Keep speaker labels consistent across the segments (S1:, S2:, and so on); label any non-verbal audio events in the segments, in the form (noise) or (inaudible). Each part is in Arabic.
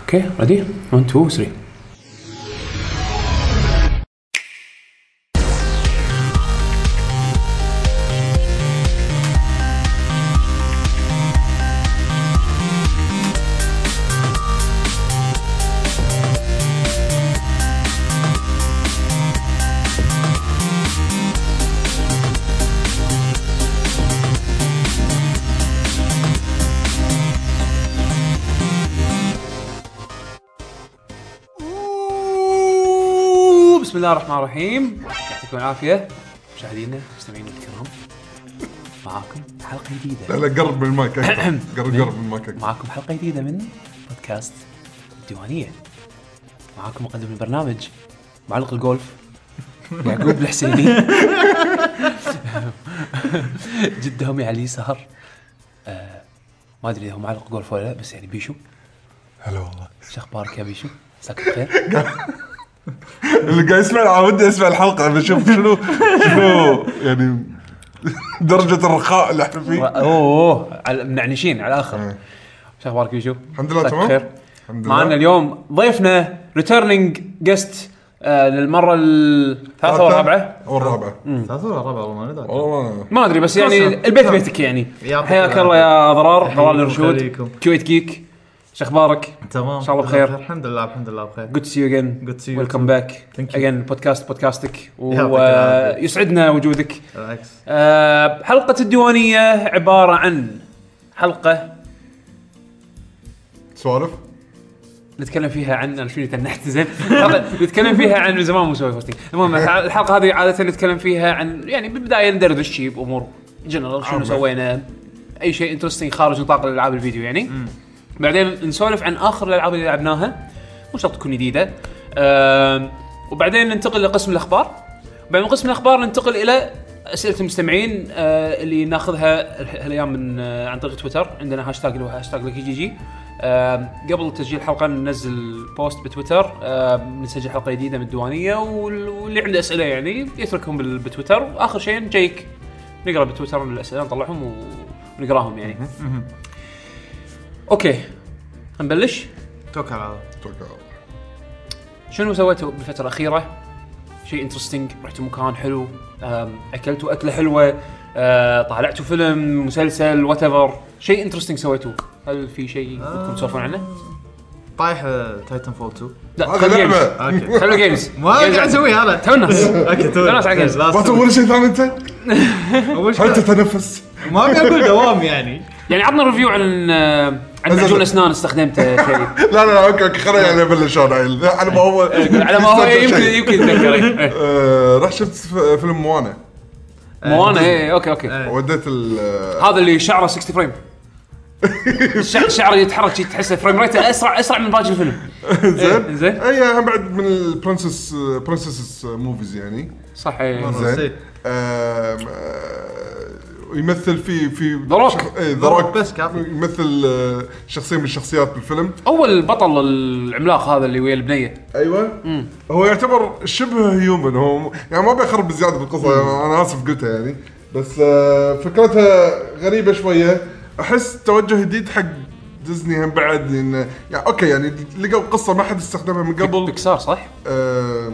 S1: اوكي ريدي 1 2 3 أوه، بسم الله الرحمن الرحيم يعطيكم العافيه مشاهدينا مستمعينا الكرام معاكم حلقه
S2: لا
S1: جديده
S2: لا قرب من
S1: (coughs)
S2: المايك اكثر قرب قرب من المايك اكثر
S1: معاكم حلقه جديده من بودكاست الديوانيه معاكم مقدم البرنامج معلق الجولف يعقوب الحسيني جدهم على اليسار آه، ما ادري اذا هو معلق جولف ولا لا بس يعني بيشو
S2: هلا والله
S1: شو اخبارك يا بيشو؟ مساك الخير
S2: اللي قاعد يسمع أنا ودي اسمع الحلقه بشوف شنو شنو يعني درجه الرخاء اللي احنا
S1: و-
S3: (laughs)
S2: فيه
S1: اوه اوه على- منعنشين على الاخر
S2: إيه.
S1: شو اخبارك بيشو؟
S2: الحمد لله
S1: مساك
S2: تمام.
S1: الخير.
S2: الحمد لله.
S1: معنا اليوم ضيفنا آه، ريتيرنينج جست للمره الثالثه والرابعه
S2: والرابعه
S3: ثلاثة ولا رابعة والله ما ندري
S2: والله
S1: ما ادري بس يعني
S3: كوسة.
S1: البيت بيتك يعني
S3: يعطيك
S1: حياك
S3: العافية.
S1: الله يا ضرار
S3: حياك
S1: ضرار
S3: الله
S1: الرشود
S3: يخليكم.
S1: كويت جيك شو اخبارك؟
S3: تمام
S1: إن شاء الله بخير.
S3: الحمد لله الحمد لله بخير
S1: جود تو سي يو اجين
S3: Good to see you
S1: ويلكم باك
S3: Thank you.
S1: اجين بودكاست بودكاستك
S3: يعطيك العافية.
S1: ويسعدنا وجودك
S3: بالعكس
S1: آه، حلقة الديوانية عبارة عن حلقة
S2: سوالف
S1: نتكلم فيها عن انا شوي تنحت زين حلقة نتكلم فيها عن من زمان مسوي هوستنج المهم الحلقة هذه عادة نتكلم فيها عن يعني بالبداية ندردش شي بامور جنرال شنو
S2: عامة.
S1: سوينا اي شيء انترستنج خارج نطاق الالعاب الفيديو يعني بعدين نسولف عن اخر الالعاب اللي لعبناها مو شرط تكون جديدة آم، وبعدين ننتقل لقسم الاخبار بعدين من قسم الاخبار ننتقل الى اسئله المستمعين آه، اللي ناخذها ال- هالايام من آه، عن طريق تويتر عندنا هاشتاج اللي هو هاشتاج لك جي جي آم، قبل تسجيل الحلقه ننزل بوست بتويتر آم، نسجل حلقه جديده من الديوانيه وال- واللي عنده اسئله يعني يتركهم بال- بتويتر واخر شيء نجيك نقرا بتويتر الاسئله نطلعهم و- ونقراهم يعني اوكي نبلش
S3: توكل على الله
S2: أتوقع.
S1: شنو سويتوا بالفترة الأخيرة؟ شيء انترستنج، رحتوا مكان حلو، أم، أكلتوا أكلة حلوة، أه، طالعتوا فيلم، مسلسل، وات ايفر، شيء انترستنج سويتوه، هل في شيء
S3: آه.
S1: ودكم تسولفون عنه؟
S3: طايح آه، تايتن فول 2
S1: لا
S2: هذا
S1: خلوا جيمز
S2: لعبه
S3: اوكي
S1: خلوا جيمز
S3: (laughs) ما قاعد اسوي انا
S1: تو
S3: (laughs)
S1: الناس
S3: اوكي تو
S1: خلاص على جيمز.
S2: ما تسوي ولا شيء ثاني انت؟ هل تتنفس؟
S3: ما ابي اقول دوام يعني
S1: يعني عطنا ريفيو عن آه، عن
S2: نزل.
S1: معجون اسنان استخدمته شيء
S2: لا لا اوكي اوكي خليني يعني ابلش انا عيل. على ما هو
S1: إيه، على
S2: (laughs)
S1: ما هو
S2: يستمتع
S1: يمكن
S2: شيء.
S1: يمكن يتذكر إيه.
S2: آه، رحت شفت ف- فيلم موانا
S1: موانا ايه اوكي اوكي
S3: إيه.
S2: وديت ال
S1: هذا اللي شعره 60 فريم الشعر شعره يتحرك شي، تحسه فريم ريته اسرع اسرع من باقي الفيلم إيه،
S2: زين
S1: زين.
S2: اي بعد من البرنسس برنسس موفيز يعني
S1: صح إيه.
S2: زين
S3: سي.
S2: آم، آه، يمثل في في إيه،
S1: The Rock.
S3: The Rock بس كافي.
S2: (laughs) يمثل آه، شخصيه من الشخصيات بالفيلم
S1: اول بطل العملاق هذا اللي ويا البنيه
S2: ايوه هو يعتبر شبه هيومن هو م- يعني ما بيخرب زياده بالقصه يعني انا اسف قلتها يعني بس آه، فكرتها غريبه شويه احس توجه جديد حق ديزني هم بعد لان يعني اوكي يعني لقوا قصه ما حد استخدمها من قبل
S1: بيكسار صح؟
S2: آه،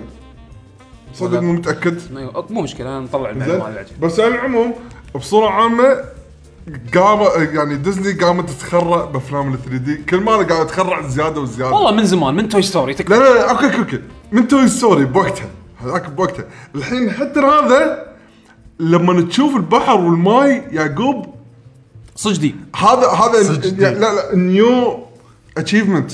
S2: صدق
S1: ولا-
S2: مو متاكد
S1: أيوة، مو مشكله انا نطلع
S2: زين
S1: المعلومه على العجل.
S2: بس على العموم بصوره عامه قام يعني ديزني قامت تتخرع بافلام ال 3 دي كل مره قاعد تخرع زياده وزياده
S1: والله من زمان من توي ستوري
S2: لا
S1: تكفى
S2: لا لا اوكي اوكي اوكي من توي ستوري بوقتها هذاك بوقتها الحين حتى هذا لما تشوف البحر والماي يعقوب
S1: صجدي
S2: هذا هذا
S3: صدق.
S2: يعني لا لا نيو اتشيفمنت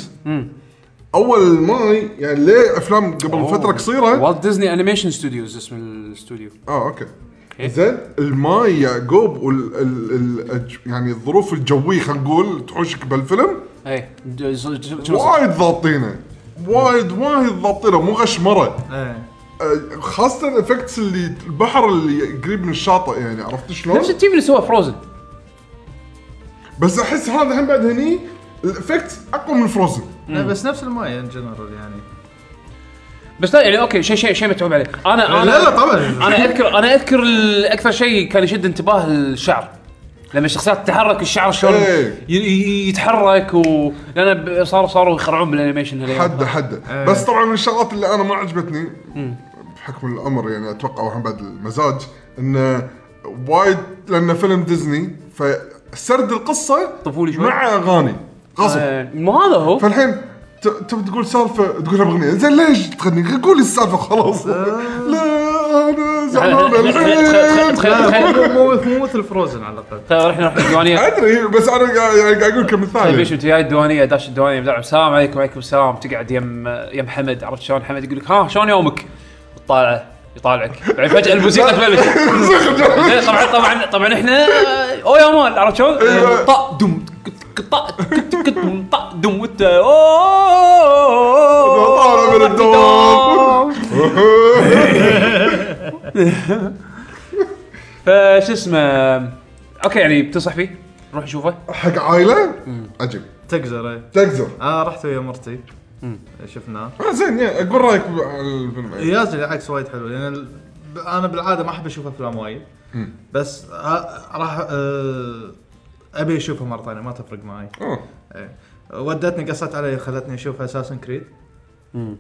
S2: اول الماي يعني ليه افلام قبل فتره قصيره
S1: والت ديزني انيميشن ستوديوز اسم الاستوديو
S2: اه اوكي
S1: إيه.
S2: زين الماي يعقوب وال ال ال الج- يعني الظروف الجويه خلينا نقول تحوشك بالفيلم
S1: اي ج- ج- ج- شنو اسمه؟
S2: وايد ضابطينه وايد وايد ضابطينه مو غشمره
S3: إيه.
S2: آه، خاصة الافكتس اللي البحر اللي قريب من الشاطئ يعني عرفت شلون؟
S1: نفس التيم اللي سوى فروزن
S2: بس احس هذا هم بعد هني الافكت اقوى من فروزن
S3: لا بس نفس الماي ان جنرال يعني
S1: بس لا يعني اوكي شيء شيء شيء متعوب عليه انا انا
S3: لا لا طبعا
S1: انا اذكر انا اذكر ال- اكثر شيء كان يشد انتباه الشعر لما الشخصيات تتحرك الشعر شلون
S2: إيه.
S1: ي- ي- يتحرك و لان ب- صاروا صاروا يخرعون بالانيميشن هالايام.
S2: حد حد
S1: آه.
S3: إيه.
S2: بس طبعا من الشغلات اللي انا ما عجبتني بحكم الامر يعني اتوقع وهم بعد المزاج انه وايد لانه فيلم ديزني فسرد القصه
S1: طفولي شوي.
S2: مع اغاني غصب
S1: آه، ما هذا هو
S2: فالحين ت- تبي تقول سالفه تقولها باغنيه زين ليش تغني؟ قول السالفه خلاص
S1: آه.
S2: لا انا
S1: (laughs)
S2: زعلان
S1: تخيل- تخيل-
S2: الحين
S1: تخيل- تخيل- طيب،
S3: مو مو- مو مثل فروزن على الاقل
S1: تخيل رحنا رحنا
S2: (laughs)
S1: الديوانيه
S2: ادري بس انا قاعد يعني قاعد اقول
S1: طيب
S2: كمثال
S1: ايش انت جاي الديوانيه داش الديوانيه بلعب السلام عليكم وعليكم السلام تقعد يم يم حمد عرفت شلون حمد يقول لك ها شلون يومك؟ تطالعه يطالعك بعدين فجاه الموسيقى تبلش
S2: (laughs)
S1: زين، طبعا طبعا طبعا احنا آه، او يا مان عرفت شلون؟
S2: أيوة.
S3: إيه.
S1: طا دم كت- طا كت- كت- دم، طا دم وانت أوه،
S2: طالع من الدوام.
S1: فشو اسمه اوكي يعني بتنصح فيه؟ روح شوفه
S2: حق عائله عجيب
S3: تقزر ايه
S2: تقزر
S3: انا رحت ويا مرتي شفناه
S2: آه، زين يا اقول رايك على الفيلم
S3: يا زلمه العكس وايد حلو لان ال- ب- انا بالعاده ما احب اشوف افلام وايد بس ه- راح آه، ابي اشوفها مره ثانيه ما تفرق معي
S2: آه.
S3: إيه. ودتني قصت علي خلتني اشوف اساسن كريد
S1: ما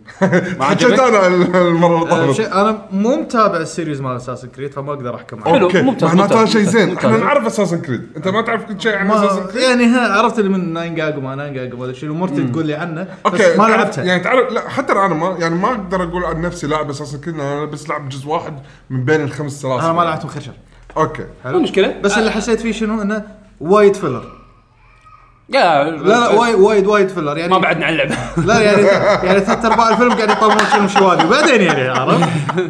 S2: حكيت
S1: عجبك؟
S2: انا ال- المره اللي
S3: آه،
S2: طافت
S3: شيء انا مو متابع السيريز مال اساسن كريد فما اقدر احكم عليه
S1: حلو،
S2: اوكي
S1: ممتاز،
S2: معناته
S1: ممتاز،
S2: شيء
S1: ممتاز،
S2: زين
S1: ممتاز.
S2: احنا نعرف اساسن كريد انت ما تعرف كل شيء عن اساسن
S3: ما
S2: كريد
S3: يعني ها عرفت اللي من ناين جاج وما ناين جاج وما ادري شنو مرتي تقول لي عنه بس
S2: اوكي
S3: ما
S2: تعرف-
S3: لعبتها
S2: يعني تعرف لا حتى انا ما يعني ما اقدر اقول عن نفسي لاعب اساسن كريد انا بس لعب جزء واحد من بين الخمس سلاسل
S3: انا ما لعبت مخشر
S2: اوكي
S1: مو مشكله
S3: بس اللي حسيت فيه شنو انه وايد فيلر
S1: لا
S3: لا لا وايد وايد وايد فيلر يعني
S1: ما بعدنا عن اللعبه
S3: لا يعني يعني ثلاث ارباع الفيلم قاعد يطلعون شنو شوالي وبعدين يعني عرفت؟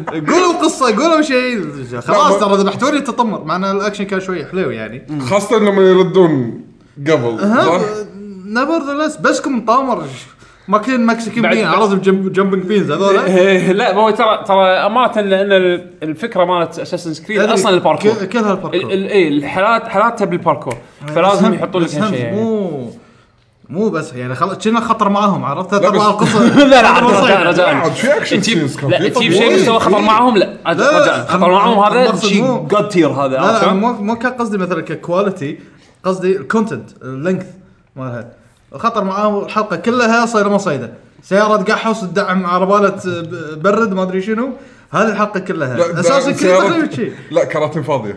S3: قولوا قصه قولوا شيء خلاص ترى ذبحتوني تطمر مع ان الاكشن كان شوي حلو يعني
S2: خاصه لما يردون قبل صح؟
S3: نيفرذلس بسكم طامر ماكلين مكسيكي
S1: بعد-
S3: بين عرفت جمبنج بينز هذول
S1: إيه، (laughs) لا ما هو ترى ترى امانه لان ال- الفكره مالت اساسن كريد
S3: يعني
S1: اصلا الباركور
S3: كلها الباركور
S1: ال- ال- اي الحالات حالاتها بالباركور
S3: آه، بس
S1: فلازم
S3: هم-
S1: يحطون لك
S3: بس هم
S1: هالشيء يعني.
S3: مو مو بس يعني خلاص كنا خطر معاهم عرفت ثلاث
S2: لا بس-
S3: ارباع القصه
S1: (laughs) (laughs) لا لا عاد رجاء رجاء
S2: عاد آه، في اكشن
S1: تجيب-
S2: سينز كان
S1: لا
S2: في
S1: تجيب
S2: طبيعي.
S1: شيء مستوى خطر
S3: إيه.
S1: معاهم لا عاد
S3: لا،
S1: رجاء
S3: أنا-
S1: خطر معاهم
S3: أنا
S1: هذا
S3: مقصد
S1: شيء
S3: مو-
S1: جاد تير هذا
S3: لا
S1: عرفت
S3: لا
S1: شلون؟
S3: مو مو كان قصدي مثلا ككواليتي قصدي الكونتنت اللينث مالها خطر معاه الحلقه كلها صايره ما صيده سياره تقحص تدعم عربالة برد ما ادري شنو هذه الحلقه كلها
S2: لا،
S3: اساسا
S2: ده
S3: كل
S2: سيارات-
S3: تقريبا شيء
S2: لا كراتين فاضيه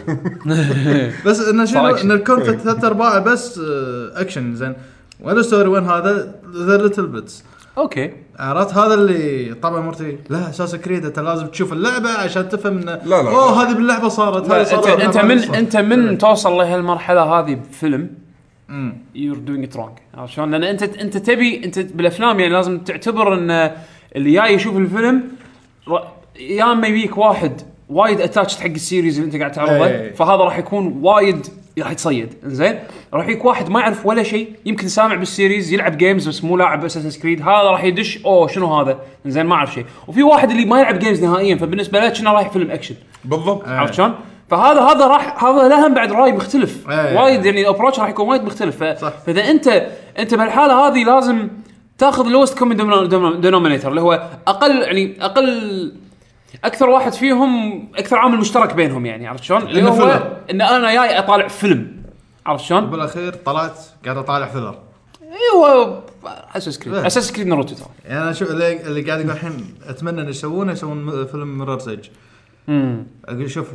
S3: بس انه شنو
S1: صار أكشن.
S3: ان الكونتنت ثلاث ارباعه بس آه، اكشن زين وين الستوري وين هذا ذا ليتل بيتس
S1: اوكي
S3: عرفت هذا اللي طبعا مرتي لا اساس كريد انت لازم تشوف اللعبه عشان تفهم انه
S2: لا، لا.
S3: اوه هذه باللعبه صارت هذه
S1: انت
S3: صارت
S1: انت
S3: هذه
S1: من
S3: صارت.
S1: انت من توصل لهالمرحله هذه بفيلم
S3: مم.
S1: يور دوينج ات رونج عرفت شلون؟ لان انت انت تبي انت بالافلام يعني لازم تعتبر ان اللي جاي يشوف الفيلم ر- يا اما يجيك واحد وايد اتاتشد حق السيريز اللي انت قاعد تعرضه
S3: إيه.
S1: فهذا راح يكون وايد راح يتصيد زين راح يجيك واحد ما يعرف ولا شيء يمكن سامع بالسيريز يلعب جيمز بس مو لاعب اساسن كريد هذا راح يدش اوه شنو هذا زين ما اعرف شيء وفي واحد اللي ما يلعب جيمز نهائيا فبالنسبه له كنا رايح فيلم اكشن
S2: (laughs) بالضبط
S1: عرفت شلون؟ فهذا هذا راح هذا لهم بعد راي مختلف
S3: إيه.
S1: وايد يعني الابروتش راح يكون وايد مختلف ف...
S3: صح.
S1: فاذا انت انت بالحاله هذه لازم تاخذ لوست كومن دينومينيتر اللي هو اقل يعني اقل اكثر واحد فيهم اكثر عامل مشترك بينهم يعني عرفت شلون؟ اللي
S3: إنه
S1: هو
S3: فيلم. إيه.
S1: ان انا جاي اطالع فيلم عرفت شلون؟
S3: بالاخير طلعت قاعد اطالع فيلر
S1: ايوه اساس كريد
S3: إيه.
S1: اساس كريد ناروتو ترى
S3: يعني انا شو اللي, اللي قاعد اقول الحين اتمنى ان يسوونه يسوون م- فيلم ميرورز ايج اقول شوف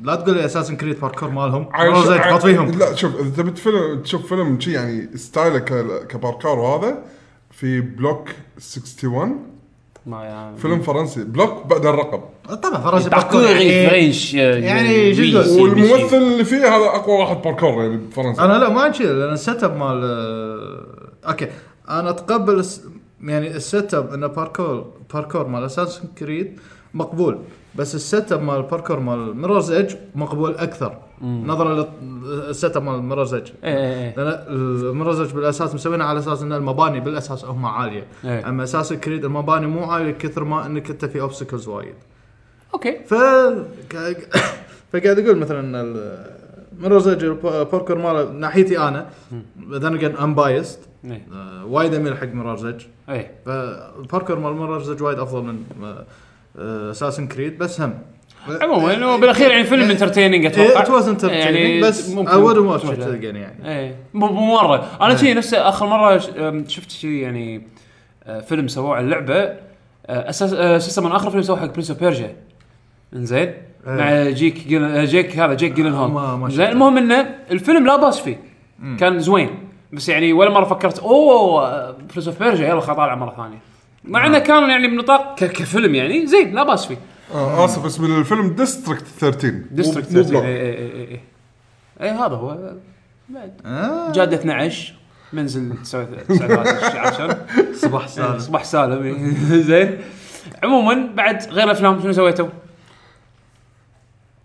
S3: لا تقول لي اساسن كريد باركور مالهم ميرورز ايج
S2: عايش-
S3: حاط فيهم
S2: لا شوف اذا تبي فيلم تشوف فيلم شي يعني ستايله ك- كباركار وهذا في بلوك 61
S1: ما يعني
S2: فيلم فرنسي بلوك بعد الرقم
S3: طبعا فرنسي باركور
S1: تعطيني
S3: يعني
S1: فريش آه،
S3: يعني شو
S1: ويسي،
S3: تقول؟
S1: ميسي.
S2: والممثل اللي فيه هذا اقوى واحد باركور يعني بفرنسا
S3: انا لا ما عندي شيء لان السيت اب مال آه، اوكي انا اتقبل الس- يعني السيت اب انه باركور باركور مال اساسن كريد مقبول بس السيت اب مال الباركور مال ميرورز ايج مقبول اكثر نظرا للسيت اب مال ميرورز ايج
S1: إيه، إيه، إيه.
S3: لان المرزج بالاساس مسوينها على اساس ان المباني بالاساس هم عاليه
S1: إيه.
S3: اما اساس الكريد المباني مو عاليه كثر ما انك انت في اوبستكلز وايد
S1: اوكي
S3: ف (coughs) قا- فقاعد اقول مثلا المرزج الباركور ماله ناحيتي انا ذن اجين ام بايست
S1: إيه.
S3: آه، وايد اميل حق مرزج
S1: ايه
S3: فالباركور مال مرزج وايد افضل من اساسن كريد آه، بس هم إيه،
S1: عموما هو بالاخير يعني فيلم يعني انترتيننج اتوقع
S3: ات واز انترتيننج بس اي ودنت واتش ات اجين يعني
S1: ايه مو مو مره
S3: إيه.
S1: انا شي نفسه اخر مره ش- أم، شفت شي يعني آه، فيلم سووه على اللعبه آه، اساس آه، شو اسمه من اخر فيلم سووه حق برنس اوف بيرجيا انزين مع جيك جيل... آه، جيك هذا جيك جيلن
S3: إيه. ما- ما
S1: هول
S3: شفته.
S1: زين المهم انه الفيلم لا باس فيه كان زوين بس يعني ولا مره فكرت آه، اوه برنس اوف بيرجيا يلا خل طالع مره ثانيه مع
S3: نعم.
S1: انه كان يعني بنطاق ك... كفيلم يعني زين لا باس فيه
S2: آه اسف اسم الفيلم ديستريكت 13 مو-
S1: ديستريكت
S2: مو
S1: 13 اي
S2: بلوك.
S1: اي اي اي اي إيه، هذا هو إيه.
S3: آه،
S1: جاده 12 منزل 39 عشان إيه،
S3: صباح سالم
S1: صباح سالم إي. (laughs) زين عموما بعد غير الافلام شنو سويتوا؟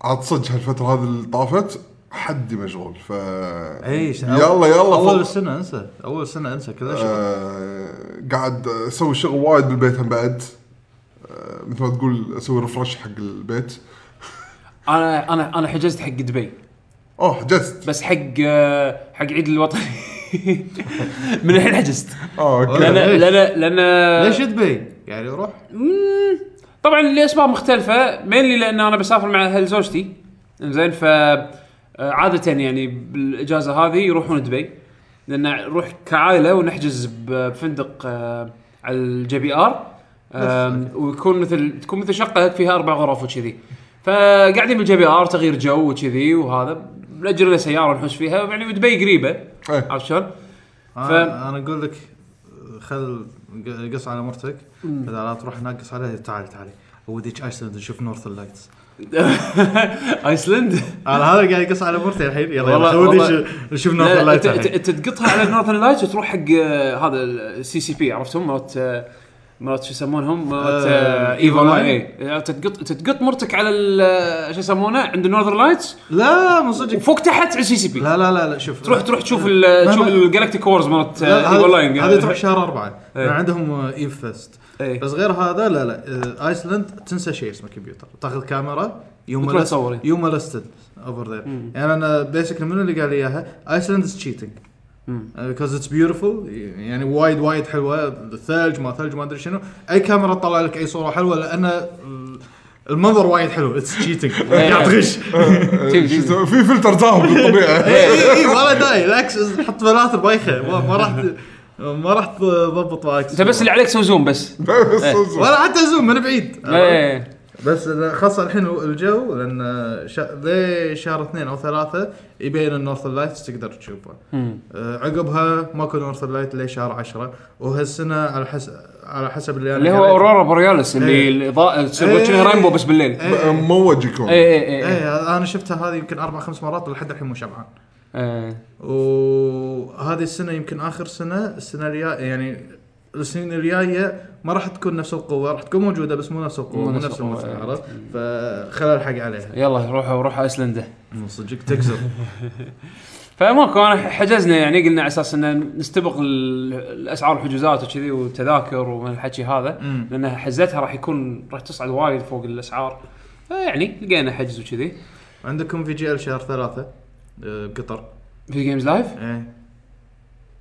S2: عاد صدق هالفتره هذه اللي طافت حدي مشغول ف
S3: اي
S2: يلا آه. يلا
S3: اول
S2: فوق.
S3: سنه انسى اول سنه انسى كل شيء
S2: آه، قاعد اسوي شغل وايد بالبيت هم بعد آه، مثل ما تقول اسوي ريفرش حق البيت
S1: انا انا انا حجزت حق دبي
S2: اوه حجزت
S1: بس حق آه، حق عيد الوطني (laughs) من الحين حجزت
S2: اه
S1: لان
S2: اوكي
S3: لا. ليش؟
S1: لان لان
S3: ليش دبي؟ يعني روح
S1: مم، طبعا لاسباب مختلفه مينلي لان انا بسافر مع اهل زوجتي زين ف آه، عاده يعني بالاجازه هذه يروحون دبي لان نروح كعائله ونحجز ب- بفندق آه، على الجي بي ار آم، ويكون مثل تكون مثل شقه فيها اربع غرف وكذي فقاعدين بالجي بي ار تغيير جو وكذي وهذا نأجر لنا سياره نحوش فيها يعني دبي قريبه
S2: إيه.
S1: عرفت شلون؟ (laughs)
S3: ف...
S1: ف-
S3: انا اقول لك خل قص على مرتك اذا لا تروح هناك قص عليها تعالي تعالي اوديك ايسلند نشوف نورث اللايتس
S1: ايسلند
S3: انا هذا قاعد يقص على مرتي الحين يلا
S1: والله-
S3: يلا اوديك
S1: والله.
S3: نشوف
S1: لا،
S3: نورث
S1: لا،
S3: اللايتس
S1: انت انت-
S3: الحين
S1: انت تقطها على نورثن لايتس وتروح حق آه، هذا السي سي بي عرفتهم مرات آه، مرات شو يسمونهم مرات
S3: آه، إيفو
S1: ايفو لاين
S3: لاين.
S1: اي تتقط تتقط مرتك على ال- آه، شو يسمونه عند نورثن لايتس
S3: لا مو صدق
S1: وفوق تحت على السي سي بي
S3: لا لا لا لا شوف
S1: تروح تروح تشوف ال-
S3: لا،
S1: تشوف
S3: لا.
S1: الجالكتيك وورز مرات
S3: لا،
S1: آه،
S3: هذه-
S1: ايفو لاين
S3: هذه تروح شهر أربعة
S1: إيه.
S3: عندهم ايف فيست
S1: إيه.
S3: بس غير هذا لا لا آه، ايسلند تنسى شيء اسمه كمبيوتر تاخذ كاميرا
S1: وتروح
S3: يوم
S1: تصور. إيه.
S3: يوم لستد اوفر ذير
S1: Mm.
S3: يعني انا بيسكلي من اللي قال لي اياها ايسلند از تشيتنج
S1: Mm.
S3: بيكوز اتس بيوتيفول يعني وايد وايد حلوه الثلج ما ثلج ما ادري شنو اي كاميرا تطلع لك اي صوره حلوه لان ال- المنظر وايد حلو اتس
S1: (laughs)
S3: تشيتنج قاعد تغش
S2: آه، شو يسوي؟ في فلتر زاهم
S3: (laughs)
S2: بالطبيعه
S3: اي اي اي ولا داعي بالعكس حط فلاتر بايخه ما- ما راح ت- ما راح تضبط معك
S1: انت بس اللي عليك تسوي زوم بس
S3: إيه.
S2: بس صدق.
S3: ولا حتى زوم من بعيد
S1: ايه
S3: بس خاصه الحين الجو لان شا... لي شهر اثنين او ثلاثه يبين النورث لايتس تقدر تشوفه آه، عقبها ماكو نورث لايت لي شهر 10 وهالسنه على حسب على حسب اللي انا
S1: اللي هو
S3: قريته.
S1: اورورا بورياليس اللي
S3: إيه.
S1: الاضاءه
S3: إيه.
S1: تصير رينبو بس بالليل إيه،
S3: إيه.
S1: اي
S2: ب- موج يكون
S1: اي اي
S3: ايه انا شفتها هذه يمكن اربع خمس مرات ولحد الحين مو شبعان
S1: إيه.
S3: وهذه السنه يمكن اخر سنه السنه الجايه يعني السنين الجايه ما راح تكون نفس القوه راح تكون موجوده بس مو نفس القوه
S1: مو
S3: مو
S1: نفس
S3: نفس
S1: القوة،
S3: المثل
S1: إيه.
S3: عرفت فخلال الحق عليها
S1: يلا روحوا روحوا ايسلندا
S3: من صدق تكسر
S1: فماكو انا حجزنا يعني قلنا على اساس ان نستبق ال- الاسعار الحجوزات وكذي والتذاكر والحكي هذا
S3: (laughs) مم.
S1: لان حزتها راح يكون راح تصعد وايد فوق الاسعار فيعني لقينا حجز وكذي
S3: عندكم في جي ال شهر ثلاثه آه، بقطر
S1: في جيمز لايف
S3: ايه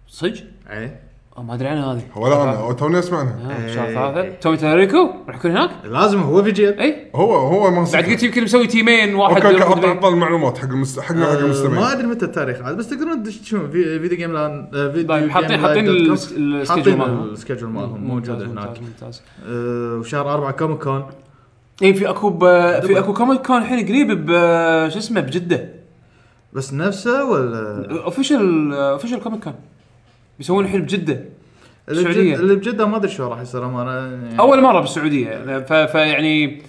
S1: صدق
S3: ايه
S1: أه، ما ادري عنها هذه
S2: ولا انا توني اسمع عنها
S1: آه،
S3: إيه.
S1: شهر ثلاثة تومي تاريكو راح يكون هناك
S3: لازم هو في جي ال
S1: اي
S2: هو هو ما
S1: بعد قلت يمكن مسوي تيمين واحد
S2: اوكي اوكي
S1: يروح
S2: عط-
S1: دبي.
S2: عطنا المعلومات حق المست... حقنا حق
S3: آه، ما
S2: المستمعين
S3: ادري متى التاريخ عاد بس تقدرون تشوفون في فيديو جيم لان آه، فيديو
S1: طيب، حاطين-
S3: جيم
S1: حاطين
S3: لاين دوت
S1: الس-
S3: كوم.
S1: السكيدجول
S3: حاطين
S1: مالهم.
S3: السكيدجول مالهم
S1: ممتاز،
S3: موجود
S1: ممتاز،
S3: هناك
S1: ممتاز
S3: آه، وشهر أربعة كوميك كون
S1: اي في اكو ب- في اكو كوميك كون الحين قريب ب شو اسمه بجده
S3: بس نفسه ولا
S1: اوفيشال اوفيشال كوميك كون بيسوون الحين بجده
S3: اللي
S1: السعودية.
S3: بجد- اللي بجده ما ادري شو راح يصير امانه يعني
S1: اول مره بالسعوديه ف- فيعني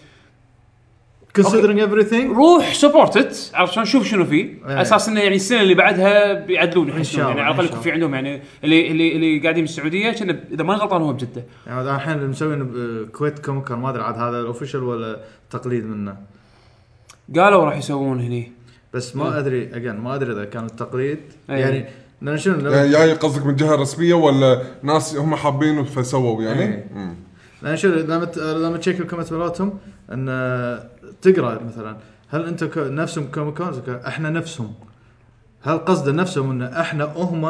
S3: كونسيدرينج ايفري ثينج
S1: روح سبورت ات عرفت شلون شوف شنو فيه
S3: إيه.
S1: على اساس انه يعني السنه اللي بعدها بيعدلون
S3: إن شاء
S1: يحسون يعني
S3: الله،
S1: على الاقل
S3: إن شاء
S1: يكون في عندهم يعني اللي اللي اللي قاعدين بالسعوديه كان اذا ما غلطان هو بجده
S3: يعني هذا الحين آه، اللي مسوين كويت كوميك كون ما ادري عاد هذا الاوفيشال ولا تقليد منه
S1: قالوا راح يسوون هني
S3: بس
S1: إيه.
S3: ما ادري اجين ما ادري اذا كان التقليد
S1: أي.
S3: يعني لان شنو
S2: يعني جاي قصدك من جهه رسميه ولا ناس هم حابين فسووا يعني؟
S3: إيه.
S2: مم.
S3: لان شنو لما ت- لما تشيك الكومنت مالتهم ان آه، تقرا مثلا هل انت ك- نفسهم كوميك كون احنا نفسهم هل قصده نفسهم ان احنا هم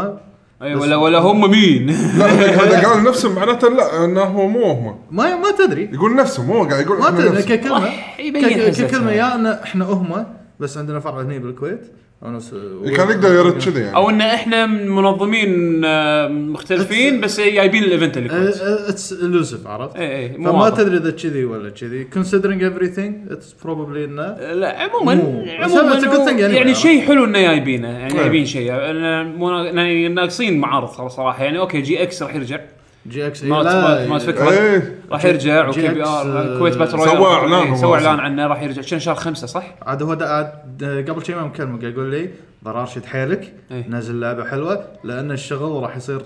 S1: اي ولا ولا هم
S3: (laughs)
S1: مين
S2: لا
S3: إيه.
S2: اذا قال نفسهم معناته لا انه هو مو هم
S3: ما ما تدري
S2: يقول نفسهم هو قاعد يقول
S3: ما
S2: إحنا
S3: تدري
S2: نفسهم.
S3: ككلمه
S1: راح يبين
S3: ك-
S1: حزتها.
S3: ككلمه يا ان احنا هم بس عندنا فرع هنا بالكويت أو نفس-
S2: كان يقدر يرد كذي يعني
S1: او ان احنا منظمين آه، مختلفين بس جايبين الايفنت اللي كويس.
S3: اتس الوزف Uh, عرفت؟
S1: إيه إيه، مو
S3: أه، فما
S1: واضح.
S3: تدري اذا كذي ولا كذي considering everything اتس بروبلي انه
S1: لا عموما
S3: مو. بس
S1: عموما
S3: it's a good thing
S1: يعني,
S3: anyway.
S1: يعني شيء حلو انه جايبينه يعني
S3: طيب.
S2: إيه.
S1: جايبين شيء أنا مو- يعني ناقصين معارض صراحه يعني اوكي جي اكس راح يرجع
S3: جي إيه اكس
S1: مالت- مالت- مالت فكرة.
S2: ايه
S1: راح يرجع
S3: جي
S1: وكي بي
S3: إكس،
S1: ار
S3: آه،
S1: الكويت باتل
S2: سوى
S1: رويال.
S2: إعلان
S1: إيه،
S2: هو
S1: سوى اعلان
S2: أصلاً.
S1: عنه راح يرجع شنو شهر خمسه صح؟
S3: عاد هو دا عاد آه، قبل شيء ما مكلمه قاعد يقول لي برارشد حيلك
S1: إيه.
S3: نزل لعبه حلوه لان الشغل راح يصير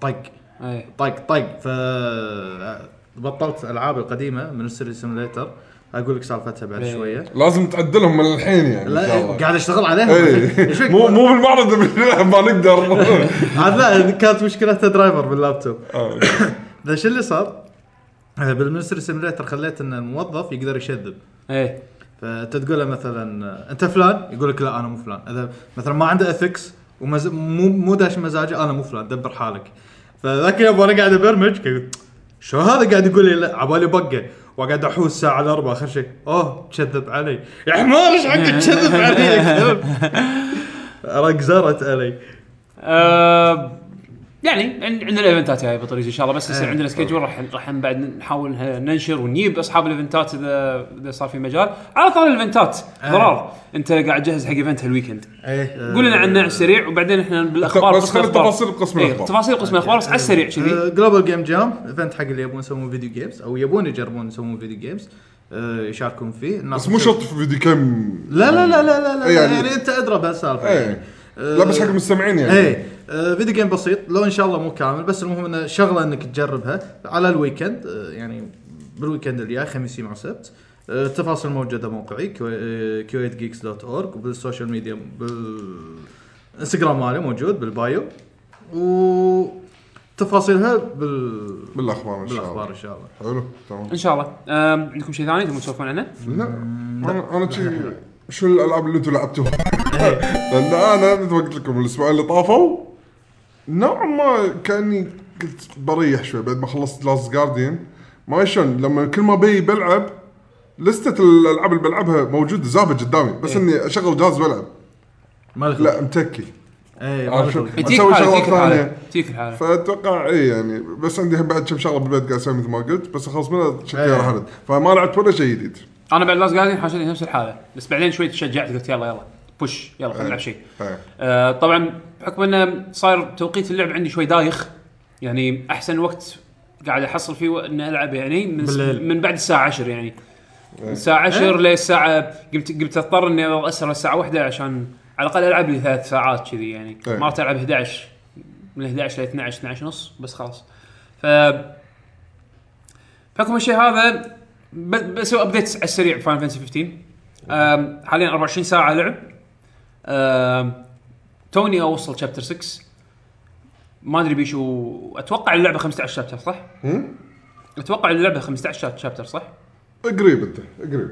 S3: طق
S1: اي
S3: طق طق ف آه، بطلت العاب القديمه من السيري سيميليتر اقول لك سالفتها بعد
S1: إيه.
S3: شويه
S2: لازم تعدلهم من الحين يعني إن شاء
S3: لا
S2: الله.
S3: قاعد اشتغل عليها
S2: ايه
S3: (laughs) إيش فيك؟
S2: مو مو بالمعرض (laughs) ما
S3: (laughs)
S2: نقدر
S3: عاد لا كانت مشكلتها درايفر باللابتوب
S2: آه.
S3: ذا شو اللي صار؟ آه، بالمنستري سيميليتر خليت ان الموظف يقدر يشذب
S1: اي
S3: فانت تقول له مثلا آه، انت فلان يقول لك لا انا مو فلان اذا مثلا ما عنده اثكس ومز... مو مو داش مزاجه انا مو فلان دبر حالك فذاك اليوم وانا قاعد ابرمج قلت شو هذا قاعد يقول لي لا عبالي بقه وقاعد احوس الساعه الأربعة اخر شيء اوه كذب علي يا حمار ايش حقك كذب علي
S2: (laughs)
S3: يا كلب رقزرت علي
S1: آه، يعني عن- عندنا الايفنتات جايه بطريق ان شاء الله بس يصير
S3: إيه.
S1: عندنا سكجول راح راح بعد نحاول ه- ننشر ونجيب اصحاب الايفنتات اذا اذا صار في مجال على طار الايفنتات
S3: إيه.
S1: ضرار انت قاعد تجهز حق ايفنت هالويكند
S2: إيه.
S3: ايه
S1: قول لنا عنه على السريع وبعدين احنا بالاخبار
S2: بس
S1: قسم
S2: خلي
S1: الأخبار.
S2: التفاصيل بقسم
S1: إيه،
S2: الأخبار.
S1: تفاصيل قسم الاخبار بس على
S3: يعني
S1: السريع كذي
S3: جلوبال جيم جام ايفنت حق اللي يبون يسوون فيديو جيمز او يبون يجربون يسوون فيديو جيمز آه، يشاركون فيه الناس
S2: بس مو شرط في فيديو كم
S3: لا لا لا لا لا, لا
S2: إيه
S3: يعني,
S2: يعني-
S3: يعني انت ادرى بهالسالفه
S2: ايه لا بس حق المستمعين يعني
S3: ايه آه، أه، فيديو جيم بسيط لو ان شاء الله مو كامل بس المهم انه شغله انك تجربها على الويكند آه، يعني بالويكند الجاي خميس جمعه وسبت آه، التفاصيل موجوده موقعي أه، كويت جيكس دوت اورج وبالسوشيال ميديا بالانستغرام مالي موجود بالبايو وتفاصيلها بال
S2: بالاخبار ان شاء
S3: بالاخبار
S2: الله
S3: ان شاء الله
S2: حلو تمام
S1: ان شاء الله أم، عندكم شيء ثاني تبون تسولفون عنه؟
S2: لا انا انا شي شو الالعاب اللي انتم لعبتوها؟ لان انا مثل ما قلت لكم الاسبوعين اللي طافوا نوعا ما كاني كنت بريح شوي بعد ما خلصت لاست جارديان ما شلون لما كل ما بي بلعب لستة الالعاب اللي بلعبها موجوده زابط قدامي بس اني اشغل جهاز والعب
S3: ما لك
S2: لا متكي
S3: ايه ما
S2: عارف
S3: لك
S2: شو؟
S3: دخل.
S1: تجيك
S2: أسوي
S1: الحاله
S2: شغلات
S1: تجيك الحاله
S2: ثانية.
S1: تجيك الحاله
S2: فاتوقع اي يعني بس عندي هم بعد كم شغله بالبيت قاعد اسوي مثل ما قلت بس اخلص منها شكلها
S3: إيه.
S2: راح أرد. فما لعبت ولا شيء جديد
S1: انا بعد لاست جاردين حاشتني نفس الحاله بس بعدين شوي تشجعت قلت يلا يلا بوش يلا خلينا نلعب شيء
S2: إيه.
S1: آه، طبعا بحكم انه صاير توقيت اللعب عندي شوي دايخ يعني احسن وقت قاعد احصل فيه و- اني العب يعني من
S3: بالليل.
S1: من بعد الساعه 10 يعني من الساعه 10 للساعه قمت قمت اضطر اني اسهر الساعه 1 عشان على الاقل العب لي ثلاث ساعات كذي يعني
S2: إيه.
S1: مرات العب 11 من 11 ل 12 12 ونص بس خلاص ف بحكم الشيء هذا ب- بسوي ابديتس على السريع فاين فانسي 15 أم، حاليا 24 ساعه لعب أم، توني اوصل شابتر 6 ما ادري بيشو اتوقع اللعبه 15 شابتر صح؟
S2: هم؟
S1: اتوقع اللعبه 15 شابتر صح؟
S2: قريب انت قريب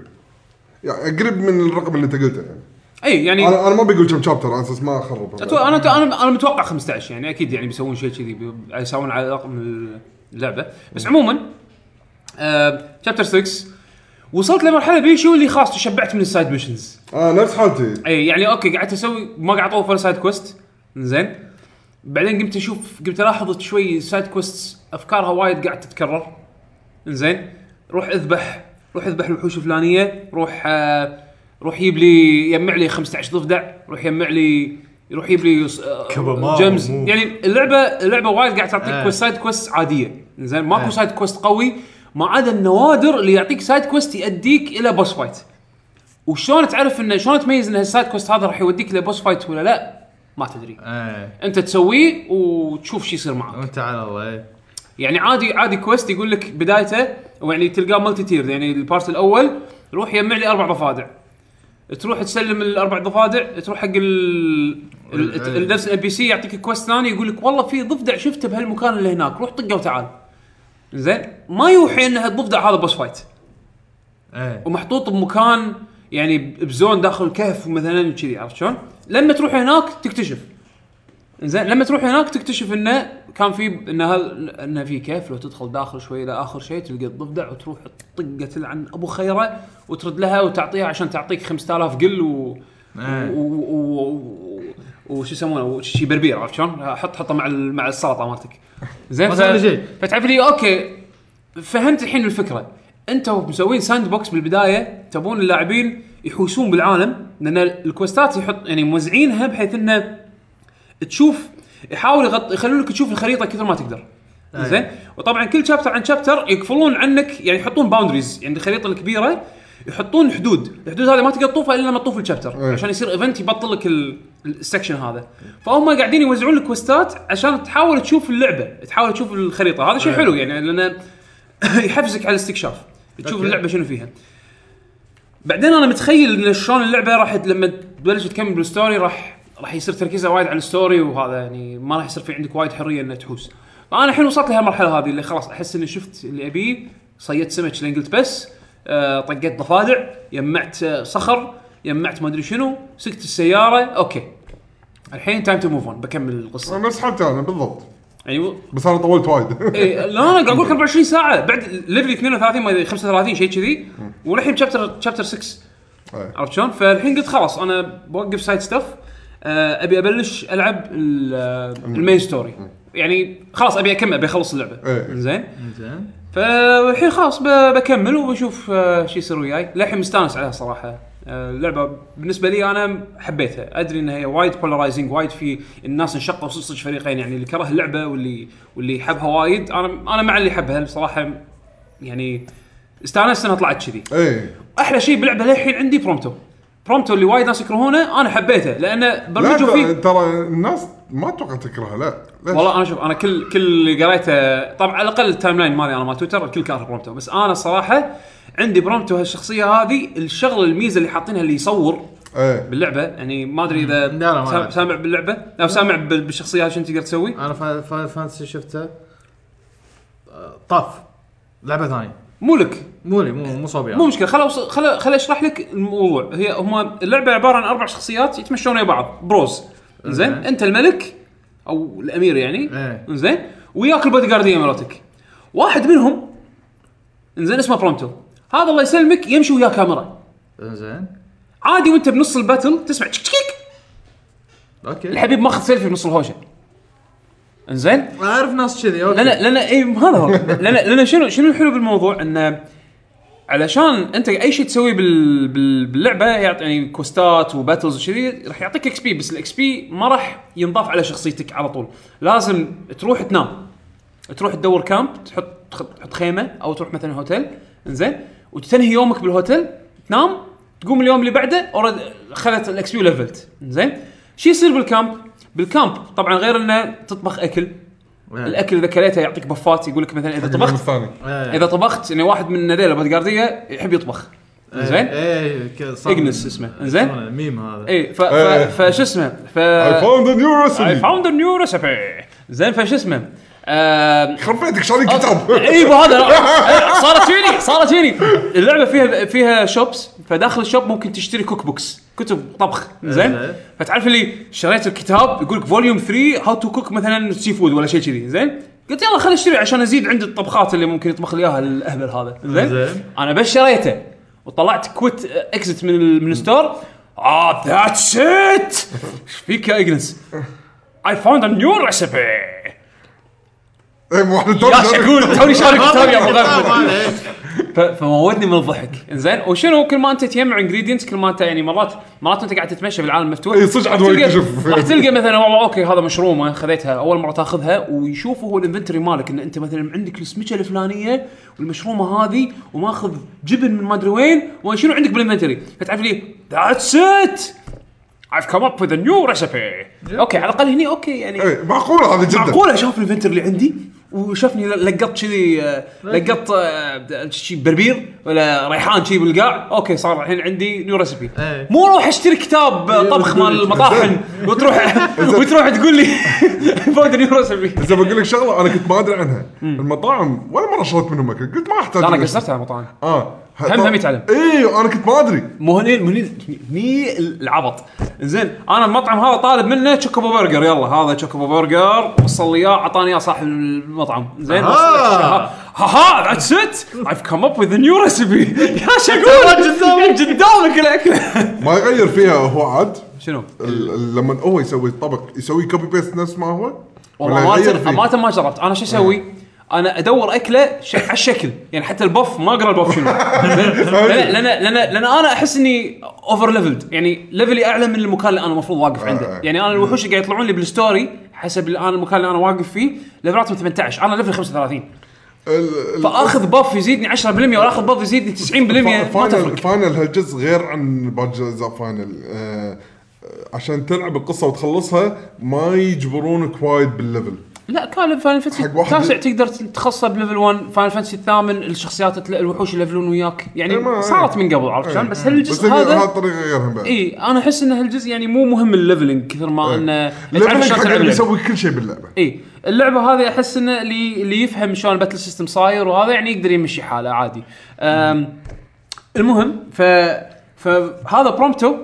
S2: يعني قريب من الرقم اللي انت قلته يعني
S1: اي يعني
S2: انا انا ما بقول كم شابتر على اساس ما اخرب
S1: أتو... انا انا انا متوقع 15 يعني اكيد يعني بيسوون شيء كذي بي- يسوون على رقم اللعبه بس عموما شابتر 6 وصلت لمرحله بيشو اللي خلاص تشبعت من السايد ميشنز
S2: اه نفس حالتي
S1: اي يعني اوكي قعدت اسوي ما قاعد اطوف ولا سايد كويست زين بعدين قمت اشوف قمت الاحظ شوي سايد كويست افكارها وايد قاعد تتكرر زين روح اذبح روح اذبح الوحوش الفلانيه روح آه روح يجيب لي يجمع لي 15 ضفدع روح يجمع لي يروح يجيب لي آه،
S3: كبمارة
S1: جيمز
S3: مو-
S1: يعني اللعبه اللعبه وايد قاعد تعطيك
S3: آه.
S1: آه. سايد كويست عاديه زين ماكو
S3: آه.
S1: آه. سايد كويست قوي ما عدا النوادر اللي يعطيك سايد كويست يؤديك الى بوس فايت وشلون تعرف انه شلون تميز ان هالسايد كوست هذا راح يوديك لبوس فايت ولا لا ما تدري
S3: ايه
S1: انت تسويه وتشوف شو يصير معك
S3: وانت على الله ايه
S1: يعني عادي عادي كويست يقول لك بدايته ويعني تلقاه ملتي تير يعني البارت الاول روح يجمع لي اربع ضفادع تروح تسلم الاربع ضفادع تروح حق ال ال-
S3: العلم.
S1: ال- نفس الام بي سي يعطيك كويست ثاني يقول لك والله في ضفدع شفته بهالمكان اللي هناك روح طقه وتعال زين ما يوحي ان هالضفدع هذا بوس فايت
S3: ايه
S1: ومحطوط بمكان يعني بزون داخل الكهف مثلا كذي عرفت شلون؟ لما تروح هناك تكتشف زين لما تروح هناك تكتشف انه كان في ان هذا انه في كيف لو تدخل داخل شوي الى اخر شيء تلقى الضفدع وتروح تطقه تلعن ابو خيره وترد لها وتعطيها عشان تعطيك 5000 قل و
S4: إيه.
S1: و- و- و- وش يسمونه وشي بربير عرفت شلون؟ حط حطه مع ال- مع السلطه مالتك. زين
S3: ما
S1: ف-
S3: صار لي شيء.
S1: فتعرف لي اوكي فهمت الحين الفكره انت مسوين ساند بوكس بالبدايه تبون اللاعبين يحوسون بالعالم لان الكوستات يحط يعني موزعينها بحيث انه تشوف يحاول يغط يخلونك تشوف الخريطه كثر ما تقدر
S3: أي.
S1: زين وطبعا كل شابتر عن شابتر يقفلون عنك يعني يحطون باوندريز يعني الخريطه الكبيره يحطون حدود الحدود هذه ما تقدر تطوفها الا لما تطوف الشابتر
S2: أي.
S1: عشان يصير ايفنت يبطل لك ال- السكشن هذا فهم قاعدين يوزعون لك كوستات عشان تحاول تشوف اللعبه تحاول تشوف الخريطه هذا شيء حلو يعني لانه (laughs) يحفزك على الاستكشاف تشوف
S3: أوكي.
S1: اللعبه شنو فيها بعدين انا متخيل ان شلون اللعبه راح ت- لما تبلش تكمل بالستوري راح راح يصير تركيزها وايد على الستوري وهذا يعني ما راح يصير في عندك وايد حريه انك تحوس فانا الحين وصلت لهالمرحله هذه اللي خلاص احس اني شفت اللي ابيه صيدت سمك لين قلت بس آه طقيت ضفادع يمعت آه، صخر يمعت ما ادري شنو سكت السياره اوكي الحين تايم تو موف اون بكمل القصه
S2: نفس حالتي انا بالضبط
S1: يعني
S2: بس انا طولت وايد (laughs)
S1: إيه لا انا قاعد اقول لك 24 ساعه بعد ليفل 32 ما ادري 35 شيء كذي والحين شابتر شابتر 6
S2: إيه.
S1: عرفت شلون؟ فالحين قلت خلاص انا بوقف آه، سايد ستاف ابي ابلش العب ال- آه، المين ستوري يعني خلاص ابي اكمل ابي اخلص اللعبه
S2: إيه.
S1: زين
S3: زين
S1: فالحين خلاص ب- بكمل وبشوف آه، شو يصير وياي للحين مستانس عليها صراحه آه، اللعبه بالنسبه لي انا حبيتها ادري انها هي وايد بولارايزنج وايد في الناس انشقوا صدق فريقين يعني اللي كره اللعبه واللي واللي يحبها وايد انا انا مع اللي يحبها بصراحه يعني استانست انها طلعت كذي
S2: ايه
S1: احلى شيء باللعبه للحين عندي برومتو برومتو اللي وايد ناس يكرهونه انا حبيته لانه
S2: لا
S1: برمجوا فيه
S2: ترى- ترى الناس ما اتوقع تكرهها لا ليش؟
S1: والله انا شوف انا كل كل اللي قريته طبعا على الاقل التايم لاين مالي انا مال تويتر الكل كاره برومتو بس انا الصراحه عندي برومتو هالشخصيه هذه الشغله الميزه اللي حاطينها اللي يصور
S2: ايه
S1: باللعبه يعني ما ادري اذا
S3: لا، لا، ما
S1: سا-
S3: أعرف.
S1: سامع باللعبه او سامع بال- بالشخصيه هذه شنو تقدر تسوي
S3: انا فاينل فانتسي شفته آه، طاف لعبه ثانيه
S1: مو لك
S3: مو لي مو مو صوبي
S1: مو مشكله خل أوص- خل خل اشرح لك الموضوع هي هم اللعبه عباره عن اربع شخصيات يتمشون ويا بعض بروز زين
S3: إيه.
S1: انت الملك او الامير يعني
S3: إيه.
S1: زين وياك البودي جارديه مراتك واحد منهم زين اسمه برومتو هذا الله يسلمك يمشي ويا كاميرا
S3: زين
S1: عادي وانت بنص الباتل تسمع تشك تشك
S3: اوكي
S1: الحبيب ماخذ سيلفي بنص الهوشه انزين
S3: اعرف ناس كذي
S1: لا
S3: اوكي
S1: لا لا اي إيه، هذا هو لا لا شنو شنو الحلو بالموضوع انه علشان انت اي شيء تسويه بال بال باللعبه يعطي يعني كوستات وباتلز وشذي راح يعطيك اكس بي بس الاكس بي ما راح ينضاف على شخصيتك على طول لازم تروح تنام تروح تدور كامب تحط تحط خيمه او تروح مثلا هوتيل انزين وتنهي يومك بالهوتيل تنام تقوم اليوم اللي بعده اوريدي اخذت الاكس بي وليفلت انزين شو يصير بالكامب؟ بالكامب طبعا غير انه تطبخ اكل الاكل اذا كليته يعطيك بفات يقول لك مثلا اذا طبخت
S2: الثاني
S1: اذا طبخت يعني واحد من ذيلا بودغارديه يحب يطبخ
S3: إيه،
S1: زين
S3: اي
S1: اجنس اسمه زين
S3: الميم إيه، هذا
S1: اي ف
S2: إيه.
S1: ف- فشو اسمه ف
S2: اي فاوند نيو
S1: اي
S2: ريسبي
S1: فاوند نيو ريسبي زين فشو اسمه آه، آم،
S2: (laughs) خربيتك شاري كتاب (laughs)
S1: اي مو هذا لا. إيه، صارت فيني صارت فيني اللعبه فيها فيها شوبس فداخل الشوب ممكن تشتري كوك بوكس كتب طبخ زين
S3: إيه.
S1: فتعرف اللي شريت الكتاب يقول لك فوليوم 3 هاو تو كوك مثلا سي فود ولا شيء كذي زين قلت يلا خليني اشتري عشان ازيد عندي الطبخات اللي ممكن يطبخ لي اياها الاهبل هذا زين
S3: زين.
S1: انا بس شريته وطلعت كويت اكزت من ال- من الستور اه ذاتس ات ايش فيك يا اجنس؟ I found a new recipe
S2: اي إيه، مو احنا
S1: يا شكون توني شاري كتاب يا ابو
S3: طبعاً،
S1: غفله
S3: إيه.
S1: ف- فموتني من الضحك انزين وشنو كل ما انت تجمع انجريدينتس كل ما انت يعني مرات مرات انت قاعد تتمشى بالعالم المفتوح
S2: إي، صدق عاد
S1: راح
S2: وايد
S1: تلقى-
S2: يشوف.
S1: راح تلقى مثلا والله اوكي هذا مشرومه خذيتها اول مره تاخذها ويشوف هو الانفنتوري مالك ان انت مثلا عندك السمكه الفلانيه والمشرومه هذه وماخذ جبن من ما ادري وين وشنو عندك بالانفنتوري فتعرف لي ذاتس ات I've come up with a new recipe. اوكي على الاقل هني اوكي يعني
S2: اي معقوله إيه، هذه جدا
S1: معقوله شاف الانفنتر اللي عندي وشافني ل- لقط كذي آه، لقط آه، شي بربير ولا ريحان شي بالقاع اوكي صار الحين عندي نيو ريسبي
S3: إيه.
S1: مو روح اشتري كتاب آه، طبخ مال المطاحن وتروح وتروح تقول لي (laughs) فوق نيو ريسبي
S2: اذا بقول
S1: (laughs)
S2: لك شغله انا كنت ما ادري عنها المطاعم ولا مره شريت منهم اكل قلت ما احتاج
S1: لا انا
S2: إني
S1: قصرت على المطاعم
S2: اه
S1: هم- هم يتعلم.
S2: اي انا إيه، كنت ما ادري
S1: مو هني هني هني العبط زين انا المطعم هذا طالب منه تشوكوبو برجر يلا هذا تشوكوبو برجر وصل لي اياه اعطاني اياه صاحب المطعم زين
S3: آه.
S1: وصل لك شيء. ها ها ذاتس ات ايف كم اب وذ نيو ريسبي (laughs) يا شكون قدامك الاكله
S2: ما يغير فيها هو عاد
S1: (laughs) شنو؟
S2: ال- ال- لما هو يسوي الطبق يسوي كوبي بيست نفس ما هو
S1: والله
S2: ولا يغير
S1: ما
S2: فيه؟ إيه.
S1: ما ما جربت انا شو اسوي؟ انا ادور اكله ش... على الشكل يعني حتى البف ما اقرا
S2: (laughs)
S1: البف شنو لان لان لان لأن انا احس اني اوفر ليفلد يعني ليفلي اعلى من المكان اللي انا المفروض واقف عنده
S2: آه.
S1: يعني انا الوحوش اللي قاعد يطلعون لي بالستوري حسب الان المكان اللي انا واقف فيه ليفلاتهم 18 انا ليفل 35
S2: ال- ال-
S1: فاخذ بف يزيدني 10% ولا اخذ بف يزيدني 90% ما
S2: فاينل
S1: تفرق
S2: فاينل هالجزء غير عن باقي اجزاء فاينل آه، عشان تلعب القصه وتخلصها ما يجبرونك وايد بالليفل
S1: لا كان فاينل فانتسي
S2: حق واحد-
S1: التاسع تقدر تتخصص بليفل 1 فاينل فانتسي الثامن الشخصيات تل- الوحوش يلفلون وياك
S2: إيه، ما-
S1: يعني صارت من قبل عرفت شلون بس
S2: بس
S1: هالجزء
S2: هي
S1: هذا إيه،
S2: هالطريقه غيرهم بعد طيب.
S1: اي انا احس ان هالجزء يعني مو مهم الليفلنج كثر ما انه تعرف
S2: الليفلنج
S1: شلون تلعب
S2: إيه. حق اللي
S1: اللعبة.
S2: يسوي كل شيء باللعبه
S1: اي اللعبه هذه احس انه اللي اللي يفهم شلون الباتل سيستم صاير وهذا يعني يقدر يمشي حاله عادي أم المهم ف فهذا برومتو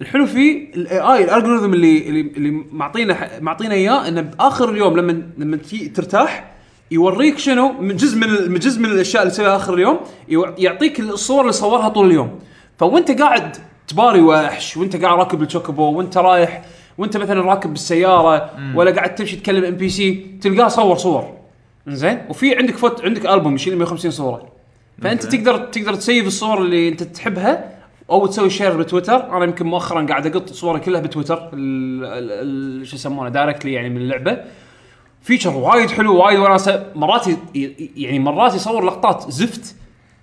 S1: الحلو فيه الاي اي الالجوريثم اللي اللي اللي معطينا ح- معطينا اياه انه باخر اليوم لما لما تي- ترتاح يوريك شنو من جزء من ال- من جزء من الاشياء اللي تسويها اخر اليوم يو- يعطيك الصور اللي صورها طول اليوم فوانت قاعد تباري وحش وانت قاعد راكب الشوكوبو وانت رايح وانت مثلا راكب بالسياره ولا قاعد تمشي تكلم ام بي سي تلقاه صور صور زين وفي عندك فوت عندك البوم يشيل 150 صوره فانت تقدر تقدر تسيب الصور اللي انت تحبها او تسوي شير بتويتر انا يمكن مؤخرا قاعد اقط صوري كلها بتويتر ال- ال- ال- شو يسمونه دايركتلي يعني من اللعبه فيتشر وايد حلو وايد وناسه مرات ي- ي- يعني مرات يصور لقطات زفت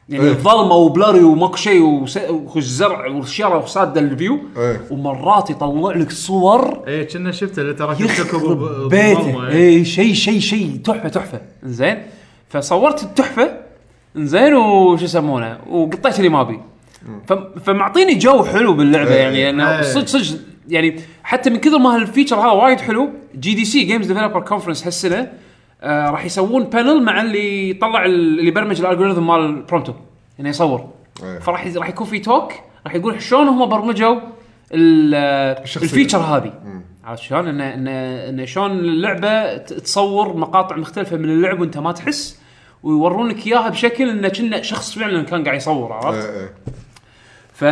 S1: يعني
S2: إيه.
S1: ظلمه وبلاري وماكو شيء وس- وزرع وشيره وصاده الفيو
S2: إيه.
S1: ومرات يطلع لك صور
S3: اي إيه، كنا شفته اللي ترى كان شكو
S1: يخرب بيته إيه. اي شيء شيء شيء تحفه تحفه زين فصورت التحفه زين وش يسمونه وقطيت اللي ما ابي فم- فمعطيني جو حلو باللعبه
S2: إيه.
S1: يعني انا
S3: إيه.
S1: صدق صدق يعني حتى من كثر ما هالفيتشر هذا وايد حلو جي دي سي جيمز ديفلوبر كونفرنس هالسنه آه راح يسوون بانل مع اللي يطلع ال- اللي يبرمج الالجوريثم مال برومتو انه يصور
S2: إيه.
S1: فراح ي- راح يكون في توك راح يقول شلون هم برمجوا ال-
S2: الشخصية.
S1: الفيتشر هذه عرفت شلون؟ انه انه انه شلون اللعبه ت- تصور مقاطع مختلفه من اللعب وانت ما تحس ويورونك اياها بشكل انه كنا شخص فعلا كان قاعد يصور عرفت؟
S2: إيه، إيه.
S1: ف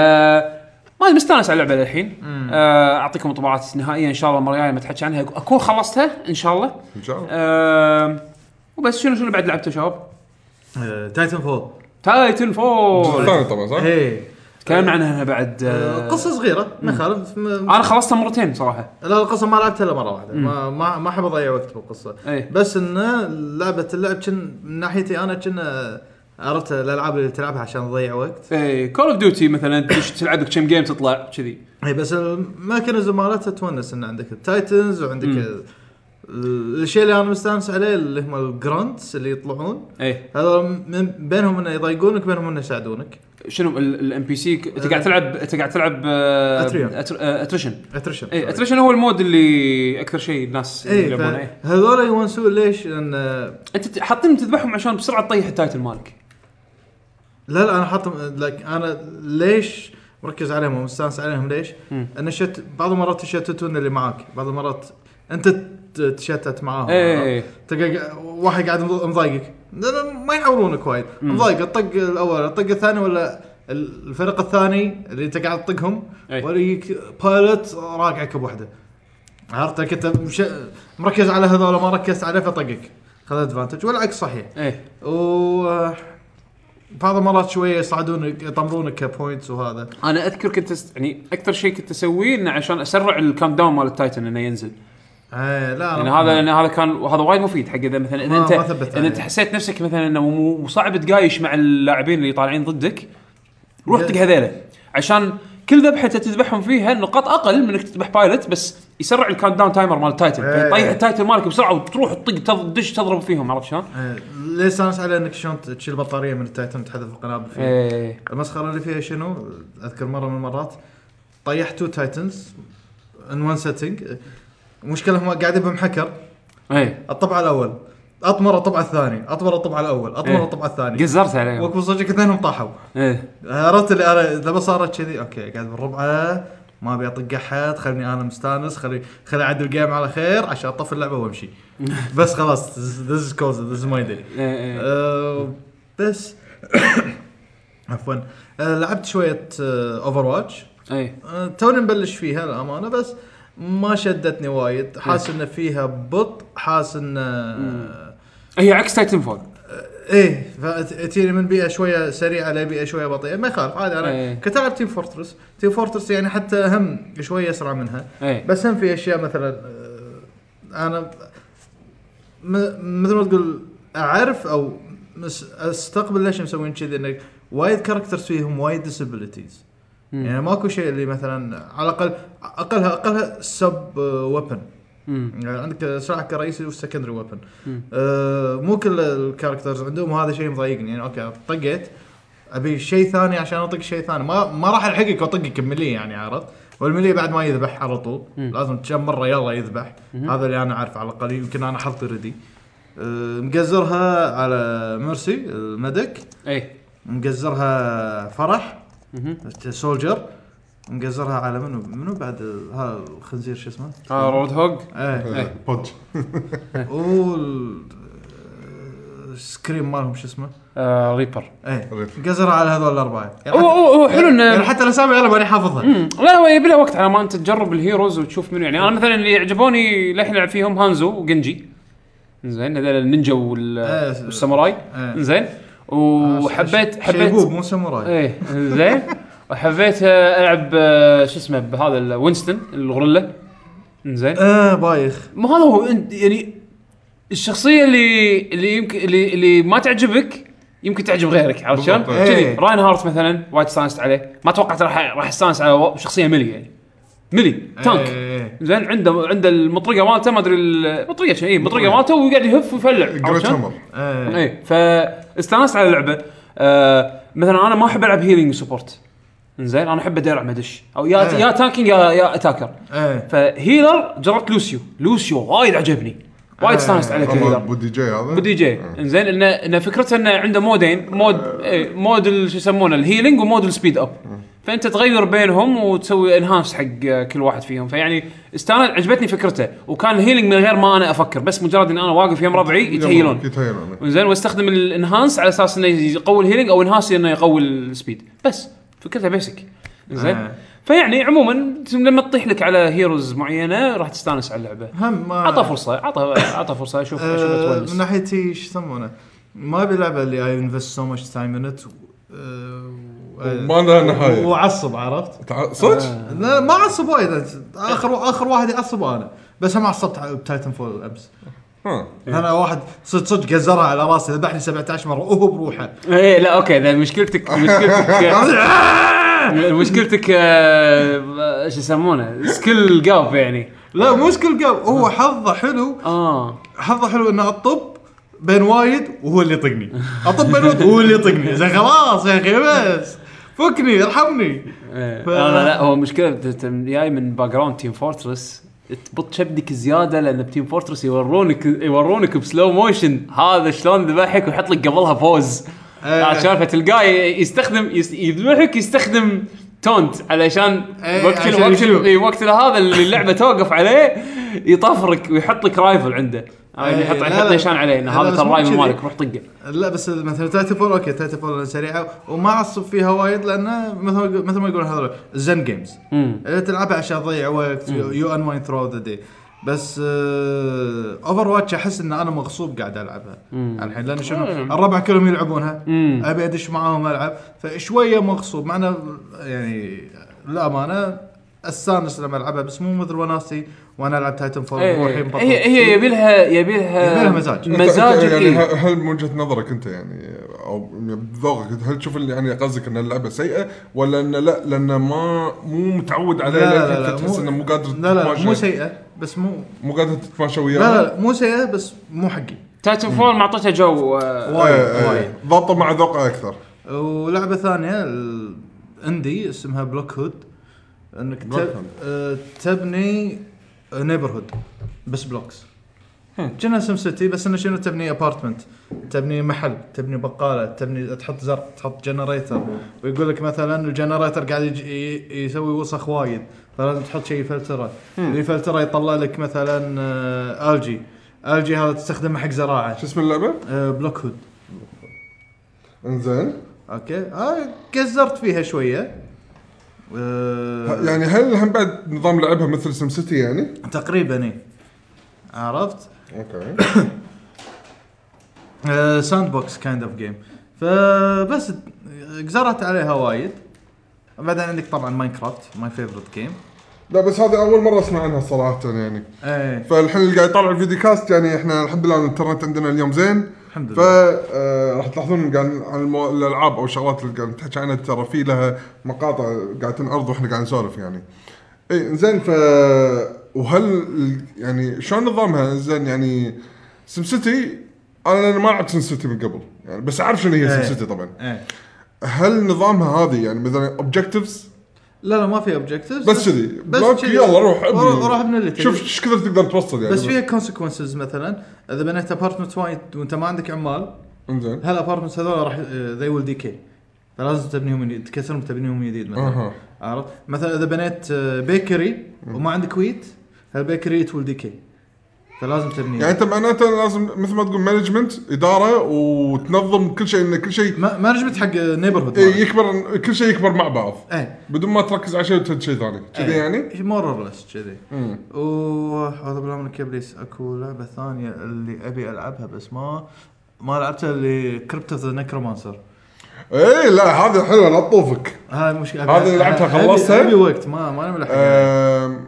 S1: ما أدري، مستانس على اللعبه للحين آه، اعطيكم انطباعات نهائيه ان شاء الله المره الجايه لما اتحكي عنها اكون خلصتها ان شاء الله
S2: ان شاء الله
S1: آه، وبس شنو شنو بعد لعبته شباب؟
S3: تايتن فول
S1: تايتن فول
S2: الثاني طبعا صح؟
S3: اي
S1: تكلمنا عنها بعد إيه. آه،
S3: قصه صغيره إيه. ما يخالف م-
S1: انا خلصتها مرتين صراحه
S3: لا القصه ما لعبتها الا مره واحده ما ما ما احب اضيع وقت بالقصه
S1: إيه.
S3: بس انه لعبه اللعب كن من ناحيتي انا كنا عرفت الالعاب اللي تلعبها عشان تضيع وقت
S1: اي كول اوف ديوتي مثلا تش- تلعب لك كم جيم تطلع كذي
S3: اي بس الميكانيزم مالتها تونس ان عندك التايتنز وعندك ال- ال- الشيء اللي انا مستانس عليه اللي هم الجرانتس اللي يطلعون
S1: اي
S3: هذول من بينهم انه يضايقونك بينهم انه يساعدونك
S1: شنو الام بي سي انت قاعد تلعب انت قاعد تلعب آه،
S3: أتريون.
S1: أتر- آه، اتريشن
S3: اترشن
S1: اي اتريشن هو المود اللي اكثر شيء الناس
S3: اي
S1: يلعبونه إيه.
S3: هذول يونسون ليش؟ ان
S1: انت ت- حاطين تذبحهم عشان بسرعه تطيح التايتل مالك
S3: لا لا انا حاط لك انا ليش مركز عليهم ومستانس عليهم ليش؟ ان شت بعض المرات يشتتون اللي معاك، بعض المرات انت ت- تشتت معاهم
S1: اي
S3: تلقى قا- واحد قاعد مض- مضايقك لا- لا، ما يحاورونك وايد مضايق الطق الاول الطق الثاني ولا ال- الفريق الثاني اللي انت قاعد تطقهم
S1: أي.
S3: ولا يجيك بايلوت راقعك بوحده عرفت كنت مش... مركز على هذول ما ركزت عليه فطقك خذ ادفانتج والعكس صحيح
S1: اي
S3: و بعض المرات شويه يصعدونك يطمرونك كبوينتس وهذا
S1: انا اذكر كنت أست... يعني اكثر شيء كنت اسويه انه عشان اسرع الكاونت داون مال التايتن انه ينزل
S3: ايه لا
S1: لان
S3: أنا-
S1: يعني هذا لان هذا كان وهذا وايد مفيد حق اذا مثلا اذا
S3: ما-
S1: انت
S3: ما إيه. ثبت
S1: اذا انت
S3: عليه.
S1: حسيت نفسك مثلا انه مو مو صعب تقايش مع اللاعبين اللي طالعين ضدك روح طق هذيله عشان كل ذبحه أنت تذبحهم فيها نقاط اقل من انك تذبح بايلوت بس يسرع الكاونت داون تايمر مال التايتن
S3: إيه.
S1: فيطيح التايتن مالك بسرعه وتروح تطق تض- تدش تضرب فيهم عرفت شلون؟
S3: إيه، ليه استانس على انك شلون تشيل بطاريه من التايتن تحذف القنابل فيه
S1: ايه
S3: المسخره اللي فيها شنو؟ اذكر مره من المرات طيحت تو تايتنز ان وان سيتنج المشكله هم قاعد يبهم حكر
S1: ايه
S3: الطبعه الاول اطمر الطبع الثاني اطمر الطبع الاول اطمر
S1: إيه.
S3: الطبع الثاني
S1: قزرت عليهم
S3: وكم صدق اثنينهم طاحوا
S1: ايه
S3: عرفت اللي انا اذا ما صارت كذي اوكي قاعد بالربعه ما ابي اطق احد خلني انا مستانس خلي خلي اعدل الجيم على خير عشان اطفي اللعبه وامشي بس خلاص ذس از كوز ذس از ماي داي
S1: إيه، إيه.
S3: آه، بس (coughs) عفوا آه، لعبت شويه اوفر واتش
S1: ايه
S3: آه، توني مبلش فيها للامانه بس ما شدتني وايد حاس ان فيها بطء حاس ان آه،
S1: هي عكس تايتن فول
S3: ايه فتجيني من بيئه شويه سريعه لبيئه شويه بطيئه ما يخالف عادي انا
S1: إيه.
S3: كنت العب تيم فورترس تيم فورترس يعني حتى هم شويه اسرع منها
S1: ايه
S3: بس هم في اشياء مثلا آه، انا م- مثل ما تقول اعرف او مس- استقبل ليش مسوين كذي انك وايد كاركترز فيهم وايد ديسابيلتيز
S1: مم.
S3: يعني ماكو شيء اللي مثلا على الاقل اقلها اقلها سب ويبن
S1: مم.
S3: يعني عندك سلاح كرئيسي وسكندري ويبن
S1: مم.
S3: أه مو كل الكاركترز عندهم هذا شيء مضايقني يعني اوكي طقيت ابي شيء ثاني عشان اطق شيء ثاني ما ما راح الحقك واطقك بملي يعني عرفت والملي بعد ما يذبح على طول
S1: مم.
S3: لازم كم مره يلا يذبح هذا اللي انا عارفه على الاقل يمكن انا حظي ردي أه مقزرها على ميرسي الميديك
S1: ايه
S3: مقزرها فرح
S1: مهم.
S3: سولجر مقزرها على منو منو بعد ها الخنزير شو اسمه؟
S1: اه رود هوج
S3: ايه
S1: إيه.
S2: بنج
S3: وال سكريم آه، مالهم شو اسمه؟
S1: آه، ريبر
S3: ايه
S2: ريف.
S3: قزر على هذول الاربعه يعني
S1: أوه،
S3: حتى-
S1: أوه، أوه، حلو إنه-
S3: يعني حتى الاسامي انا ماني حافظها
S1: مم. لا هو يبي له وقت على ما انت تجرب الهيروز وتشوف منو يعني انا مثلا اللي عجبوني للحين العب فيهم هانزو وجنجي زين هذول النينجا وال-
S3: إيه.
S1: والساموراي
S3: إيه.
S1: زين وحبيت
S3: شيبوب
S1: حبيت
S3: مو ساموراي
S1: ايه زين وحبيت آه، العب آه، شو اسمه بهذا ال- وينستون الغوريلا زين
S3: اه بايخ
S1: ما هذا هو أنت- يعني الشخصيه اللي اللي يمكن اللي, اللي ما تعجبك يمكن تعجب غيرك عرفت شلون؟
S2: بالضبط.
S1: كذي
S3: إيه.
S1: راين هارت مثلا وايد استانست عليه ما توقعت راح راح استانس على و- شخصيه ملي يعني ملي تانك
S3: إيه.
S1: زين عنده عنده المطرقه مالته ما ادري المطرقه شيء إيه، المطرقه مالته ويقعد يهف ويفلع عرفت
S2: جريت
S1: شلون؟
S2: همر
S3: ايه
S1: اي فاستانست على اللعبه آه مثلا انا ما احب العب هيلينج سبورت زين انا احب ادرع مدش او يا
S3: إيه.
S1: يا تانكينج يا يا اتاكر
S3: ايه
S1: فهيلر جربت لوسيو لوسيو وايد عجبني وايد
S3: آه.
S1: استانست عليه
S2: هذا
S1: كهيلر
S2: بودي جاي هذا
S1: بدي جي انزين انه انه فكرته انه عنده مودين
S3: آه.
S1: مود إيه، مود ال- شو يسمونه الهيلينج ومود السبيد اب فانت تغير بينهم وتسوي انهانس حق كل واحد فيهم فيعني استانس عجبتني فكرته وكان الهيلينج من غير ما انا افكر بس مجرد ان انا واقف يم ربعي يتهيلون
S2: يتهيلون
S1: زين واستخدم الانهانس على اساس انه يقوي الهيلينج او انهانس انه يقوي السبيد بس فكرتها بيسك زين
S3: آه.
S1: فيعني عموما لما تطيح لك على هيروز معينه راح تستانس على اللعبه
S3: هم ما
S1: عطى فرصه عطى عطى فرصه شوف شوف
S3: آه، من
S1: تونس
S3: ناحيتي شو يسمونه؟ ما ابي لعبه اللي اي انفست سو ماتش تايم ان ات آه،
S2: ما لها نهاية.
S3: وعصب عرفت؟
S2: تع- صدق؟
S3: لا ما عصب وايد اخر اخر واحد يعصب انا بس هم عصبت على- بتايتن فول امس
S2: ها
S3: انا واحد صدق صدق قزرها على راسي ذبحني 17 مره وهو بروحه
S1: ايه لا اوكي ذا مشكلتك مشكلتك مشكلتك آه، شو يسمونه سكيل جاب يعني
S3: لا مو سكيل قال هو حظه حلو
S1: اه
S3: حظه حلو انه اطب بين وايد وهو اللي يطقني اطب بين وايد وهو اللي يطقني زين خلاص يا اخي بس فكني ارحمني
S1: إيه.
S3: ف-
S1: لا لا هو مشكله بت- بت- جاي من باك جراوند تيم فورترس تبط شبدك زياده لان بتيم فورترس يورونك يورونك بسلو موشن هذا شلون ذبحك ويحط لك قبلها بوز
S3: إيه.
S1: عرفت شلون فتلقاه ي- يستخدم يس- يذبحك يستخدم تونت علشان
S3: إيه،
S1: وقت ال-
S3: عشان
S1: وقت ال-
S3: يشوف.
S1: إيه، وقت هذا اللي اللعبه توقف عليه يطفرك ويحط لك رايفل عنده يعني
S3: إيه،
S1: يحط
S3: لا،
S1: يحط
S3: لا.
S1: نشان عليه ان
S3: لا،
S1: هذا
S3: بس
S1: ترى
S3: مو
S1: الرايفل
S3: كذي. إيه.
S1: مالك روح طقه
S3: لا بس مثلا تايتن فول اوكي تايتن فول سريعه وما عصب فيها وايد لانه مثل ما يقول- مثل ما يقولون هذول الزن جيمز
S1: مم.
S3: اللي تلعبها إيه، عشان تضيع وقت يو انواين ثرو ذا داي بس آه، اوفر واتش احس ان انا مغصوب قاعد العبها الحين لان شنو
S1: مم.
S3: الربع كلهم يلعبونها
S1: مم.
S3: ابي ادش معاهم العب فشويه مغصوب معنا يعني للامانه استانس لما العبها بس مو مثل وناسي وانا العب تايتن فول
S1: إيه. هي هي يبي لها يبي
S3: يبي
S1: لها
S3: لها مزاج.
S2: أنت-
S1: مزاج
S2: أنت يعني
S1: إيه.
S2: ه- هل من وجهه نظرك انت يعني او بذوقك أنت هل تشوف اللي يعني قصدك ان اللعبه سيئه ولا ان لا لانه ما مو متعود عليه لأنك أنت تحس انه مو قادر
S3: لا لا مو
S2: تتماشى-
S3: سيئه بس مو
S2: مو قادر تتماشى وياه
S3: لا لا مو سيئه بس مو حقي
S1: تايتن فول معطيته جو
S2: E,
S1: آه،
S3: وايد وايد
S2: ضابطه مع ذوقه اكثر
S3: ولعبه ثانيه ال- عندي اسمها بلوك هود انك
S2: Block
S3: تب...
S2: Hood.
S3: آه، تبني نيبرهود بس بلوكس كنا سم سيتي بس انه شنو تبني ابارتمنت تبني محل تبني بقاله تبني تحط زرع تحط جنريتر ويقول لك مثلا الجنريتر قاعد يج- ي- يسوي وسخ وايد فلازم تحط شيء يفلتره اللي يفلتره يطلع لك مثلا آه، الجي الجي هذا تستخدمه حق زراعه
S2: شو اسم اللعبه؟
S3: آه، بلوك هود
S2: انزين
S3: اوكي آه قزرت فيها شويه آه،
S2: ه- يعني هل هم بعد نظام لعبها مثل سم سيتي يعني؟
S3: تقريبا اي إيه. عرفت
S2: اوكي
S3: ساند بوكس كايند اوف جيم فبس قزرت عليها وايد بعدين عندك طبعا ماينكرافت ماي فيفرت جيم
S2: لا بس هذه اول مره اسمع عنها صراحه يعني
S3: ايه
S2: فالحين اللي قاعد يطالع الفيديو كاست يعني احنا الحمد لله الانترنت عندنا اليوم زين
S3: الحمد
S2: ف
S3: لله
S2: آه، راح تلاحظون قاعد عن المو... الالعاب او الشغلات اللي قاعد نحكي عنها ترى في لها مقاطع قاعد تنعرض واحنا قاعد نسولف يعني. اي زين ف وهل ال- يعني شلون نظامها زين يعني سم سيتي انا أنا ما لعبت سم سيتي من قبل يعني بس اعرف شنو هي
S3: إيه.
S2: سم سيتي طبعا.
S3: ايه
S2: هل نظامها هذه يعني مثلا اوبجكتيفز
S3: لا لا ما في اوبجكتيفز
S2: بس كذي
S3: بس
S2: بلوك،
S3: كذي.
S2: يلا روح ابني
S3: روح ابني اللي تبي.
S2: شوف ايش كثر تقدر توصل يعني
S3: بس فيها كونسيكونسز مثلا اذا بنيت ابارتمنت وايد وانت ما عندك عمال إيه.
S2: انزين
S3: هالابارتمنتس هذول راح آه، ذي ويل ديكي فلازم تبنيهم من جديد تكسرهم تبنيهم من جديد مثلا
S2: اها
S3: عرفت مثلا اذا بنيت آه، بيكري وما عندك ويت هالبيكري تول ديكي فلازم تبنيه
S2: يعني انت معناته لازم مثل ما تقول مانجمنت اداره وتنظم كل شيء ان كل شيء
S3: ما- مانجمنت حق نيبرهود
S2: إيه، يكبر كل شيء يكبر مع بعض
S3: ايه
S2: بدون ما تركز على شيء وتهد شيء ثاني
S3: إيه.
S2: كذي يعني
S3: مور اور ليس كذي
S2: مم.
S3: وهذا بالله من كبليس اكو لعبه ثانيه اللي ابي العبها بس ما ما لعبتها اللي كريبت اوف ذا نكرومانسر
S2: اي إيه، لا هذه حلوه لا تطوفك
S3: هاي مشكله أبي-
S2: هذه اللي لعبتها آه.
S3: أبي-
S2: خلصتها؟
S3: ابي وقت ما ما انا ملحق
S2: أم،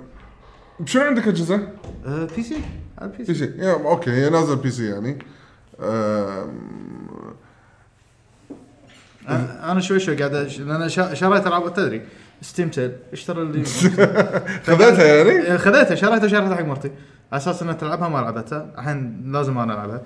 S2: شنو عندك اجهزه؟
S3: بي سي آه، على البي
S2: بي
S3: سي
S2: سي يا، اوكي هي نازل بي سي يعني أم،
S3: أ- انا شوي شوي قاعد أش- لان شا- شريت العاب تدري ستيم سيل اشترى اللي
S2: خذيتها يعني؟
S3: إيه، (laughs) خذيتها شريتها شريتها حق مرتي على اساس انها تلعبها ما لعبتها الحين لازم انا العبها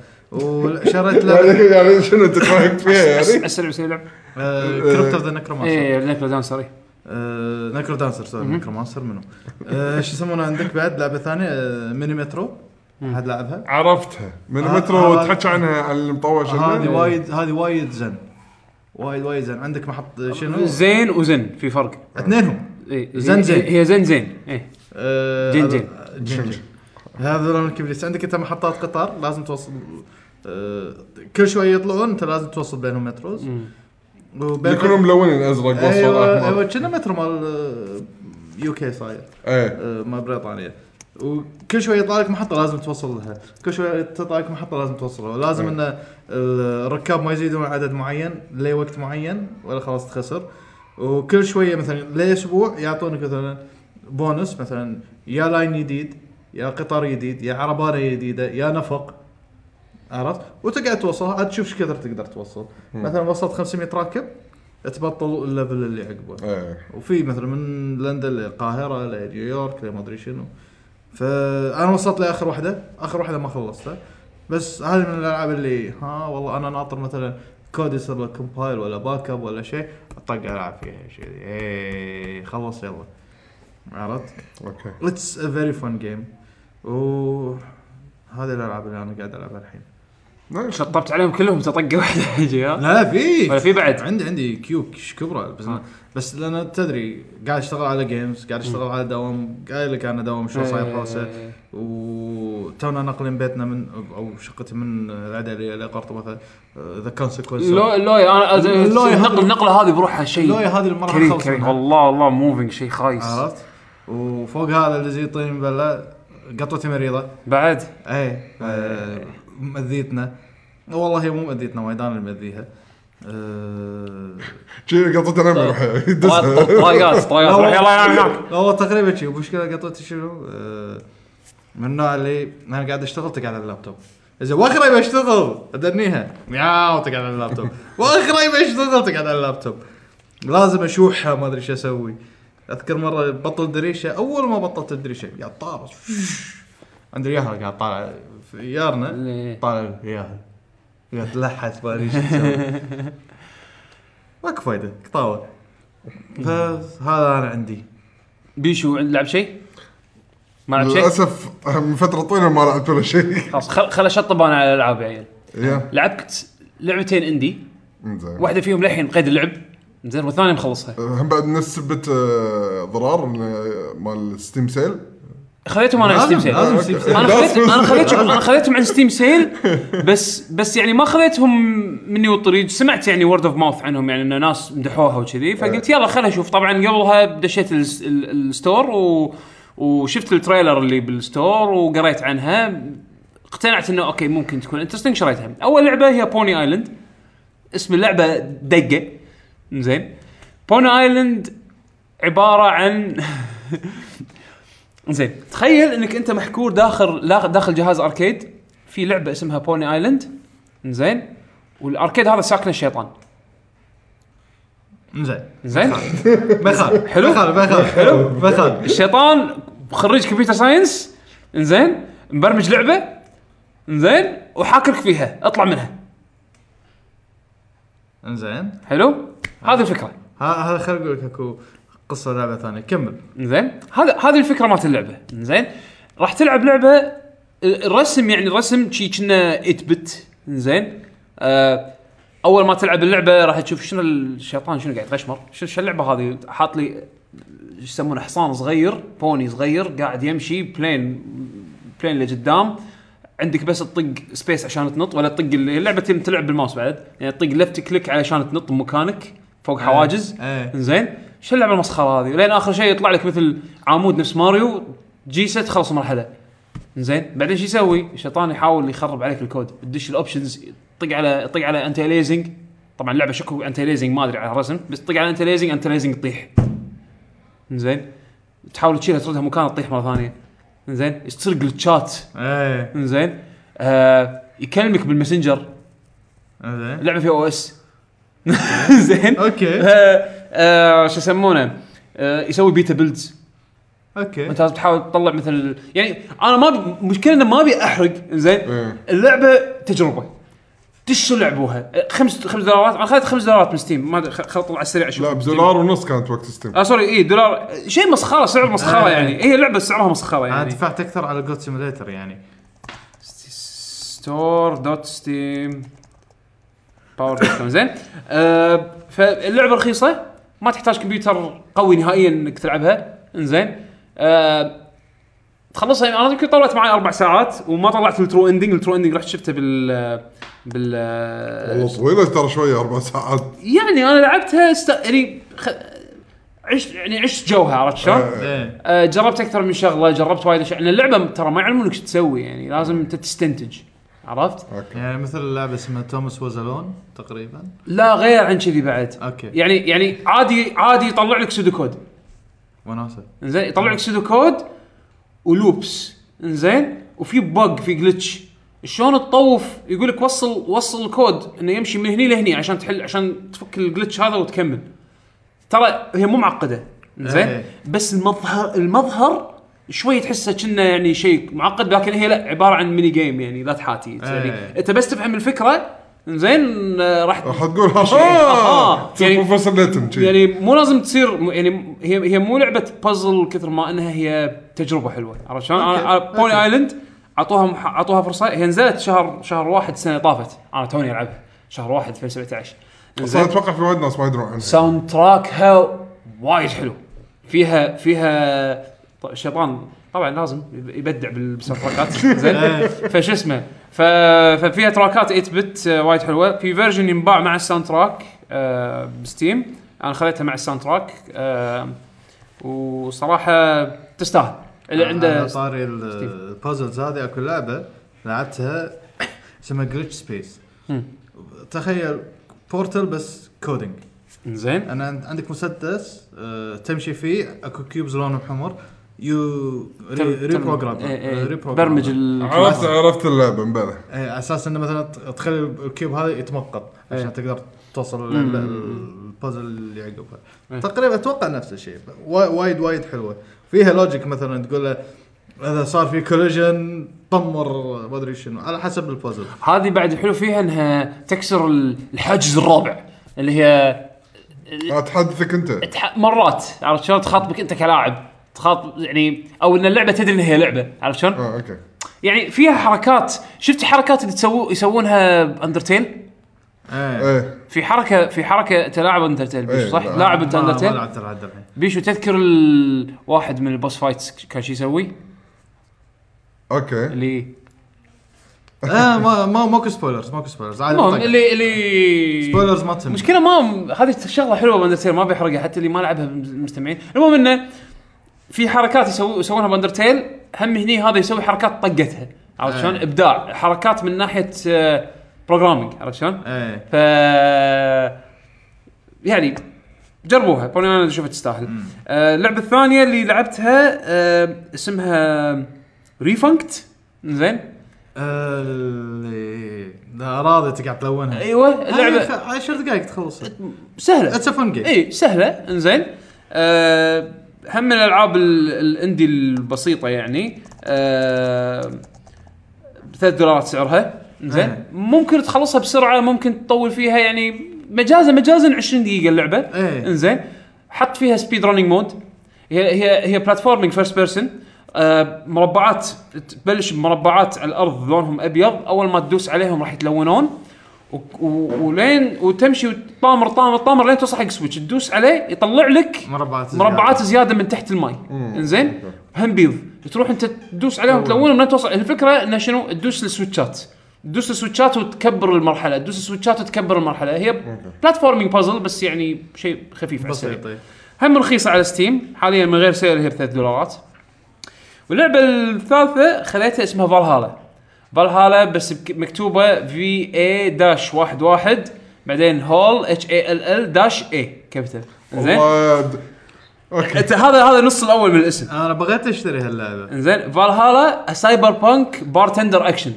S2: (laughs)
S3: وشريت لعبه
S2: يعني (laughs) يعني شنو تكرهك فيها يعني؟
S1: اسلم اسلم إيه، لعب إيه،
S3: كريبت اوف ذا نكرومانسر
S1: اي نيكلو دانسر
S3: آه، نكرو دانسر سوري نكرو مانسر منو آه، شو يسمونه عندك بعد لعبه ثانيه آه، ميني مترو حد لعبها
S2: عرفتها من
S3: آه،
S2: مترو
S3: آه،
S2: تحكي عنها على المطور شنو؟
S3: هذه وايد هذه وايد زن وايد وايد زن عندك محط آه، شنو
S1: زين وزن في فرق
S3: اثنينهم
S1: إيه،
S3: زين
S1: هي-
S3: زين.
S1: هي زين زين إيه. اي
S3: آه،
S1: جن
S3: هذا-
S1: جن.
S3: جن جن. هذا لون الكبريت عندك انت محطات قطار لازم توصل آه، كل شوي يطلعون انت لازم توصل بينهم متروز وبين-
S2: يكونوا ملونين ازرق واصفر
S3: ايوه
S2: أحمر.
S3: ايوه كنا مترو مال آه، يو كي صاير
S2: ايه
S3: آه، مال بريطانيا وكل شوي يطلع لك محطه لازم توصل لها كل شوي تطلع لك محطه لازم توصلها لازم
S2: أي.
S3: ان الركاب ما يزيدون عدد معين لوقت معين ولا خلاص تخسر وكل شويه مثلا لاسبوع يعطونك مثلا بونس مثلا يا لاين جديد يا قطار جديد يا عربانه جديده يا نفق عرفت وتقعد توصلها عاد تشوف ايش كثر تقدر توصل مثلا وصلت 500 راكب تبطل الليفل اللي عقبه
S2: ايه
S3: وفي مثلا من لندن للقاهره لنيويورك لما ادري شنو فانا وصلت لاخر واحده اخر واحده ما خلصتها بس هذه من الالعاب اللي ها والله انا ناطر مثلا كود يصير له كومبايل ولا باك اب ولا شيء اطق العب فيها شيء ايه خلص يلا عرفت؟
S2: اوكي
S3: اتس ا فيري فان جيم و هذه الالعاب اللي انا قاعد العبها الحين
S2: نايس.
S1: شطبت عليهم كلهم تطقه واحده (laughs) يجي، ها؟
S3: لا في
S1: ولا في بعد؟
S3: عندي عندي كيوب ش- كبرى بس
S1: آه.
S3: بس لان تدري قاعد اشتغل على جيمز قاعد اشتغل على دوام قايل لك انا دوام شو صاير حوسه
S1: إيه.
S3: وتونا ناقلين بيتنا من او شقتي من العدليه لقرطبه ذا كونسيكونس
S1: لو لويا انا أز-
S3: اللويا هذه-
S1: النقل النقله هذه بروحها شيء
S3: لويا هذه المرة
S1: كريم
S3: خلص
S1: كريم
S3: منها.
S1: والله والله موفينج شيء خايس
S3: عرفت وفوق هذا اللي زي طين بلا قطوتي مريضه
S1: بعد
S3: اي آه، مأذيتنا والله هي مو مأذيتنا وايد انا اللي مأذيها آه،
S2: شي قطت انا ما اروح
S1: طيب.
S2: (laughs)
S1: طريقات طريقات
S3: لا
S1: روح يلا يلا هناك
S3: لا، والله تقريبا شيء المشكله قطيت شنو آه، من النوع اللي انا قاعد اشتغل تقعد على اللابتوب اذا واخري بشتغل ادنيها مياو تقعد على اللابتوب واخري بشتغل تقعد على اللابتوب لازم اشوحها ما ادري شو اسوي اذكر مره بطل دريشه اول ما بطلت الدريشه يا طارس عند الياهل قاعد طالع في يارنا
S1: إيه.
S3: طالع الياهل قاعد تلحس ما ادري شو اسوي ماكو فايده قطاوه فهذا انا عندي
S1: بيشو عند لعب شيء؟ ما لعبت شيء
S2: للاسف من فتره طويله ما لعبت ولا شيء (laughs)
S1: خلاص خل خل اشطب انا على الالعاب يا عيال
S2: يا
S1: لعبت لعبتين اندي
S2: زين
S1: واحده فيهم للحين قيد اللعب زين والثانيه مخلصها
S2: هم بعد نفس سبه آه، ضرار من، آه، مال ستيم سيل
S1: خليتهم انا على ستيم
S3: لازم
S1: سيل
S2: أوكي.
S3: لازم (laughs) ستيم سيل
S1: انا
S2: لازم.
S1: خليت انا خليتهم انا خليتهم عن ستيم سيل بس بس يعني ما خليتهم مني والطريق سمعت يعني وورد اوف ماوث عنهم يعني ان ناس مدحوها وكذي فقلت يلا خليني اشوف طبعا قبلها دشيت الس- ال- الستور و وشفت التريلر اللي بالستور وقريت عنها اقتنعت انه اوكي ممكن تكون انترستنج شريتها اول لعبه هي بوني ايلاند اسم اللعبه دقه زين بوني ايلاند عباره عن زين تخيل انك انت محكور داخل لا- داخل جهاز اركيد في لعبه اسمها بوني ايلاند زين والاركيد هذا ساكنه الشيطان
S3: زين
S1: زين
S3: ما يخالف
S1: حلو؟
S3: ما يخالف ما يخالف حلو ما يخالف
S1: الشيطان خريج كمبيوتر ساينس زين مبرمج لعبه زين وحاكرك فيها اطلع منها
S3: زين
S1: حلو هذه الفكره
S3: هذا خل اقول لك اكو قصه لعبه ثانيه كمل
S1: زين هذا هذه الفكره مالت اللعبه زين راح تلعب لعبه الرسم يعني الرسم شي كنا 8 بت زين آه اول ما تلعب اللعبه راح تشوف شنو الشيطان شنو قاعد يغشمر شنو شو اللعبه هذه حاط لي شو يسمونه حصان صغير بوني صغير قاعد يمشي بلين بلين لقدام عندك بس تطق سبيس عشان تنط ولا تطق اللعبه تم تلعب بالماوس بعد يعني تطق لفت كليك علشان تنط بمكانك فوق حواجز
S3: إيه.
S1: زين شو اللعبه المسخره هذه لين اخر شيء يطلع لك مثل عمود نفس ماريو جيسه تخلص المرحله زين بعدين شو يسوي الشيطان يحاول يخرب عليك الكود تدش الاوبشنز طق على طق على انتي ليزنج طبعا اللعبه شكو انتي ليزنج ما ادري على الرسم بس طق على انتي ليزنج انتي ليزنج تطيح زين تحاول تشيلها تردها مكانها تطيح مره ثانيه زين يصير جلتشات
S3: ايه
S1: زين آه يكلمك بالماسنجر
S3: زين
S1: اللعبه فيها او اس (laughs) زين
S3: اوكي
S1: آه، آه، شو يسمونه آه، يسوي بيتا بيلدز
S3: اوكي
S1: انت لازم تحاول تطلع مثل يعني انا ما ابي مشكله انه ما ابي احرق زين
S2: إيه.
S1: اللعبه تجربه دشوا لعبوها آه، خمس خمس دولارات انا خذت خمس دولارات من ستيم ما ادري خل خل اطلع على السريع اشوف
S2: لا بدولار ونص كانت وقت ستيم
S1: اه سوري اي دولار آه، شيء مسخره سعر مسخره
S3: آه.
S1: يعني هي لعبه سعرها مسخره
S3: انا
S1: يعني
S3: دفعت اكثر على جود سيميليتر يعني
S1: ستور دوت ستيم باور دوت كوم، زين آه فاللعبه رخيصه ما تحتاج كمبيوتر قوي نهائيا انك تلعبها انزين آه تخلصها انا يمكن طولت معي اربع ساعات وما طلعت الترو اندنج الترو اندنج رحت شفته بال بال
S2: والله طويله ترى شويه اربع ساعات
S1: يعني انا لعبتها است... يعني خ... عشت يعني عشت جوها عرفت شلون؟
S2: آه.
S3: ايه
S1: آه، جربت اكثر من شغله جربت وايد اشياء لان اللعبه ترى ما يعلمونك شو تسوي يعني لازم انت تستنتج عرفت؟
S2: اوكي
S3: يعني مثل لعبه اسمها توماس وزلون تقريبا
S1: لا غير عن كذي بعد
S3: اوكي
S1: يعني يعني عادي عادي يطلع لك سودو كود
S3: وناسه
S1: انزين يطلع لك سودو كود ولوبس انزين وفي بق في جلتش شلون تطوف يقول لك وصل وصل الكود انه يمشي من هني لهني عشان تحل عشان تفك الجلتش هذا وتكمل ترى هي مو معقده زين
S3: إيه.
S1: بس المظهر المظهر شوي تحسه كنا يعني شيء معقد لكن هي لا عباره عن ميني جيم يعني لا تحاتي يعني
S3: إيه.
S1: انت بس تفهم الفكره زين آه، راح
S2: راح تقول
S1: آه.
S2: ها
S1: يعني-
S2: تصير بروفيسور ليتن شي.
S1: يعني مو لازم تصير م- يعني م- هي هي مو لعبه بازل كثر ما انها هي تجربه حلوه عرفت شلون؟
S3: أوكي،
S1: أنا- أنا- بوني
S3: أوكي.
S1: ايلاند اعطوها مح- اعطوها فرصه هي نزلت شهر شهر واحد السنه اللي طافت انا توني العبها شهر واحد 2017
S2: اصلا
S1: زين
S2: اتوقع في وايد ناس ما يدرون عنها
S1: ساوند تراكها وايد حلو فيها فيها ط- شيطان طبعا لازم يب- يبدع بال- بالساوند تراكات زين فشو اسمه ف... ففيها تراكات 8 بت آه، وايد حلوه في فيرجن ينباع مع الساوند تراك آه، بستيم انا خليتها مع الساوند تراك آه، وصراحه تستاهل اللي عنده
S3: على طاري ال-
S1: ستيف.
S3: البازلز هذه اكو لعبه (coughs) لعبتها اسمها جلتش سبيس
S1: مم.
S3: تخيل بورتل بس كودينج
S1: زين
S3: انا عند- عندك مسدس آه، تمشي فيه اكو كيوبز لونهم حمر يو ري- ريبروجرام ريبروجرام.
S1: إيه، برمج ال
S2: عرفت عرفت اللعبه مبلى
S3: آه، إيه، على اساس انه مثلا ت- تخلي الكيوب هذا يتمقط عشان
S1: إيه.
S3: تقدر توصل لل-
S1: مم.
S3: البازل اللي يعقبها
S1: إيه.
S3: تقريبا اتوقع نفس الشيء وا- وايد وايد حلوه فيها لوجيك مثلا تقول له اذا صار في كوليجن طمر ما ادري شنو على حسب البازل
S1: هذه بعد الحلو فيها انها تكسر ال- الحاجز الرابع اللي هي
S2: اتحدثك انت
S1: تح- مرات عرفت شلون تخاطبك انت كلاعب تخاط يعني او ان اللعبه تدري ان هي لعبه عرفت شلون؟
S2: اه اوكي
S1: يعني فيها حركات شفت الحركات اللي تسو يسوونها باندرتيل إيه.
S3: ايه
S2: ايه
S1: في حركه في حركه تلاعب اندرتيل بيشو
S2: إيه،
S1: صح؟
S2: لا.
S1: لاعب انت
S3: ما- ما
S1: اندرتيل
S3: لعبت العاب الحين
S1: بيشو تذكر ال- واحد من البوس فايتس كان شو يسوي؟
S2: اوكي
S1: اللي
S3: ايه ما ما ماكو سبويلرز ماكو سبويلرز عادي
S1: المهم
S3: طيب.
S1: اللي اللي
S3: سبويلرز ما تهم
S1: مشكلة ما هذه شغلة حلوة باندرتيل ما بيحرقها حتى اللي ما لعبها المستمعين، المهم انه في حركات يسوي يسوونها باندرتيل هم هني هذا يسوي حركات طقتها عرفت شلون؟
S3: أي.
S1: ابداع حركات من ناحية بروجرامينج عرفت شلون؟
S3: ايه
S1: ف يعني جربوها بوني انا اشوفها تستاهل. آه، اللعبة الثانية اللي لعبتها آه، اسمها ريفانكت زين؟
S3: اللي لا راضي تقعد تلونها
S1: ايوه اللعبة أيوة،
S3: هاي آه. خ- هاي عشر دقائق تخلص
S1: سهلة
S3: اتس فن جيم
S1: اي سهله انزين أه هم من الالعاب ال- الاندي البسيطه يعني أه ثلاث دولارات سعرها انزين
S3: آه.
S1: ممكن تخلصها بسرعه ممكن تطول فيها يعني مجازا مجازا 20 دقيقه اللعبه
S3: إيه.
S1: انزين حط فيها سبيد رننج مود هي هي هي بلاتفورمينج فيرست بيرسون آه، مربعات تبلش بمربعات على الارض لونهم ابيض اول ما تدوس عليهم راح يتلونون و- و- ولين وتمشي وتطامر طامر طامر لين توصل حق سويتش تدوس عليه يطلع لك
S3: مربعات
S1: مربعات زياده من تحت الماي انزين هم بيض تروح انت تدوس عليهم تلونهم لين توصل الفكره انه شنو تدوس السويتشات تدوس السويتشات وتكبر المرحله تدوس السويتشات وتكبر المرحله هي بلاتفورمينج بازل بس يعني شيء خفيف على السريع
S3: بسيطه
S1: هم رخيصه على ستيم حاليا من غير سيل هي ب 3 دولارات واللعبه الثالثه خليتها اسمها فالهالا فالهالا بس بك- مكتوبه في اي داش واحد واحد بعدين هول اتش اي ال ال داش اي كابيتال زين
S2: والله د- اوكي
S1: انت هذا هذا النص الاول من الاسم
S3: انا بغيت اشتري هاللعبه
S1: انزين فالهالا سايبر بانك بارتندر اكشن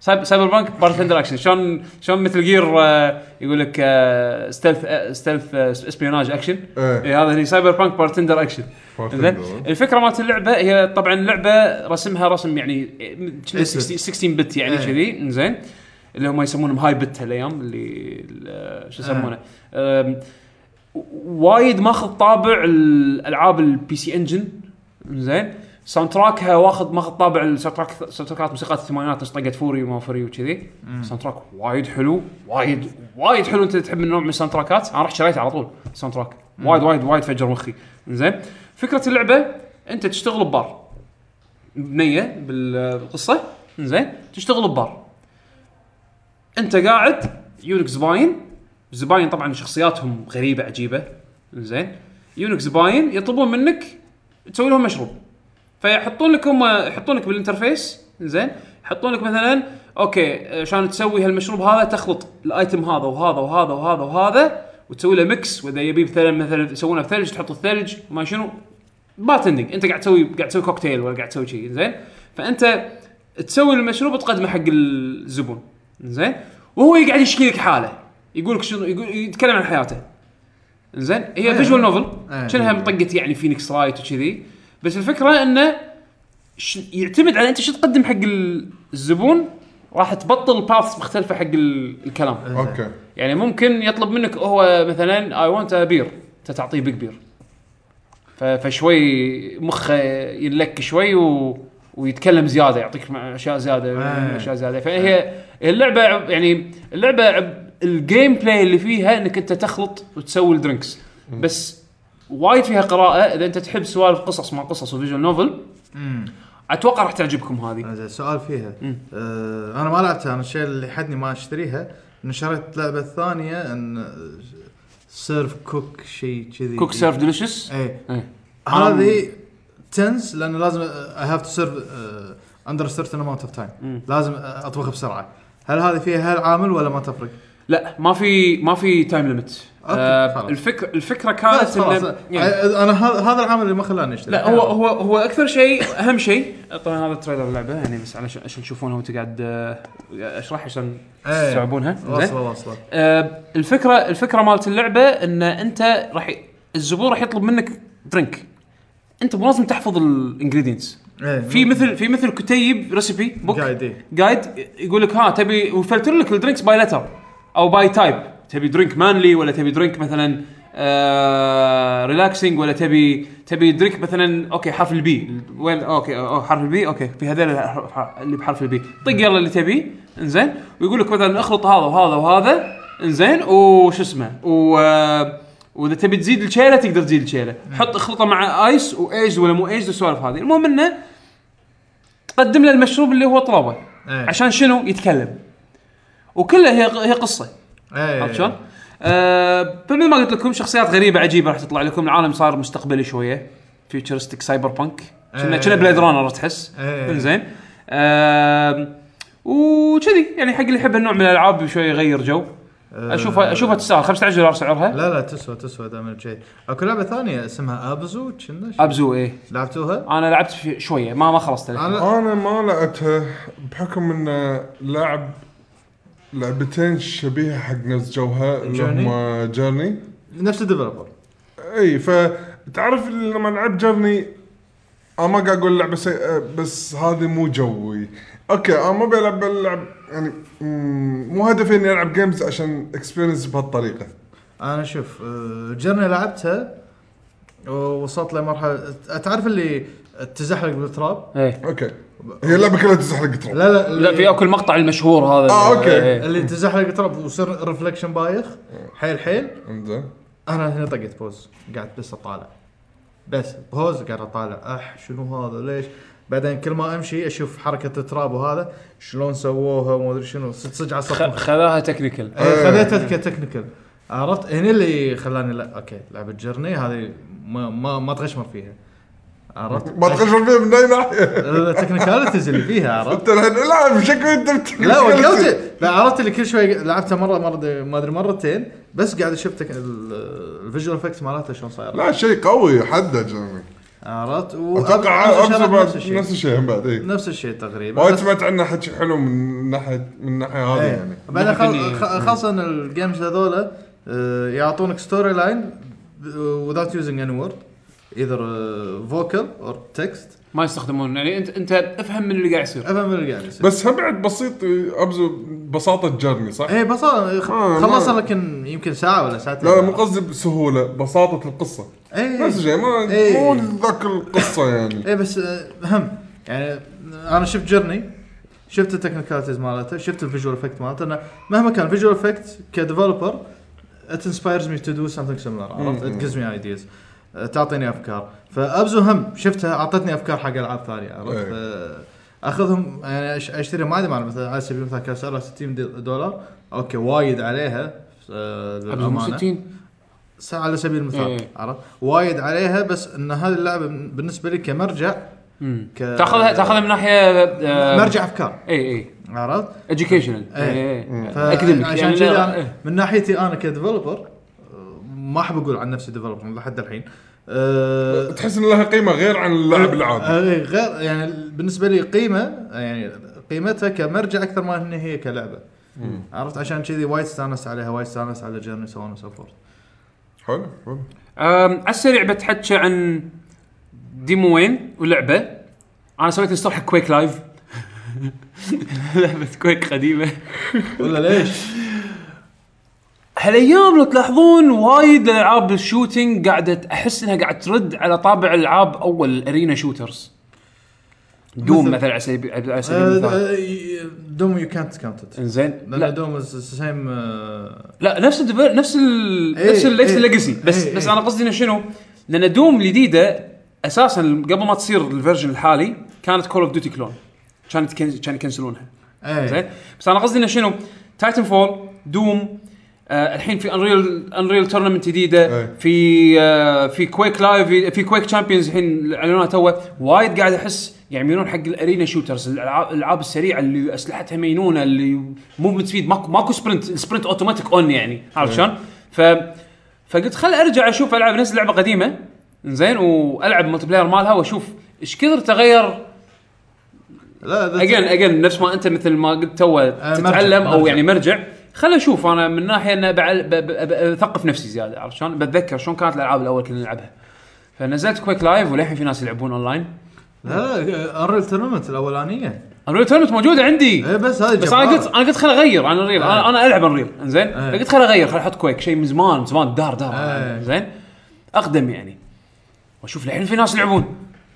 S1: سايب- سايبر بانك بارتندر اكشن شلون شلون مثل جير آه، يقول لك ستيلث ستيلث اسبيوناج اكشن
S2: إيه.
S1: آه، إيه، هذا هني سايبر بانك بارتندر اكشن
S2: بارتندر.
S1: زين الفكره مالت اللعبه هي طبعا لعبه رسمها رسم يعني إيه، م- شنو 16 16 بت يعني
S3: إيه.
S1: كذي انزين اللي هم يسمونهم هاي بت هالايام اللي ال- شو يسمونه أم، وايد ماخذ طابع الالعاب البي سي انجن زين ساوند تراكها واخذ ماخذ طابع الساوند تراك ساوند تراكات موسيقات الثمانينات بس طقت فوري وما فوري وكذي ساوند تراك وايد حلو وايد وايد حلو انت تحب النوع من الساوند تراكات انا رحت شريته على طول ساوند تراك وايد وايد وايد فجر مخي زين فكره اللعبه انت تشتغل ببار بنيه بالقصه زين تشتغل ببار انت قاعد يونك زباين زباين طبعا شخصياتهم غريبه عجيبه زين يونك زباين يطلبون منك تسوي لهم مشروب فيحطون لك هم يحطون لك بالانترفيس زين يحطون لك مثلا اوكي عشان تسوي هالمشروب هذا تخلط الايتم هذا وهذا وهذا وهذا وهذا وتسوي له ميكس واذا يبي مثلا مثلا يسوونه بثلج تحط الثلج ما شنو بارتندنج انت قاعد تسوي قاعد تسوي كوكتيل ولا قاعد تسوي شيء زين فانت تسوي المشروب تقدمه حق الزبون زين وهو يقعد يشكي لك حاله يقول لك شنو يقول يتكلم عن حياته زين هي فيجوال نوفل
S3: إيه.
S1: شنها طقت يعني فينيكس رايت وكذي بس الفكره انه ش... يعتمد على انت شو تقدم حق ال- الزبون راح تبطل باث مختلفه حق ال... الكلام
S2: اوكي
S1: يعني ممكن يطلب منك هو مثلا اي ونت بير انت تعطيه بيج بير ف- فشوي مخه ينلك شوي و... ويتكلم زياده يعطيك مع- اشياء زياده
S3: آه.
S1: اشياء زياده فهي اللعبه عب- يعني اللعبه عب- الجيم بلاي اللي فيها انك انت تخلط وتسوي الدرينكس بس وايد فيها قراءه اذا انت تحب سوالف قصص مع قصص وفيجوال نوفل
S3: امم
S1: اتوقع راح تعجبكم هذه
S3: زين سؤال فيها
S1: مم.
S3: آه انا ما لعبتها انا الشيء اللي حدني ما اشتريها ان شريت لعبه ثانيه ان آه، سيرف كوك شيء كذي
S1: كوك سيرف ديليشس
S3: اي
S1: إيه.
S3: هذه تنس لان لازم اي هاف تو سيرف اندر سيرتن اماونت اوف تايم لازم آه، اطبخ بسرعه هل هذه فيها هالعامل ولا ما تفرق؟
S1: لا ما في ما في تايم ليمت
S3: أوكي،
S1: آه
S3: خلاص.
S1: الفكره الفكره
S3: بس
S1: كانت
S3: خلاص
S1: إنه- يعني-
S3: آه، انا هذا هذا العامل اللي ما خلاني اشتري
S1: لا هو هو هو اكثر شيء اهم (laughs) شيء طبعا هذا تريلر اللعبه يعني بس علشان عشان تشوفونها وانت قاعد آه، اشرح عشان
S3: إيه.
S1: تستوعبونها زين
S3: واصله واصله
S1: آه، الفكره الفكره مالت اللعبه ان انت راح ي- الزبون راح يطلب منك درينك انت مو لازم تحفظ الانجريدينتس
S3: إيه.
S1: في مثل في مثل كتيب ريسبي بوك
S3: قاعد إيه.
S1: جايد يقول لك ها تبي وفلتر لك الدرينكس باي لتر او باي تايب تبي درينك مانلي ولا تبي درينك مثلا آه ريلاكسنج ولا تبي تبي دريك مثلا اوكي حرف البي وين اوكي أو حرف البي اوكي في هذول الح- اللي بحرف البي طق يلا اللي تبيه انزين ويقول لك مثلا اخلط هذا وهذا وهذا انزين وش اسمه و آه، واذا تبي تزيد الشيله تقدر تزيد الشيله حط اخلطه مع ايس وايج ولا مو ايج والسوالف هذه المهم انه تقدم له المشروب اللي هو طلبه
S3: إيه.
S1: عشان شنو يتكلم وكلها هي هي قصه
S3: إيه.
S1: عرفت شلون؟ آه، فمثل ما قلت لكم شخصيات غريبه عجيبه راح تطلع لكم العالم صار مستقبلي شويه فيوتشرستيك سايبر بانك كنا
S3: إيه.
S1: كنا بليد رانر تحس
S3: إيه.
S1: انزين آم، وكذي يعني حق اللي يحب هالنوع من الالعاب شوي يغير جو
S3: آه،
S1: اشوفها اشوفها تستاهل 15 دولار سعرها
S3: لا لا تسوى تسوى دائما الشيء اكو لعبه ثانيه اسمها ابزو كنا شي-
S1: ابزو ايه
S3: لعبتوها؟
S1: انا لعبت في- شويه ما ما خلصت للحين.
S3: انا
S2: انا ما لعبتها بحكم ان لعب لعبتين شبيهه حق نفس جوها اللي
S3: Journey؟
S2: هم جيرني
S3: نفس الديفلوبر
S2: اي فتعرف لما لعب جيرني انا ما قاعد اقول لعبه سيئه بس هذه مو جوي اوكي انا ما بلعب بلعب يعني مم، مو هدفي اني العب جيمز عشان اكسبيرينس بهالطريقه
S3: انا شوف آه، جرني لعبتها ووصلت لمرحله تعرف اللي تزحلق بالتراب؟
S1: ايه
S2: اوكي هي اللعبه كلها تزحلق ترى
S3: لا لا
S1: لا في اكو المقطع المشهور هذا
S2: آه، أوكي.
S1: إيه.
S3: اللي تزحلق تراب ويصير ريفلكشن بايخ حيل حيل
S2: انزين
S3: انا هنا طقت بوز قعدت بس اطالع بس بوز قاعد اطالع اح شنو هذا ليش بعدين كل ما امشي اشوف حركه التراب وهذا شلون سووها وما ادري شنو صدق صدق عصبت
S1: خ- خذاها تكنيكال
S3: إيه، خذيتها كتكنيكال عرفت هنا اللي خلاني لا اوكي لعبه جرني هذه ما ما, ما تغشمر فيها عرفت
S2: ما تقشر فيها من اي
S3: أه؟
S2: ناحيه
S3: التكنيكاليتيز اللي فيها
S2: (laughs) انت
S3: عرفت
S2: الحين العب شكل انت بت-
S3: لا وقفت لا عرفت اللي كل شوي لعبتها مره مره ما ادري مرتين بس قاعد اشوف تك... الفيجوال افكت مالتها شلون صايره
S2: لا شيء قوي حده جيرني
S3: عرفت
S2: اتوقع
S3: وأبزو
S2: أبزو
S3: شرط
S2: بعد
S3: نفس الشيء
S2: نفس الشيء هم بعد إيه. اي
S3: نفس الشيء تقريبا
S2: وايد
S3: بس-
S2: سمعت عنه حكي حلو من ناحيه من الناحيه هذه
S3: إيه.
S2: يعني
S3: بعدين
S1: ممكن
S3: خل-
S1: ي-
S3: خ- خاصه الجيمز هذولا آه، يعطونك ستوري لاين without using any word either آه، فوكال اور تكست
S1: ما يستخدمون يعني انت انت افهم من اللي قاعد يصير
S3: افهم اللي قاعد يصير
S2: بس هم بعد بسيط ابزو ببساطه جرني صح؟
S3: اي إيه، بس
S2: آه،
S3: خلصها
S2: ما-
S3: لكن يمكن ساعه ولا ساعتين
S2: لا لا مو قصدي بسهوله بساطه القصه
S3: إيه.
S2: نفس الشيء ما
S3: إيه.
S2: مو ذاك القصه يعني
S3: (laughs) اي بس آه، هم يعني انا شفت جيرني شفت التكنيكاليتيز مالته شفت الفيجوال افكت مالته انه مهما كان الفيجوال افكت كديفلوبر ات انسبايرز مي تو دو سمثينج سيميلر عرفت ات جيفز مي ايديز آه، تعطيني افكار فابزو هم شفتها اعطتني افكار حق العاب ثانيه عرفت
S2: إيه.
S3: آه، اخذهم يعني أش- اشتري ما ادري مثلا على سبيل المثال كان سعرها 60 دي- دولار اوكي وايد عليها آه،
S1: ابزو مو
S3: للامانه
S1: 60
S3: س- على سبيل المثال
S1: إيه.
S3: عرفت وايد عليها بس ان هذه اللعبه بالنسبه لي كمرجع
S1: مم.
S3: ك-
S1: تاخذها تاخذها من ناحيه آه،
S3: مرجع افكار
S1: اي اي
S3: عرفت؟
S1: educational
S3: إيه.
S1: اي اي
S3: ف-
S1: اكاديميك
S3: عشان
S1: يعني
S3: كذا
S1: لا-
S3: أنا-
S1: إيه.
S3: من ناحيتي انا كديفلوبر ما احب اقول عن نفسي ديفلوبر لحد الحين أه
S2: تحس ان لها قيمه غير عن اللاعب العادي
S3: آه، إيه، غير يعني بالنسبه لي قيمه يعني قيمتها كمرجع اكثر ما ان هي كلعبه عرفت عشان كذي وايد استانست عليها وايد استانست على جيرني سو اون سو فورث
S2: حلو حلو
S1: أم، على السريع بتحكي عن ديموين ولعبه انا سويت انستول حق كويك (laughs) لايف لعبه كويك قديمه
S3: ولا ليش؟
S1: هالايام لو تلاحظون وايد العاب الشوتينج قاعده احس انها قاعده ترد على طابع العاب اول الارينا شوترز دوم
S3: مثل-
S1: مثلا على سبيل على سبيل المثال
S3: آه، دوم يو كانت كاونت
S1: انزين
S3: لان
S1: لا
S3: دوم سيم آه،
S1: لا نفس الديفل نفس ال
S3: إيه،
S1: نفس ال نفس
S3: إيه.
S1: الليجسي بس
S3: إيه،
S1: بس
S3: إيه.
S1: انا قصدي انه شنو؟ لان دوم الجديده اساسا قبل ما تصير الفيرجن الحالي كانت كول اوف ديوتي كلون كانت كان كان يكنسلونها
S3: إيه.
S1: زين بس انا قصدي انه شنو؟ تايتن فول دوم آه الحين في انريل انريل تورنمنت جديده
S2: إيه.
S1: في آه في كويك لايف في كويك تشامبيونز الحين اعلنوها توه وايد قاعد احس يعني يميلون حق الارينا شوترز الالعاب الألعاب السريعه اللي اسلحتها مينونه اللي موفمنت سبيد ماكو ماكو سبرنت السبرنت اوتوماتيك اون يعني عارف شلون؟ ف فقلت خل ارجع اشوف العب نفس لعبه قديمه زين والعب ملتي بلاير مالها واشوف ايش كثر تغير
S3: لا that's-
S1: اجين اجين نفس ما انت مثل ما قلت تو
S3: آه، مرجع،
S1: تتعلم او
S3: مرجع.
S1: يعني مرجع خل اشوف انا من ناحيه انه بعل- ب- ب- ب- اثقف نفسي زياده عرفت شلون؟ بتذكر شلون كانت الالعاب الاول كنا نلعبها. فنزلت كويك لايف وللحين في ناس يلعبون اونلاين
S3: لا لا انريل تورنمنت الاولانيه
S1: انا تورنمنت موجوده عندي
S3: اي إيه، بس هذه
S1: بس انا
S3: جبارة.
S1: قلت انا قلت خل اغير عن الريل انا
S3: آه.
S1: انا العب الريل انزين
S3: آه.
S1: قلت خل اغير خل احط كويك شيء من زمان من زمان دار دار
S3: آه.
S1: زين اقدم يعني واشوف الحين في ناس يلعبون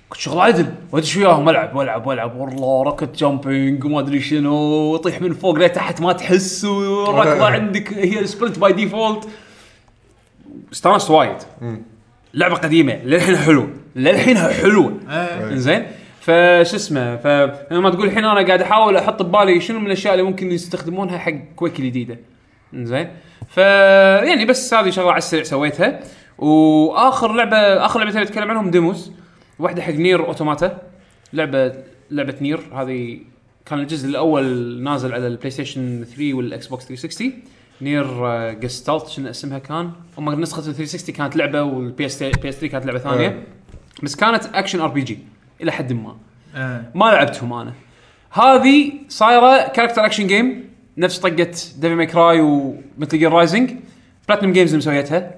S1: كنت شغل عدل وادش وياهم العب والعب والعب والله روكت جامبينج وما ادري شنو وطيح من فوق لتحت ما تحس والركضه عندك هي السبرنت باي ديفولت استانست وايد لعبه قديمه للحين حلو للحين حلوه
S3: إيه.
S1: زين فش اسمه فلما تقول الحين انا قاعد احاول احط ببالي شنو من الاشياء اللي ممكن يستخدمونها حق كويك الجديده زين ف يعني بس هذه شغله على السريع سويتها واخر لعبه اخر لعبتين اللي اتكلم عنهم ديموز واحده حق نير اوتوماتا لعبه لعبه نير هذه كان الجزء الاول نازل على البلاي ستيشن 3 والاكس بوكس 360 نير جستالت آه، شنو اسمها كان هم نسخه ال 360 كانت لعبه والبي اس 3 كانت لعبه
S2: آه.
S1: ثانيه بس كانت اكشن ار بي جي الى حد ما
S3: إيه.
S1: ما لعبتهم انا هذه صايره كاركتر اكشن جيم نفس طقه ديفي ماي كراي ومثل جير رايزنج بلاتنم جيمز اللي مسويتها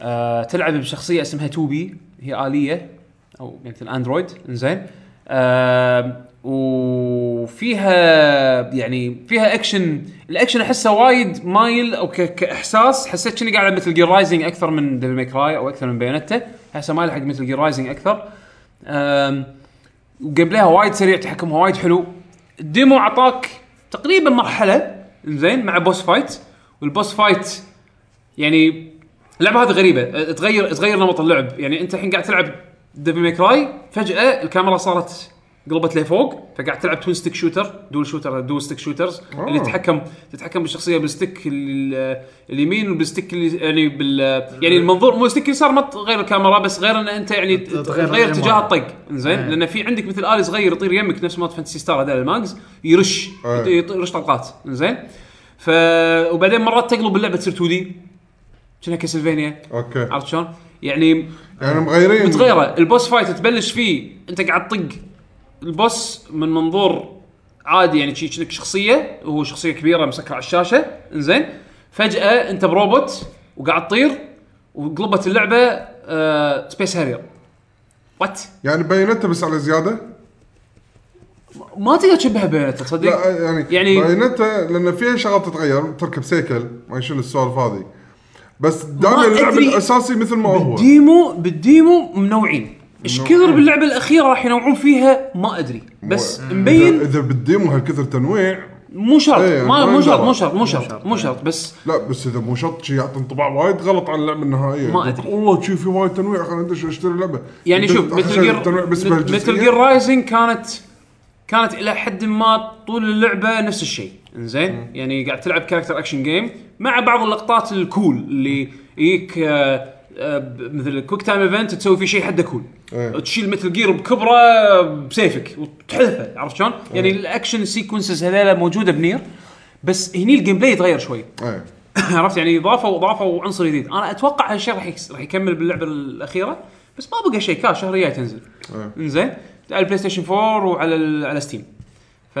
S1: آه، تلعب بشخصيه اسمها توبي هي اليه او مثل اندرويد انزين آه، وفيها يعني فيها اكشن الاكشن احسه وايد مايل او ك- كاحساس حسيت اني قاعد مثل جير رايزنج اكثر من ديفي ماي كراي او اكثر من بايونيتا احسه مايل حق مثل جير رايزنج اكثر آم، وجيم بلايها وايد سريع تحكمها وايد حلو الديمو اعطاك تقريبا مرحله زين مع بوس فايت والبوس فايت يعني اللعبه هذه غريبه أه، تغير تغير نمط اللعب يعني انت الحين قاعد تلعب ديفل ميك راي فجاه الكاميرا صارت قلبت لفوق فقاعد تلعب توين ستيك شوتر دول شوتر دول ستيك شوترز
S2: آه.
S1: اللي تتحكم تتحكم بالشخصيه بالستيك ال- اليمين وبالستيك اللي- يعني بال يعني المنظور مو الستيك اليسار ما ت- غير الكاميرا بس غير ان انت يعني
S3: تغير
S1: تغير اتجاه
S3: الإيماء.
S1: الطق زين
S3: إيه.
S1: لان في عندك مثل الي صغير يطير يمك نفس مال فانتسي ستار هذا الماجز يرش
S2: إيه.
S1: يط- يط- يرش طلقات زين ف وبعدين مرات تقلب اللعبه تصير 2 دي شنها كاسلفينيا
S2: اوكي
S1: عرفت شلون؟ يعني
S2: يعني مغيرين
S1: متغيره البوس فايت تبلش فيه انت قاعد تطق البوس من منظور عادي يعني شي شنك شخصيه وهو شخصيه كبيره مسكره على الشاشه انزين فجاه انت بروبوت وقاعد تطير وقلبت اللعبه آه سبيس هارير وات
S2: يعني بايونيتا بس على زياده
S1: ما تقدر تشبهها بياناتا تصدق
S2: لا يعني
S1: يعني-
S2: يعني بايونيتا لان فيها شغلات تتغير تركب سيكل ما شنو السوالف هذه بس دائما اللعب
S1: أدري.
S2: الاساسي مثل ما هو
S1: بالديمو بالديمو منوعين ايش كثر باللعبه الاخيره راح ينوعون فيها ما ادري بس
S2: مو-
S1: مبين
S2: اذا إذا بالديمو هالكثر تنويع
S1: مو شرط
S2: إيه،
S1: ما
S2: ما
S1: مو شرط
S2: يندرى.
S1: مو شرط مو شرط مو شرط بس
S2: لا بس اذا مو شرط شي يعطي انطباع وايد غلط عن اللعبه النهائيه
S1: ما أدري.
S2: والله شي في وايد تنويع خلينا ندش اشتري اللعبه
S1: يعني شوف
S2: أحسن
S1: مثل جير
S2: التنويع بس
S1: مثل جير رايزنج كانت كانت الى حد ما طول اللعبه نفس الشيء انزين يعني قاعد تلعب كاركتر اكشن جيم مع بعض اللقطات الكول اللي يجيك آه، آه، ب- مثل كويك تايم ايفنت تسوي فيه شيء حده كول
S2: إيه.
S1: تشيل مثل جير بكبره آه، بسيفك وتحذفه عرفت شلون؟ يعني الاكشن سيكونسز هذيلا موجوده بنير بس هني الجيم بلاي يتغير شوي
S2: ايه
S1: (coughs) عرفت يعني ضافوا ضافوا عنصر جديد انا اتوقع هالشيء راح يكس- راح يكمل باللعبه الاخيره بس ما بقى شيء كاش شهر الجاي تنزل
S2: إيه.
S1: انزين على البلاي ستيشن 4 وعلى ال- على ستيم ف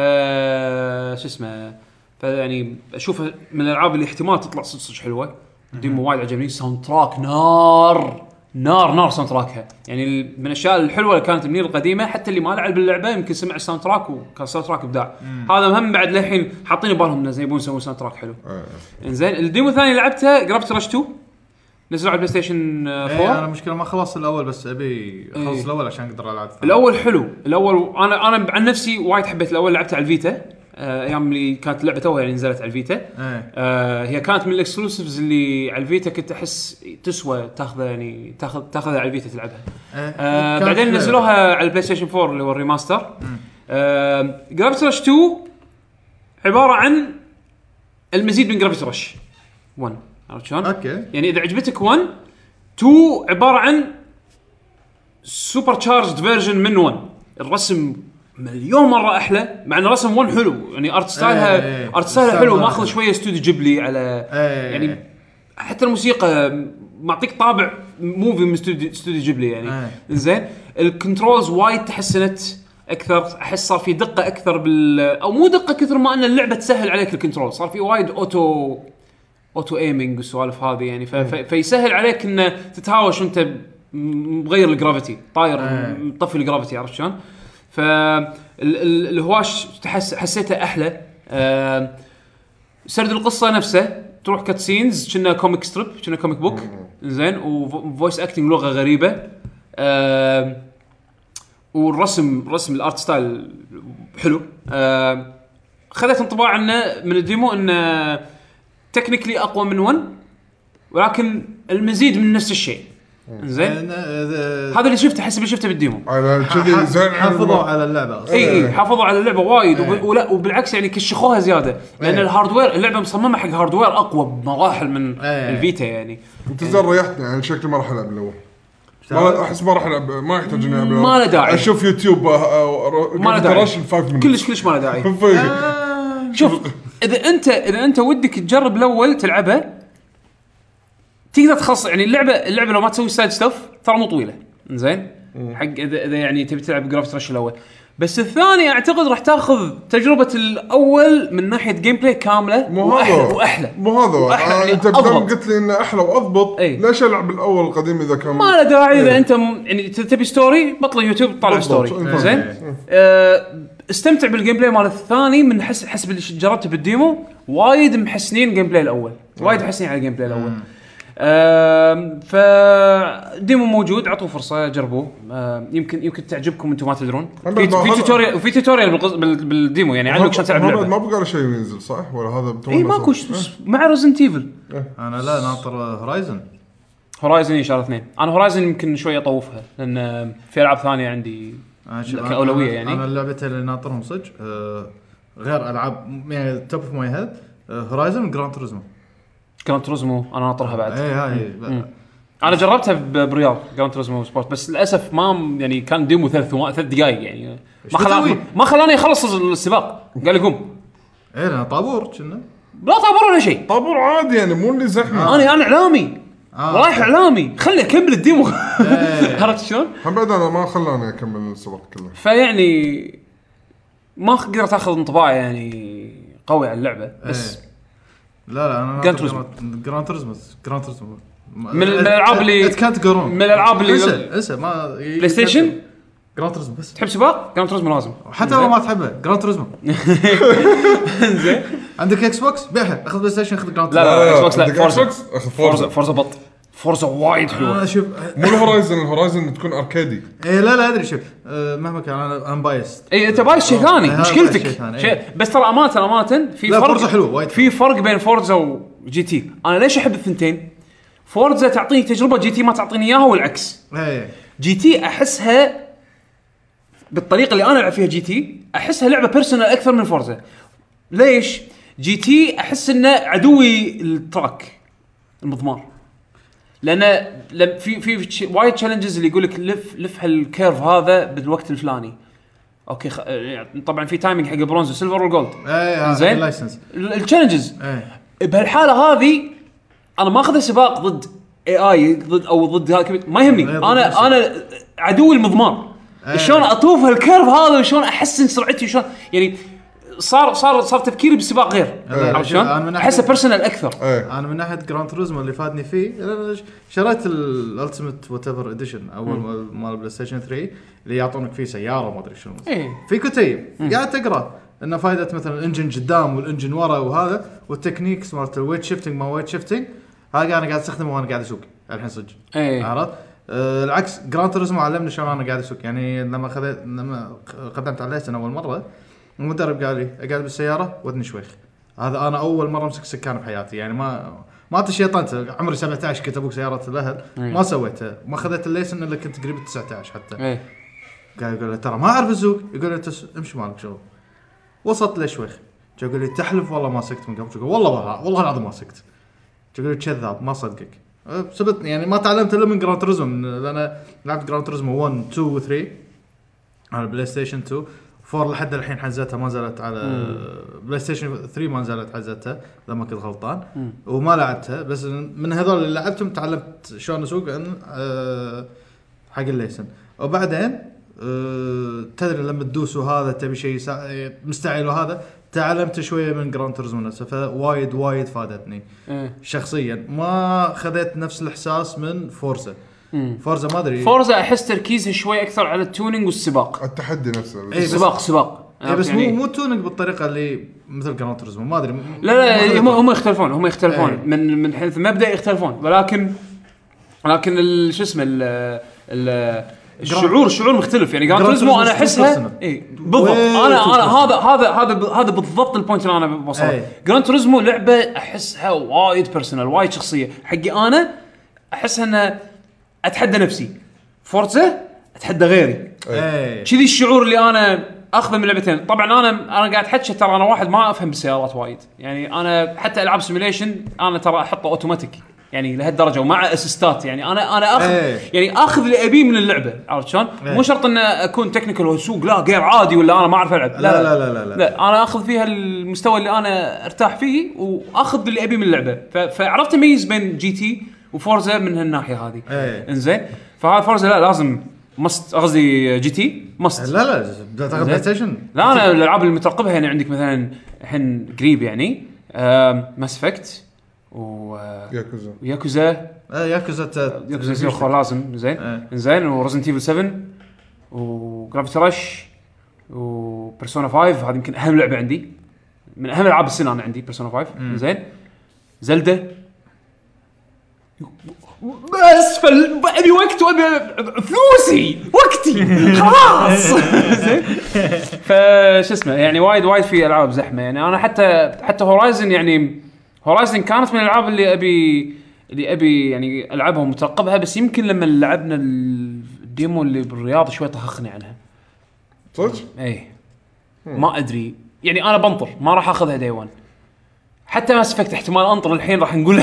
S1: شو اسمه فيعني اشوفها من الالعاب اللي احتمال تطلع صدق صدق حلوه ديمو وايد عجبني ساوند تراك نار نار نار ساوند تراكها يعني ال- من الاشياء الحلوه اللي كانت منير القديمه حتى اللي ما لعب اللعبه يمكن سمع الساوند تراك وكان ساوند تراك ابداع هذا مهم بعد للحين حاطين ببالهم انه يبون يسوون ساوند تراك حلو
S2: إيه.
S1: انزين الديمو الثاني اللي لعبته جرافيتي رش 2 نزلوا على البلاي ستيشن آه،
S3: ايه
S1: 4
S3: انا مشكله ما خلصت الاول بس ابي اخلص
S1: إيه.
S3: الاول عشان اقدر العب الثاني.
S1: الاول حلو الاول انا انا عن نفسي وايد حبيت الاول لعبته على الفيتا آه، ايام اللي كانت اللعبه توها يعني نزلت على الفيتا
S3: ايه
S1: آه، هي كانت من الاكسكلوسيفز اللي على الفيتا كنت احس تسوى تاخذها يعني تاخذ تاخذها على الفيتا تلعبها
S3: إيه.
S1: آه
S3: كانت
S1: بعدين
S3: حلوة.
S1: نزلوها على البلاي ستيشن 4 اللي هو الريماستر آه جرافيتي رش 2 عباره عن المزيد من جرافيتي رش 1 عرفت شلون؟
S3: اوكي
S1: يعني اذا عجبتك 1 2 عباره عن سوبر تشارجد فيرجن من 1 الرسم مليون مره احلى مع ان رسم 1 حلو يعني ارت
S3: إيه،
S1: ستايلها
S3: إيه.
S1: ارت ستايلها
S3: الستايل
S1: حلو
S3: مرة
S1: ماخذ
S3: حلو.
S1: شويه استوديو جيبلي على
S3: إيه.
S1: يعني حتى الموسيقى معطيك طابع موفي من استوديو استوديو جيبلي يعني
S3: إيه.
S1: زين الكنترولز وايد تحسنت اكثر احس صار في دقه اكثر بال او مو دقه كثر ما ان اللعبه تسهل عليك الكنترول صار في وايد اوتو اوتو ايمنج والسوالف هذه يعني ف... ف... فيسهل عليك ان تتهاوش وانت م- مغير الجرافيتي طاير
S3: إيه.
S1: مطفي الجرافيتي عرفت شلون؟ فالهواش تحس حسيته احلى آم، سرد القصه نفسه تروح كاتسينز كنا كوميك ستريب كنا كوميك بوك زين وفويس اكتنج لغه غريبه آم، والرسم رسم الارت ستايل حلو آم، خذت انطباع انه من الديمو انه تكنيكلي اقوى من 1 ولكن المزيد من نفس الشيء زين
S3: إيه، هذا
S1: هذا اللي شفته احس اللي شفته بالديمو
S2: انا كذي زين إيه.
S3: حافظوا على اللعبه اصلا
S1: اي اي حافظوا على اللعبه وايد
S3: إيه.
S1: وب- ولا وبالعكس يعني كشخوها زياده لان
S3: إيه.
S1: الهاردوير اللعبه مصممه حق هاردوير اقوى بمراحل من
S3: إيه.
S1: الفيتا يعني
S2: انت زين ريحتني يعني شكلي ما راح العب الاول ما
S3: تعال.
S2: احس ما راح العب ما يحتاج اني العب
S1: ما
S2: الأول.
S1: له داعي.
S2: اشوف يوتيوب آه، ما
S1: ما له داعي آه،
S2: رش الفايف من
S1: كلش كلش ما له داعي
S2: (laughs)
S3: إيه.
S1: شوف اذا انت اذا انت ودك تجرب الاول تلعبها تقدر تخلص يعني اللعبه اللعبه لو ما تسوي سايد ستاف ترى مو طويله زين حق اذا اذا يعني تبي تلعب جرافت رش الاول بس الثاني اعتقد راح تاخذ تجربه الاول من ناحيه جيم بلاي كامله
S2: مو هذا
S1: واحلى واحلى
S2: مو هذا
S1: وأحلى،
S2: آه،
S1: يعني
S2: انت بدام
S1: أضبط.
S2: قلت لي انه احلى واضبط
S1: إي.
S2: ليش العب الاول القديم اذا كان
S1: ما له داعي اذا
S2: إيه.
S1: انت م- يعني ت- تبي ستوري بطل يوتيوب طالع
S2: بالضبط.
S1: ستوري
S2: إيه.
S1: زين
S2: إيه.
S1: آه، استمتع بالجيم بلاي مال الثاني من حس حسب اللي جربته بالديمو وايد محسنين جيم بلاي الاول وايد محسنين على الجيم بلاي الاول آم، ف ديمو موجود اعطوه فرصه جربوه آم، يمكن يمكن تعجبكم انتم ما تدرون
S2: أنا
S1: في
S2: بعد ما
S1: في
S2: أخذ-
S1: توتوريال في توتوريال بالقص- بال- بالديمو يعني علمك شلون تلعب
S2: ما- ما
S1: اللعبه
S2: بقى له شيء ينزل صح ولا هذا بتوه
S1: اي
S2: نزل؟
S1: إيه، ماكو ش- مع ريزنت ايفل
S3: انا لا ناطر هورايزن
S1: هورايزن ان شاء الله اثنين انا هورايزن يمكن شوي اطوفها لان آم، في العاب ثانيه عندي
S3: أنا شوف، أنا-
S1: كأولوية
S3: آه، أنا-
S1: يعني؟
S3: انا اللعبتين اللي ناطرهم صدق آه، غير العاب يعني توب اوف ماي هيد آه، هورايزن وجراند توريزمو
S1: جراند توريزمو انا ناطرها بعد
S3: اي هاي
S1: مم. انا جربتها ب- برياض جراند توريزمو سبورت بس للاسف ما يعني كان ديمو ثلاث ثوا- ثلاث دقائق يعني ما
S3: تسوي؟
S1: خلاني ما خلاني اخلص السباق قال لي قوم
S3: اي لان إيه، طابور كنا
S1: لا طابور ولا شيء
S2: طابور عادي يعني مو اللي زحمه
S1: انا انا اعلامي
S3: آه. إيه.
S1: رايح اعلامي خلي اكمل الديمو (laughs) عرفت شلون؟
S2: هم بعد انا ما خلاني اكمل السباق كله
S1: فيعني ما قدرت اخذ انطباع يعني قوي على اللعبه بس
S3: إيه. لا لا انا
S1: Gran Turismo.
S3: جراند توريزمو جراند توريزمو
S1: من الألعاب اللي- من الألعاب اللي-
S3: انسى انسى ما
S1: بلاي ستيشن
S3: جراند توريزمو بس
S1: تحب سباق؟ جراند توريزمو لازم
S3: حتى لو ما تحبه جراند توريزمو
S1: (laughs) زين
S3: عندك اكس بوكس بيعها اخذ بلاي ستيشن اخذ جراند
S1: لا لا لا اكس بوكس آه، لا
S2: عندك
S1: فورزا
S2: آه، Xbox؟ أخذ
S1: فورزا
S2: فورزا.
S1: فورزا بط فورزا وايد حلوه
S3: انا شوف
S2: مو الهورايزن الهورايزن تكون اركيدي
S3: اي إيه، لا لا ادري شوف آه، مهما كان انا ام بايست
S1: اي انت بايش إيه، شيء ثاني
S3: إيه، هذا
S1: مشكلتك
S3: شيء ثاني،
S1: شيء
S3: إيه.
S1: بس ترى امانه امانه في
S3: لا،
S1: فرق
S3: فورزا حلوة، وايد
S1: في فرق بين فورزا وجي تي انا ليش احب الثنتين فورزا تعطيني تجربه جي تي ما تعطيني اياها والعكس
S3: اي
S1: جي تي احسها بالطريقه اللي انا العب فيها جي تي احسها لعبه بيرسونال اكثر من فورزا ليش جي تي احس انه عدوي التراك المضمار لان لم- في في تش- وايد تشالنجز اللي يقول لك لف لف هالكيرف هذا بالوقت الفلاني اوكي خ... يعني طبعا في تايمينج حق البرونز والسيلفر والجولد
S3: إيه، اي
S1: زين.
S3: زين لايسنس
S1: التشالنجز
S3: اي
S1: بهالحاله هذه انا ما اخذ سباق ضد اي اي ضد او ضد هذا كمية- ما يهمني
S3: غير ضد
S1: انا
S3: نفسك.
S1: انا عدوي المضمار
S3: إيه.
S1: شلون اطوف هالكيرف هذا وشلون احسن سرعتي وشلون يعني صار صار صار تفكيري بالسباق غير عرفت شلون؟
S3: أنا من
S1: احسه
S3: ناحية-
S1: بيرسونال اكثر
S2: ايه
S3: انا من ناحيه جراند توريزمو اللي فادني فيه أنا شريت الالتيميت وات ايفر اديشن اول ما- مال بلاي ستيشن 3 اللي يعطونك فيه سياره ما ادري شنو
S1: إيه.
S3: في كتيب قاعد تقرا انه فائده مثلا الانجن قدام والانجن ورا وهذا والتكنيكس مالت الويت شيفتنج ما ويت شيفتنج هذا انا قاعد استخدمه وانا قاعد اسوق الحين صدق
S1: إيه.
S3: عرفت؟ آه العكس جراند توريزمو علمني شلون انا قاعد اسوق يعني لما خذيت لما قدمت على الليسن اول مره المدرب قال لي اقعد بالسياره ودني شويخ هذا انا اول مره امسك سكان بحياتي يعني ما ما تشيطنت عمري 17 كنت ابوق سياره الاهل ما سويتها ما خذيت الليسن الا كنت قريب ال 19 حتى
S1: ايه
S3: قال يقول له ترى ما اعرف اسوق يقول له تس... امشي مالك شغل وصلت لشويخ جو يقول لي تحلف والله ما سكت من قبل جو يقول والله ما والله العظيم ما سكت جو يقول لي كذاب ما صدقك أه، سبت يعني ما تعلمت الا من جراند توريزم لان لعبت جراند توريزم 1 2 و 3 على بلاي ستيشن 2 4 لحد الحين حزتها ما نزلت على بلاي ستيشن 3 ما نزلت حزتها اذا ما كنت غلطان وما لعبتها بس من هذول اللي لعبتهم تعلمت شلون اسوق عن- أه، حق الليسن وبعدين أه، تدري لما تدوس وهذا تبي شيء يسا- مستعجل وهذا تعلمت شويه من جراند توريزمو نفسه فوايد وايد فادتني
S1: ايه
S3: شخصيا ما خذيت نفس الاحساس من فورزا فورزا ما ادري
S1: فورزا احس تركيزها شوي اكثر على التونينج والسباق
S2: التحدي نفسه
S3: إيه.
S2: بس.
S3: بس-
S1: السباق سباق
S3: إيه بس
S1: يعني-
S3: مو مو تونك بالطريقه اللي مثل جراند توريزمو ما ادري م-
S1: لا لا هم
S3: مختلفة.
S1: هم يختلفون هم يختلفون
S3: إيه.
S1: من من حيث المبدا يختلفون ولكن ولكن ال- شو اسمه ال- ال- الشعور الشعور مختلف يعني جراند
S3: Gran
S1: توريزمو انا
S3: Turismo إيه، 16
S1: احسها
S3: سنة.
S1: اي إيه، بالضبط
S3: وين
S1: انا انا
S3: تشوف
S1: هذا هذا هذا ب- هذا بالضبط البوينت اللي انا بوصله
S3: إيه.
S1: جراند توريزمو لعبه احسها وايد بيرسونال وايد شخصيه حقي انا احسها انه اتحدى نفسي فورتزا اتحدى غيري
S3: إيه.
S1: كذي الشعور اللي انا اخذه من اللعبتين طبعا انا انا قاعد حكي ترى انا واحد ما افهم بالسيارات وايد يعني انا حتى العاب سيميليشن انا ترى احطه اوتوماتيك يعني لهالدرجه ومع اسيستات يعني انا انا اخذ
S3: إيه.
S1: يعني اخذ اللي ابيه من اللعبه عرفت شلون؟
S3: إيه.
S1: مو شرط ان اكون تكنيكال واسوق لا غير عادي ولا انا ما اعرف العب
S3: لا لا لا لا لا.
S1: لا انا اخذ فيها المستوى اللي انا ارتاح فيه واخذ اللي ابيه من اللعبه ف- فعرفت اميز بين جي تي وفورزا من هالناحيه هذه
S3: إيه.
S1: انزين فهذا فورزا لا لازم مست قصدي جي تي مست
S3: لا لا تاخذ بلاي ستيشن
S1: لا انا الالعاب اللي مترقبها يعني عندك مثلا الحين قريب يعني ماس افكت آه،
S2: ياكوزا
S1: وياكوزا
S3: آه، ياكوزا تا-
S1: ياكوزا زيرو خلاص لازم زين
S3: إيه.
S1: زين ورزنت ايفل 7 وجرافيتي رش وبيرسونا 5 هذه يمكن اهم لعبه عندي من اهم العاب السنه انا عندي بيرسونا 5 زين زلدة بس فال- ابي وقت وابي فلوسي وقتي خلاص (laughs) زين فش اسمه يعني وايد وايد في العاب زحمه يعني انا حتى حتى هورايزن يعني هورايزن كانت من الالعاب اللي ابي اللي ابي يعني العبها ومترقبها بس يمكن لما لعبنا الديمو اللي بالرياض شوي طهقني عنها
S2: صدق؟
S1: اي ما ادري يعني انا بنطر ما راح اخذها دي 1 حتى ما سفكت احتمال انطر الحين راح نقول (laughs)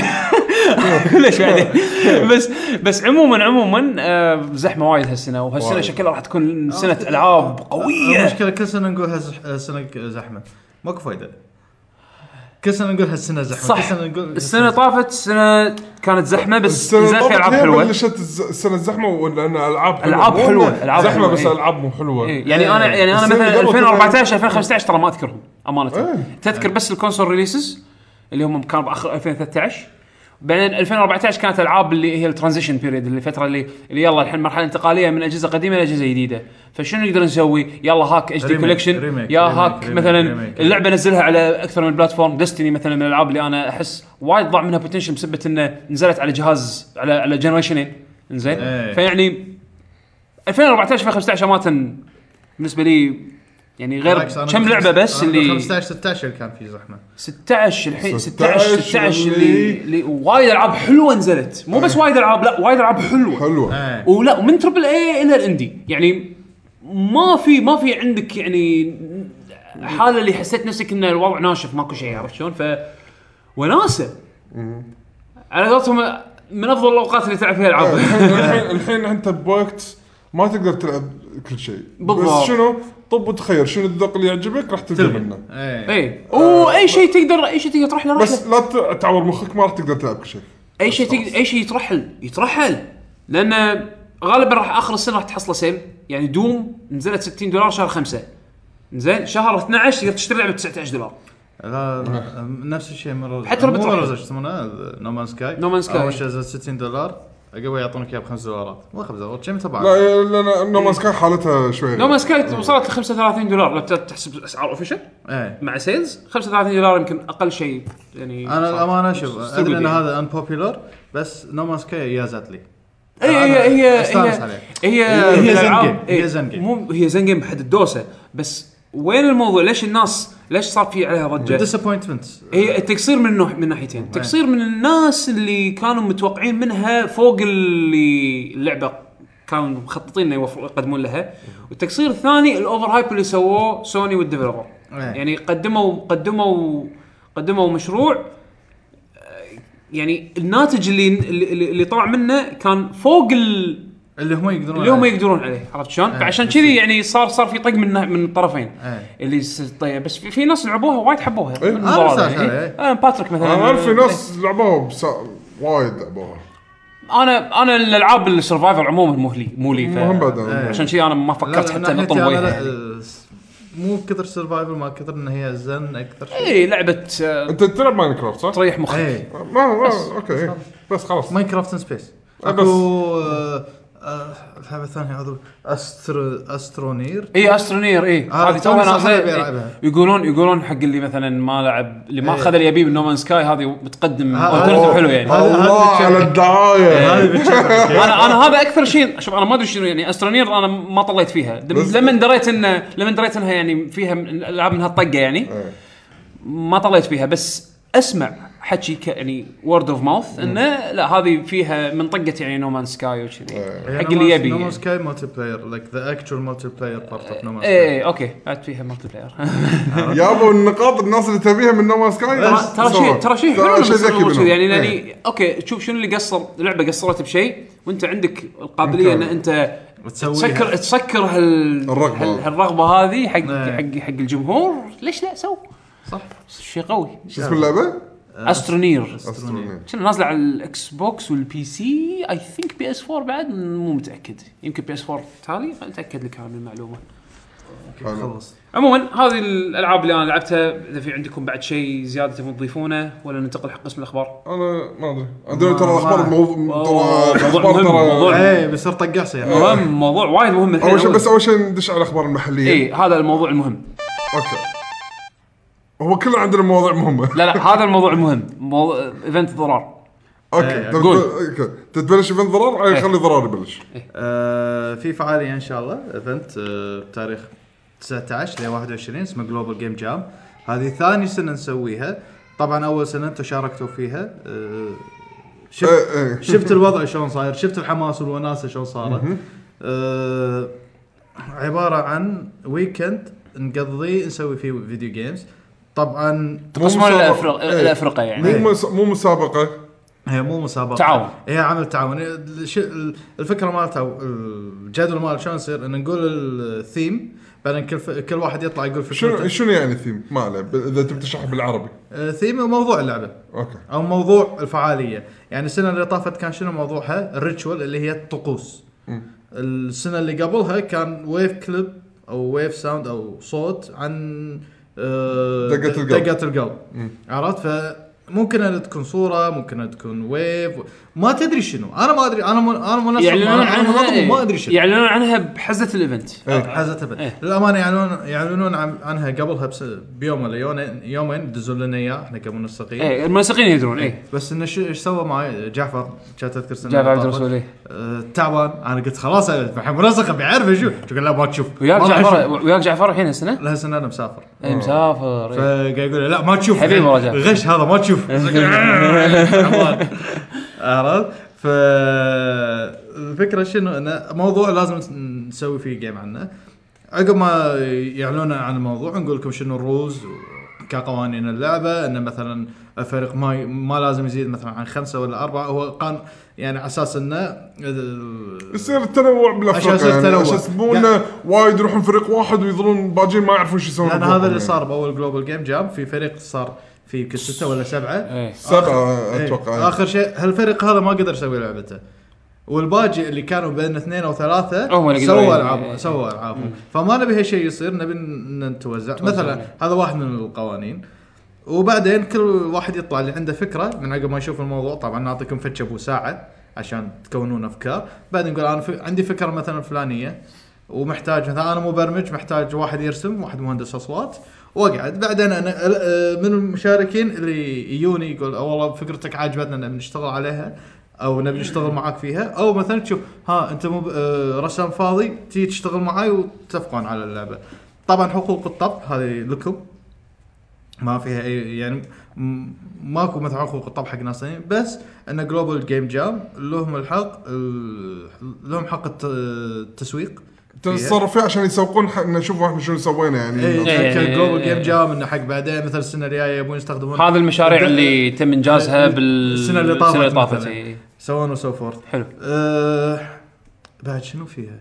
S1: ليش بعدين
S2: (laughs)
S1: بس بس عموما عموما آه، زحمه وايد هالسنه وهالسنه
S2: وايد.
S1: شكلها راح تكون سنه العاب قويه
S3: المشكله كل سنه نقول هالز- هالسنه زحمه ماكو فايده كل سنه نقول هالسنه زحمه كل
S1: صح
S3: سنه نقول
S1: السنه طافت السنه كانت زحمه بس
S2: السنه
S1: نزل فيها العاب
S2: طافت هي
S1: حلوه
S2: بلشت الز- السنه الزحمه ولان العاب حلوه
S1: ألعاب
S2: مو
S1: حلوة،
S2: إنه
S1: ألعاب
S2: زحمه
S1: حلوة،
S2: بس
S1: إيه.
S2: العاب مو حلوه
S3: أيوة.
S1: إيه، يعني انا يعني انا
S2: السنة
S1: مثلا
S2: اللي قبل
S1: 2014 2015 ترى ما اذكرهم امانه
S2: إيه.
S1: تذكر بس الكونسول ريليسز اللي هم كانوا باخر 2013 بعدين 2014 كانت العاب اللي هي الترانزيشن بيريد اللي الفتره اللي, اللي يلا الحين مرحله انتقاليه من اجهزه قديمه لاجهزه جديده فشنو نقدر نسوي يلا هاك اتش دي
S3: Remake-
S1: كولكشن
S3: remake-
S1: يا
S3: remake-
S1: هاك
S3: remake-
S1: مثلا
S3: remake.
S1: اللعبه نزلها على اكثر من بلاتفورم ديستني مثلا من الالعاب اللي انا احس وايد ضاع منها بوتنشل بسبه انه نزلت على جهاز على على جنريشنين انزين
S3: إيه.
S1: فيعني 2014 2015 امانه بالنسبه لي يعني غير
S3: بالعكس، أنا
S1: كم لعبه بس
S3: أنا
S1: اللي
S3: 15 16 اللي كان في زحمه
S1: 16 الحين 16
S2: 16
S1: 16 اللي,
S2: اللي-
S1: اللي وايد العاب حلوه نزلت مو بس وايد العاب لا وايد العاب حلوه
S2: حلوه
S3: إيه.
S1: ولا ومن تربل اي الى الاندي يعني ما في ما في عندك يعني حاله اللي حسيت نفسك ان الوضع ناشف ماكو شيء عرفت شلون ف وناسه على قولتهم من افضل الاوقات اللي تلعب فيها العاب
S3: إيه.
S2: الحين الحين- الحين انت بوقت ما تقدر تلعب كل شيء
S1: بالضبط.
S2: بس شنو طب وتخير شنو الذوق اللي يعجبك راح تلقى منه
S1: آه.
S3: ايه
S1: اي واي إيه. شيء تقدر اي شيء تقدر تروح له روح له.
S2: بس لا ت- تعور مخك ما راح تقدر تلعب كل شيء
S1: اي شيء تقدر اي شيء يترحل يترحل لان غالبا راح اخر السنه راح تحصله سيل يعني دوم نزلت 60 دولار شهر 5 زين شهر 12 تقدر تشتري لعبه 19 دولار
S3: إيه. لا لا، نفس الشيء مره
S1: حتى لو
S3: مو
S1: بتروح.
S3: مره شو يسمونه نومان سكاي
S1: No Man's Sky.
S3: اول شيء زاد 60 دولار قبل يعطونك اياه ب 5 دولارات مو 5 دولارات كم تبع
S2: لا لا نومان سكاي حالتها شوي
S1: نو مان سكاي وصلت ل 35 دولار لو تحسب اسعار اوفيشال
S3: ايه
S1: مع سيلز 35 دولار يمكن اقل شيء يعني
S3: انا
S1: صار.
S3: الامانه شوف
S1: Stupid
S3: ادري ان
S1: يعني.
S3: هذا ان بوبيلر بس نومان سكاي يازت لي
S1: اي هي
S3: أنا
S1: هي
S3: أستانس
S1: هي
S3: عليه.
S1: هي
S3: هي
S1: من
S3: زين
S1: الألعاب-
S3: جيم، هي
S1: إيه،
S3: زين جيم.
S1: مو هي زين جيم بحد الدوسه بس وين الموضوع ليش الناس ليش صار في عليها ضجه؟
S3: ديسابوينتمنت
S1: هي إيه، تقصير من نوع من ناحيتين تقصير من الناس اللي كانوا متوقعين منها فوق اللي اللعبه كانوا مخططين انه يوفر- يقدمون لها والتقصير الثاني الاوفر هايب اللي سووه سوني والديفلوبر
S3: إيه.
S1: يعني قدموا قدموا قدموا مشروع آه، يعني الناتج اللي اللي, اللي- اللي طلع منه كان فوق ال-
S3: اللي هم يقدرون
S1: اللي هم
S3: عليه.
S1: يقدرون عليه عرفت شلون؟
S3: إيه.
S1: فعشان كذي يعني صار صار في طق من من الطرفين
S3: إيه.
S1: اللي س- طيب بس في, في ناس لعبوها وايد حبوها
S2: إيه.
S1: من
S2: أنا
S1: ضرر
S3: أستانس
S1: يعني.
S3: عليها، إيه.
S1: انا باتريك مثلا
S2: انا اعرف في ناس لعبوها بس وايد لعبوها
S1: انا انا الالعاب السرفايفر عموما مو لي مو لي ف...
S2: مهم بعد أنا.
S3: إيه.
S1: عشان شي انا ما
S3: لا،
S1: فكرت
S3: لا، من
S1: حتى اني
S3: ناحيتي
S1: اطلب
S3: أنا
S1: وجهي يعني.
S3: لا، س- مو كثر سرفايفل ما كثر ان هي زن اكثر شيء
S1: اي لعبه آه، طيب.
S2: انت تلعب ماين كرافت صح؟
S1: تريح مخك
S3: ايه
S2: ما ما اوكي بس خلاص
S3: ماين كرافت ان سبيس
S2: بس.
S3: اكو آه، آه، الحلبه الثانيه عضو استر استرونير
S1: اي استرونير اي
S3: آه،
S1: إيه، هذه توها
S3: توني صح
S1: نازله
S3: أبي
S1: إي.
S3: ألعبها.
S1: يقولون يقولون حق اللي مثلا ما لعب اللي ما
S3: إي.
S1: اخذ اللي يبيه من نومان سكاي هذه بتقدم
S3: ها-
S1: alternative
S3: أوه.
S1: حلو يعني
S3: هذا- إيه. هذا
S2: الله على
S3: بتشوف.
S2: الدعايه
S3: هذه
S1: (laughs)
S3: بتشوفها.
S1: انا انا هذا اكثر شيء شوف انا ما ادري شنو يعني استرونير انا ما طليت فيها
S2: بس-
S1: لما دريت ان لما دريت انها يعني فيها من- العاب من هالطقه يعني
S2: إيه.
S1: ما طليت فيها بس اسمع حكي ك- يعني وورد اوف ماوث انه لا هذه فيها من طقه يعني نومان سكاي وكذي
S2: إيه.
S1: حق اللي يبي
S3: نو
S1: يعني.
S3: سكاي مالتي بلاير لايك ذا اكشوال مالتي بلاير بارت اوف نو سكاي
S1: ايه اوكي بعد فيها مالتي بلاير
S2: (laughs) يابو النقاط الناس اللي تبيها من نوما سكاي
S1: ترى ترى شيء ترى شيء حلو
S2: شيء
S1: لما
S2: ذكي
S1: تصير
S2: منهم.
S1: كذي يعني
S2: إيه.
S1: يعني اوكي تشوف شنو اللي قصر اللعبه قصرت بشيء وانت عندك القابليه ان
S2: ممكن.
S1: انت
S3: وتسويها.
S1: تسكر تسكر هال
S2: الرغبة.
S1: هال- هالرغبه هذه حق
S3: إيه.
S1: حق حق الجمهور ليش لا سو
S3: صح
S1: شيء قوي
S2: شو اسم اللعبه؟
S1: استرونير
S2: أسترونير.
S1: كنا نازله على الاكس بوكس والبي سي اي ثينك بي اس 4 بعد مو متاكد يمكن بي اس 4 تالي اتاكد لك أنا من المعلومه
S3: آه، أوكي، خلص
S1: عموما هذه الالعاب اللي انا لعبتها اذا في عندكم بعد شيء زياده تبون تضيفونه ولا ننتقل حق قسم الاخبار
S2: انا ما ادري ادري
S3: ما-
S2: ترى اخبار
S3: ما-
S2: الموضوع
S1: أوه،
S2: ترى
S1: موضوع
S2: الاخبار
S1: مهم، موضوع.
S2: ترى
S3: ايه بيصير طقاس يعني
S1: مهم موضوع وايد مهم الحين
S2: اول شيء بس اول شيء ندش على الاخبار المحليه
S1: اي هذا الموضوع المهم
S2: اوكي هو كلنا عندنا مواضيع
S3: إيه،
S2: مهمه
S1: لا لا هذا الموضوع المهم موضوع ايفنت ضرار
S2: اوكي
S3: إيه.
S2: طب- إيه،
S1: قول. إيه.
S2: اوكي تبلش ايفنت ضرر أي، خلي ضرر يبلش
S3: آه، في فعاليه ان شاء الله ايفنت آه، بتاريخ 19 ل 21 اسمه جلوبال جيم جام هذه ثاني سنه نسويها طبعا اول سنه انتم شاركتوا فيها آه، شفت
S2: إيه، إيه.
S3: شفت الوضع شلون صاير شفت الحماس والوناسه شلون صارت آه، عباره عن ويكند نقضيه نسوي فيه فيديو جيمز طبعا
S2: مو
S1: قسموا
S2: مسابقة.
S1: الافرقه
S2: إيه.
S1: الافرقه يعني
S2: مو مس- مو مسابقه
S3: هي مو مسابقه
S1: تعاون.
S3: هي إيه، عمل تعاون الش- الفكره مالتها أو الجدول مال شلون يصير ان نقول الثيم بعدين كل ف... كل واحد يطلع يقول
S2: شنو
S3: فكرته
S2: شنو يعني الثيم؟ ما عليه ب- اذا تبي تشرح بالعربي
S3: آه، ثيم وموضوع اللعبه
S2: اوكي
S3: او موضوع الفعاليه يعني السنه اللي طافت كان شنو موضوعها الريتشوال اللي هي الطقوس السنه اللي قبلها كان ويف كليب او ويف ساوند او صوت عن آه،
S2: دقة القلب.
S3: دقة القلب عرفت فممكن ان تكون صوره ممكن ان تكون ويف ما تدري شنو انا ما ادري انا م... انا منسق
S1: يعلنون
S3: انا
S1: عنها
S3: منظم
S1: إيه.
S3: وما ادري شنو
S1: يعلنون عنها بحزه الايفنت
S3: حزت ابد
S1: إيه.
S3: للامانه يعلنون يعلنون عن- عنها قبلها بس بيوم ولا يومين- يومين يدزون لنا اياه احنا كمنسقين
S1: ايه المنسقين يدرون ايه
S3: بس انه شو- ايش سوى معي جعفر كانت اذكر سنه
S1: جاب عبد
S3: طافت.
S1: الرسول إيه.
S3: آه، تعبان انا قلت خلاص أنا الحين منسخ ابي اعرف شو تقول لا ما تشوف
S1: وياك
S3: ما راح
S1: جعفر
S3: أشوف.
S1: وياك جعفر الحين هالسنه؟
S3: لها سنه انا مسافر
S1: اي مسافر إيه.
S3: فقاعد يقول لي لا ما تشوف
S1: حبيبي والله جعفر.
S3: غش هذا ما تشوف تعبان. عرفت ف الفكره شنو انه موضوع لازم نسوي فيه جيم عنه عقب ما يعلنون عن الموضوع نقول لكم شنو الرولز كقوانين اللعبه انه مثلا الفريق ما ي... ما لازم يزيد مثلا عن خمسه ولا اربعه هو قان يعني على اساس انه
S2: يصير التنوع
S3: عشان
S2: بالافرقه
S3: يصير
S2: يعني
S3: تنوع.
S2: عشان مو انه وايد يروحون فريق واحد ويظلون باجين ما يعرفون شو يسوون
S3: لان
S2: بروحهم
S3: هذا اللي
S2: يعني.
S3: صار باول جلوبال جيم جام في فريق صار في يمكن سته ولا سبعه
S1: ايه
S2: سبعه
S3: إيه،
S2: اتوقع
S3: اخر شيء هالفريق هذا ما قدر يسوي لعبته والباقي اللي كانوا بين اثنين او ثلاثه
S1: هم اللي قدروا إيه.
S3: سووا
S1: ي-
S3: العاب سووا العابهم فما نبي هالشيء يصير نبي ن- نتوزع مثلا هذا واحد من القوانين وبعدين كل واحد يطلع اللي عنده فكره من عقب ما يشوف الموضوع طبعا نعطيكم فتشه ابو ساعه عشان تكونون افكار بعدين نقول انا في عندي فكره مثلا فلانيه ومحتاج مثلا انا مبرمج محتاج واحد يرسم واحد مهندس اصوات واقعد بعدين انا ال- آه، من المشاركين اللي يجوني يقول "آه والله فكرتك عجبتنا نبي نشتغل عليها او نبي نشتغل معاك فيها او مثلا تشوف ها انت مو آه، رسام فاضي تيجي تشتغل معاي وتتفقون على اللعبه طبعا حقوق الطبع هذه لكم ما فيها اي يعني م- ماكو مثلا حقوق الطبع حق ناس ثانيين بس ان جلوبال جيم جام لهم الحق ال- لهم حق الت- التسويق
S2: تصرف فيه عشان يسوقون حق إنه شوفوا احنا شنو سوينا يعني
S1: إيه،
S3: اي
S1: إيه،
S3: جلوبال
S1: إيه.
S3: جيم جام انه حق بعدين مثلا السنه الجايه يبون يستخدمون
S1: هذا المشاريع اللي تم انجازها
S3: السنة
S1: بال
S3: اللي طافت
S1: السنه اللي طافت
S3: مثلاً.
S1: إيه.
S3: سوون وسو فورث
S1: حلو
S3: أه بعد شنو فيها؟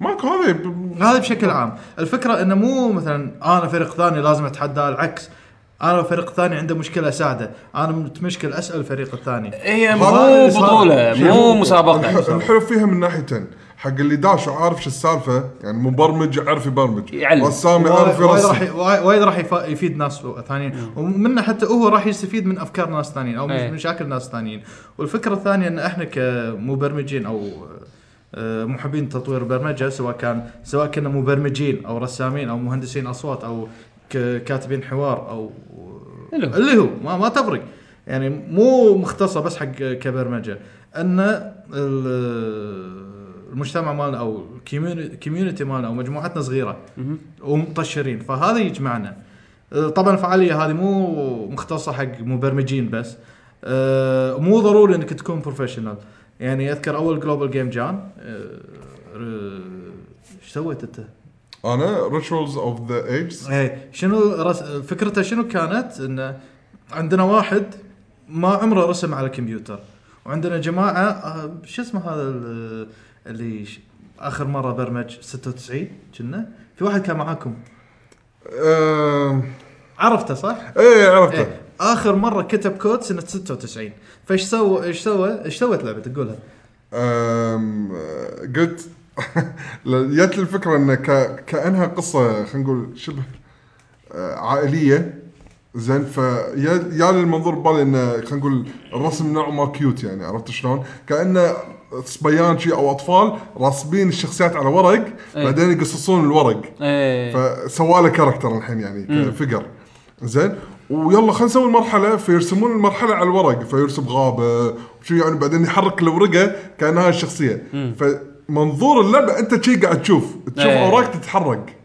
S2: ماكو هذا ب-
S3: هذا بشكل عام الفكره انه مو مثلا انا فريق ثاني لازم اتحداه العكس انا فريق ثاني عنده مشكله اساعده انا متمشكل اسال الفريق الثاني
S1: إيه، هي
S2: هذا
S1: مو
S2: اللي صار.
S1: بطوله (laughs)
S2: شنو؟
S1: مو مسابقه
S2: الح- الحلو فيها من ناحيتين حق اللي داش وعارف شو السالفه يعني مبرمج يعرف يبرمج
S1: يعلم.
S2: رسام يعرف
S3: وايد وايد راح
S2: يرسم
S3: ي- وايد وايد راح يفا- يفيد ناس ثانيين ومنه حتى هو راح يستفيد من افكار ناس ثانيين او
S1: إيه.
S3: من مشاكل ناس ثانيين والفكره الثانيه ان احنا كمبرمجين او آه، محبين تطوير برمجه سواء كان سواء كنا مبرمجين او رسامين او مهندسين اصوات او ك- كاتبين حوار او
S1: اللي هو.
S3: اللي هو ما, ما تفرق يعني مو مختصه بس حق كبرمجه ان ال- المجتمع مالنا او الكوميونتي مالنا او مجموعتنا صغيره ومطشرين فهذا يجمعنا أه، طبعا الفعاليه هذه مو مختصه حق مبرمجين بس أه، مو ضروري انك تكون بروفيشنال يعني اذكر اول جلوبال جيم جام ايش أه، سويت انت؟
S2: انا ريتشولز اوف ذا ايجز
S3: ايه شنو رس... فكرته شنو كانت انه عندنا واحد ما عمره رسم على الكمبيوتر وعندنا جماعه آه، شو اسمه هذا ال- اللي ش... اخر مره برمج 96 كنا في واحد كان معاكم عرفته صح؟
S2: ايه آه، عرفته
S3: ايه اخر مره كتب كود سنه 96 فايش سوى ايش سوى ايش سوت لعبه تقولها؟
S2: أم، قلت (laughs) جت لي الفكره انه ك... كانها قصه خلينا نقول شبه آه، عائليه زين فيا يا المنظور ببالي انه خلينا نقول الرسم نوع ما كيوت يعني عرفت شلون؟ كانه صبيان شي او اطفال راسبين الشخصيات على ورق
S1: إيه.
S2: بعدين يقصصون الورق
S1: ايه
S2: فسوى له كاركتر الحين يعني فيجر زين ويلا خلينا نسوي المرحله فيرسمون المرحله على الورق فيرسم غابه وشي يعني بعدين يحرك الورقه كانها الشخصيه فمنظور اللعبه انت شي قاعد تشوف تشوف
S1: إيه.
S2: اوراق تتحرك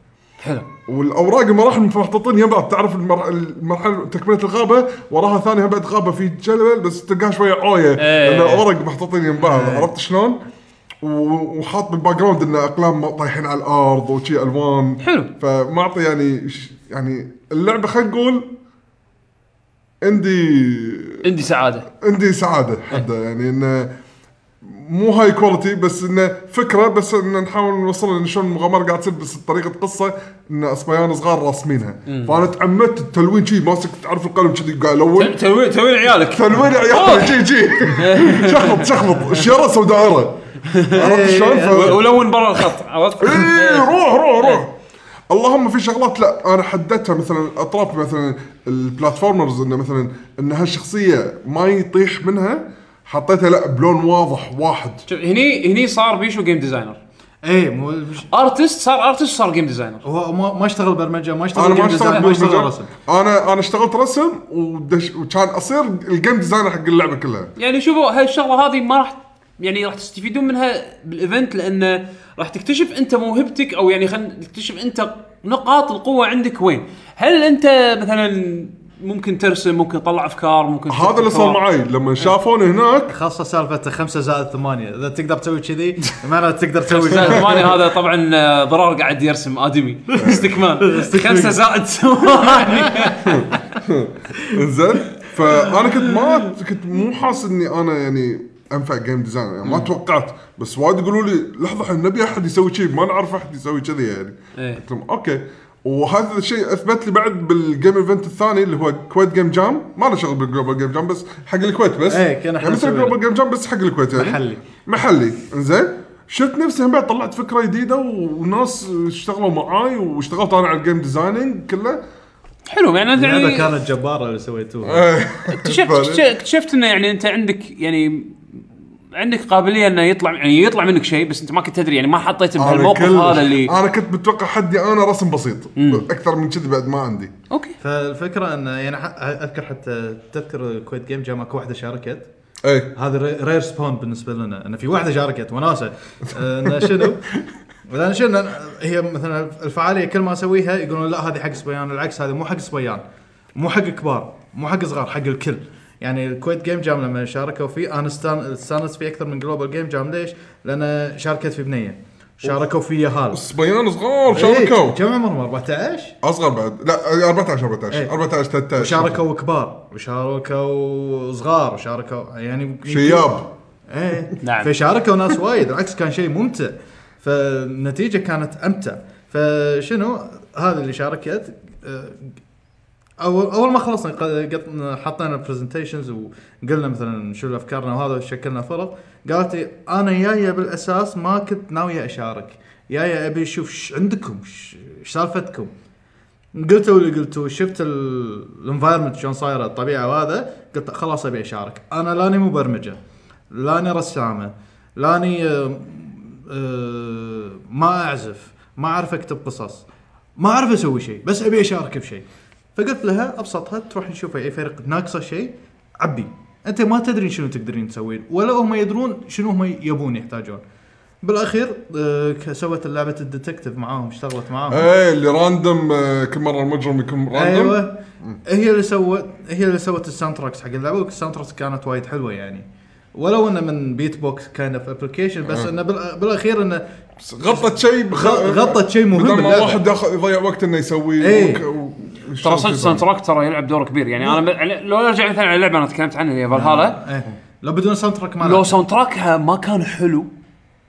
S1: حلو
S2: والاوراق المراحل محطوطين يم بعض تعرف المر- المرحله تكمله الغابه وراها ثانيه بعد غابه في جبل بس تلقاها شويه عويه
S1: إيه.
S2: لان الاوراق محطوطين يم بعض عرفت شلون؟ و- وحاط بالباك جراوند ان اقلام طايحين على الارض وشي الوان
S1: حلو.
S2: فمعطي يعني ش- يعني اللعبه خلينا نقول عندي
S1: عندي سعاده
S2: عندي سعاده حدا يعني انه مو هاي كواليتي بس انه فكره بس ان نحاول نوصل ان شلون المغامره قاعد تصير بس بطريقه قصه ان اصبيان صغار راسمينها فانا تعمدت التلوين شي ماسك تعرف القلم كذي قاعد الون
S1: تلوين تلوين عيالك (laughs)
S2: تلوين
S1: أوه.
S2: عيال جي جي شخلط شخلط شيره سوداء عرفت شلون؟ ف-
S1: ولون برا الخط (laughs) عرفت؟ إيه.
S2: ايه روح روح روح اللهم في شغلات لا انا حددتها مثلا اطراف مثلا البلاتفورمرز انه مثلا ان هالشخصيه ما يطيح منها حطيتها لا بلون واضح واحد
S1: شوف هني هني صار بيشو جيم ديزاينر
S3: ايه مو مش-
S1: ارتست صار ارتست صار جيم ديزاينر
S3: هو ما, ما اشتغل برمجه ما اشتغل
S2: انا ما
S3: game design،
S2: اشتغلت
S3: ما
S2: game
S3: اشتغل
S2: design.
S3: رسم
S2: انا انا اشتغلت رسم ودش وكان اصير الجيم ديزاينر حق اللعبه كلها
S1: يعني شوفوا هالشغله هذه ما راح يعني راح تستفيدون منها بالايفنت لان راح تكتشف انت موهبتك او يعني خلينا تكتشف انت نقاط القوه عندك وين هل انت مثلا ممكن ترسم ممكن تطلع افكار ممكن
S2: هذا اللي صار معي لما شافوني هناك
S3: خاصه سالفه 5 زائد 8 اذا تقدر تسوي (laughs) كذي معناته تقدر تسوي
S1: زائد
S3: (laughs)
S1: ثمانية هذا طبعا آه، ضرار قاعد يرسم ادمي استكمال خمسة زائد ثمانية
S2: زين فانا كنت ما كنت مو حاسس اني انا يعني انفع جيم ديزاين يعني ما توقعت بس وايد يقولوا لي لحظه احنا نبي احد يسوي شيء ما نعرف احد يسوي كذي يعني
S1: إيه.
S2: قلت لهم اوكي وهذا الشيء اثبت لي بعد بالجيم ايفنت الثاني اللي هو كويت جيم جام ما له شغل بالجلوبال جيم جام بس حق الكويت بس
S3: إيه، كان إحنا
S2: يعني مثل
S3: نسوي
S2: الجلوبال جيم جام بس حق الكويت يعني
S3: محلي.
S2: محلي انزين شفت نفسي هم بعد طلعت فكره جديده وناس اشتغلوا معاي واشتغلت انا على الجيم ديزايننج
S3: (laughs)
S2: كله
S1: حلو يعني أنت
S3: اللعبه
S1: يعني
S3: كانت جباره اللي سويتوها
S1: اكتشفت اكتشفت- اكتشفت انه يعني انت عندك يعني عندك قابليه انه يطلع يعني يطلع منك شيء بس انت ما كنت تدري يعني ما حطيت بهالموقف
S2: كلش-
S1: هذا اللي
S2: انا كنت متوقع حدي انا رسم بسيط اكثر من كذي بعد ما عندي
S1: اوكي
S3: فالفكره انه يعني ح- اذكر حتى تذكر الكويت جيم جام اكو واحده شاركت
S2: اي
S3: هذا ري- رير سبون بالنسبه لنا ان في واحده شاركت وناسه آه، انه شنو؟ لان شنو هي مثلا الفعاليه كل ما اسويها يقولون لا هذه حق صبيان العكس هذه مو حق صبيان مو حق كبار مو حق صغار حق الكل يعني الكويت جيم جام لما شاركوا فيه انا استان- استانست فيه اكثر من جلوبال جيم جام ليش؟ لان شاركت في بنيه شاركوا في يهال
S2: صبيان صغار شاركوا
S3: إيه، كم عمرهم 14
S2: اصغر بعد لا 14 14
S3: إيه.
S2: 14 13
S3: وشاركوا كبار وشاركوا صغار وشاركوا يعني
S2: شياب
S3: ايه
S1: نعم.
S3: نعم فشاركوا ناس وايد العكس كان شيء ممتع فالنتيجه كانت امتع فشنو هذا اللي شاركت آه، اول اول ما خلصنا ق- قط- حطينا برزنتيشنز وقلنا مثلا شو افكارنا وهذا شكلنا فرق قالت لي انا جايه بالاساس ما كنت ناويه اشارك جايه ابي اشوف ايش عندكم ايش إيش سالفتكم قلتوا اللي قلتوا شفت الانفايرمنت شلون صايره الطبيعه وهذا قلت خلاص ابي اشارك انا لاني مبرمجه لاني رسامه لاني آه، آه، ما اعزف ما اعرف اكتب قصص ما اعرف اسوي شيء بس ابي اشارك بشيء فقلت لها ابسطها تروح نشوف اي فريق ناقصه شيء عبي انت ما تدرين شنو تقدرين تسوين ولا هم يدرون شنو هم يبون يحتاجون بالاخير آه، سوت لعبه الديتكتيف معاهم اشتغلت معاهم
S2: ايه اللي راندوم آه، كل مره المجرم يكون راندوم
S3: ايوه هي اللي سوت هي اللي سوت الساوند تراكس حق اللعبه والساوند تراكس كانت وايد حلوه يعني ولو انه من بيت بوكس كايند اوف ابلكيشن بس انه بالأ- بالاخير انه
S2: بس غطت شيء بخ...
S3: غ- غطت شيء مهم
S2: بدل ما
S3: باللعبة.
S2: واحد ياخذ يضيع وقت انه يسوي
S3: إيه.
S2: وك- و-
S1: ترى
S2: وشغل
S1: صدق
S2: كذا.
S1: الساوند تراك ترى يلعب دور كبير يعني انا يعني لو ارجع مثلا على اللعبه انا تكلمت عنها اللي هي فالهالا
S3: إيه. لو بدون ساوند تراك ما
S1: لو
S3: لعبت
S1: ساوند تراكها ما كان حلو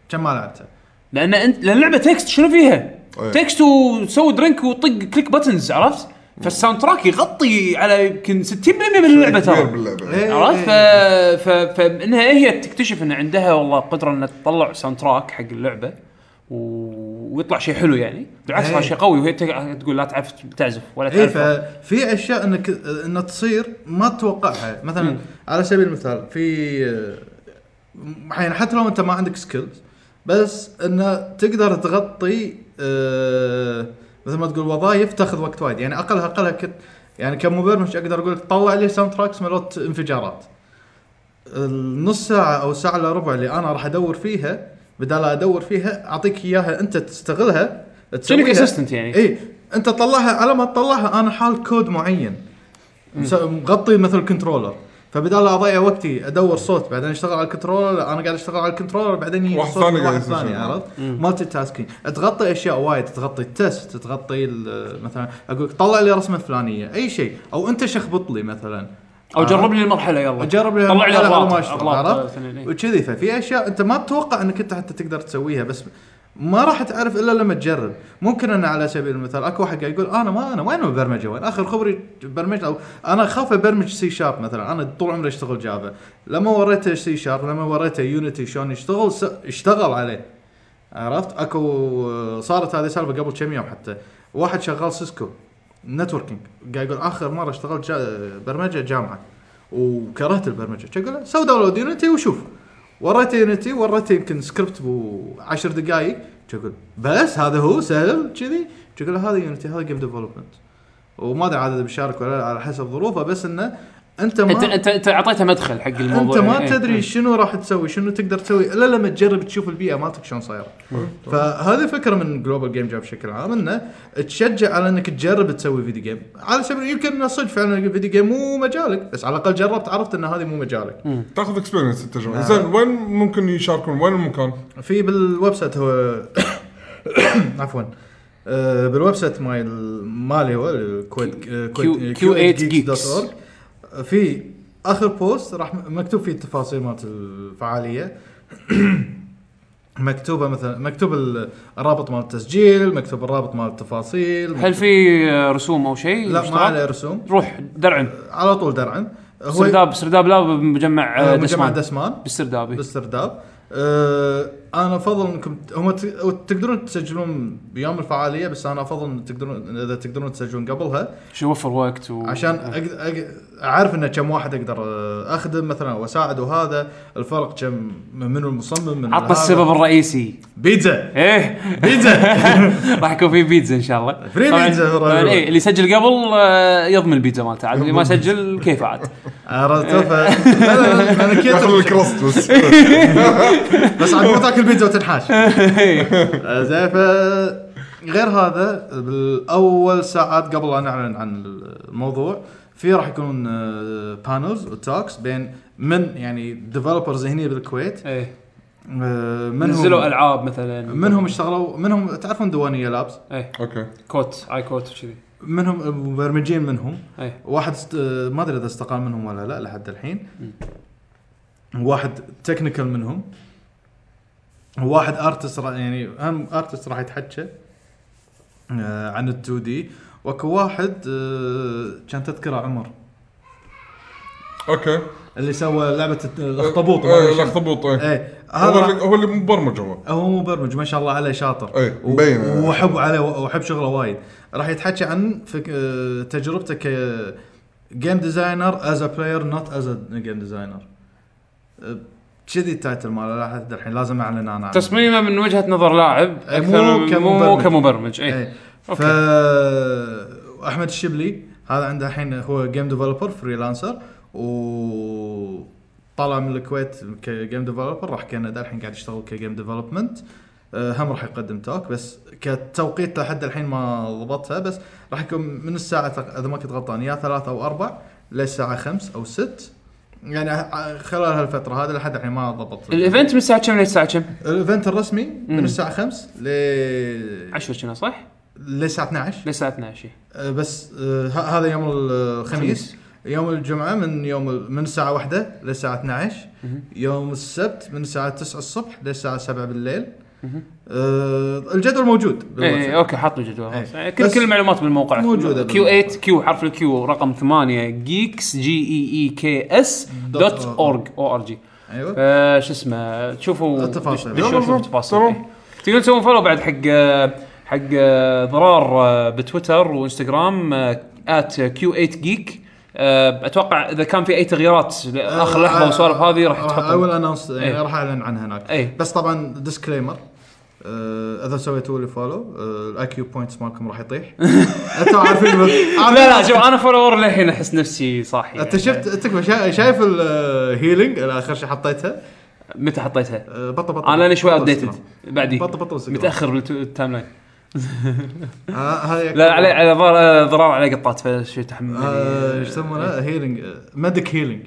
S3: كم ما لعبته
S1: لان انت لان اللعبه تكست شنو فيها؟
S3: إيه.
S2: أي.
S1: تكست وسوي درينك وطق كليك بتنز عرفت؟ فالساوند تراك يغطي على يمكن 60% من اللعبه
S2: كبير
S1: ترى
S2: باللعبه
S3: إيه.
S1: عرفت ف... ف... فانها هي تكتشف ان عندها والله قدره انها تطلع ساوند تراك حق اللعبه و... ويطلع شيء حلو يعني بالعكس
S3: إيه.
S1: هذا شيء قوي وهي تق- تقول لا تعرف تعزف ولا
S3: اي
S1: تعرف
S3: إيه، ففي اشياء انك انها تصير ما تتوقعها مثلا على سبيل المثال في آه، يعني حتى لو انت ما عندك سكيلز بس انه تقدر تغطي آه، مثل ما تقول وظائف تاخذ وقت وايد يعني اقلها اقلها كت يعني كمبرمج اقدر اقول لك طلع لي ساوند تراكس مالت انفجارات النص ساعه او ساعه الا ربع اللي انا راح ادور فيها بدال لا ادور فيها اعطيك اياها انت تستغلها
S1: شنك
S3: تسويها.
S1: اسيستنت يعني
S2: إيه.
S3: اي انت إيه، طلعها على ما تطلعها انا حال كود معين مس- مغطي مثل كنترولر فبدال لا اضيع وقتي ادور صوت بعدين اشتغل على الكنترولر لا، انا قاعد اشتغل على الكنترولر بعدين يجي
S2: واحد
S3: صوت
S2: ثاني قاعد
S3: واحد
S2: يسوي
S3: ثاني
S2: شيء.
S3: عرفت مالتي تاسكينج تغطي اشياء وايد تغطي التست تغطي ال- مثلا اقول لك طلع لي رسمه فلانيه اي شيء او انت شخبط لي مثلا
S1: او
S3: آه.
S1: جرب لي المرحله يلا
S3: جرب لي
S1: طلع لي
S3: المرحلة
S1: اغلاط
S3: على ما أشتغل،
S1: اغلاط
S3: عرفت؟
S1: إيه.
S3: وكذي ففي اشياء انت ما تتوقع انك انت حتى تقدر تسويها بس ما راح تعرف الا لما تجرب ممكن انا على سبيل المثال اكو واحد قاعد يقول انا ما انا وين البرمجه وين اخر خبري برمجه او انا اخاف ابرمج سي شارب مثلا انا طول عمري اشتغل جافا لما وريته سي شارب لما وريته يونيتي شلون يشتغل س- اشتغل عليه عرفت اكو صارت هذه السالفه قبل كم يوم حتى واحد شغال سيسكو نتوركينج قاعد يقول اخر مره اشتغلت جا برمجه جامعه وكرهت البرمجه شو اقول له سو داونلود يونيتي وشوف وريته يونيتي وريته يمكن سكريبت بو 10 دقائق شو اقول بس هذا هو سهل كذي شو اقول له هذا يونيتي هذا جيم ديفلوبمنت وما ادري عاد إذا بيشارك ولا لا، على حسب ظروفه بس انه انت ما
S1: انت انت انت اعطيتها مدخل حق الموضوع
S3: انت ما
S1: يعني.
S3: تدري شنو راح تسوي شنو تقدر تسوي الا لما تجرب تشوف البيئه مالتك شلون صايره فهذه فكره من جلوبال جيم جاب بشكل عام انه تشجع على انك تجرب تسوي فيديو جيم على سبيل يمكن انه صدق فعلا الفيديو جيم مو مجالك بس على الاقل جربت عرفت ان هذه مو مجالك
S2: تاخذ اكسبيرينس انت جماعه
S3: آه.
S2: زين وين ممكن يشاركون وين المكان؟
S3: في بالويب سايت هو (coughs) عفوا آه، بالويب سايت ماي مالي هو آه، الكويت
S1: Q- Q8 Geeks.
S3: org آه، في اخر بوست راح مكتوب فيه التفاصيل مالت الفعاليه (coughs) مكتوبه مثلا مكتوب الرابط مال التسجيل مكتوب الرابط مال التفاصيل
S1: هل في آه، رسوم او شيء
S3: لا ما
S1: مشترك؟
S3: عليه رسوم
S1: روح درعم
S3: على طول درعا هو
S1: سرداب سرداب لا بمجمع
S3: آه،
S1: آه،
S3: مجمع
S1: دسمان
S3: دسمان
S1: بالسردابي
S3: باسترداب أه انا افضل انكم ت- هم ت- تقدرون تسجلون بيوم الفعاليه بس انا افضل ان تقدرون اذا تقدرون تسجلون قبلها
S1: شو يوفر وقت و...
S3: عشان أقد... أق... اعرف انه كم واحد اقدر آه، اخدم مثلا واساعد وهذا الفرق كم من منو المصمم من
S1: عطنا
S3: هذا.
S1: السبب الرئيسي
S3: بيتزا
S1: ايه
S3: بيتزا
S1: (laughs) راح يكون في بيتزا ان شاء الله
S3: فري
S1: طبعاً-
S3: بيتزا
S1: طبعاً
S3: راح يروح.
S1: ايه اللي يسجل قبل آه، يضمن البيتزا مالته عاد اللي ما سجل كيف عاد
S3: عرفت ف لا لا لا انا
S2: داخل
S3: كيت
S2: الكروست (laughs) بس (laughs)
S3: بس عاد مو تاكل بيتزا
S1: (laughs)
S3: وتنحاش
S1: إيه.
S3: آه، زين ف غير هذا بالاول ساعات قبل ان نعلن عن الموضوع في راح يكون آه، بانلز وتوكس بين من يعني ديفلوبرز هنا بالكويت
S1: ايه
S3: آه،
S1: نزلوا
S3: منهم
S1: العاب مثلا
S3: منهم اشتغلوا منهم تعرفون دوانيه لابس
S1: ايه
S2: اوكي
S1: كوت اي كوت وكذي
S3: منهم مبرمجين منهم
S1: ايه
S3: واحد است... آه، ما ادري اذا استقال منهم ولا لا لحد الحين واحد تكنيكال منهم واحد ارتست را... يعني هم ارتست راح يتحكى آه، عن ال 2 دي واكو واحد آه، كان تذكره عمر
S2: اوكي
S3: اللي سوى لعبه الت- الاخطبوط ما
S2: ايه
S3: أدري شنو.
S2: الاخطبوط ايه
S3: ايه
S2: هو
S3: هذا
S2: اللي- هو اللي مبرمج هو
S3: هو مبرمج ما شاء الله عليه شاطر
S2: إيه،
S3: و-
S2: مبين، آه.
S3: واحب عليه واحب شغله وايد راح يتحكي عن فك... آه، تجربته ك جيم ديزاينر از ا بلاير نوت از ا جيم ديزاينر آه، كذي التايتل ماله لا أحد الحين لازم اعلن انا عنه.
S1: آه. تصميمه من وجهه نظر لاعب
S3: أي، مو
S1: اكثر من-
S3: كمبرمج.
S1: مو كمبرمج إيه. اي
S3: ايه ف
S1: أوكي.
S3: احمد الشبلي هذا عنده الحين هو جيم ديفلوبر فريلانسر و طلع من الكويت كجيم ديفلوبر راح كندا الحين قاعد يشتغل كجيم ديفلوبمنت أه، هم راح يقدم توك بس كتوقيت لحد الحين ما ضبطها بس راح يكون من الساعه تق- اذا ما كنت غلطان يا ثلاث او اربع للساعه خمس او ست يعني ع- خلال هالفتره هذه لحد الحين ما ضبط
S1: الايفنت من الساعه كم للساعه كم؟
S3: الايفنت الرسمي من
S1: مم.
S3: الساعه 5 ل
S1: 10 كنا صح؟
S3: للساعه 12
S1: للساعه 12
S3: أه، بس أه، ه- هذا يوم الخميس
S1: خميس.
S3: يوم الجمعة من يوم ال- من الساعة واحدة للساعة 12
S1: مهم.
S3: يوم السبت من الساعة 9 الصبح للساعة 7 بالليل
S1: مهم.
S3: أه، الجدول موجود
S1: اي
S3: بالواتساب
S1: اوكي حاط الجدول
S3: إيه.
S1: خلاص. يعني كل
S3: بس
S1: كل المعلومات بالموقع
S3: موجودة
S1: كيو
S3: بالموقع.
S1: 8 كيو حرف الكيو رقم 8 جيكس جي اي اي كي اس دوت اورج او ار جي
S3: ايوه
S1: فشو آه، اسمه تشوفوا
S3: التفاصيل.
S1: دش- دشوا
S2: يلا،
S1: شوفوا
S2: يلا.
S1: التفاصيل
S2: تمام.
S1: إيه. تقدرون تسوون فولو بعد حق آه، حق ضرار آه، بتويتر وانستغرام آه، ات كيو 8 جيك اتوقع اذا آه، كان في اي تغييرات
S3: آه،
S1: اخر لحظه والسوالف هذه راح
S3: اي
S1: تحطون
S3: ويل انونس يعني
S1: إيه.
S3: راح اعلن عنها هناك
S1: اي
S3: بس آه، طبعا ديسكليمر اذا سويتوا لي فولو الاي كيو بوينتس مالكم
S1: (laughs)
S3: راح يطيح انتم عارفين
S1: لا لا شوف انا فولور للحين احس نفسي صاحي يعني.
S3: انت شفت تكفى شا- شايف آه، الهيلينج اخر شيء حطيتها
S1: متى حطيتها؟
S3: أه، بطل بطل
S1: انا لاني شوي
S3: بطل
S1: ابديتد
S3: Instagram.
S1: بعدي
S3: بطل بطل Instagram.
S1: متاخر بالتايم لاين
S3: ها- هاي
S1: لا عليه على ضرر ضرر عليه قطات فشوي تحمل
S3: آه، ايش يسمونه آه، هيلينج ميديك هيلينج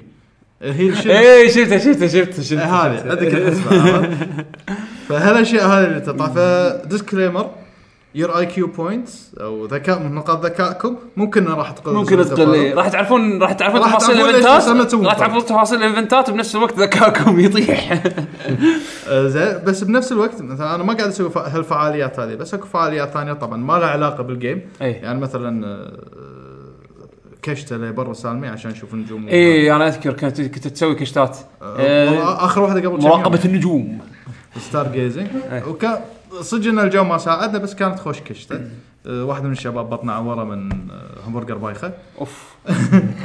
S3: هيل شيل
S1: اي شفته شفته شفته شفته
S3: إيه، هذه
S1: شفته.
S3: عندك الحسبه عرفت؟ فهالاشياء هذه اللي تطلع فديسكليمر يور اي كيو بوينتس او ذكاء من نقاط ذكائكم ممكن راح تقل
S1: ممكن تقل إيه. راح تعرفون راح تعرفون
S3: راح
S1: تفاصيل
S3: تعرفون ليش رسمنا
S1: الايفنتات
S3: تسوون
S1: راح
S3: فرق.
S1: تعرفون تفاصيل الايفنتات وبنفس الوقت ذكاكم
S3: (laughs)
S1: يطيح
S3: آه، زين بس بنفس الوقت مثلا انا ما قاعد اسوي فع- هالفعاليات هذه بس اكو فعاليات ثانيه طبعا ما لها علاقه بالجيم
S1: اي
S3: يعني مثلا آه، كشته لبرا سالمي عشان اشوف النجوم
S1: اي انا اذكر إيه، كنت كنت تسوي كشتات
S3: آه، والله اخر واحده قبل كم يوم.
S1: مراقبه النجوم
S3: ستار جيزنج
S1: أي.
S3: وكان صدق ان الجو ما ساعدنا بس كانت خوش كشته أه، واحد من الشباب بطنه عوره من أه، همبرجر بايخه (laughs)
S1: اوف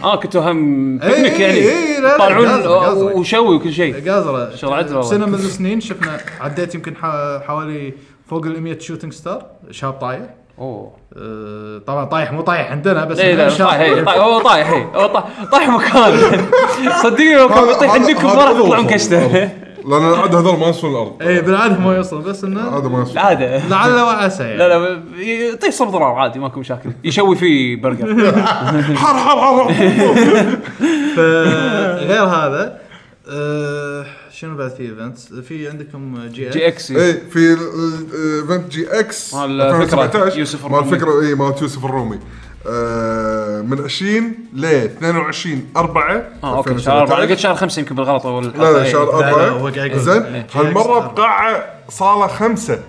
S1: اه كنتوا هم
S3: إي،
S1: بيكنيك
S3: إي، إي، إيه، لا، لا،
S1: يعني
S3: قازرة، قازرة.
S1: طالعون وشوي وكل
S3: إيه.
S1: شيء
S3: قازره
S1: شغل عدل والله.
S3: سنه من السنين شفنا عديت يمكن حا- حوالي فوق ال 100 شوتنج ستار شاب طايح
S1: اوه
S3: أه، طبعا طايح مو طايح عندنا بس
S1: اي إيه، لا
S3: شاب
S1: طايح إي، طايح- هو طايح إي، هو طايح- طايح
S3: (laughs)
S1: مكان صدقني لو كان
S2: هذا-
S1: بيطيح
S2: هذا-
S1: عندكم
S2: هذا
S1: ما راح
S2: هذا
S1: تطلعون
S2: وصل
S3: (laughs)
S1: كشته
S2: الأرض. لان العاد هذول ما يوصلون الارض
S3: اي بالعاده إيه، ما يوصل بس انه
S2: هذا ما
S1: (laughs)
S3: (laughs)
S2: يوصل
S1: العاده
S3: لعل وعسى يعني
S1: لا لا يطيح صب ضرار عادي ماكو مشاكل يشوي فيه
S3: (laughs)
S1: برجر
S2: حر حر حر
S3: فغير هذا أه، شنو بعد في ايفنتس؟ في عندكم جي
S1: جي اكس
S2: اي إيه، في ايفنت جي اكس
S1: مال الفكرة،
S2: 2017
S1: يوسف
S2: مال
S1: الرومي.
S2: الفكره اي مال يوسف الرومي آه، من 20 ل 22 4
S1: اه اوكي شهر اربعه قلت
S2: 2017.
S1: شهر إيه. خمسه يمكن بالغلط اول
S2: لا لا شهر
S3: لا، لا، هو قاعد
S2: 4
S3: يقول.
S2: زين
S3: إيه.
S2: هالمره بقاعه صاله خمسه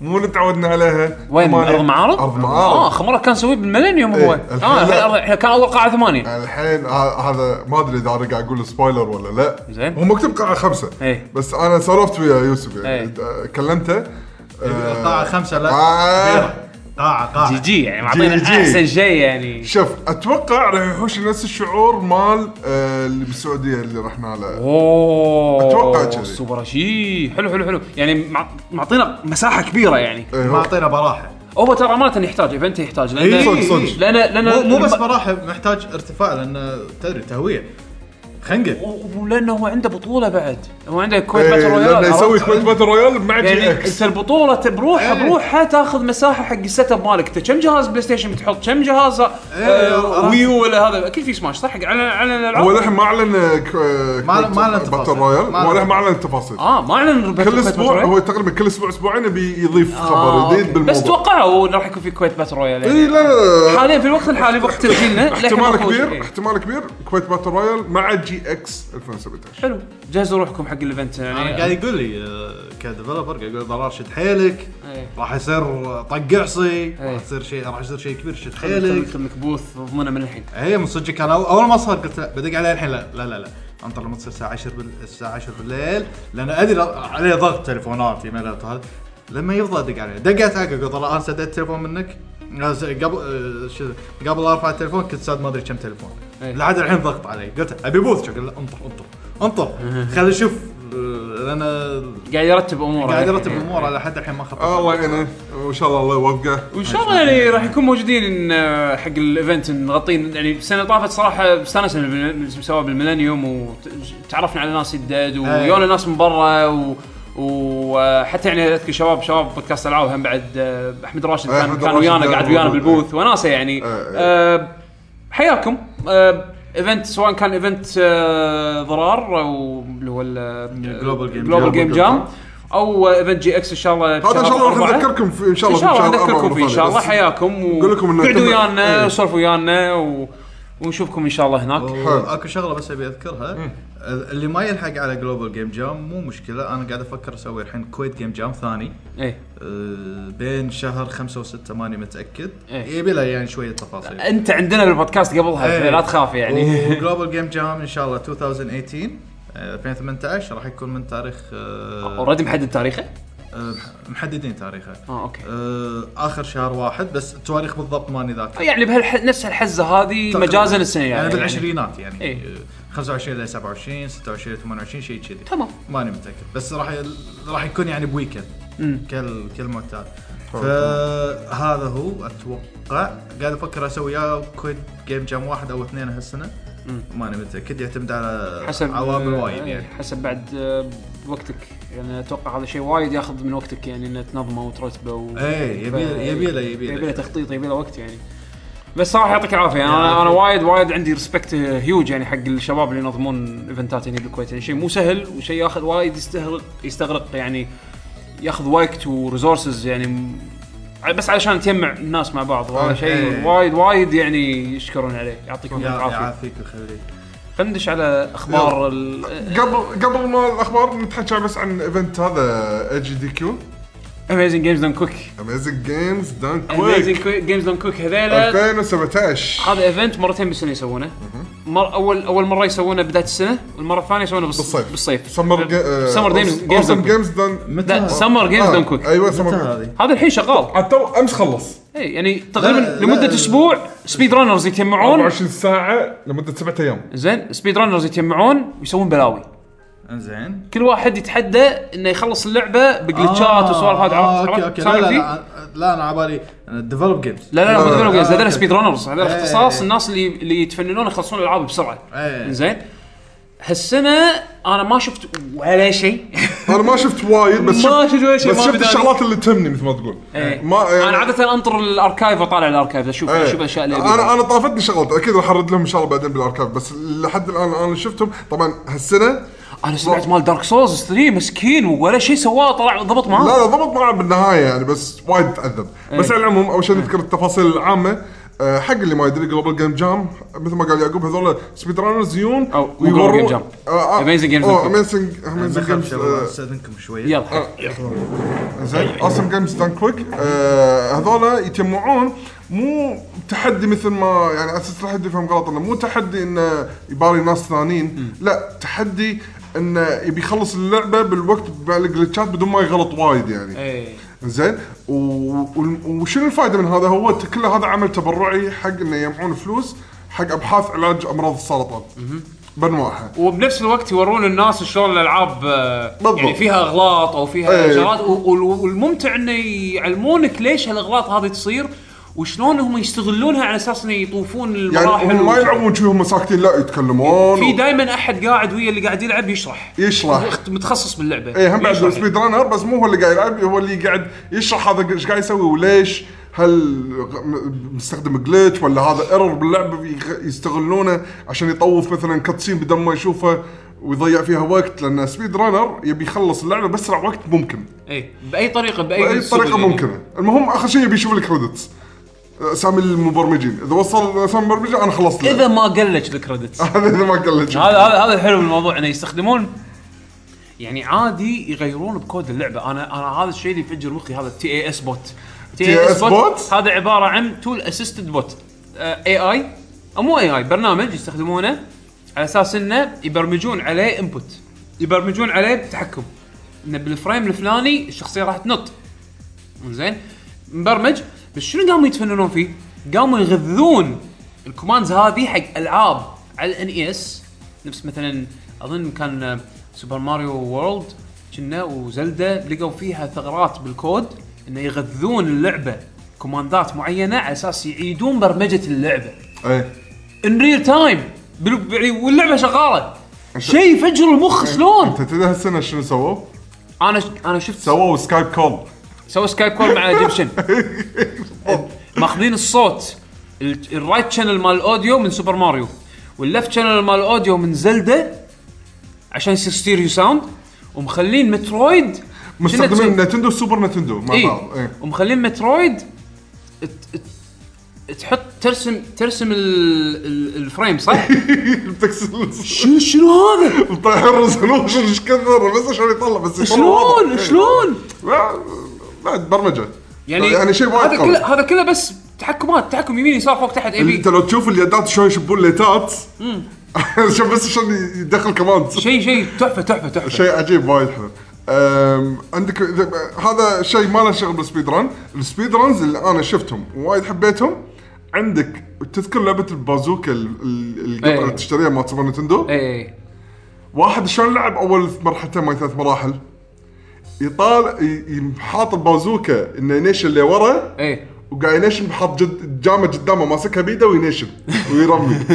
S2: مو اللي تعودنا عليها
S1: وين
S2: ثمانية.
S1: ارض معارض؟
S2: ارض
S1: اه
S2: معارض
S1: اخر مره كان سويه بالميلينيوم هو
S2: إيه، الحين
S1: اه الحين
S2: لا.
S1: أرض- إحنا كان اول قاعه ثمانيه
S2: الحين ه- هذا ما ادري اذا انا قاعد اقول سبويلر ولا لا
S1: زين.
S2: هو مكتوب قاعه خمسه
S1: إيه.
S2: بس انا سولفت ويا يوسف يعني
S1: إيه.
S2: د- كلمته
S3: إيه،
S2: آه،
S3: قاعه خمسه لا
S2: آه.
S3: كبيرة. قاعه
S1: جي
S3: قاعه
S1: جي يعني معطينا
S2: جي جي.
S1: احسن شيء يعني
S2: شوف اتوقع راح يحوش نفس الشعور مال آه، اللي بالسعوديه اللي رحنا له
S1: اوه
S2: أتوقع كذي.
S1: سوبر شي حلو حلو حلو يعني مع- معطينا مساحه كبيره يعني
S2: إيه،
S3: ما اعطينا براحه
S1: هو ترى امانه يحتاج ايفنت يحتاج
S2: صدق،
S1: لان
S2: صدق.
S1: لان
S3: مو,
S1: لان
S3: مو بس براحه محتاج ارتفاع لان تدري تهويه خنقه
S1: ولانه هو عنده بطوله بعد هو عنده كويت
S2: إيه،
S1: باتل
S2: لانه
S1: رويال
S2: يسوي كويت باتل رويال مع جي
S1: إيه. يعني انت
S2: اكس
S1: البطوله ت- بروحها
S3: إيه.
S1: بروحها تاخذ مساحه حق السيت اب مالك انت كم جهاز بلاي ستيشن بتحط كم جهاز آه،
S3: إيه.
S1: ويو ولا هذا اكيد في سماش صح حق على على
S2: هو
S1: الالعاب
S2: للحين ما اعلن آه، ك- آه،
S3: ما-
S2: كويت
S3: ما أعلن
S2: باتل
S3: تفاصيل.
S2: رويال
S3: ما أعلن.
S2: هو للحين ما اعلن التفاصيل
S1: اه ما اعلن
S2: كل اسبوع هو تقريبا كل اسبوع اسبوعين يبي يضيف خبر جديد بالموضوع
S1: آه، بس توقعوا انه راح يكون في كويت باتل رويال
S2: اي
S1: يعني.
S2: لا لا، لا
S1: حاليا في الوقت الحالي وقت تسجيلنا للحين
S2: احتمال
S1: ماكو شيء.
S2: كبير احتمال كبير كويت باتل رويال مع جي جي اكس 2017
S1: حلو جهزوا روحكم حق الايفنت
S3: انا
S1: يعني
S3: قاعد يقول لي آه، كديفلوبر قاعد يقول ضرار شد حيلك
S1: إيه.
S3: راح يصير طق عصي
S1: إيه.
S3: راح يصير شيء راح يصير شيء كبير شد
S1: خليك
S3: حيلك
S1: خليك بوث ضمنه من الحين
S3: هي من صدق كان أول- اول ما صار قلت لا بدق عليه الحين لا لا لا, لا. انطر لما تصير الساعه 10 بال... الساعه 10 بالليل لان ادري لا- عليه ضغط تليفونات ايميلات وهذا لما يفضى ادق عليه دقيت عليه قلت والله انا سددت التليفون منك أنا س- قبل آه، شو قبل ارفع التليفون كنت ساد ما ادري كم تليفون
S1: إيه.
S3: لحد الحين ضغط علي قلت ابي بوث شو قال لا انطر انطر انطر خلينا نشوف آه، لان
S1: قاعد يرتب يعني. اموره
S3: قاعد يرتب الامور على حد الحين ما خطط
S2: الله يعينه وان شاء الله الله يوفقه
S1: وان شاء الله يعني راح نكون موجودين آه، حق الايفنت نغطين يعني السنه اللي طافت صراحه استانسنا بالم- سوا بالميلينيوم وتعرفنا على ناس جدد
S2: أيوه.
S1: ويونا ناس من برا و وحتى يعني اذكر شباب شباب بودكاست العاب هم بعد آه، احمد راشد
S2: أي،
S1: كان
S2: أحمد
S1: كان
S2: راشد أيوه،
S1: ويانا
S2: كان
S1: قاعد ويانا
S2: موجود.
S1: بالبوث وناسه يعني
S2: أي، أي.
S1: آه، حياكم آه، ايفنت سواء كان ايفنت آه، ضرار او اللي هو
S3: Global Game
S1: جلوبال
S2: Jam.
S1: جيم جام او ايفنت جي اكس ان شاء الله
S2: هذا ان شاء الله راح نذكركم فيه ان شاء الله
S1: ان شاء الله
S2: بإن أربع
S1: نذكركم فيه ان شاء الله
S2: مرات ثانية.
S1: حياكم و-
S2: نقول لكم إن
S1: قعدوا
S2: اعتمد-
S1: ويانا
S2: إيه.
S1: وسولفوا ويانا و... ونشوفكم ان شاء الله هناك
S2: حلو.
S3: اكو شغله بس ابي اذكرها اللي ما يلحق على جلوبال جيم جام مو مشكله انا قاعد افكر اسوي الحين كويت جيم جام ثاني
S1: ايه
S3: أه، بين شهر خمسة و6 ماني متاكد
S1: إيه.
S3: يبي له يعني شويه تفاصيل
S1: انت عندنا بالبودكاست قبلها
S3: إيه.
S1: فلا تخاف يعني
S3: وجلوبال جيم جام ان شاء الله 2018 أه، 2018 راح يكون من تاريخ أه،
S1: اوريدي محدد تاريخه؟
S3: أه، محددين تاريخه
S1: اه اوكي
S3: أه، اخر شهر واحد بس التواريخ بالضبط ماني ذاكر
S1: يعني بهالح... نفس الحزه هذه مجازا السنه
S3: يعني, يعني
S1: يعني
S3: بالعشرينات يعني
S1: إيه.
S3: إيه؟ 25 ل 27 26 28 شيء كذي
S1: تمام
S3: ماني متاكد بس راح ي... راح يكون يعني بويكند كال كالمعتاد
S2: طبعاً.
S3: فهذا هو اتوقع قاعد افكر اسوي يا كويت جيم جام واحد او اثنين هالسنه ماني متاكد يعتمد على
S1: حسب
S3: عوامل
S1: آه،
S3: وايد
S1: إيه،
S3: يعني
S1: حسب بعد آه، وقتك يعني اتوقع هذا شيء وايد ياخذ من وقتك يعني انه تنظمه وترتبه و...
S3: ايه يبي
S1: آه، ف-
S3: يبي له يبي
S1: يبي له
S3: له
S1: تخطيط يبي له وقت يعني بس صراحه يعطيك العافيه انا انا
S3: العافية.
S1: وايد وايد عندي ريسبكت هيوج يعني حق الشباب اللي ينظمون ايفنتات هنا بالكويت يعني شيء مو سهل وشيء ياخذ وايد يستغرق يستغرق يعني ياخذ وقت وريسورسز يعني م- بس علشان تجمع الناس مع بعض وهذا
S2: آه،
S1: شيء
S3: إيه.
S1: وايد وايد يعني يشكرون عليه يعطيكم
S3: يا-
S1: العافيه
S3: يعافيك ويخليك
S1: خندش على اخبار ال...
S2: قبل قبل ما الاخبار نتحكى بس عن ايفنت هذا اتش دي كيو
S1: اميزنج جيمز دون كوك
S2: امازينج جيمز دان كويك
S1: اميزنج جيمز دون كوك هذيلا
S2: 2017
S1: هذا ايفنت مرتين بالسنه يسوونه مر اول اول مره يسوونه بدايه السنه والمره الثانيه يسوونه بالص...
S2: بالصيف. آه،
S1: بالصيف
S2: سمر
S1: سمر جيمز جيمز دون كوك.
S2: جيمز دان
S3: آه.
S1: لا سمر جيمز دون كويك
S2: ايوه
S3: متى
S2: سمر
S3: هذه؟
S1: هذا الحين شغال
S2: عالتو امس خلص
S1: اي يعني تقريبا
S3: لا،
S1: لمده
S3: لا.
S1: اسبوع سبيد رانرز يتجمعون
S2: 24 ساعه لمده سبعة ايام
S1: زين سبيد رانرز يتجمعون ويسوون بلاوي
S3: انزين
S1: كل واحد يتحدى انه يخلص اللعبه بجلتشات
S3: آه،
S1: وسوالف هذه
S3: آه،
S1: عرفت-
S3: اوكي
S1: عرفت؟
S3: اوكي لا
S1: سامع
S3: لا
S1: فيه؟
S3: لا لا انا على بالي ديفلوب جيمز
S1: لا لا
S2: لا،
S1: لا مو
S2: لا،
S1: جيمز
S3: آه،
S1: هذول
S3: أوكي.
S1: سبيد رانرز هذول
S3: إيه.
S1: اختصاص الناس اللي اللي يتفننون يخلصون الالعاب بسرعه
S3: إيه.
S1: زين هالسنه انا ما شفت ولا شيء
S2: انا ما شفت وايد بس
S1: ما شفت ولا شيء
S2: بس
S1: ما
S2: شفت
S1: بداني.
S2: الشغلات اللي تهمني مثل ما تقول
S1: إيه.
S2: ما يعني
S1: انا عاده انطر الاركايف واطالع الاركايف اشوف
S2: إيه.
S1: اشوف الاشياء اللي أبيها.
S2: انا انا طافتني شغلات اكيد راح ارد لهم ان شاء الله بعدين بالاركاف بس لحد الان انا اللي شفتهم طبعا هالسنه
S1: انا سمعت مال دارك سولز 3 مسكين ولا شيء سواه طلع ضبط
S2: لا
S1: معاه
S2: لا ضبط معه بالنهايه يعني بس وايد تعذب
S1: إيه.
S2: بس على العموم اول شيء نذكر التفاصيل العامه أه، حق اللي ما يدري جلوبال جيم جام مثل ما قال يعقوب هذول سبيد رانرز يون آه،
S1: أو مو Global Game Jam. Amazing Games Done Quick.
S2: اميزنج اميزنج
S3: بخاف
S2: جيمز
S3: شباب استاذنكم شويه
S1: يلا حق.
S2: أه. زين
S1: أيوة.
S2: اوسم جيمز دان كويك آه، هذول يتجمعون مو تحدي مثل ما يعني اساس لا حد يفهم غلط انه مو تحدي انه يباري ناس ثانيين لا تحدي انه يبي يخلص اللعبه بالوقت بالجلتشات بدون ما يغلط وايد يعني
S1: إيه.
S2: زين و- و- وشنو الفائده من هذا هو ت- كل هذا عمل تبرعي حق انه يجمعون فلوس حق ابحاث علاج امراض السرطان بانواعها
S1: وبنفس الوقت يورون الناس شلون الالعاب آه،
S2: بالضبط.
S1: يعني فيها اغلاط او فيها
S2: إيه.
S1: شغلات و- و- والممتع انه يعلمونك ليش هالاغلاط هذه تصير وشلون هم يستغلونها على اساس انه يطوفون
S2: يعني
S1: المراحل
S2: هم ما
S1: و-
S2: يلعبون شي هم ساكتين لا يتكلمون
S1: في دائما احد قاعد ويا اللي قاعد يلعب يشرح
S2: يشرح
S1: مخت- متخصص باللعبه
S2: ايه هم بعد
S1: يشرح.
S2: سبيد رانر بس مو هو اللي قاعد يلعب هو اللي قاعد يشرح هذا ايش قاعد يسوي وليش هل غ- مستخدم جلتش ولا هذا ايرور باللعبه بيغ- يستغلونه عشان يطوف مثلا كاتسين بدل ما يشوفه ويضيع فيها وقت لان سبيد رانر يبي يخلص اللعبه باسرع وقت ممكن
S1: ايه باي طريقه باي,
S2: باي
S1: سبل
S2: طريقه
S1: يعني.
S2: ممكنه المهم اخر شيء يبي يشوف الكريدتس اسامي أه، المبرمجين اذا وصل اسامي المبرمجين انا خلصت
S1: اذا ما قال لك الكريدتس
S2: (laughs) هذا اذا ما قلت
S1: هذا هذا هذا الحلو بالموضوع انه يستخدمون يعني عادي يغيرون بكود اللعبه انا انا هذا الشيء اللي يفجر مخي هذا تي اي اس بوت
S2: TAS bot؟
S1: هذا عباره عن تول اسيستد بوت اي اي او مو اي اي برنامج يستخدمونه على اساس انه يبرمجون عليه انبوت يبرمجون عليه تحكم انه بالفريم الفلاني الشخصيه راح تنط زين مبرمج بس شنو قاموا يتفننون فيه؟ قاموا يغذون الكوماندز هذه حق العاب على الان اي اس نفس مثلا اظن كان آه، سوبر ماريو وورلد كنا وزلدا لقوا فيها ثغرات بالكود انه يغذون اللعبه كوماندات معينه على اساس يعيدون برمجه اللعبه
S2: اي
S1: ان ريل تايم بال- يعني واللعبه شغاله شيء يفجر المخ شلون؟
S2: انت تدري هالسنه شنو سووا؟
S1: انا ش- انا شفت
S2: سووا سكايب كول
S1: سوى سكاي كول مع ايجيبشن
S2: (laughs)
S1: ماخذين الصوت ال- الرايت شانل مال الاوديو من سوبر ماريو واللفت شانل مال الاوديو من زلدة عشان يصير ستيريو ساوند ومخلين مترويد
S2: مستخدمين نتندو سوبر نتندو مع
S1: اي
S2: بعض إيه. (laughs) اي
S1: إيه. ومخلين مترويد ت- ت- تحط ترسم ترسم ال- ال- الفريم
S2: (laughs)
S1: صح؟
S2: التكسيل
S1: شنو شنو
S2: (laughs)
S1: هذا؟
S2: طيحين ريزولوشن ايش كثر بس عشان يطلع بس يطلع
S1: شلون
S2: واضح. إيه.
S1: شلون؟
S2: لا- لا برمجه
S1: يعني
S2: يعني شيء وايد
S1: هذا
S2: قوي
S1: كله هذا كله بس تحكمات تحكم يمين يسار فوق تحت اي
S2: اللي
S1: بي
S2: انت لو تشوف اليدات شلون يشبون ليتات (laughs) عشان بس عشان يدخل كمان
S1: شيء شيء تحفه تحفه تحفه
S2: شيء عجيب وايد حلو أم، عندك إذا- هذا شيء ما له شغل بالسبيد ران السبيد رانز اللي انا شفتهم وايد حبيتهم عندك تذكر لعبه البازوكا ال- ال- القطعه
S1: إيه.
S2: اللي تشتريها مال سوبر نتندو
S1: ايه
S2: واحد شلون لعب اول مرحلتين ما ثلاث مراحل يطال ي- ي- حاط البازوكا انه ينيشن اللي ورا
S1: ايه
S2: وقاعد ينشن حاط جد جامه قدامه ماسكها بيده وينشن ويرمي
S1: (laughs)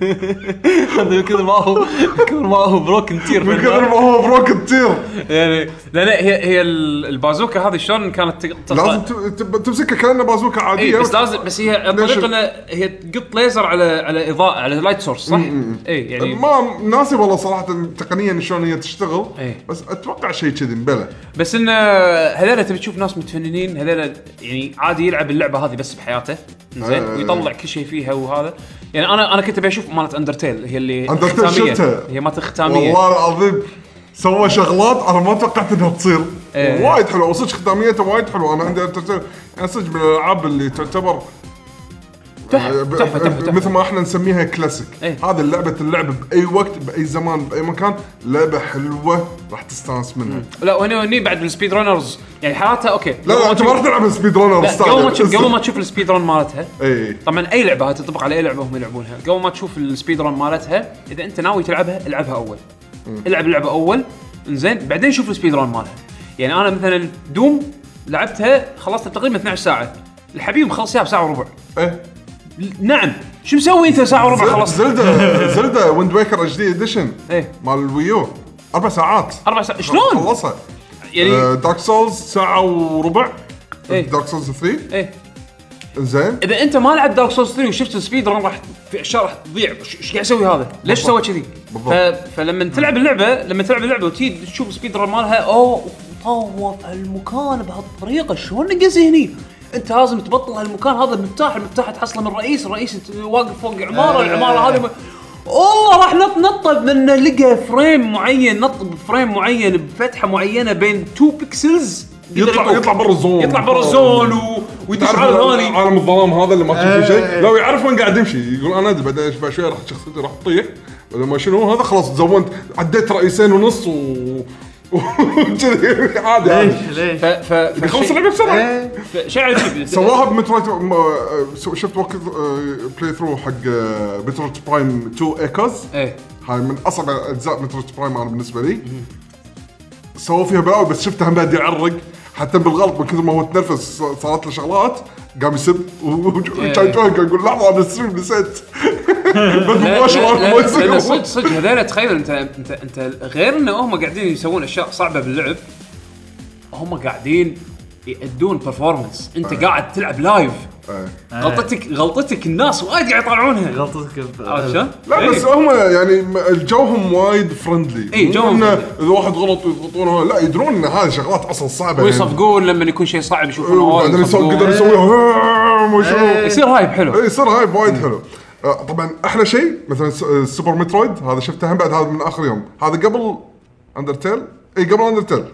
S1: من كثر ما هو من كثر ما هو بروكن تير
S2: من كثر ما هو بروكن تير
S1: يعني لا لا هي هي ال- البازوكا هذه شلون كانت تق- تق-
S2: لازم ت- تب- تمسكها كانها بازوكا عاديه
S1: اي طيب. إيه، بس لازم بس هي الطريقه انها هي تقط ليزر على على اضاءه على لايت سورس صح؟ اي يعني
S2: ما ناسي والله صراحه تقنيا شلون هي تشتغل
S1: إيه.
S2: بس اتوقع شيء كذي مبلى
S1: بس انه هذول تبي تشوف ناس متفننين هذول يعني عادي يلعب اللعبه هذه بس بحياته زين
S2: آه.
S1: ويطلع كل شيء فيها وهذا يعني انا انا كنت ابي اشوف مالت اندرتيل هي اللي
S2: Undertale
S1: ختامية.
S2: شفتها.
S1: هي مالت الختاميه
S2: والله العظيم سوى شغلات انا ما توقعت انها تصير
S1: إيه.
S2: وايد حلوه وصدق ختاميته وايد حلوه انا عندي Undertale- انا صدق من الالعاب اللي تعتبر آه،
S1: تحفه تحفه تحفه تحفة.
S2: مثل ما احنا نسميها كلاسيك
S1: إيه.
S2: هذا لعبه اللعب باي وقت باي زمان باي مكان لعبه حلوه راح تستانس منها
S1: لا وهنا هني بعد السبيد رانرز يعني حالاتها اوكي
S2: لا لا انت ما راح تلعب سبيد رانر
S1: لا
S2: ستايل.
S1: قبل ما تشوف
S2: (laughs)
S1: قبل ما تشوف السبيد ران مالتها
S2: اي
S1: طبعا اي لعبه تطبق على اي لعبه هم يلعبونها قبل ما تشوف السبيد ران مالتها اذا انت ناوي تلعبها العبها اول العب اللعبه اول انزين بعدين شوف السبيد ران مالها يعني انا مثلا دوم لعبتها خلصتها تقريبا 12 ساعه الحبيب مخلص اياها بساعه وربع
S2: ايه
S1: نعم شو مسوي انت ساعه وربع خلصت
S2: زلدا
S1: (laughs)
S2: زلدا ويند ويكر اتش دي اديشن
S1: إيه.
S2: مال الويو اربع ساعات
S1: اربع ساعات شلون؟
S2: خلصها
S1: يعني
S2: دارك سولز ساعه وربع
S1: إيه.
S2: دارك سولز 3
S1: ايه
S2: زين
S1: اذا انت ما لعبت دارك سولز 3 وشفت السبيد ران راح في اشياء راح تضيع ش- ايش قاعد يسوي هذا؟ ليش سوى كذي؟
S2: بالضبط.
S1: ف- فلما تلعب اللعبه لما تلعب اللعبه وتي تشوف السبيد ران مالها اوه طوف هالمكان بهالطريقه شلون نقز هني؟ انت لازم تبطل هالمكان هذا المفتاح المفتاح تحصله من الرئيس الرئيس ت- واقف فوق
S2: آه.
S1: عماره العماره هذه م- والله راح نط نطه من لقى فريم معين نط بفريم معين بفتحه معينه بين 2 بيكسلز
S2: يطلع يطلع برا الزون
S1: يطلع برا الزون و- ويدش
S2: تعرف
S1: على الثاني
S2: عالم الظلام هذا اللي ما تشوف فيه
S3: إيه.
S2: شيء لو يعرف وين قاعد يمشي يقول انا ادري بعدين بعد شوي راح شخصيتي راح تطيح بعدين ما شنو هذا خلاص تزونت عديت رئيسين ونص و (laughs) وكذي عادي عادي
S3: ليش ليش؟
S1: ف ف فشي-
S2: يخلص اللعبه بسرعه
S3: إيه.
S1: ف- شيء عجيب
S2: سواها بمترويد م- آه، سو- شفت وقت آه، بلاي ثرو حق آه، مترويد برايم 2 ايكوز
S1: ايه
S2: هاي من اصعب اجزاء مترويد برايم انا بالنسبه لي سووا فيها بلاوي بس شفته هم قاعد يعرق حتى بالغلط من كثر ما هو تنرفز ص- صارت له شغلات قام يسب (laughs) وكان جوه قاعد يقول لحظه انا الستريم نسيت (laughs) بدل
S1: لا-
S2: مباشر
S1: لا-
S2: انا
S1: لا-
S2: ما
S1: لا، صدق
S2: يصير
S1: صدق هذول تخيل انت انت انت غير ان هم قاعدين يسوون اشياء صعبه باللعب هم قاعدين يأدون برفورمانس انت
S2: آه.
S1: قاعد تلعب لايف
S2: إيه.
S1: غلطتك غلطتك الناس وايد قاعد يطالعونها
S3: غلطتك ب-
S1: عرفت شلون؟
S2: لا
S1: إيه.
S2: بس هم يعني م- الجوهم وايد فرندلي
S1: إيه، جوهم friendly.
S2: اذا واحد غلط يضغطونه لا يدرون ان هذه شغلات اصلا صعبه يعني. أيوه،
S1: ويصفقون لما يكون شيء صعب يشوفون
S2: وبعدين يسوي قدر يسوي تفهم (laughs) وشو
S3: إيه.
S1: يصير هايب حلو
S2: اي يصير هايب وايد حلو آه، طبعا احلى شيء مثلا س- آه، سوبر مترويد هذا شفته هم بعد هذا من اخر يوم هذا قبل اندرتيل اي قبل اندرتيل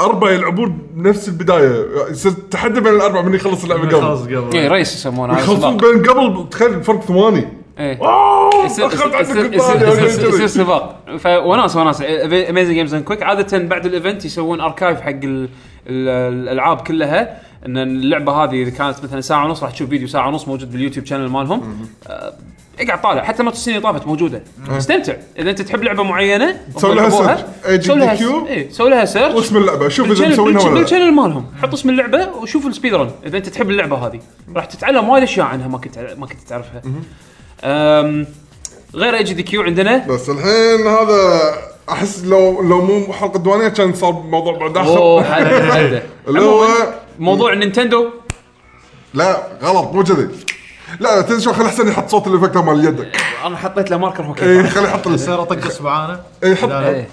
S2: اربعه يلعبون نفس البدايه يعني يصير تحدي بين الاربعه من يخلص آه، اللعبه
S3: خلاص
S2: قبل
S1: اي
S3: قبل
S1: ريس إيه، يسمونه هذا
S2: يخلصون
S1: سباق
S2: بين قبل تخيل فرق ثواني
S1: إيه.
S2: اوه
S1: يصير-
S2: دخلت
S1: يصير-
S2: عندك
S1: يصير- يصير- يصير يصير
S2: الثانية.
S1: سباق فوناس وناس اميزنج جيمز اند كويك عاده بعد الايفنت يسوون اركايف حق ال- ال- الالعاب كلها ان اللعبه هذه اذا كانت مثلا ساعه ونص راح تشوف فيديو ساعه ونص موجود باليوتيوب شانل مالهم آه، اقعد طالع حتى مالت السنين اللي طافت موجوده استمتع اذا انت تحب لعبه معينه
S2: تسوي لها
S1: يلعبوها،
S2: search. أي جي
S1: تسوي
S2: دي
S1: لها
S2: كيو.
S1: اي تسوي لها سيرش
S2: واسم
S1: (laughs)
S2: اللعبه شوف اذا مسوينها ولا لا
S1: بالشانل مالهم حط اسم اللعبه وشوف السبيد رن اذا انت تحب اللعبه هذه راح تتعلم وايد اشياء عنها ما كنت ما كنت تعرفها أم، غير اي جي دي كيو
S2: (laughs)
S1: عندنا
S2: بس الحين هذا احس لو لو مو حلقه دوانيه كان صار موضوع بعد
S1: اوه
S2: اخر
S1: حدا- حدا.
S2: (laughs) اللي هو
S1: موضوع نينتندو
S2: لا غلط مو كذي لا لا تدري شو خلي احسن يحط صوت الافكت مال يدك
S1: انا حطيت له ماركر هو
S2: اي
S1: كيف.
S2: إيه، خلي يحط
S1: (laughs)
S2: ال-
S3: صار اطق اصبعانه
S2: إيه، حط-
S3: لا، لا.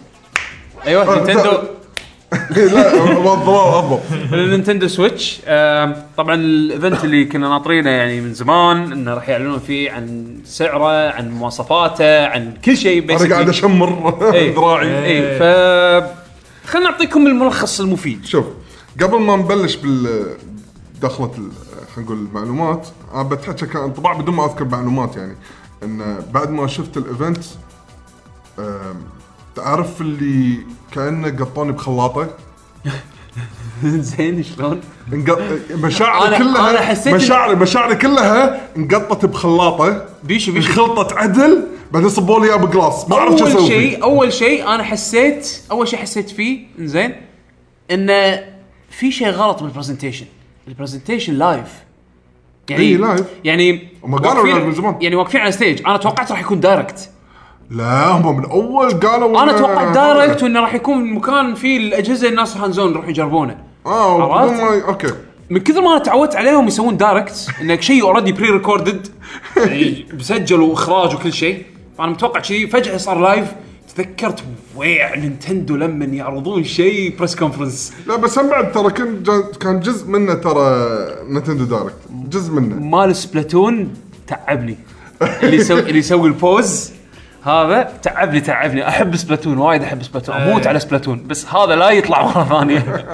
S1: ايوه نينتندو
S2: إي، إيه، لا بالضبط بالضبط
S1: النينتندو سويتش آم، طبعا الايفنت اللي كنا ناطرينه يعني من زمان انه راح يعلنون فيه عن سعره عن مواصفاته عن كل شيء
S2: انا قاعد
S1: basically.
S2: اشمر
S1: إيه.
S2: ذراعي
S1: اي ف خلينا نعطيكم الملخص
S2: (laughs)
S1: المفيد
S2: (laughs) شوف قبل ما نبلش بال دخلة ال- خلينا نقول المعلومات انا بتحكى كان انطباع بدون ما اذكر معلومات يعني ان بعد ما شفت الايفنت أم، تعرف اللي كانه قطوني بخلاطه
S1: زين شلون؟
S2: انقط- مشاعري
S1: أنا-
S2: كلها
S1: أنا حسيت إن-
S2: مشاعري مشاعري كلها انقطت بخلاطه
S1: بيشو
S2: (laughs)
S1: بيشو
S2: انخلطت عدل بعدين صبوا لي اياه بجلاس ما اعرف شو
S1: اول
S2: اسوي فيه.
S1: شيء اول شيء انا حسيت اول شيء حسيت فيه زين انه في شيء غلط بالبرزنتيشن البرزنتيشن لايف
S2: إي، لايف.
S1: يعني
S2: إيه، هم قالوا
S1: واقفين-
S2: لايف من زمان.
S1: يعني واقفين على ستيج انا توقعت راح يكون دايركت
S2: لا هم من اول قالوا
S1: انا
S2: إنه-
S1: توقعت دايركت وانه راح يكون مكان فيه الاجهزه الناس راح ينزون يروحون يجربونه
S2: اه
S1: عرفت؟
S2: هم- اوكي
S1: من كثر ما انا تعودت عليهم يسوون دايركت انك شيء اوريدي بري ريكوردد (laughs) مسجل واخراج وكل شيء فانا متوقع شيء فجاه صار لايف تذكرت ويع نينتندو لما يعرضون شيء بريس كونفرنس
S2: لا بس هم بعد ترى كان ج- كان جزء منه ترى نتندو دايركت جزء منه
S1: مال سبلاتون تعبني اللي يسوي اللي يسوي البوز هذا تعبني تعبني احب سبلاتون وايد احب سبلاتون اموت على سبلاتون بس هذا لا يطلع مره ثانيه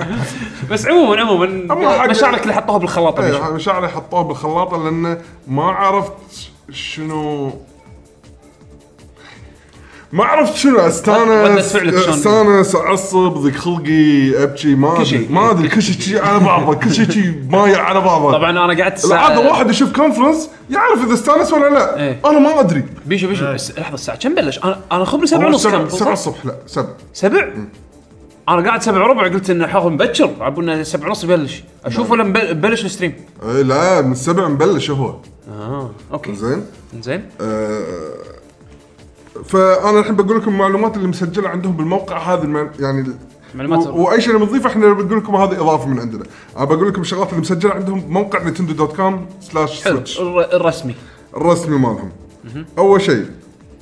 S1: بس عموما
S2: أما
S1: عموما
S2: حق-
S1: مشاعرك اللي حطوها بالخلاط
S2: إيه، هاي مشاعري حطوها بالخلاطه لانه ما عرفت شنو ما عرفت شنو
S1: ردة
S2: استانس
S1: فعلك شلون؟
S2: استانس اعصب ضيق خلقي ابكي ما ادري
S1: شيء.
S2: ما ادري كل شيء شي على بعضه كل شيء شي مايع على بعضه
S1: طبعا انا قعدت ساعة-
S2: العاده واحد يشوف كونفرنس يعرف اذا استانس ولا لا
S1: إيه.
S2: انا ما ادري
S1: بيشو بيشو بس لحظه الساعه كم بلش؟ انا انا خبري سبعة
S2: هو
S1: ونص كم
S2: سبع سبع الصبح لا سبع
S1: سبع؟ انا قاعد سبع وربع قلت انه حاخذ مبكر عبونا سبع ونص يبلش اشوفه لما بلش الستريم
S2: إيه، لا من السبع مبلش هو
S1: اه اوكي
S2: زين
S1: زين
S2: آه، فانا الحين بقول لكم المعلومات اللي مسجله عندهم بالموقع هذه المع... يعني ال-
S1: معلومات-
S2: و... واي شيء بنضيفه احنا بنقول لكم هذه اضافه من عندنا انا بقول لكم الشغلات اللي مسجله عندهم بموقع نتندو دوت كوم سلاش
S1: حلو
S2: سويتش
S1: الر- الرسمي
S2: الرسمي مالهم اول شيء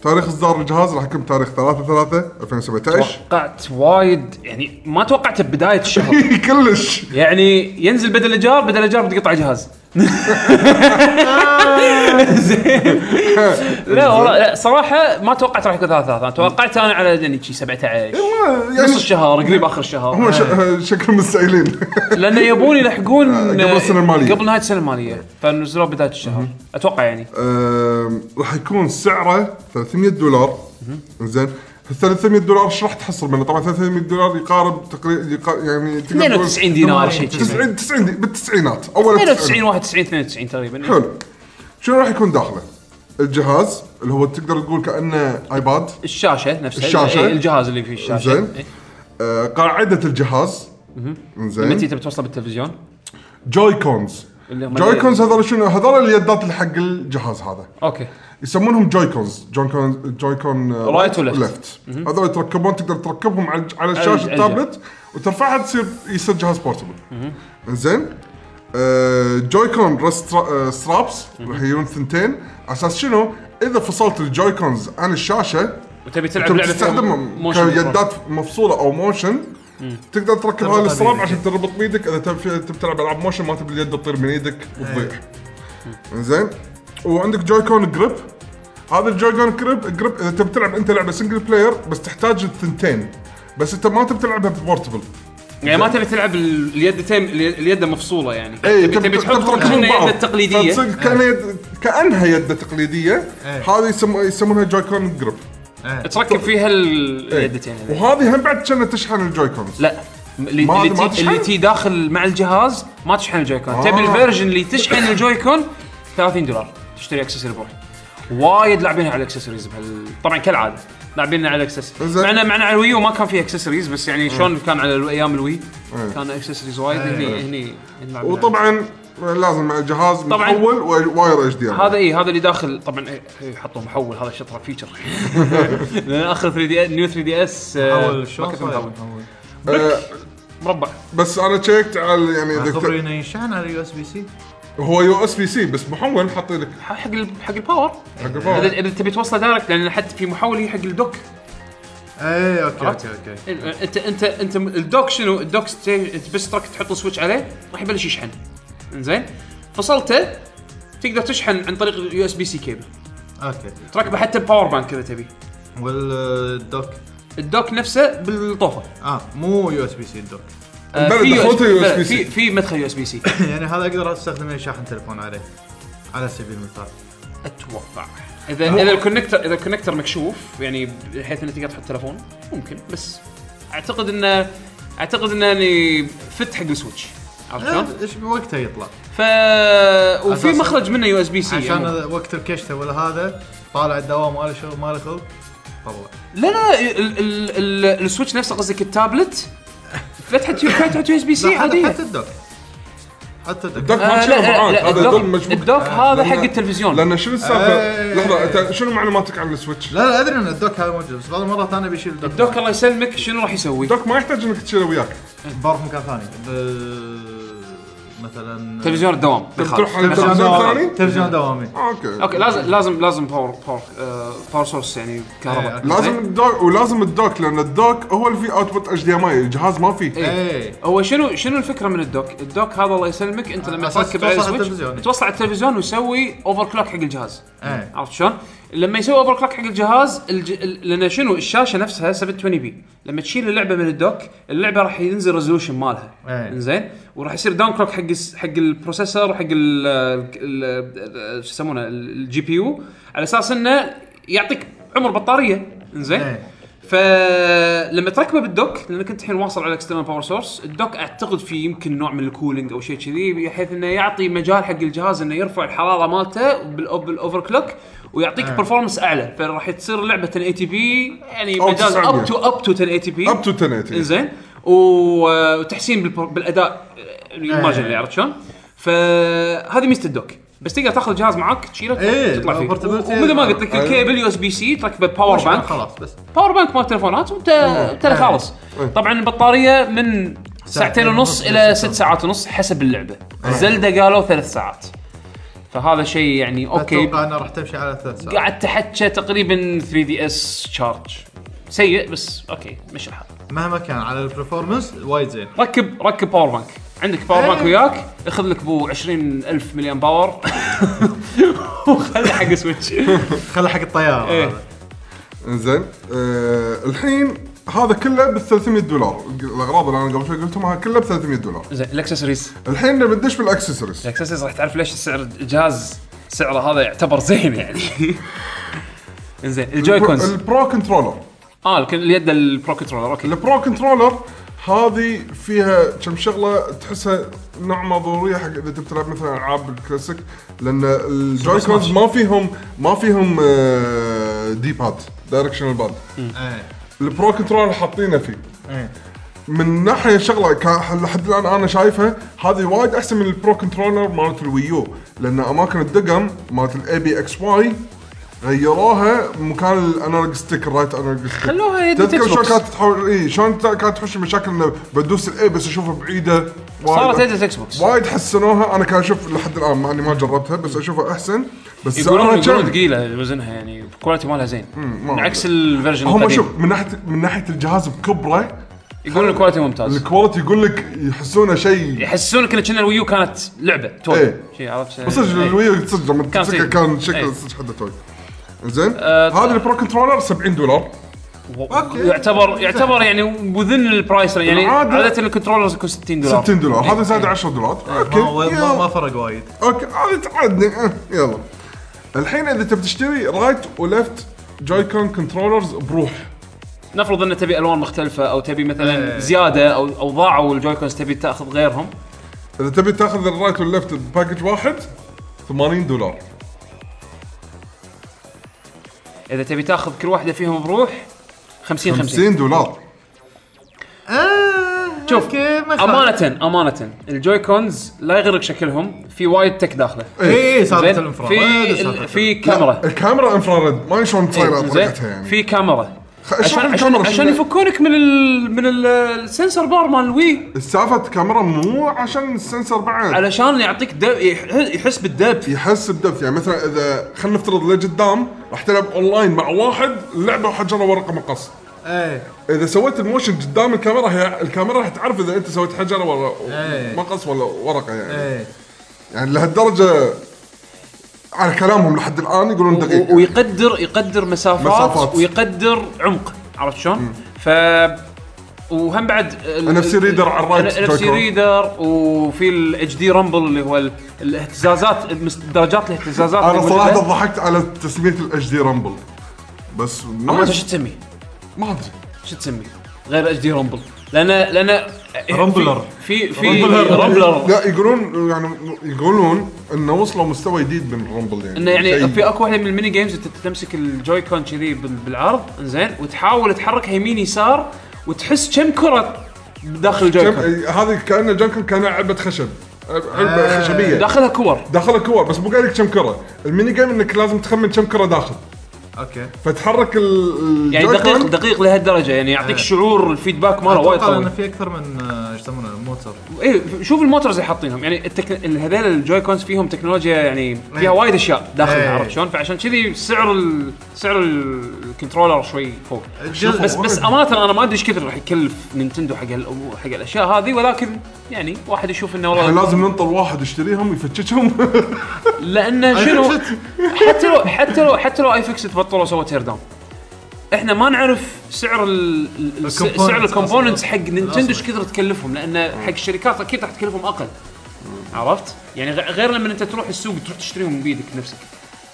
S2: تاريخ اصدار الجهاز راح يكون تاريخ 3 3 2017
S1: توقعت وايد يعني ما توقعته ببدايه الشهر
S2: (laughs) كلش
S1: يعني ينزل بدل ايجار بدل ايجار بتقطع
S2: (laughs)
S1: جهاز زين لا والله لا صراحه ما توقعت راح يكون ثلاثة ثلاثة انا توقعت انا على يعني شي 17
S2: ما-
S1: نص
S2: يعني
S1: الشهر إيه. قريب اخر الشهر
S2: هم ش- شكلهم مستعيلين
S1: لانه يبون يلحقون
S2: آه،
S1: آه،
S2: قبل السنة المالية.
S1: قبل نهايه السنه الماليه فنزلوه بدايه الشهر اتوقع يعني
S2: آم، راح يكون سعره 300 دولار زين ال 300 دولار ايش راح تحصل منه؟ طبعا 300 دولار يقارب تقريبا يقارب يعني تقدر تقول
S1: 92 دينار شيء كذي
S2: 90 90 دي- بالتسعينات اول
S1: 92
S2: التسعينات
S1: 91 92 تقريبا
S2: حلو شنو راح يكون داخله؟ الجهاز اللي هو تقدر تقول كانه ايباد
S1: الشاشه نفسها
S2: الشاشة.
S1: إيه، الجهاز اللي فيه الشاشه
S2: زين
S1: إيه.
S2: آه، قاعده الجهاز
S1: متى
S2: زين
S1: تبي توصله بالتلفزيون؟
S2: جوي كونز
S1: اللي هم-
S2: جوي كونز هذول شنو هذول اليدات اللي حق الجهاز هذا
S1: اوكي
S2: يسمونهم جوي كونز جوي كون جوي كون
S1: Right و left.
S2: آه، هذول يتركبون تقدر تركبهم على على
S1: على الج-
S2: الشاشه التابلت وترفعها تصير يصير جهاز بورتبل زين آه جوي كون رست آه سترابس راح يجون ثنتين على اساس شنو اذا فصلت الجوي كونز عن الشاشه
S1: وتبي تلعب
S2: تبي
S1: لعبه فيها
S2: تستخدمهم
S1: موشن كنترول.
S2: كيدات مفصوله او موشن تقدر تركب هاي
S3: تربطها
S2: الستراب
S3: بإيدك.
S2: عشان تربط بيدك اذا تبي تبي تلعب العاب موشن ما تبي اليد تطير من ايدك وتضيع زين وعندك جوي كون جريب هذا الجوي كون جريب جريب اذا تبي تلعب انت لعبه سنجل بلاير بس تحتاج الثنتين بس انت ما تبي تلعبها بورتبل
S1: يعني ما تبي تلعب ال- اليدتين الي- اليد مفصوله يعني
S2: اي
S1: تبي- تبي تحط كأنها يد إيه. التقليديه
S2: كانها يد كانها يده تقليديه
S4: إيه.
S2: هذه يسمو- يسمونها جوي كون جريب
S1: تركب فيها ال-
S2: إيه.
S1: اليدتين هذي.
S2: وهذه هم بعد كانت تشحن الجوي كونز
S1: لا اللي
S2: ما-
S1: اللي
S2: ما
S1: تي-
S2: تشحن؟
S1: اللي تي داخل مع الجهاز ما تشحن الجويكون
S2: آه.
S1: تبي الفيرجن اللي تشحن الجويكون 30 دولار تشتري اكسسوري بروح وايد لاعبينها على الاكسسوارز بهال طبعا كالعاده لاعبينها على الاكسسوارز
S2: زين. آه.
S1: معنا معنا على الويو ما كان في اكسسوارز بس يعني شلون كان على الو- ايام الوي كان اكسسوارز وايد هني هني نلعب عليها.
S2: وطبعا نعم. لازم مع الجهاز
S1: طبعاً.
S2: محول وواير اتش دي
S1: هذا اي هذا اللي داخل طبعا إيه، إيه، حطوا محول هذا شطره (laughs) فيتشر لان اخر 3 دي نيو 3 دي اس
S4: اول شو إيه.
S1: مربع
S2: بس انا شيكت على يعني إذا كت-
S4: خبرينا يشحن على يو اس بي سي
S2: هو يو اس بي سي بس محول حاط لك
S1: حق ال- حق الباور
S2: حق
S1: اذا
S2: الفار.
S1: اذا تبي توصله دايركت لان حتى في محاوله هي حق الدوك
S4: اي اوكي اوكي اوكي
S1: انت انت انت الدوك شنو الدوك ستي- بس ترك تحط السويتش عليه راح يبلش يشحن زين فصلته تقدر تشحن عن طريق اليو اس بي سي كيبل
S4: اوكي
S1: تركبه حتى باور بانك اذا تبي
S4: والدوك
S1: الدوك نفسه بالطوفه
S4: اه مو يو اس بي سي الدوك (laughs)
S1: آه،
S2: بلى،
S1: في
S2: دخلته
S1: USB
S2: USB
S1: بلى، في
S2: سي.
S1: في مدخل يو اس بي سي
S4: يعني هذا اقدر استخدمه شاحن تليفون عليه على سبيل المثال
S1: اتوقع اذا اذا الكونكتر اذا الكونكتر مكشوف يعني بحيث انك تقدر تحط تلفون ممكن بس اعتقد انه اعتقد انه يعني فت حق السويتش عرفت شلون؟
S4: آه، ايش وقتها يطلع
S1: ف وفي
S4: أساساً.
S1: مخرج منه يو اس بي سي
S4: عشان وقت الكشته ولا هذا طالع الدوام ماله شغل ماله خلق طلع
S1: لا لا ال- ال- ال- السويتش نفسه قصدك
S2: (laughs)
S1: التابلت فتحت فتحت يو اس بي سي
S4: لا، حتى
S1: عاديه
S4: حتى الدوك حتى الدوك
S2: الدوك
S1: آه،
S2: ما
S1: لا،
S2: تشيله
S1: لا،
S2: معاك
S1: لا،
S2: هذا
S1: الدوك-
S2: دول مجموع
S1: الدوك هذا
S2: لأن-
S1: حق التلفزيون.
S2: لان شنو السالفه؟
S4: آه.
S2: لحظه انت شنو معلوماتك عن السويتش؟
S4: لا لا ادري ان الدوك هذا موجود بس بعض المرات انا بشيل الدوك
S1: الدوك الله يسلمك شنو راح يسوي؟
S2: الدوك ما يحتاج انك تشيله وياك
S4: بروح مكان ثاني ب- مثلا
S1: تلفزيون الدوام
S2: تروح على
S4: تلفزيون
S2: التلفزيون
S4: دوامي
S2: الثاني؟
S4: تلفزيون دوامي
S2: آه، اوكي
S1: اوكي لازم لازم لازم باور باور آه، باور سورس يعني
S4: إيه،
S1: كهرباء
S4: أوكي.
S2: لازم الدوك ولازم الدوك لان الدوك هو اللي فيه اوتبوت اتش دي ام اي الجهاز ما فيه
S1: إيه.
S4: ايه
S1: هو شنو شنو الفكره من الدوك؟ الدوك هذا الله يسلمك انت لما
S4: أساس
S1: تركب على
S4: توصل على
S1: السويتش
S4: التلفزيون.
S1: توصل على التلفزيون ويسوي اوفر كلوك حق الجهاز
S4: ايه
S1: عرفت شلون؟ لما يسوي اوفر كلوك حق الجهاز الج... ال- لان شنو الشاشه نفسها 720 بي لما تشيل اللعبه من الدوك اللعبه راح ينزل ريزولوشن مالها
S4: إيه.
S1: زين وراح يصير داون كلوك حق الس- حق البروسيسور وحق ال- ال- ال- شو يسمونه الجي بي يو على اساس انه يعطيك عمر بطاريه زين
S4: إيه.
S1: فلما تركبه بالدوك لانك انت الحين واصل على اكسترنال باور سورس الدوك اعتقد فيه يمكن نوع من الكولينج او شيء كذي بحيث انه يعطي مجال حق الجهاز انه يرفع الحراره مالته بالاوفر كلوك ويعطيك برفورمانس اعلى فراح تصير لعبه 1080 بي يعني
S2: أو
S1: مجال
S2: 900.
S1: اب تو اب تو 1080 بي
S2: اب تو 1080
S1: زين وتحسين بالبر- بالاداء الماجن عرفت شلون؟ فهذه ميزه الدوك بس تقدر تاخذ الجهاز معك تشيله
S4: إيه،
S1: تطلع فيه
S4: portability.
S1: ومثل ما قلت لك
S2: أيوة.
S1: الكيبل يو اس بي سي تركبه باور بانك
S4: خلاص بس
S1: باور بانك مال تليفونات وانت ترى خالص طبعا البطاريه من ساعتين ونص الى ست ساعات ونص حسب اللعبه زلدة قالوا ثلاث ساعات فهذا شيء يعني اوكي
S4: اتوقع انها راح تمشي على ثلاث ساعات
S1: قعدت تحكى تقريبا 3 دي اس تشارج سيء بس اوكي مشي الحال
S4: مهما كان على البرفورمنس وايد زين
S1: ركب ركب باور بانك عندك باور
S2: إيه.
S1: بانك وياك اخذ لك بو 20000 مليون باور (laughs) وخلي حق سويتش
S4: خلي حق الطياره
S1: إيه.
S4: هذا.
S2: انزين آه الحين هذا كله ب 300 دولار الاغراض اللي انا قبل شوي قلتهم هذا كله ب 300 دولار
S1: زين الاكسسوارز
S2: الحين نبي ندش بالاكسسوارز
S1: الاكسسوارز راح تعرف ليش سعر الجهاز سعره هذا يعتبر زين (laughs) يعني انزين الجويكونز
S2: البرو كنترولر
S1: اه الك- اليد البرو كنترولر اوكي
S2: البرو كنترولر هذه فيها كم شغله تحسها نعمه ضروريه حق اذا تبي تلعب مثلا العاب الكلاسيك لان الجويكونز ما فيهم ما فيهم آه، دي باد دايركشنال باد
S4: ايه
S2: البرو كنترولر حاطينه فيه
S4: ايه
S2: من ناحيه شغله كا- لحد الان انا شايفها هذه وايد احسن من البرو كنترولر مالت الويو لان اماكن الدقم مالت الاي بي اكس واي غيروها مكان الانالوج ستيك الرايت انالوج ستيك
S1: خلوها يد
S2: تذكر
S1: تكس
S2: شلون
S1: بوكس.
S2: كانت تحاول اي شلون تا- كانت تحوش المشاكل انه بدوس الاي بس اشوفها بعيده وايد-
S1: صارت يد اكس بوكس
S2: وايد حسنوها انا كان اشوف لحد الان مع اني ما جربتها بس اشوفها احسن بس
S1: يقولون
S2: أنا
S1: يقولون
S2: كان-
S1: ثقيله وزنها يعني الكواليتي مالها زين
S2: ما-
S1: عكس الفيرجن
S2: هم
S1: القديم
S2: شوف من ناحيه من ناحيه الجهاز بكبره
S1: يقولون الكواليتي ممتاز
S2: الكواليتي يقول لك يحسونه شيء
S1: يحسسونك ان كنا الويو كانت لعبه توي
S2: إيه.
S1: شي عرفت
S2: بس صدق
S1: إيه.
S2: الويو صدق لما
S1: كان
S2: تمسكها
S1: فيه.
S2: كان
S1: إيه.
S2: شكله صدق حده توي زين
S1: آه،
S2: هذا البرو كنترولر 70 دولار
S1: و- يعتبر يعتبر يعني وذن البرايس يعني
S2: العادة-
S1: عاده الكنترولرز يكون 60 دولار
S2: 60 دولار هذا زاد
S1: إيه.
S2: 10 دولار اوكي
S4: ما, ما, ما
S2: يلا.
S4: فرق وايد
S2: اوكي هذا تعادني أه، يلا الحين اذا تبي تشتري رايت ولفت جوي كون كنترولرز بروح
S1: نفرض ان تبي الوان مختلفه او تبي مثلا
S4: إيه.
S1: زياده او او ضاعوا الجويكونز تبي تاخذ غيرهم
S2: اذا تبي تاخذ الرايت واللفت باكج واحد 80 دولار
S1: اذا تبي تاخذ كل واحده فيهم بروح 50 50
S2: 50 دولار
S4: آه
S1: شوف،
S4: اوكي ما يخالف.
S1: امانه امانه الجويكونز لا يغرك شكلهم في وايد تك داخله
S4: اي سالفه
S1: زين؟
S4: الانفراد
S1: في ال- في كاميرا
S2: الكاميرا انفراريد ما شلون تصير
S1: إيه، زين
S2: طريقتها يعني
S1: في كاميرا
S2: خ-
S1: عشان
S2: شلون
S1: عشان,
S2: الكاميرا
S1: عشان
S2: شنو-
S1: يفكونك من ال من ال- السنسر بار مال الوي
S2: السالفه الكاميرا مو عشان السنسر بعد
S1: علشان يعطيك دب يح- يحس بالدب
S2: يحس بدبث يعني مثلا اذا خلينا نفترض اللي قدام راح تلعب اونلاين مع واحد لعبه حجره ورقه مقص
S4: ايه
S2: اذا سويت الموشن قدام الكاميرا هي الكاميرا راح تعرف اذا انت سويت حجره ولا
S4: إيه.
S2: مقص ولا ورقه
S3: إيه.
S2: يعني
S4: ايه
S2: يعني لهالدرجه على كلامهم لحد الان يقولون دقيق
S1: و- ويقدر يقدر مسافات,
S2: مسافات.
S1: ويقدر عمق عرفت شلون؟ ف وهم بعد
S2: NFC reader على الرايت
S1: ان اف سي
S2: جويكون.
S1: ريدر وفي الاتش دي رامبل اللي هو ال- الاهتزازات المس- درجات الاهتزازات
S2: انا
S1: اللي
S2: صراحه
S1: موجودة.
S2: ضحكت على تسميه الاتش دي رامبل بس
S1: ما ادري شو
S2: نايس
S1: تسميه
S2: ما ادري
S1: شو تسميه غير اتش دي رامبل لان لان
S4: رامبلر.
S1: في في رامبلر
S2: لا يقولون يعني يقولون انه وصلوا مستوى جديد من الرامبل يعني
S1: انه يعني
S2: شيء-
S1: في اكو واحده من الميني جيمز انت تمسك الجوي كون كذي بال- بالعرض زين وتحاول تحركها يمين يسار وتحس كم كره داخل الجوي كون
S2: كم- إيه، هذه كانه جنكن كان علبه خشب
S1: آه.
S2: علبه خشبيه
S1: داخلها كور
S2: داخلها كور بس مو قايل لك كم كره الميني جيم انك لازم تخمن كم كره داخل
S4: اوكي
S2: فتحرك ال
S1: يعني دقيق
S2: الجويكون.
S1: دقيق لهالدرجه يعني يعطيك شعور الفيدباك ماله وايد
S4: اتوقع انه
S1: قوي
S4: في اكثر من آه، ايش يسمونه موتر
S1: اي شوف الموتورز اللي حاطينهم يعني التك... ال- هذيل الجوي كونز فيهم تكنولوجيا يعني فيها وايد اشياء داخلها
S4: إيه.
S1: عرفت شلون فعشان كذي سعر ال... سعر ال- الكنترولر شوي فوق
S4: شوفوا،
S1: بس بس امانه انا ما ادري ايش كثر راح يكلف نينتندو حق هالأمور- حق الاشياء هذه ولكن يعني واحد يشوف انه والله
S2: يعني لازم ننطر واحد يشتريهم يفتشهم
S1: لانه شنو حتى لو حتى لو حتى لو اي فيكس تبطلوا سووا تير داون احنا ما نعرف سعر ال ال- الس-
S4: الcomponents
S1: سعر الكومبوننتس
S4: أصلاً.
S1: حق نينتندو ايش كثر تكلفهم لان حق الشركات اكيد راح تكلفهم اقل عرفت؟ يعني غ- غير لما انت تروح السوق تروح تشتريهم بايدك نفسك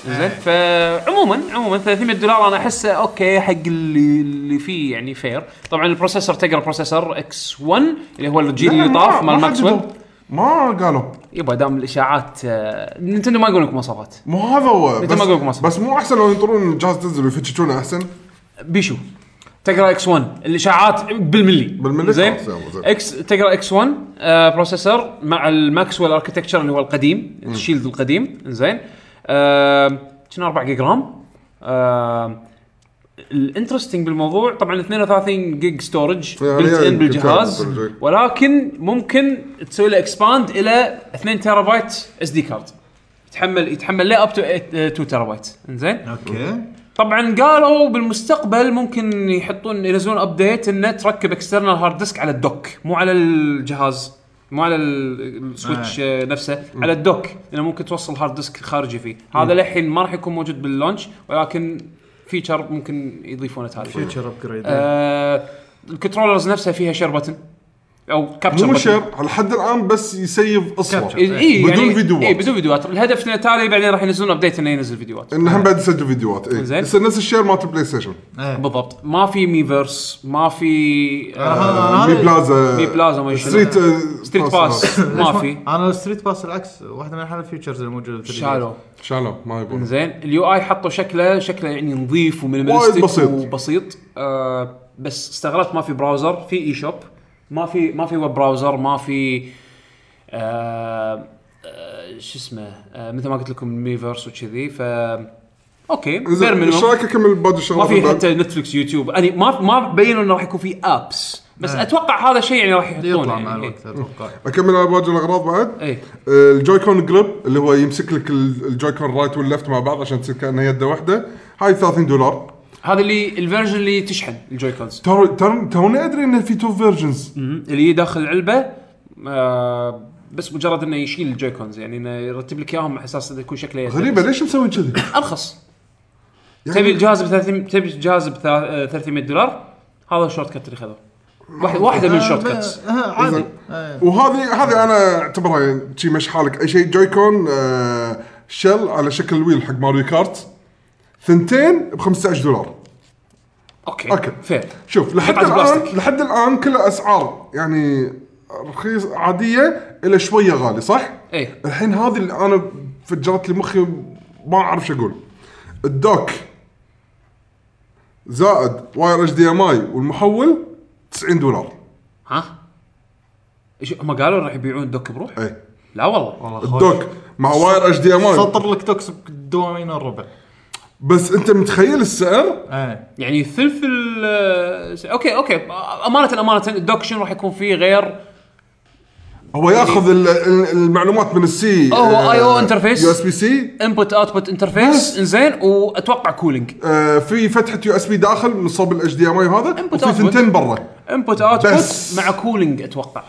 S4: إيه.
S1: زين فعموما عموما 300 دولار انا احسه اوكي حق اللي اللي فيه يعني فير طبعا البروسيسور تقرا بروسيسور اكس 1 اللي هو الجيل
S2: (laughs)
S1: اللي طاف مال ماكسويل
S2: ما قالوا
S1: يبا دام الاشاعات آه، نينتندو ما يقول لك مواصفات
S2: مو هذا هو
S1: مثل ما أقول لكم
S2: بس,
S1: أصلاً.
S2: بس مو احسن لو ينطرون الجهاز تنزل ويفتشونه احسن
S1: بيشو تقرا اكس 1 الاشاعات بالملي
S2: بالملي؟
S1: زين
S2: خلاص، يلا، زين.
S1: اكس تقرا اكس 1 آه بروسيسور مع الماكسويل اركتكتشر اللي هو القديم الشيلد القديم زين آه كنا 4 جيجا رام آه الانترستنج بالموضوع طبعا 32 جيج ستورج
S2: يعني
S1: بلت
S2: يعني
S1: ان بالجهاز
S2: كنت أعرف.
S1: ولكن ممكن تسوي له اكسباند الى 2 تيرا بايت اس دي كارد يتحمل يتحمل ليه اب تو 2 تيرا بايت آه، زين
S4: اوكي
S1: طبعا قالوا بالمستقبل ممكن يحطون ينزلون ابديت انه تركب اكسترنال هارد ديسك على الدوك مو على الجهاز مو على ال- السويتش آه. نفسه على الدوك انه ممكن توصل هارد ديسك خارجي فيه هذا للحين ما راح يكون موجود باللونش ولكن فيتشر ممكن يضيفونه تالي
S4: فيوتشر ابجريد
S1: آه الكنترولرز نفسها فيها شير بutton او كابتشر
S2: مو شير لحد الان بس يسيف
S4: كابتشر.
S2: اصور
S1: اي
S2: بدون
S1: يعني
S2: فيديوهات.
S1: اي بدون فيديوهات الهدف انه تالي بعدين راح ينزلون ابديت انه ينزل فيديوهات
S2: انه هم بعد يسجل فيديوهات اي
S1: زين.
S2: يصير نفس الشير مالت البلاي ستيشن
S4: إيه.
S1: بالضبط ما في ميفيرس ما في آه
S2: مي بلازا آه،
S1: مي بلازا ما شنو.
S2: ستريت
S1: ستريت باس ما في
S4: انا الستريت باس العكس واحده من احلى الفيوتشرز الموجوده في 3DS.
S1: شالوا
S2: شالوا ما يبون
S1: زين اليو اي حطوا شكله شكله يعني نظيف
S2: وايد
S1: ومينيماليستيك
S2: بسيط.
S1: وبسيط آه بس استغربت ما في براوزر في اي شوب ما في ما في ويب براوزر ما في آه آه، شو اسمه آه مثل ما قلت لكم ميفيرس وكذي ف اوكي بير
S2: زين
S1: مينيمم.
S2: ايش رايك اكمل باقي
S1: ما
S2: الشغلات
S1: في
S2: بعد؟
S1: حتى نتفلكس يوتيوب يعني ما ما بينوا انه راح يكون في ابس
S2: آه.
S1: بس اتوقع هذا شيء يعني راح يحطونه
S4: يطلع
S1: يعني. إيه.
S4: مع الوقت اتوقع
S2: اكمل على باقي الاغراض بعد آه،
S1: اي
S2: الجويكون جريب اللي هو يمسك لك ال- الجويكون رايت واللفت مع بعض عشان تصير كانها يده واحده هاي 30 دولار
S1: هذا اللي الفيرجن اللي تشحن الجوي كونز
S2: ترى ترى توني ادري انه في تو فيرجنز
S1: اللي داخل العلبه آه بس مجرد انه يشيل الجوي كونز يعني انه يرتب لك اياهم على اساس انه يكون شكله يدرس.
S2: غريبه ليش مسوين كذي؟ يعني
S1: ارخص تبي الجهاز ب 300 تبي الجهاز ب 300 دولار هذا الشورت كت اللي خذوه واحد واحده من الشورت كتس
S3: آه، عادي
S2: زين.
S3: آه.
S2: وهذه هذه انا اعتبرها شي مش حالك اي شيء جويكون آه شل على شكل الويل حق ماريو كارت ثنتين ب 15 دولار
S1: اوكي
S2: أوكي.
S1: فير
S2: شوف لحد
S1: قطعة بلاستيك.
S2: الان لحد الان كل اسعار يعني رخيص عاديه الا شويه غالي صح؟
S1: ايه
S2: الحين هذه اللي انا فجرت لي مخي ما اعرف شو اقول الدوك زائد واير اتش دي ام اي والمحول 90 دولار
S1: ها ايش هم قالوا راح يبيعون الدوك بروح؟
S2: اي
S1: لا والله
S2: إيه. الدوك مع واير اتش دي ام
S1: طيب.
S2: اي
S4: سطر لك توكس بدوامين الربع
S2: بس انت متخيل السعر
S4: ايه
S1: يعني ثلث ال آه، اوكي اوكي امانه امانه الدوك شنو راح يكون فيه غير
S2: هو ياخذ ال- ال- المعلومات من السي
S1: أه،
S2: آه،
S1: هو IO interface.
S2: يو اس بي سي
S1: انبوت اوتبوت انترفيس انزين واتوقع كولينج
S2: آه، في فتحه يو اس بي داخل من صوب الاتش دي ام اي وهذا
S1: Input
S2: وفي
S1: output.
S2: ثنتين برا
S1: انبوت اوتبوت
S2: بس.
S1: مع كولينج اتوقع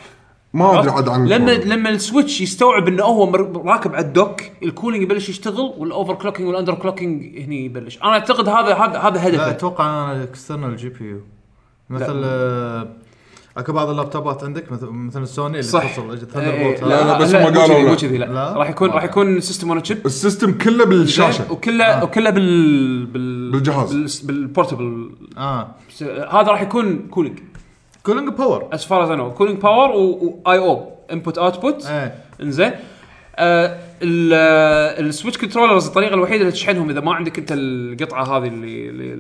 S2: ما ادري عاد عن
S1: لما
S2: الكورة.
S1: لما السويتش يستوعب انه هو مر- راكب على الدوك الكولينج يبلش يشتغل والاوفر كلوكينج والاندر كلوكينج هني يبلش انا اعتقد هذا هذا هذا
S4: لا
S1: هدفه
S4: اتوقع انا اكسترنال جي بي يو مثل آه، اكو بعض اللابتوبات عندك مثل مثل السوني اللي
S1: صح
S4: توصل
S1: إيه،
S4: ثندر
S2: لا،
S4: بولت
S2: لا، بس
S1: مو
S2: هم قالوا
S1: كذي،
S2: لا.
S1: مو كذي لا
S4: لا؟
S1: راح يكون راح يكون سيستم اون تشيب
S2: السيستم كله بالشاشه
S1: وكله وكله بال بال
S2: آه. بالجهاز.
S1: بال- بالبورتبل
S4: اه
S1: س- هذا راح يكون كولينج
S4: كولينج باور
S1: از فار از انا كولينج باور واي او انبوت اوتبوت
S4: ايه
S1: انزين آه، ال- آه، السويتش كنترولرز الطريقه الوحيده اللي تشحنهم اذا ما عندك انت القطعه هذه اللي اللي-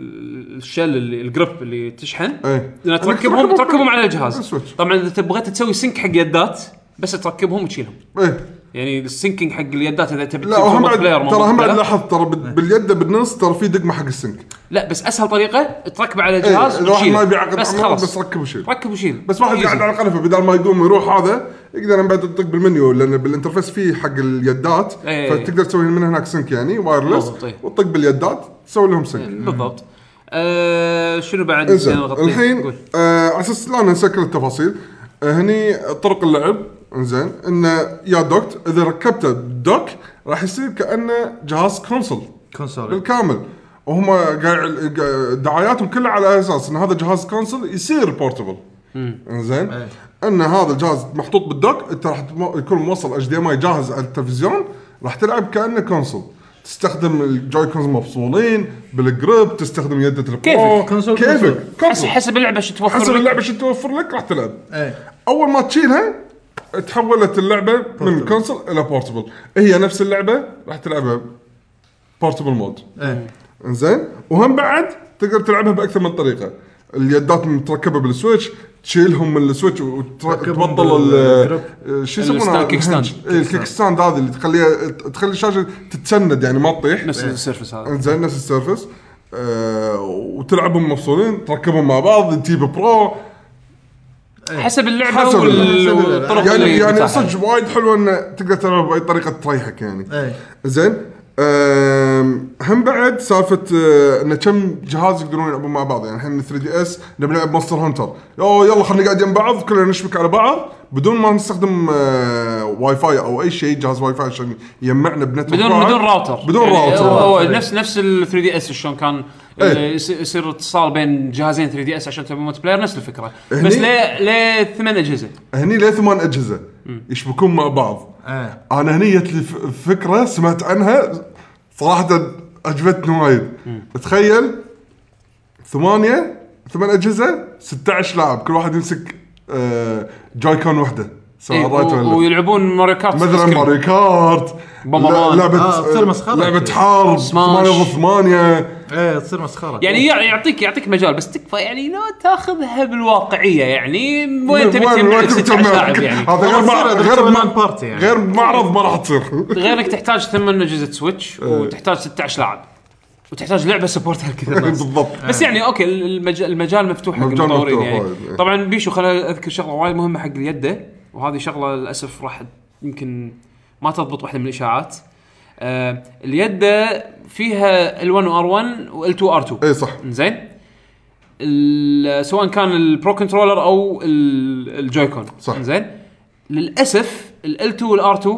S1: الشل اللي الجريب اللي تشحن
S2: ايه
S1: لان تركبهم تركبهم على الجهاز
S2: السويتش.
S1: طبعا اذا تبغيت تسوي سينك حق يدات بس تركبهم وتشيلهم
S2: ايه
S1: يعني السينكينج حق اليدات اذا تبي
S2: لا
S1: تسوي
S2: وهم
S1: remote
S2: بعد
S1: player إيه.
S2: ترى هم
S1: remote
S2: بعد
S1: player.
S2: لاحظ ترى بال- باليد بالنص ترى في دقمه حق السنك
S1: لا بس اسهل طريقه تركبه على
S2: إيه،
S1: الجهاز
S2: اذا واحد
S1: وتشيله.
S2: ما يبيع عقد
S1: بس
S2: عمره، بس
S1: خلاص
S2: ركب وشيل
S1: ركب وشيل
S2: بس واحد
S1: Easy.
S2: قاعد على القنفه بدل ما يقوم يروح هذا يقدر من بعد يطق بالمنيو لان بالانترفيس في حق اليدات
S1: إيه.
S2: فتقدر تسوي من هناك سنك يعني وايرلس
S1: بالضبط، إيه.
S2: وتطق باليدات تسوي لهم سنك
S1: بالضبط آه شنو بعد
S2: انزين
S1: نغطيه؟
S2: الحين
S1: قول.
S2: آه، على اساس لا نسكر التفاصيل آه، هني طرق اللعب انزين انه يا دوكت اذا ركبته دوك راح يصير كانه جهاز كونسول
S4: كونسول
S2: بالكامل وهم قاعد قاعد- دعاياتهم كلها على اساس ان هذا جهاز كونسل يصير بورتبل انزين
S4: إيه.
S2: ان هذا الجهاز محطوط بالدوك انت راح تم- يكون موصل اتش دي ام اي جاهز على التلفزيون راح تلعب كانه كونسل تستخدم الجويكونز مفصولين بالجريب تستخدم يدة البرو
S1: كيفك.
S4: كونسول،
S2: كيفك
S4: كونسول.
S1: حسب
S2: كونسول
S1: حسب اللعبه شو توفر
S2: حسب
S1: لك.
S2: اللعبه شو توفر لك راح تلعب
S4: ايه
S2: اول ما تشيلها تحولت اللعبه من كونسل الى بورتبل هي نفس اللعبه راح تلعبها بورتبل مود
S4: ايه
S2: انزين وهم بعد تقدر تلعبها باكثر من طريقه اليدات متركبه بالسويتش تشيلهم من السويتش
S4: تركبهم
S2: وتبطل ال- شو يسمونها
S1: الستاند، كيك ستاند.
S2: الهنج. إيه، الكيك ستاند هذه اللي تخليها تخلي الشاشه تتسند يعني ما تطيح
S1: نفس السيرفس هذا
S2: انزين نفس السيرفس آه وتلعبهم مفصولين تركبهم مع بعض تجيب برو
S1: حسب اللعبه
S2: إيه. حسب
S1: وال-
S2: اللعبة.
S1: والطرق
S2: يعني
S1: اللي
S2: يعني
S1: متاحة.
S2: صدق وايد حلوه ان تقدر تلعب باي طريقه تريحك يعني
S4: ايه
S2: زين أم، هم بعد سالفه أه، ان كم جهاز يقدرون يلعبون مع بعض يعني الحين 3 دي اس نبي نلعب مونستر هانتر يو يلا خلينا نقعد جنب بعض كلنا نشبك على بعض بدون ما نستخدم أه، واي فاي او اي شيء جهاز واي فاي عشان يجمعنا بنت
S1: بدون
S2: واحد.
S1: بدون راوتر
S2: بدون
S1: يعني
S2: راوتر
S1: هو- هو نفس نفس ال 3 دي اس شلون كان
S2: إيه.
S1: يص- يصير اتصال بين جهازين 3 دي اس عشان تسوي ملتي بلاير نفس الفكره
S2: إيه. هني- آه،
S1: بس ليه ليه ثمان اجهزه
S2: هني ليه ثمان اجهزه يشبكون مع بعض
S4: ايه
S2: انا هني جت لي ف- فكره سمعت عنها صراحه عجبتني وايد تخيل ثمانيه ثمان اجهزه 16 لاعب كل واحد يمسك آه، جايكون وحده سواء
S1: إيه،
S2: رايت
S1: و-
S2: ولا
S1: ويلعبون ماريو كارت
S2: مثلا
S1: سكرين.
S2: ماري كارت
S1: بومبمان.
S2: لعبه
S4: آه، تصير مسخرة.
S2: لعبه حرب
S1: سماش.
S2: 8 ضد 8
S4: ايه تصير مسخره
S1: يعني يع- يعطيك يعطيك مجال بس تكفى يعني لو تاخذها بالواقعيه يعني وين تبي
S2: وين-
S1: تجمع
S2: وين
S1: لك 16 لاعب يعني
S2: هذا غير مع- غير
S4: غير
S2: مع-
S4: بارتي يعني
S2: غير معرض ما راح تصير
S1: غير انك تحتاج ثمان اجهزه سويتش
S2: إيه.
S1: وتحتاج 16 لاعب وتحتاج لعبه سبورت
S2: (laughs)
S1: هالكثر ناس.
S2: (laughs) بالضبط
S1: بس يعني اوكي المج... المجال مفتوح حق
S2: مجال
S1: المطورين
S2: آه. مفتوح
S1: يعني
S2: وايد، إيه.
S1: طبعا بيشو خليني اذكر شغله وايد مهمه حق اليده وهذه شغله للاسف راح يمكن ما تضبط واحده من الاشاعات آه، آه اليد فيها L1 وR1 وL2 R2
S2: اي إيه، صح
S1: زين ال- سواء كان البرو كنترولر او ال- الجويكون
S2: صح.
S1: زين للاسف ال2 والار2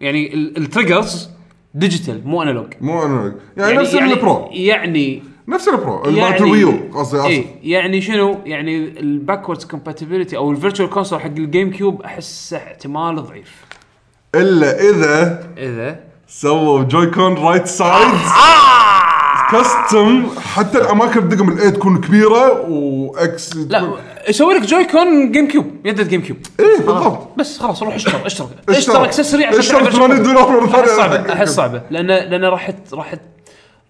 S1: يعني ال- التريجرز ديجيتال مو انالوج
S2: مو انا يعني نفس البرو
S1: يعني
S2: نفس البرو مالت
S1: يعني
S2: الويو قصدي
S1: اي
S2: اسف
S1: يعني شنو يعني الباكوردز كومباتيبلتي او الفيرتشوال كونسول حق الجيم كيوب احسه احتمال ضعيف
S2: الا اذا
S1: اذا
S2: سووا جويكون رايت سايد
S1: Ah,
S2: كاستم حتى الاماكن بدقم الاي تكون كبيره واكس
S1: لا آه. يسوي لك جويكون جيم كيوب يده جيم كيوب
S2: اي إيه، بالضبط
S1: بس خلاص روح اشتر اشتر اشتر اكسسوري عشان
S2: اشتر
S1: تلعب
S2: 80
S1: الجويكون.
S2: دولار مره
S1: احس
S2: ثانيه
S1: صعبه احس صعبه لان لان راح ت- راح ت-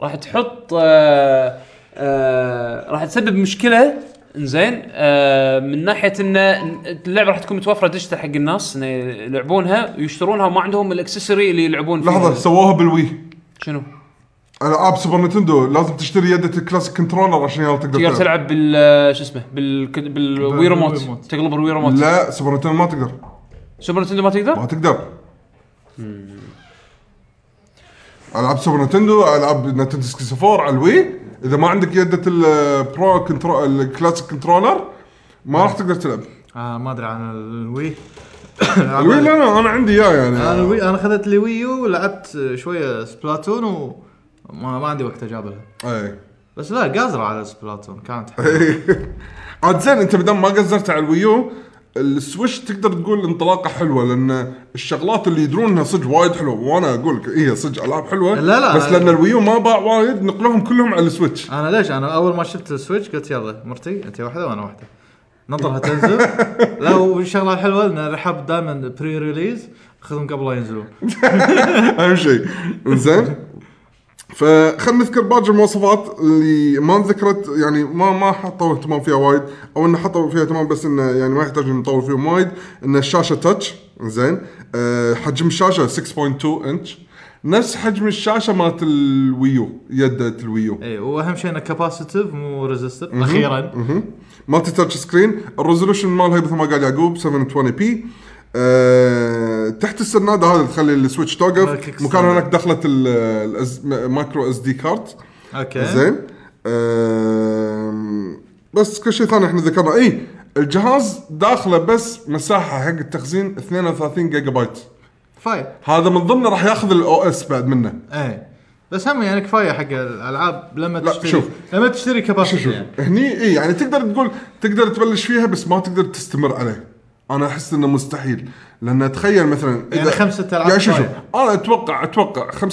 S1: راح تحط آه، آه، راح تسبب مشكله زين آه، من ناحيه ان اللعبه راح تكون متوفره ديجيتال حق الناس انه يلعبونها ويشترونها وما عندهم الاكسسوري اللي يلعبون فيه
S2: لحظه سووها بالوي
S1: شنو؟
S2: العاب سوبر نتندو لازم تشتري يده الكلاسيك كنترولر عشان يلا تقدر
S1: تقدر تلعب بال شو اسمه بال بالوي ريموت
S5: بالريموت.
S1: تقلب الوي ريموت
S2: لا سوبر نتندو ما تقدر
S1: سوبر نتندو ما تقدر؟
S2: ما تقدر العاب سوبر نتندو العاب نتندو 64 على الوي اذا ما عندك يده البرو كنترول الكلاسيك كنترولر ما راح تقدر تلعب
S3: آه ما ادري عن الوي
S2: الوي لا لا انا عندي اياه
S3: انا
S2: يعني
S3: الوي انا اخذت لي ويو ولعبت شويه سبلاتون وما ما عندي وقت اجاب لها
S2: إيه.
S3: بس لا قازره على سبلاتون كانت حلوة.
S2: (laughs) عاد زين انت بدل ما قزرت على الويو السويش تقدر تقول انطلاقه حلوه لان الشغلات اللي يدرون انها صدق وايد حلوه وانا اقول لك هي صدق العاب حلوه
S3: لا لا،
S2: بس
S3: أنا-
S2: لان الويو ما باع وايد نقلوهم كلهم على السويتش
S3: انا ليش انا اول ما شفت السويتش قلت يلا مرتي انت واحده وانا واحده ننطرها تنزل لا والشغله الحلوه ان الرحاب دائما بري ريليز خذهم قبل لا ينزلون
S2: اهم شيء زين فخلنا نذكر باقي المواصفات اللي ما انذكرت يعني ما ما حطوا اهتمام فيها وايد او انه حطوا فيها اهتمام بس انه يعني ما يحتاج إن نطول فيهم وايد ان الشاشه تاتش زين أه حجم الشاشه 6.2 انش نفس حجم الشاشه مالت الويو يدة الويو
S3: اي واهم شيء انه كاباسيتيف مو ريزستيف اخيرا
S2: مهم. مالتي تاتش سكرين الريزولوشن مالها مثل ما قال يعقوب 720 بي أه تحت السناده هذا تخلي السويتش توقف
S3: الكيك
S2: مكان
S3: ستاند.
S2: هناك دخلت المايكرو اس دي كارت
S3: اوكي
S2: زين أم، بس كل شيء ثاني احنا ذكرنا اي الجهاز داخله بس مساحه حق التخزين 32 جيجا بايت
S3: فايف
S2: هذا من ضمنه راح ياخذ الاو اس بعد منه
S3: اي بس هم يعني كفايه حق الالعاب لما
S2: لا،
S3: تشتري
S2: شوف.
S3: لما تشتري
S2: شوف
S3: كباسيتي
S2: شوف
S3: يعني
S2: هني اي يعني تقدر تقول تقدر تبلش فيها بس ما تقدر تستمر عليه انا احس انه مستحيل لان تخيل مثلا
S3: يعني خمسة ألعاب
S2: يعني شوف شوف
S3: كفاية.
S2: انا اتوقع اتوقع 75%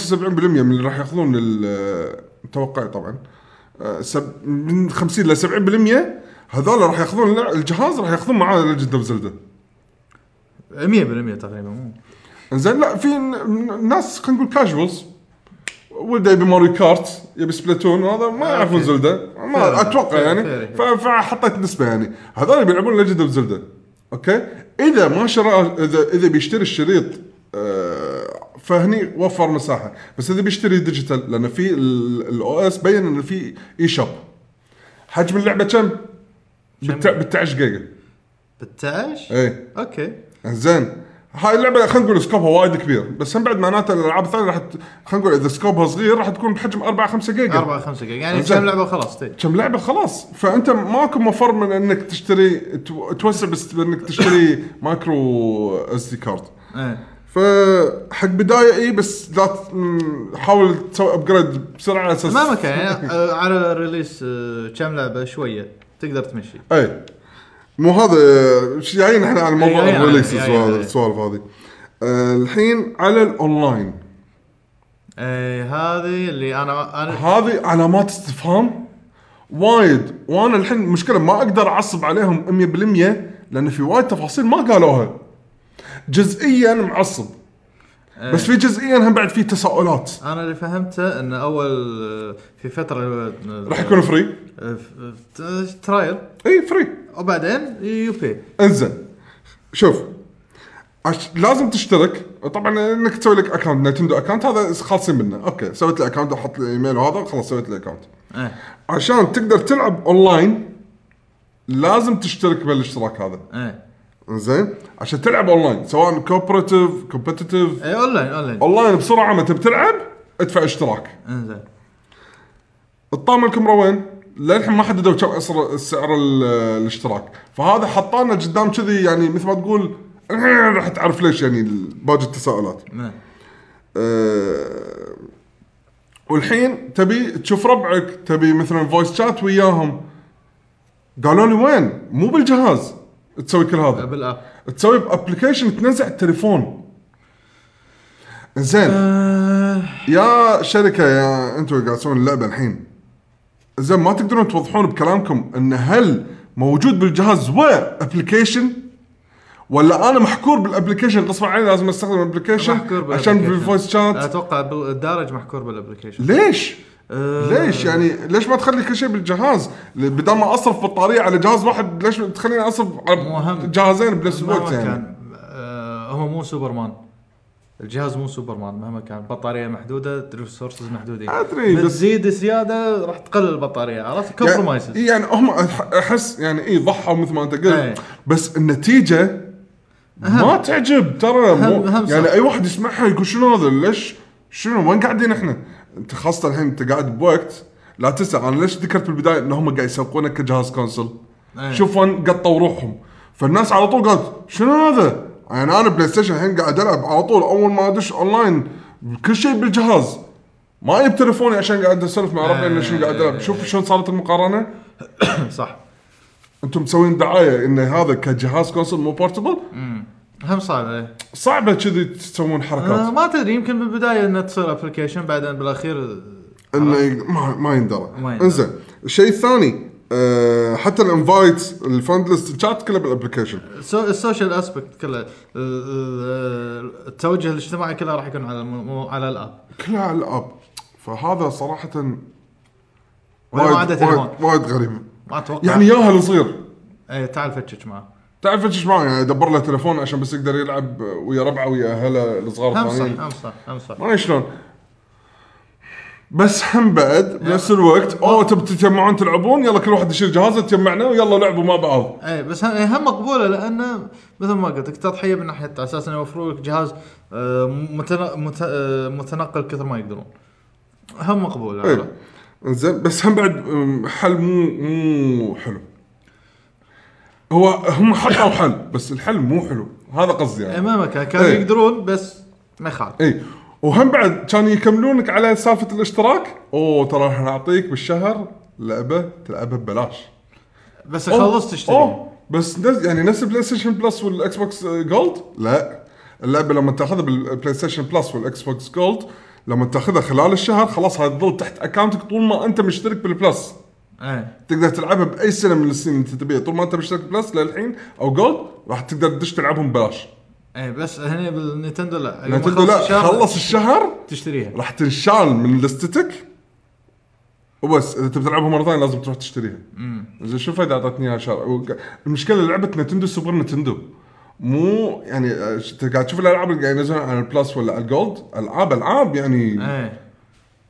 S2: من اللي راح ياخذون ال- توقعي طبعا آه، سب- من 50 ل 70% هذول راح ياخذون اللع- الجهاز راح ياخذون معاه ليجند اوف زلدا
S3: 100% تقريبا مو
S2: زين لا في ن- ناس خلينا نقول كاجوالز ولده يبي ماريو كارت يبي سبلاتون هذا ما يعرفون زلدة
S3: Fair
S2: ما
S3: enough.
S2: اتوقع
S3: Fair-
S2: يعني
S3: fair.
S2: ف- فحطيت نسبه يعني هذول بيلعبون ليجند اوف زلدة اوكي اذا ما شرى اذا اذا بيشتري الشريط آه، فهني وفر مساحه بس اذا بيشتري ديجيتال لان في الاو اس بين انه في اي شوب حجم اللعبه كم؟ بالتع- بالتعش جيجا إيه.
S3: 16
S2: اي
S3: اوكي
S2: زين هاي اللعبه خلينا نقول سكوبها وايد كبير بس هم بعد معناته الالعاب الثانيه راح ت- خلينا نقول اذا سكوبها صغير راح تكون بحجم 4 5 جيجا
S3: 4 5 يعني
S2: زين.
S3: كم لعبه وخلاص تي
S2: كم لعبه خلاص فانت ماكو مفر من انك تشتري تو- توسع بس انك
S3: (laughs)
S2: تشتري مايكرو اس دي كارد
S3: ايه
S2: فحق بدايه اي بس لا ت- م- حاول تسوي ابجريد بسرعه على اساس
S3: ما مكان يعني آه، على الريليس آه، كم لعبه شويه تقدر تمشي
S2: اي مو هذا ش- جايين احنا على موضوع
S3: إي، جايين على-
S2: الريليكس
S3: جايين عليه.
S2: السوالف هذه آه، الحين على الاونلاين
S3: اي إيه، هذه اللي انا انا
S2: هذه علامات استفهام وايد وانا الحين مشكله ما اقدر اعصب عليهم 100% لان في وايد تفاصيل ما قالوها جزئيا معصب بس في جزئيا هم بعد في تساؤلات
S3: انا اللي فهمته ان اول آه، في فتره آه،
S2: راح يكون إيه، فري
S3: آه، ف- ت- ترايل
S2: اي فري
S3: وبعدين يوبي
S2: انزين شوف عش... لازم تشترك طبعا انك تسوي لك اكونت نتندو اكونت هذا خالصين منه اوكي سويت لي اكونت احط لي ايميل وهذا خلاص سويت لي اكونت
S3: ايه
S2: عشان تقدر تلعب اونلاين لازم تشترك بالاشتراك هذا
S3: ايه
S2: زين عشان تلعب اونلاين سواء كوبرتيف كومبتتف
S3: اي اونلاين اونلاين
S2: اونلاين بسرعه ما تبي تلعب ادفع اشتراك
S3: انزين
S2: الطامه الكاميرا وين؟ للحين ما حددوا كم أسر- سعر ال- الاشتراك فهذا حطانا قدام كذي يعني مثل ما تقول (laughs) الحين راح تعرف ليش يعني ال- باقي التساؤلات
S3: نعم.
S2: أه، والحين تبي تشوف ربعك تبي مثلا فويس شات وياهم قالوا لي وين مو بالجهاز تسوي كل
S3: آه،
S2: هذا
S3: بالاب
S2: تسوي بابلكيشن تنزع التليفون زين يا شركه يا انتم اللي قاعد تسوون اللعبه الحين زين ما تقدرون توضحون بكلامكم ان هل موجود بالجهاز وير ابلكيشن ولا انا محكور بالابلكيشن غصب عني لازم استخدم
S3: محكور
S2: الابلكيشن
S3: بال
S2: عشان
S3: application.
S2: بالفويس شات
S3: اتوقع بال- الدارج محكور بالابلكيشن
S2: ليش؟
S3: آه.
S2: ليش يعني ليش ما تخلي كل شيء بالجهاز؟ بدل ما اصرف بطاريه على جهاز واحد ليش تخليني اصرف
S3: مو
S2: على
S3: هم.
S2: جهازين بنفس
S3: مهما
S2: الوقت يعني؟
S3: كان آه، هو مو سوبرمان الجهاز مو سوبرمان مهما كان بطاريه محدوده ريسورسز محدودين
S2: أدري، بس-
S3: بتزيد زياده راح تقلل البطاريه عرفت
S2: يعني,
S3: كومبرومايزز
S2: يعني هم أح- احس يعني اي ضحوا مثل ما انت
S3: إيه.
S2: قلت بس النتيجه ما تعجب ترى مو
S3: أهم- أهم صح.
S2: يعني اي واحد يسمعها يقول شنو هذا ليش شنو وين قاعدين احنا؟ انت خاصه الحين انت قاعد بوقت لا تنسى انا ليش ذكرت بالبدايه ان هم قاعد يسوقونك كجهاز كونسل
S3: إيه.
S2: شوف وين قطوا روحهم فالناس على طول قالت شنو هذا؟ يعني انا بلاي ستيشن الحين قاعد العب على طول اول ما ادش اونلاين كل شيء بالجهاز ما جبت تليفوني عشان قاعد اسولف مع ربعي انه شنو قاعد
S3: إيه.
S2: العب شوف شلون صارت المقارنه
S3: (coughs) صح
S2: انتم مسوين دعايه ان هذا كجهاز كونسول مو بورتبل
S3: هم صعب عليه
S2: صعبه كذي تسوون حركات
S3: آه، ما تدري يمكن بالبدايه انها تصير ابلكيشن بعدين بالاخير
S2: انه ما ما يندرى
S3: ما يندرى.
S2: انزين الشيء الثاني آه، حتى الانفايت الفرند ليست الشات كله بالابلكيشن
S3: السو- السوشيال اسبكت كله ال- ال- التوجه الاجتماعي كله راح يكون على الم- مو- على الاب
S2: كله على الاب فهذا صراحه
S3: ولا ما عدا
S2: وايد
S3: تليفون.
S2: وايد- وايد غريب
S3: ما اتوقع
S2: يعني ياهل صغير
S3: اي تعال فتش معه
S2: تعرف ايش معه يعني دبر له تليفون عشان بس يقدر يلعب ويا ربعه ويا اهله الصغار
S3: هم نعم، صح
S2: الثانيين
S3: هم صح هم صح
S2: ما أدري شلون بس هم بعد بنفس الوقت اوه تبي تتجمعون تلعبون يلا كل واحد يشيل جهازه تجمعنا ويلا لعبوا مع بعض
S3: اي إيه، بس هم- هم مقبوله لانه مثل ما قلت لك تضحيه من ناحيه على اساس انه يوفروا لك جهاز آه، متنا- مت- آه، متنقل كثر ما يقدرون هم مقبوله
S2: إيه. زين بس هم بعد أم، حل مو مو حلو هو هم حطوا حل بس الحل مو حلو هذا قصدي
S3: اي
S2: يعني
S3: ما كان كانوا
S2: إيه.
S3: يقدرون بس ما يخالف
S2: اي وهم بعد كانوا يكملونك على سالفه الاشتراك اوه ترى راح نعطيك بالشهر لعبه تلعبها ببلاش
S3: بس
S2: أوه،
S3: خلصت تشتري
S2: أوه، بس نفس يعني نفس البلاي ستيشن بلس والاكس بوكس آه، جولد لا اللعبه لما تاخذها بالبلاي ستيشن بلس والاكس بوكس جولد لما تاخذها خلال الشهر خلاص هاي تظل تحت اكونتك طول ما انت مشترك بالبلس
S3: اي
S2: تقدر تلعبها باي سنه من السنين اللي انت تبيها طول ما انت مشترك بلس للحين او جولد راح تقدر تدش تلعبهم ببلاش
S3: اي إيه، بس هنا بالنينتندو لا يوم
S2: نتندو
S3: خلص
S2: لا
S3: الشهر
S2: خلص الشهر
S3: تشتريها
S2: راح تنشال من لستتك وبس اذا تبي تلعبها مره ثانيه لازم تروح تشتريها زين شو الفائده اعطتني اياها شهر وق- المشكله لعبه نتندو سوبر نتندو مو يعني آه، ش- أنت قاعد تشوف الالعاب اللي قاعد ينزلونها على البلس ولا على الجولد العاب العاب يعني
S3: اي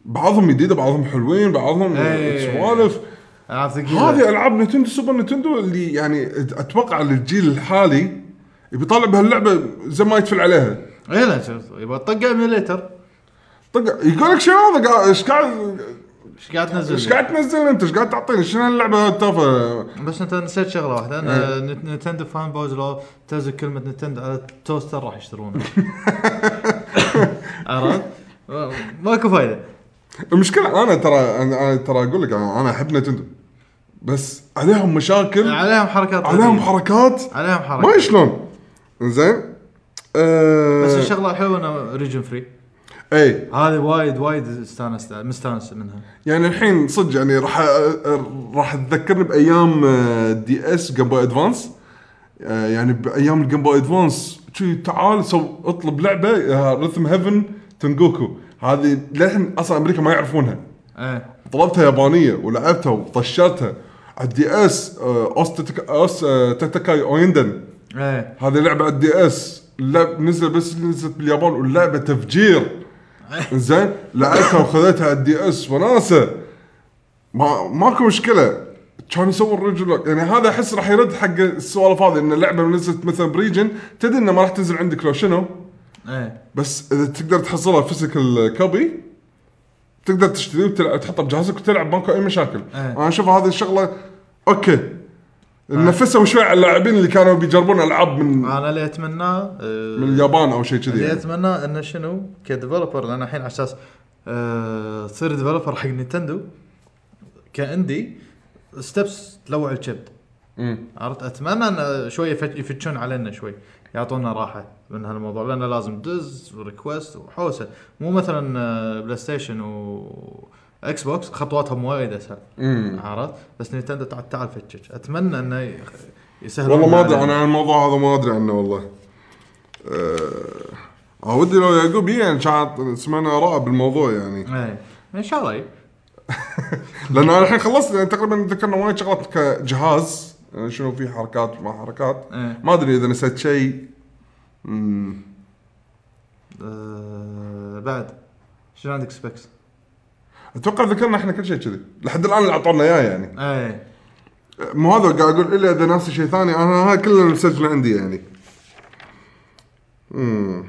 S2: بعضهم جديده بعضهم حلوين بعضهم
S3: إيه.
S2: سوالف
S3: العاب
S2: هذه
S3: ثقيله
S2: العاب نتندو سوبر نتندو اللي يعني اتوقع للجيل الحالي يبي يطالع بهاللعبه زي ما يتفل عليها
S3: اي إيه لا شوف، يبغى طق ايميليتر
S2: طق يقول لك شنو هذا قاعد- ايش قاعد
S3: ايش قاعد تنزل
S2: ايش قاعد تنزل انت ايش قاعد تعطيني شنو طيب، هاللعبه التافهه
S3: بس انت نسيت شغله واحده انا
S2: إيه.
S3: نت- نتندو فان بويز لو تنزل كلمه نتندو على التوستر
S2: (laughs)
S3: راح يشترونه عرفت؟ ماكو فايده
S2: المشكله انا ترى انا أنا ترى اقول لك انا أنا احب نتندو بس عليهم مشاكل
S3: عليهم حركات
S2: عليهم
S3: غريبة.
S2: حركات
S3: عليهم
S2: ما أدري
S3: حركات
S2: شلون زين
S3: بس
S2: أه
S3: الشغله الحلوه انه ريجن فري
S2: اي
S3: هذه وايد وايد استانست مستانس منها
S2: إيه. يعني الحين صدق يعني راح راح تذكرني بايام آه، دي اس جيم بوي ادفانس آه، يعني بايام الجيم بوي ادفانس شي تعال سو اطلب لعبه آه، ريثم هيفن تنجوكو هذه للحين اصلا امريكا ما يعرفونها
S3: ايه
S2: طلبتها يابانيه ولعبتها وطشرتها على الدي اس آه، اوس تتك- اوس آه، تاتاكاي اويندن
S3: ايه
S2: هذه لعبه على الدي اس اللعب نزل بس نزلت باليابان واللعبه تفجير زين لعبتها وخذيتها على الدي اس وناسه ما ماكو مشكله كان يسوون ريجن لوك يعني هذا احس راح يرد حق السوالف هذه ان اللعبه نزلت مثلا بريجن تدري انه ما راح تنزل عندك لو شنو
S4: ايه
S3: إيه.
S2: بس اذا تقدر تحصلها فيزيكال كوبي تقدر تشتري وتلعب تحطه بجهازك وتلعب ماكو اي مشاكل
S4: إيه.
S2: انا اشوف هذه الشغله اوكي نفسوا شوي على اللاعبين اللي كانوا بيجربون العاب من
S3: آه.
S4: انا اللي اتمناه آه،
S2: من اليابان او شيء كذي
S4: اللي
S2: يعني.
S4: اتمناه انه شنو كديفلوبر لان الحين على اساس آه، تصير ديفلوبر حق نينتندو كاندي ستبس تلوع الكبد
S2: مم.
S4: عرفت اتمنى ان شويه فت- يفتشون علينا شوي يعطونا راحه من هالموضوع لان لازم دز وريكوست وحوسه مو مثلا آه، بلاي ستيشن و اكس بوكس خطواتهم وايد اسهل
S2: مم.
S4: عرفت بس نينتندو تعال تعال فتشك اتمنى انه يخ- يسهلون
S2: والله ما ادري
S4: علينا.
S2: انا عن الموضوع هذا ما ادري عنه والله أه... آه، ودي لو يعقوب يجي يعني كان عط- سمعنا اراءه بالموضوع يعني
S4: ايه ان شاء الله
S2: لان انا الحين خلصت يعني تقريبا ذكرنا وايد شغلات كجهاز يعني شنو في حركات ما حركات
S4: ايه
S2: ما ادري اذا نسيت شيء مم.
S4: آه، بعد شنو عندك سبيكس؟
S2: اتوقع ذكرنا احنا كل شيء كذي لحد الان اللي اعطونا اياه يعني
S4: ايه
S2: مو هذا قاعد اقول الا اذا ناسي شيء ثاني انا هاي كله مسجله عندي يعني امم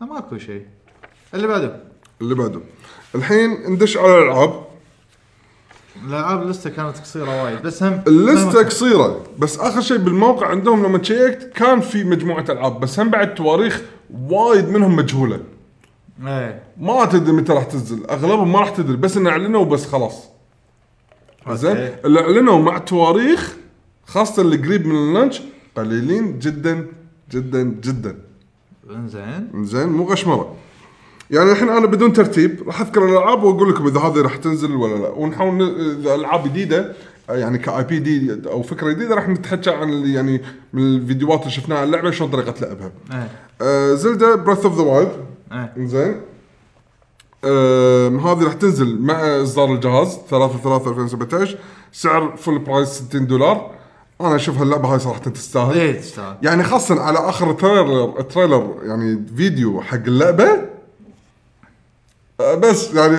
S4: لا، ماكو شيء اللي بعده
S2: اللي بعده الحين ندش على الالعاب
S4: الالعاب اللسته كانت قصيره وايد بس هم
S2: اللسته قصيره بس اخر شيء بالموقع عندهم لما تشيكت كان في مجموعه العاب بس هم بعد تواريخ وايد منهم مجهوله
S4: ايه
S2: ما تدري متى راح تنزل اغلبهم ما راح تدري بس انه اعلنوا وبس خلاص زين اللي اعلنوا مع تواريخ خاصه اللي قريب من اللانش قليلين جدا جدا جدا
S4: انزين
S2: زين مو غشمره يعني الحين انا بدون ترتيب راح اذكر الالعاب واقول لكم اذا هذه راح تنزل ولا لا ونحاول ن- اذا العاب جديده يعني كاي بي دي او فكره جديده راح نتحكى عن ال- يعني من الفيديوهات اللي شفناها عن اللعبه شلون طريقه لعبها.
S4: ايه
S2: آه زلدا براث اوف ذا وايلد
S4: ايه
S2: زين آم، هذه راح تنزل مع اصدار الجهاز 3 3 2017 سعر فول برايس 60 دولار انا اشوف هاللعبه هاي صراحه
S3: إيه،
S2: تستاهل
S4: ليه تستاهل
S2: يعني خاصة على اخر تريلر تريلر يعني فيديو حق اللعبة آه، بس يعني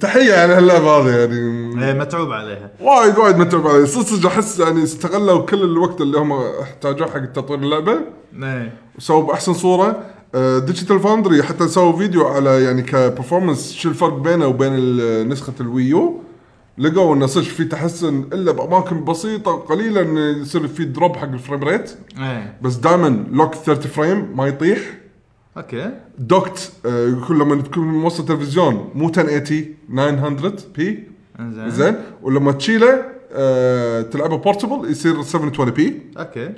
S2: تحية على هاللعبة هذه يعني
S4: ايه متعوب عليها
S2: وايد وايد متعب عليه صدق صدق احس يعني استغلوا كل الوقت اللي هم احتاجوه حق تطوير اللعبة
S4: ايه
S2: وسووا باحسن صورة ديجيتال فاوندري حتى سووا فيديو على يعني كبرفورمانس شو الفرق بينه وبين ال- نسخة الويو لقوا انه صدق في تحسن الا باماكن بسيطه وقليله انه يصير في دروب حق الفريم ريت
S4: ايه
S2: بس دائما لوك 30 فريم ما يطيح
S4: اوكي
S2: دوكت آه، يقول لما تكون موصل تلفزيون مو 1080 900 بي
S3: نعم.
S4: انزين
S2: زين ولما تشيله آه، تلعبه بورتبل يصير 720 بي
S4: اوكي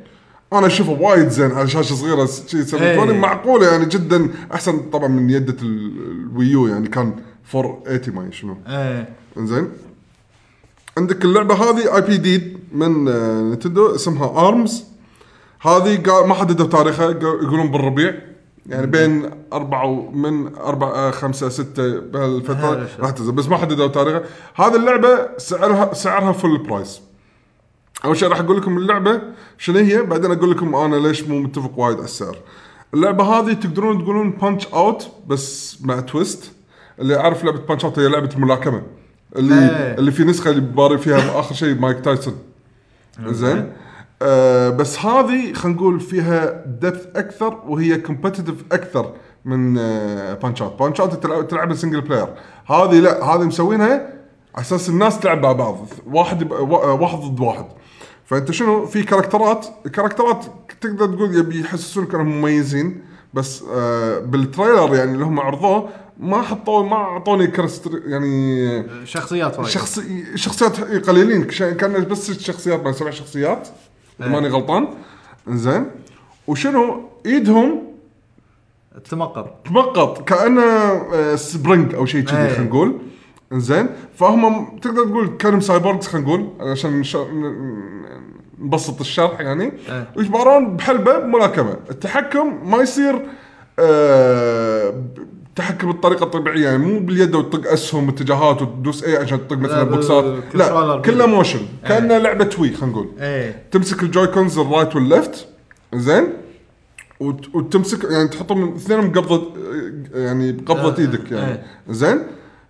S2: انا اشوفه وايد زين على شاشه صغيره س- شي 720
S4: إيه.
S2: معقوله يعني جدا احسن طبعا من يده ال- الويو يعني كان 480 ما أدري شنو
S4: ايه
S2: انزين عندك اللعبه هذه اي بي دي من آه، نتندو اسمها ارمز هذه قا- ما حددوا تاريخها قا- يقولون بالربيع يعني بين أربعة و- من أربعة آه، خمسة ستة
S4: هذا
S2: بهالفترة
S4: الشيء.
S2: راح تنزل بس ما حددوا تاريخها هذه اللعبة سعرها سعرها فل برايس أول شيء راح أقول لكم اللعبة شنو هي بعدين أقول لكم أنا ليش مو متفق وايد على السعر اللعبة هذه تقدرون تقولون بانش أوت بس مع تويست اللي عارف لعبة بانش أوت هي لعبة الملاكمة اللي
S4: إيه.
S2: اللي في نسخة اللي باري فيها آخر شيء مايك تايسون زين آه بس هذه خلينا نقول فيها دبث اكثر وهي كومبتتف اكثر من آه، بانش اوت بانش اوت تلعب, تلعب سنجل بلاير هذه لا هذه مسوينها على اساس الناس تلعب مع بعض واحد يبقى- وا- واحد ضد واحد فانت شنو في كاركترات الكاركترات تقدر تقول يبي يحسسونك انهم مميزين بس آه بالتريلر يعني اللي هم عرضوه ما حطوا ما اعطوني كارستر يعني
S4: شخصيات وايد
S2: شخصي شخصيات قليلين ش- كان بس ست شخصيات ما سبع شخصيات اذا
S4: إيه.
S2: ماني غلطان زين وشنو ايدهم
S4: تمقر
S2: تمقط كانه آه، سبرينج او شيء كذي
S4: إيه.
S2: خلينا نقول زين فهم م- تقدر تقول كانهم سايبورغز خلينا نقول عشان نش- ن- ن- نبسط الشرح يعني
S4: إيه.
S2: ويجبرون بحلبه ملاكمه التحكم ما يصير آه، ب- تحكم بالطريقه الطبيعيه يعني مو باليد وتطق اسهم واتجاهات وتدوس اي عشان تطق مثلا
S4: بال-
S2: بوكسات لا إيه.
S4: بالكنترولر
S2: كله
S4: بال-
S2: موشن كانه لعبه وي خلينا نقول
S4: ايه
S2: تمسك الجوي كونز الرايت والليفت زين وت- وتمسك يعني تحطهم اثنينهم بقبضه يعني بقبضه
S4: آه،
S2: ايدك يعني
S4: إيه.
S2: زين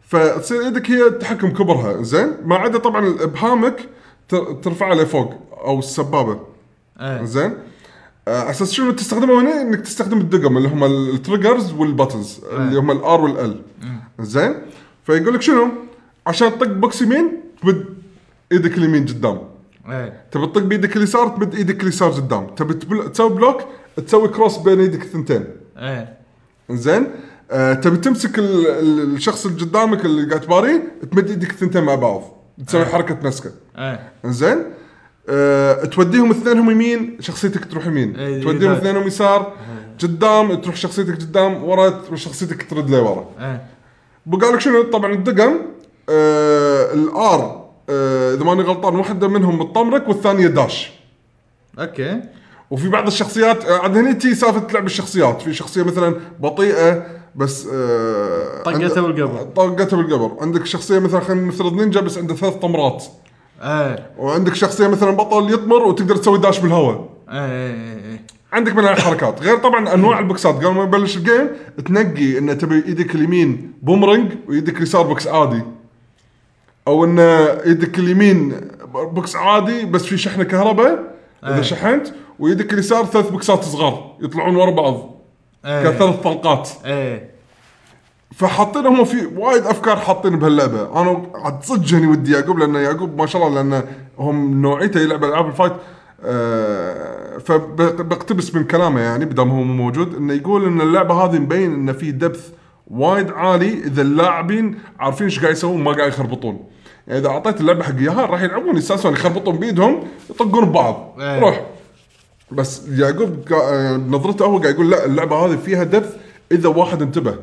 S2: فتصير ايدك هي التحكم كبرها زين ما عدا طبعا ابهامك تر- ترفعها لفوق او السبابه
S3: إيه.
S2: زين آه، على اساس شنو تستخدمه هنا انك تستخدم الدقم اللي هم ال- التريجرز والبتنز اللي هم الار والال زين فيقول لك شنو عشان تطق بوكس يمين تمد ايدك اليمين قدام
S4: إيه.
S3: ايه
S2: تبي تطق بايدك اليسار تمد ايدك اليسار قدام تبي تبل- تسوي بلوك تسوي كروس بين ايدك الثنتين
S4: إيه.
S3: ايه
S2: زين آه تبي تمسك ال- ال- الشخص اللي قدامك اللي قاعد تباريه تمد ايدك الثنتين مع بعض تسوي حركه مسكه
S3: ايه
S4: إيه.
S2: زين أه، توديهم اثنينهم يمين شخصيتك تروح يمين
S3: إي،
S2: توديهم
S3: ذاك.
S2: اثنينهم يسار قدام تروح شخصيتك قدام ورا تروح شخصيتك ترد لورا
S4: إيه.
S3: ايه
S2: بقى لك شنو طبعا الدقم آه الار آه اذا ماني غلطان واحده منهم تطمرك والثانيه داش
S3: اوكي
S2: وفي بعض الشخصيات آه، عاد هنا تي سالفه لعب الشخصيات في شخصيه مثلا بطيئه بس آه
S3: طقته
S2: عند-
S3: بالقبر.
S2: طقته بالقبر عندك شخصيه مثلا خلينا نفترض نينجا بس عنده ثلاث طمرات
S4: إيه.
S3: ايه
S2: وعندك شخصيه مثلا بطل يطمر وتقدر تسوي داش بالهواء
S4: إيه.
S3: ايه ايه ايه
S2: عندك من الحركات غير طبعا انواع البوكسات قبل ما يبلش الجيم تنقي ان تبي ايدك اليمين بومرنج وايدك اليسار بوكس عادي او ان ايدك اليمين بوكس عادي بس في شحنه كهرباء اذا شحنت وايدك اليسار ثلاث بوكسات صغار يطلعون ورا بعض
S4: إيه.
S3: ايه
S2: كثلاث طلقات
S3: ايه
S2: فحاطين هم في وايد افكار حاطين بهاللعبه انا عاد صدق جاني ودي يعقوب لان يعقوب ما شاء الله لان هم نوعيته يلعب العاب الفايت آه فبقتبس من كلامه يعني بدام هو مو موجود انه يقول ان اللعبه هذه مبين ان في دبث وايد عالي اذا اللاعبين عارفين ايش قاعد يسوون ما قاعد يخربطون يعني اذا اعطيت اللعبه حق ياهال راح يلعبون يستانسون يخربطون بايدهم يطقون ببعض
S3: إيه.
S2: روح بس يعقوب قا- يعني بنظرته هو قاعد يقول لا اللعبه هذه فيها دبث اذا واحد انتبه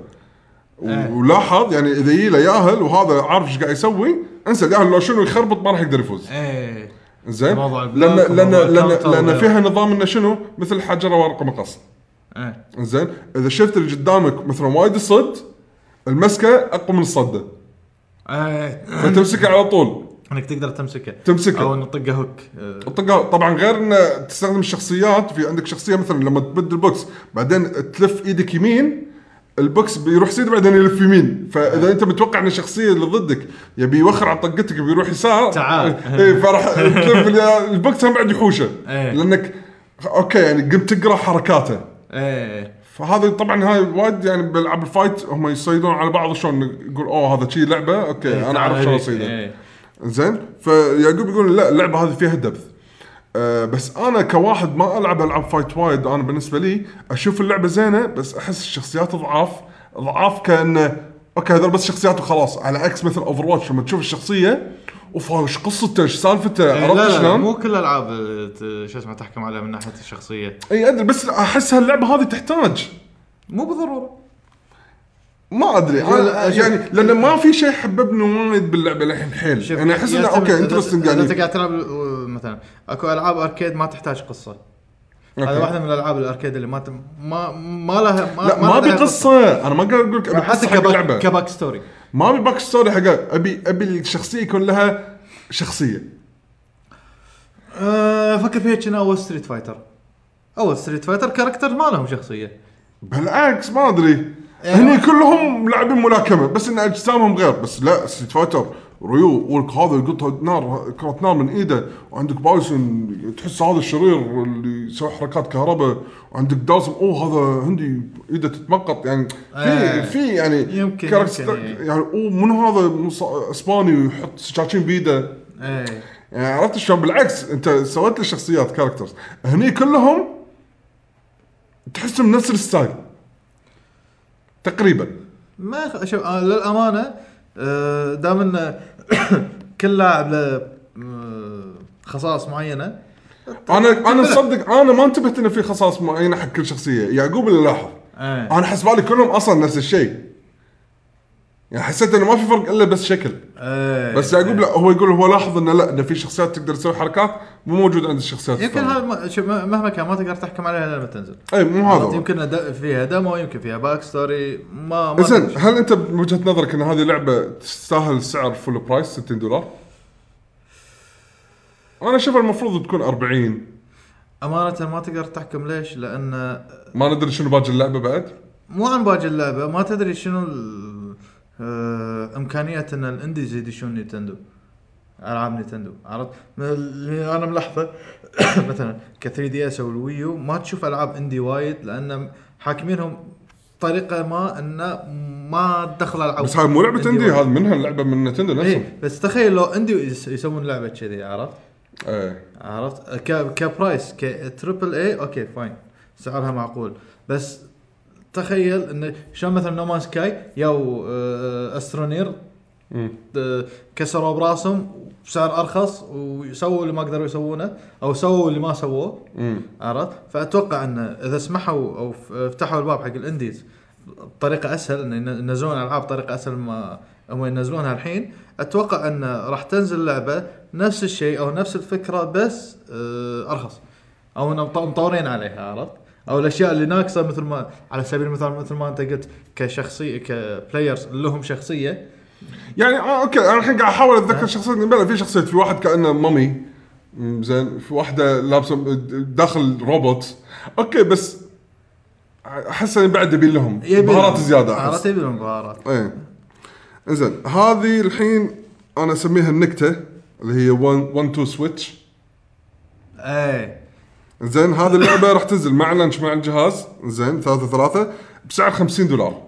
S2: و- ولاحظ يعني اذا يجي له ياهل وهذا عارف ايش قاعد يسوي انسى الياهل لو شنو يخربط ما راح يقدر يفوز
S3: ايه
S4: إيه.
S2: زين
S3: موضوع
S2: لان
S3: البلاك
S2: لان
S3: وموضوع
S2: لان
S3: الكاونتر
S2: لان
S3: وغيره.
S2: فيها نظام انه شنو مثل حجره ورقه مقص
S3: ايه
S2: زين اذا شفت اللي قدامك مثلا وايد الصد المسكه اقوى من الصده
S3: ايه
S2: فتمسكه على طول
S3: انك تقدر تمسكه
S2: تمسكه.
S3: او انك تطقه هوك آه،
S2: الطقة طبعا غير ان تستخدم الشخصيات في عندك شخصيه مثلا لما تبد البوكس بعدين تلف ايدك يمين البوكس بيروح سيد بعدين يلف يمين فاذا انت متوقع ان الشخصيه اللي ضدك يبي يوخر عن طقتك بيروح يسار
S3: تعال.
S2: اي فراح تلف ال- البوكس هم بعد يحوشه
S3: إيه.
S2: لانك اوكي يعني قمت تقرا حركاته
S3: ايه
S2: فهذا طبعا هاي وايد يعني بالعاب الفايت هم يصيدون على بعض شلون يقول اوه هذا شي لعبه
S3: إيه،
S2: اوكي انا اعرف شلون اصيده
S3: ايه
S2: زين فيعقوب يقول لا اللعبه هذه فيها دبث أه بس انا كواحد ما العب العاب فايت وايد انا بالنسبه لي اشوف اللعبه زينه بس احس الشخصيات ضعاف ضعاف كانه اوكي هذول بس شخصيات وخلاص على عكس مثل اوفر واتش لما تشوف الشخصيه اوف هاي وش قصته ايش سالفته
S3: إيه، لا
S2: عرفت
S3: لا
S2: شلون؟
S3: مو كل الالعاب آه، ت- شو اسمه تحكم عليها من ناحيه الشخصيه
S2: اي ادري بس احس هاللعبه هذه تحتاج
S3: مو بالضروره
S2: ما ادري انا يعني لان ما في شيء حببني وايد باللعبه للحين حيل يعني
S3: شوف،
S2: انا احس انه
S3: يعتمد-
S2: اوكي
S3: إذا-
S2: انترستنج
S3: اذا
S2: يعني
S3: انت قاعد تلعب آه، مثلا اكو العاب اركيد ما تحتاج قصه هذا
S2: أوكي.
S3: واحده من الالعاب الاركيد اللي ما ت- ما ما لها ما
S2: لا ما ابي
S3: لها
S2: قصه انا ما قاعد اقول لك ابي
S3: حتى
S2: قصه حق اللعبه
S3: كباك, كباك ستوري
S2: ما ابي باك ستوري حقه ابي ابي الشخصيه يكون لها شخصيه
S3: أه فكر فيها كنا اول ستريت فايتر اول ستريت فايتر كاركتر ما لهم شخصيه
S2: بالعكس ما ادري
S3: يعني
S2: هني
S3: واحد-
S2: كلهم لاعبين ملاكمه بس ان اجسامهم غير بس لا ستريت فايتر ريو ولك هذا يقطها نار كرة نار من ايده وعندك بايسون تحس هذا الشرير اللي يسوي حركات كهرباء وعندك دازم اوه هذا هندي ايده تتمقط يعني في
S3: آه.
S2: في يعني
S3: يمكن-
S2: كاركتر-
S3: يمكن، إيه.
S2: يعني اوه منو هذا مو ص- اسباني ويحط سكاكين بايده
S3: ايه
S2: يعني عرفت شلون بالعكس انت سويت لي شخصيات كاركترز هني كلهم تحسهم نفس الستايل تقريبا
S3: ما يخ- شوف أنا للامانه آه، دام ان (coughs) كل لاعب له آه، خصائص معينه
S2: انا انا مصدق انا ما انتبهت انه في خصائص معينه حق كل شخصيه يعقوب اللي لاحظ
S3: ايه
S2: انا حسبالي كلهم اصلا نفس الشيء يعني حسيت انه ما في فرق الا بس شكل
S3: ايه
S2: بس يعقوب لا هو يقول هو لاحظ انه لا انه في شخصيات تقدر تسوي حركات مو موجود عند الشخصيات
S3: يمكن
S2: الثانية.
S3: هذا ما- شوف، ما- مهما كان ما تقدر تحكم عليها إلا لما تنزل
S2: اي مو هذا هو.
S3: يمكن د- فيها دمو يمكن فيها باك ستوري ما ما
S2: زين
S3: أدري.
S2: هل انت من وجهه نظرك ان هذه لعبه تستاهل سعر فول برايس 60 دولار؟ انا اشوف المفروض تكون 40
S3: امانه ما تقدر تحكم ليش؟ لان
S2: ما ندري شنو باقي اللعبه بعد
S3: مو عن باقي اللعبه ما تدري شنو ال- آه، امكانيه ان الانديز يدشون نينتندو العاب نينتندو عرفت؟ من اللي انا ملاحظه (coughs) مثلا ك 3 دي اس او الويو ما تشوف العاب اندي وايد لان حاكمينهم طريقه ما انه ما تدخل العاب
S2: بس هاي مو لعبه اندي
S3: وايد.
S2: هذا منها لعبه من نتندو نفسها
S3: ايه بس تخيل لو اندي يس- يسوون لعبه كذي عرفت؟
S2: ايه
S3: عرفت ك... كبرايس كتربل اي اوكي فاين سعرها معقول بس تخيل انه شلون مثلا نومان سكاي يو آه، استرونير
S2: مم.
S3: آه، كسروا براسهم بسعر ارخص وسووا اللي ما قدروا يسوونه او سووا اللي ما سووه
S2: مم.
S3: عرفت فاتوقع انه اذا سمحوا او ف- فتحوا الباب حق الانديز بطريقه اسهل ان ين- ينزلون العاب بطريقه اسهل ما هم ينزلونها الحين اتوقع انه راح تنزل لعبه نفس الشيء او نفس الفكره بس آه، ارخص او انه مط- مطورين عليها عرفت او الاشياء اللي ناقصه مثل ما على سبيل المثال مثل ما انت قلت كشخصيه كبلايرز لهم شخصيه
S2: يعني اه اوكي انا الحين قاعد احاول
S3: إيه.
S2: اتذكر شخصيه بلا في شخصيه في واحد كانه مامي مم، زين في واحده لابسه داخل روبوت اوكي بس احس اني بعد ابي لهم
S3: يبي
S2: بهارات
S3: لهم-
S2: زياده احس
S3: عرفت يبي لهم بهارات
S2: ايه انزين هذه الحين انا اسميها النكته اللي هي 1 2 سويتش
S3: اي
S2: زين هذه اللعبه راح تنزل مع لانش مع الجهاز زين 3 3 بسعر 50 دولار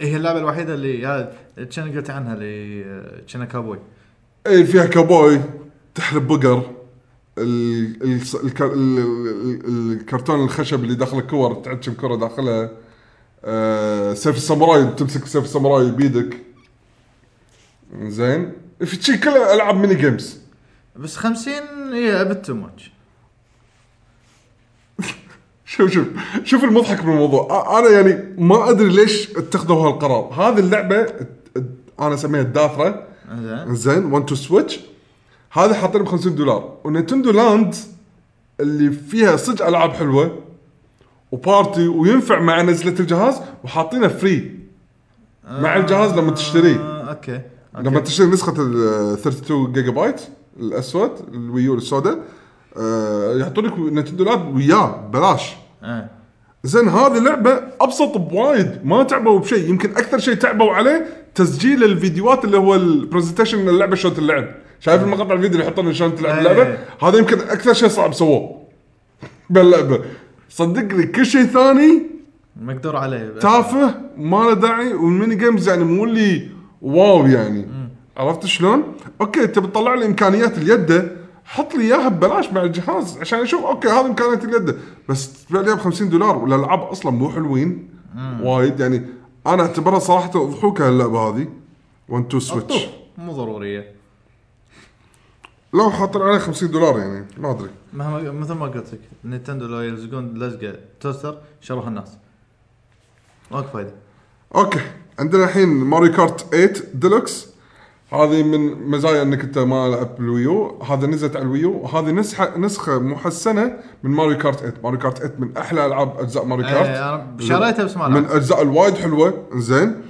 S3: هي اللعبه الوحيده اللي هذا كنا قلت عنها اللي آه، كنا كابوي
S2: اي إيه، فيها كابوي تحلب بقر ال- ال- الك- ال- ال- الكرتون الخشب اللي داخله كور تعتشم كره داخلها آه، سيف الساموراي تمسك سيف الساموراي بيدك زين في شي كلها العاب ميني جيمز
S3: بس إيه، 50 هي ابد تو ماتش
S2: شوف شوف شوف المضحك بالموضوع أ- انا يعني ما ادري ليش اتخذوا هالقرار هذه اللعبه ات- ات- انا اسميها الداثره
S3: زين
S2: زين 1 تو سويتش هذا حاطين ب 50 دولار ونتندو لاند اللي فيها صدق العاب حلوه وبارتي وينفع مع نزله الجهاز وحاطينه فري مع الجهاز لما تشتريه
S3: آه، اوكي أوكي.
S2: لما تشتري نسخه ال 32 جيجا بايت الاسود الويو السوداء آه، يعطونك نتندو لاند وياه ببلاش
S3: آه.
S2: زين هذه لعبه ابسط بوايد ما تعبوا بشيء يمكن اكثر شيء تعبوا عليه تسجيل الفيديوهات اللي هو البرزنتيشن من اللعبه شلون تلعب شايف المقاطع الفيديو اللي يحطون شلون تلعب
S3: أي.
S2: اللعبه هذا يمكن اكثر شيء صعب سووه باللعبه صدقني كل شيء ثاني
S3: مقدور عليه بس.
S2: تافه ما له داعي والميني جيمز يعني مو اللي واو يعني عرفت شلون؟ اوكي انت بتطلع لي امكانيات اليده حط لي اياها ببلاش مع الجهاز عشان اشوف اوكي هذه امكانيات اليد بس تبيع لي ب 50 دولار والالعاب اصلا مو حلوين وايد يعني انا اعتبرها صراحه ضحوكه هاللعبه هذه 1 2
S3: مطلوب.
S2: سويتش
S3: مو ضروريه
S2: لو حاطين عليه 50 دولار يعني ما ادري
S3: مهما مثل ما قلت لك نينتندو لو يلزقون لزقه توستر شروها الناس ماكو فايده
S2: اوكي عندنا الحين ماريو كارت 8 ديلوكس هذه من مزايا انك انت ما لعبت بالويو هذا نزلت على الويو هذه نسخه نسخه محسنه من ماريو كارت 8 ماريو كارت 8 من احلى العاب اجزاء ماريو
S3: إيه،
S2: كارت
S3: أنا شريتها بس ما
S2: من
S3: لعبت.
S2: اجزاء الوايد حلوه زين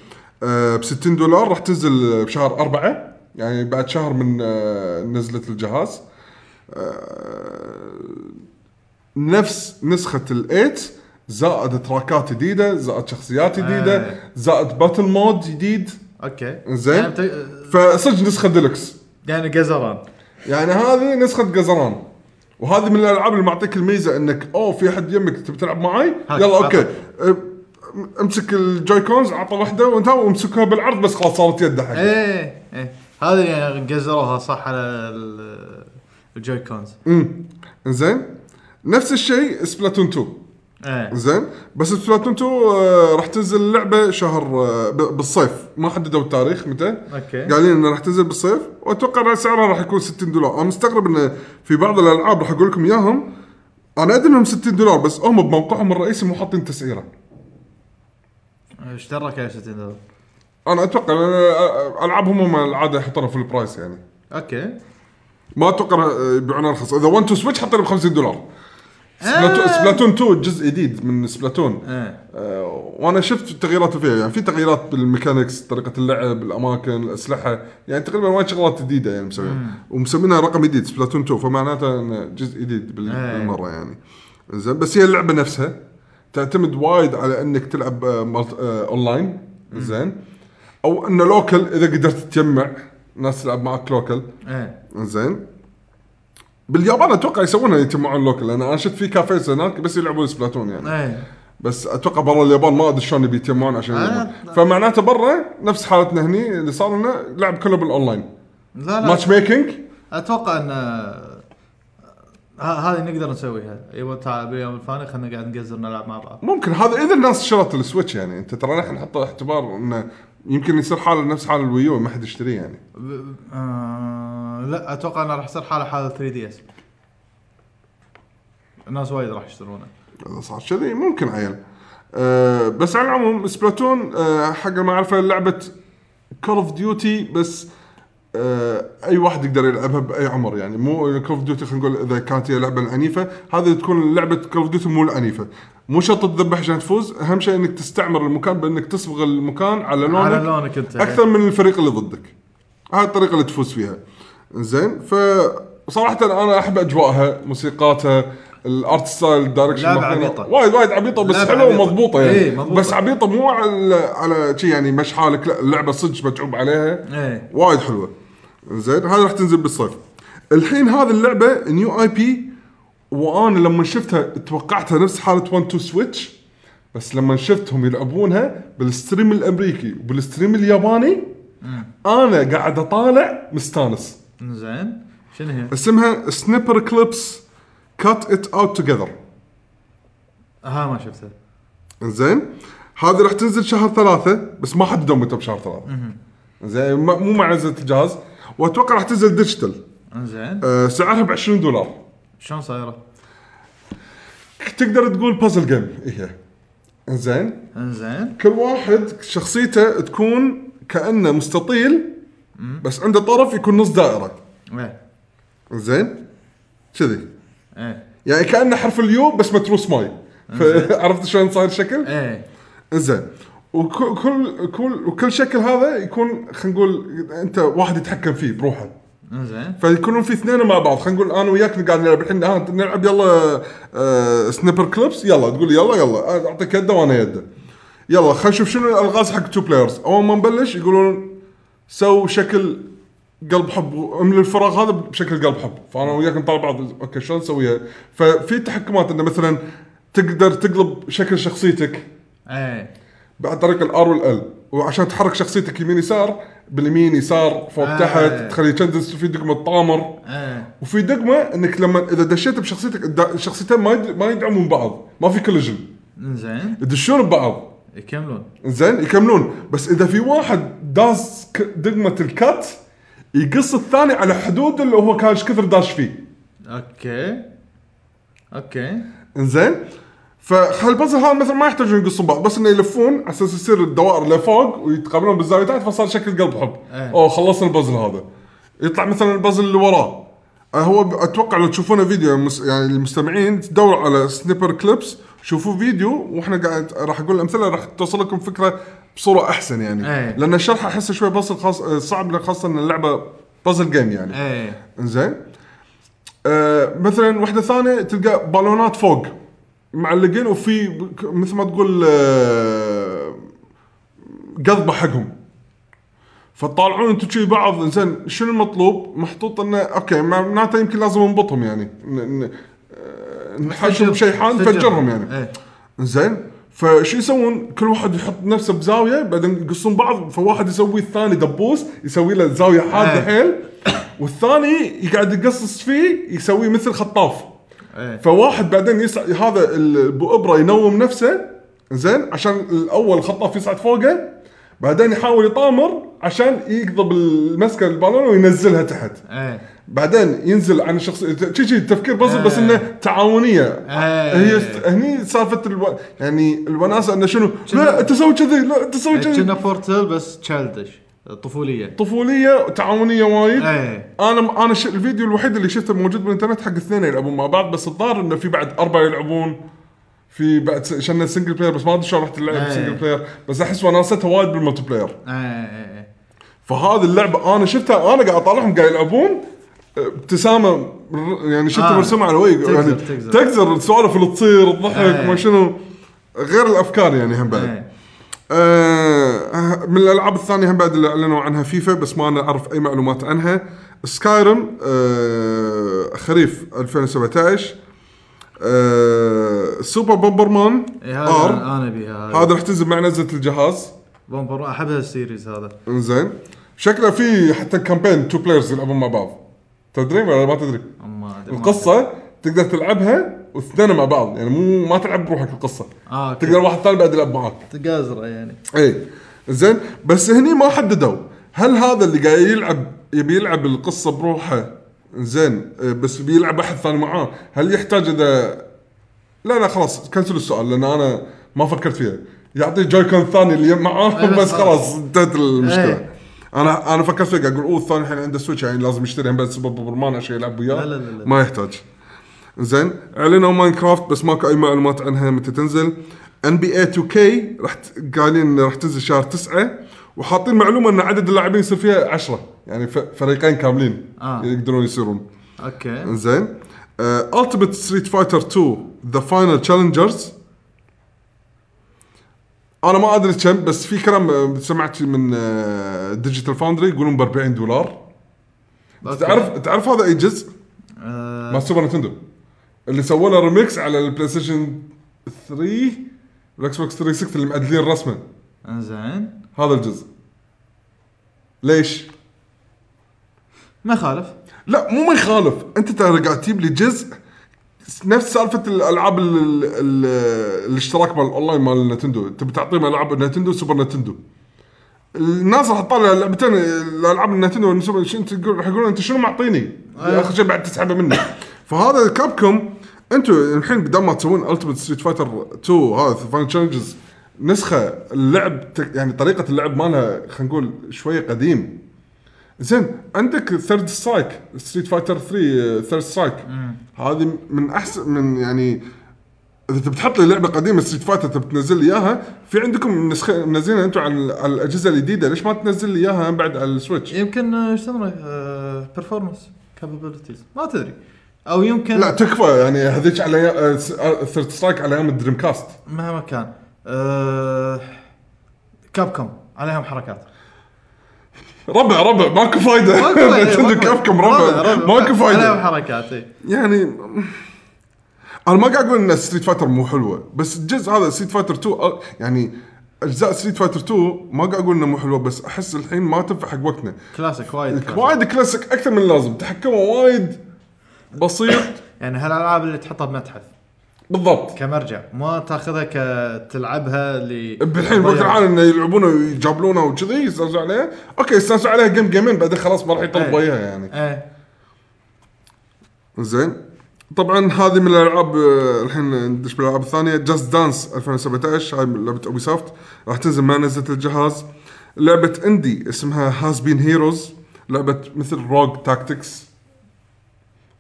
S2: آه ب 60 دولار راح تنزل بشهر أربعة يعني بعد شهر من آه نزله الجهاز آه، نفس نسخة الايت زائد تراكات جديدة زائد شخصيات جديدة
S3: آه.
S2: زائد باتل مود جديد
S3: اوكي
S2: زين.
S3: يعني, بت-
S2: فصدق نسخة ديلكس
S3: يعني قزران
S2: يعني هذه نسخة قزران وهذه من الالعاب اللي معطيك الميزه انك اوه في احد يمك تبي تلعب معاي
S3: هاك،
S2: يلا اوكي
S3: عطك.
S2: أه، امسك الجوي كونز اعطى واحده وانت وامسكها بالعرض بس خلاص صارت يده حقك
S3: ايه ايه هذه يعني قزروها صح على ال- الجوي كونز
S2: امم زين نفس الشيء سبلاتون 2
S3: ايه
S2: زين بس سبلاتون 2 آه، راح تنزل اللعبه شهر آه، ب- بالصيف ما حددوا التاريخ متى
S3: اوكي
S2: قايلين انه راح تنزل بالصيف واتوقع ان سعرها راح يكون 60 دولار انا مستغرب انه في بعض الالعاب راح اقول لكم اياهم انا ادري انهم 60 دولار بس هم بموقعهم الرئيسي مو حاطين تسعيره
S3: ايش دراك يا 60 دولار
S2: انا اتوقع لأن العابهم هم العاده يحطونها في البرايس يعني
S3: اوكي
S2: ما اتوقع آه، يبيعون ارخص اذا 1 تو سويتش حاطينه ب 50 دولار سبلاتون سبلاتون 2 جزء جديد من سبلاتون
S3: ايه
S2: آه، وانا شفت التغييرات اللي فيها يعني في تغييرات بالميكانكس طريقه اللعب الاماكن الاسلحه يعني تقريبا وايد شغلات جديده يعني مسوينها ومسمينها رقم جديد سبلاتون 2 فمعناته انه جزء جديد بال-
S3: إيه.
S2: بالمره يعني زين بس هي اللعبه نفسها تعتمد وايد على انك تلعب آه، مالت- آه، اونلاين زين او انه لوكل اذا قدرت تجمع ناس تلعب معك لوكل
S3: إيه،
S4: ايه
S2: زين باليابان اتوقع يسوونها يجمعون لوكل لان انا شفت في كافيز هناك بس يلعبون سبلاتون يعني
S3: إيه.
S4: ايه
S2: بس اتوقع برا اليابان ما ادري شلون بيتجمعون عشان يلعبون. فمعناته برا نفس حالتنا هني اللي صار لنا لعب كله بالاونلاين
S4: لا
S3: آه.
S4: لا
S2: ماتش ميكينج
S4: اتوقع ان آه، ه- هذه نقدر نسويها يبا تعال باليوم الفاني خلينا قاعد نقزر نلعب مع بعض
S2: ممكن هذا اذا الناس شرت السويتش يعني انت ترى نحن نحط اعتبار انه يمكن يصير حاله نفس حال الويو ما حد يشتريه يعني
S4: ب- آه، لا اتوقع انه راح يصير حاله حاله 3 دي اس الناس وايد راح يشترونه
S2: اذا صار كذي ممكن عيل أه بس على العموم سبلاتون أه حق ما اعرفه لعبه كول اوف ديوتي بس أه اي واحد يقدر يلعبها باي عمر يعني مو كول اوف ديوتي خلينا نقول اذا كانت هي لعبه العنيفه هذه تكون لعبه كول اوف ديوتي مو العنيفه مو شرط تذبح عشان تفوز اهم شيء انك تستعمر المكان بانك تصبغ المكان على لونك
S4: على لونك انت
S2: اكثر من الفريق اللي ضدك هاي الطريقه اللي تفوز فيها زين ف صراحه انا احب اجواءها موسيقاتها الارت ستايل الدايركشن
S4: لعبة
S2: مالها.
S4: عبيطة.
S2: وايد وايد عبيطه بس
S4: لعبة
S2: حلوه
S4: عبيطة.
S2: ومضبوطه يعني
S4: إيه، مضبوطة.
S2: بس عبيطه مو على على شي يعني مش حالك لا اللعبه صدق متعوب عليها
S4: ايه
S2: وايد حلوه زين هذا راح تنزل بالصيف الحين هذه اللعبه نيو اي بي وانا لما شفتها توقعتها نفس حاله 1 2 سويتش بس لما شفتهم يلعبونها بالستريم الامريكي وبالستريم الياباني انا قاعد اطالع مستانس
S4: زين شنو هي؟
S2: اسمها سنيبر كليبس كات ات اوت توجذر
S4: ها ما شفتها
S2: زين هذه راح تنزل شهر ثلاثة بس ما حددوا متى بشهر ثلاثة زين ما- مو مع نزلة الجهاز واتوقع راح تنزل ديجيتال
S4: زين
S2: أه، سعرها ب 20 دولار
S4: شلون صايره؟
S2: تقدر تقول بازل جيم هي زين
S4: زين
S2: كل واحد شخصيته تكون كانه مستطيل بس عنده طرف يكون نص دائره
S4: ايه
S2: زين كذي
S4: ايه
S2: يعني كانه حرف اليو بس متروس ماي ف- (laughs) عرفت شلون صاير الشكل؟
S4: ايه
S2: زين وكل كل كل وكل شكل هذا يكون خلينا نقول انت واحد يتحكم فيه بروحه
S4: زين
S2: فيكونون في اثنين مع بعض خلينا نقول انا وياك قاعد نلعب الحين آه نلعب يلا آه سنيبر كليبس يلا تقول يلا يلا آه، اعطيك يده وانا يده يلا خلينا نشوف شنو الالغاز حق تو بلايرز اول ما نبلش يقولون سو شكل قلب حب واملى الفراغ هذا بشكل قلب حب فانا وياك نطالع بعض اوكي شلون نسويها ففي تحكمات انه مثلا تقدر تقلب شكل شخصيتك
S4: ايه
S2: عن طريق الار والال وعشان تحرك شخصيتك يمين يسار باليمين يسار فوق
S4: آه.
S2: تحت تخلي تشندس في دقمه طامر
S4: ايه
S2: وفي دقمه انك لما اذا دشيت بشخصيتك الد- الشخصيتين ما يد- ما يدعمون بعض ما في كوليجن
S4: زين
S2: يدشون ببعض
S4: يكملون
S2: زين يكملون بس اذا في واحد داس ك- دقمه الكات يقص الثاني على حدود اللي هو كان ايش كثر داش فيه
S4: اوكي اوكي
S2: انزين فهالبازل هذا مثلا ما يحتاجون يقصون بعض بس انه يلفون على اساس يصير الدوائر لفوق ويتقابلون بالزاويه تحت فصار شكل قلب حب
S4: إيه.
S2: او خلصنا البازل هذا يطلع مثلا البازل اللي وراه آه، هو ب- اتوقع لو تشوفونه فيديو المس- يعني المستمعين تدوروا على سنيبر كليبس شوفوا فيديو واحنا قاعد راح اقول الامثله راح توصل لكم فكره بصوره احسن يعني
S4: إيه.
S2: لان الشرح احسه شوي بازل خاص آه، صعب لأن خاصه ان اللعبه بازل جيم يعني
S4: ايه
S2: انزين آه مثلا واحده ثانيه تلقى بالونات فوق معلقين وفي ك- مثل ما تقول آه، قضبه حقهم فتطالعون انتم شي بعض انزين شنو المطلوب؟ محطوط انه اوكي معناته يمكن لازم ننبطهم يعني ن- ن- آه، نحشهم شيحان نفجرهم
S3: إيه.
S2: يعني
S4: ايه
S2: زين فشو يسوون؟ كل واحد يحط نفسه بزاويه بعدين يقصون بعض فواحد يسوي الثاني دبوس يسوي له زاويه حاده
S4: إيه.
S2: حيل والثاني يقعد يقصص فيه يسوي مثل خطاف
S4: ايه
S2: فواحد بعدين يسع هذا الابره ينوم نفسه زين عشان الاول خطاف يصعد فوقه بعدين يحاول يطامر عشان يقضب المسكه البالون وينزلها تحت
S4: ايه
S2: بعدين ينزل عن الشخص شي شي تفكير بسيط بس
S4: إيه.
S2: انه تعاونيه
S4: إيه.
S2: هي است... هني سالفه الو... يعني الوناسه انه شنو لا انت سوي كذي لا انت سوي كذي
S4: كنا بورتل بس تشالدش طفوليه
S2: طفوليه وتعاونيه وايد
S3: آه.
S4: ايه
S2: انا انا ش... الفيديو الوحيد اللي شفته موجود بالانترنت حق اثنين يلعبون مع بعض بس الظاهر انه في بعد اربعه يلعبون في بعد س- شنه سنجل بلاير بس ما ادري شلون راح تلعب
S4: إيه.
S2: سنجل بلاير بس احس وناستها وايد بالملتي بلاير
S4: ايه ايه
S2: فهذه اللعبه انا شفتها انا قاعد اطالعهم قاعد يلعبون ابتسامه ر- يعني شفت
S4: آه.
S2: مرسومه على وجهي
S4: تقزر-
S2: يعني
S4: تقزر.
S2: تقزر السوالف اللي تصير الضحك
S4: آه.
S2: ما شنو غير الافكار يعني هم بعد
S4: إيه.
S2: آه من الالعاب الثانيه هم بعد اللي اعلنوا عنها فيفا بس ما انا اعرف اي معلومات عنها سكايرم آه خريف 2017 آه سوبر بومبر مان
S4: إيه، هذا
S2: ار
S4: انا أنا بيها هذا
S2: هذا راح تنزل مع نزله الجهاز
S4: بومبر احب هالسيريز هذا
S2: انزين شكله في حتى كامبين تو بلايرز يلعبون مع بعض تدري ولا ما تدري؟
S4: ما أدري- ما
S2: القصه تقدر تلعبها واثنين مع بعض يعني مو ما تلعب بروحك القصه
S4: آه، أوكي.
S2: تقدر واحد ثاني بعد يلعب معاك
S4: أدري. قازره يعني
S2: اي إيه. زين بس هني ما حددوا هل هذا اللي قاعد يلعب يبي يلعب القصه بروحه زين آه، بس بيلعب احد ثاني معاه هل يحتاج اذا لا لا خلاص كنسل السؤال لان انا ما فكرت فيها يعطي جويكون ثاني اللي معاه
S4: أي إيه، بس
S2: بس خلاص
S4: خلاص. إيه.
S2: انتهت المشكله
S4: أي.
S2: انا انا فكرت فيها قاعد اقول اوه الثاني الحين عنده سويتش يعني لازم يشتري بعد سبب برمان عشان يلعب وياه
S4: لا لا لا لا.
S2: ما يحتاج زين اعلنوا ماينكرافت بس ماكو اي معلومات عنها متى تنزل ان بي اي 2 كي راح ت- قايلين راح تنزل شهر 9 وحاطين معلومه ان عدد اللاعبين يصير فيها 10 يعني ف- فريقين كاملين
S4: آه.
S2: يقدرون يصيرون
S4: اوكي
S2: زين آه، التيمت ستريت فايتر 2 ذا فاينل تشالنجرز انا ما ادري كم بس في كلام آه، سمعت من ديجيتال فاوندري يقولون ب 40 دولار
S4: أوكي.
S2: تعرف تعرف هذا اي جزء؟
S4: آه،
S2: مال سوبر نتندو اللي سووا له ريميكس على البلاي ستيشن 3 والاكس بوكس 360 اللي معدلين رسمه
S4: انزين
S2: هذا الجزء ليش؟
S4: ما يخالف
S2: لا مو ما يخالف انت ترى قاعد تجيب لي جزء نفس سالفه الالعاب ال ال ال الاشتراك مال الاونلاين مال نتندو انت بتعطيهم العاب نتندو سوبر نتندو الناس راح تطالع اللعبتين الالعاب النتندو والسوبر شو انت تقول راح يقولون انت شنو معطيني؟ اخر شيء بعد تسحبه مني (laughs) فهذا كابكم انتم الحين قدام ما تسوون التيمت ستريت فايتر 2 هذا فان تشالنجز نسخه اللعب تك- يعني طريقه اللعب مالها خلينا نقول شويه قديم زين عندك ثيرد سترايك ستريت فايتر 3 ثيرد سترايك uh, هذه من احسن من يعني اذا تبي تحط لي لعبه قديمه ستريت فايتر تبي تنزل لي اياها في عندكم نسخه منزلينها انتم على, على الاجهزه الجديده ليش ما تنزل لي اياها بعد على السويتش؟
S4: يمكن آه، ايش يسمونه برفورمانس كابابيلتيز ما تدري او يمكن
S2: لا تكفى يعني هذيك على ثيرد سترايك آه، على ايام الدريم كاست
S4: مهما كان أه... كابكم عليهم حركات
S2: ربع ربع ماكو فايده (laughs) عندك كم ربع ماكو
S4: عليهم
S2: فايده
S4: حركات اي
S2: يعني انا ما قاعد اقول ان ستريت فايتر مو حلوه بس الجزء هذا ستريت فايتر 2 أ- يعني اجزاء ستريت فايتر 2 ما قاعد اقول انه مو حلوه بس احس الحين ما تنفع حق وقتنا
S4: كلاسيك وايد كلاسيك.
S2: وايد كلاسيك اكثر من اللازم تحكمه وايد بسيط
S4: يعني هالالعاب اللي تحطها بمتحف
S2: بالضبط
S4: كمرجع ما تاخذها كتلعبها ل
S2: بالحين وقت العالم انه يلعبونه ويجابلونه وكذي يستانسوا عليها اوكي يستانسوا عليها جيم جيمين بعدين خلاص ما راح يطلبوا
S4: إيه.
S2: اياها يعني
S4: ايه
S2: زين طبعا هذه من الالعاب آه، الحين ندش بالالعاب الثانيه جاست دانس 2017 هاي من لعبه اوبي سوفت راح تنزل مع نزله الجهاز لعبه اندي اسمها هاز بين هيروز لعبه مثل روج تاكتكس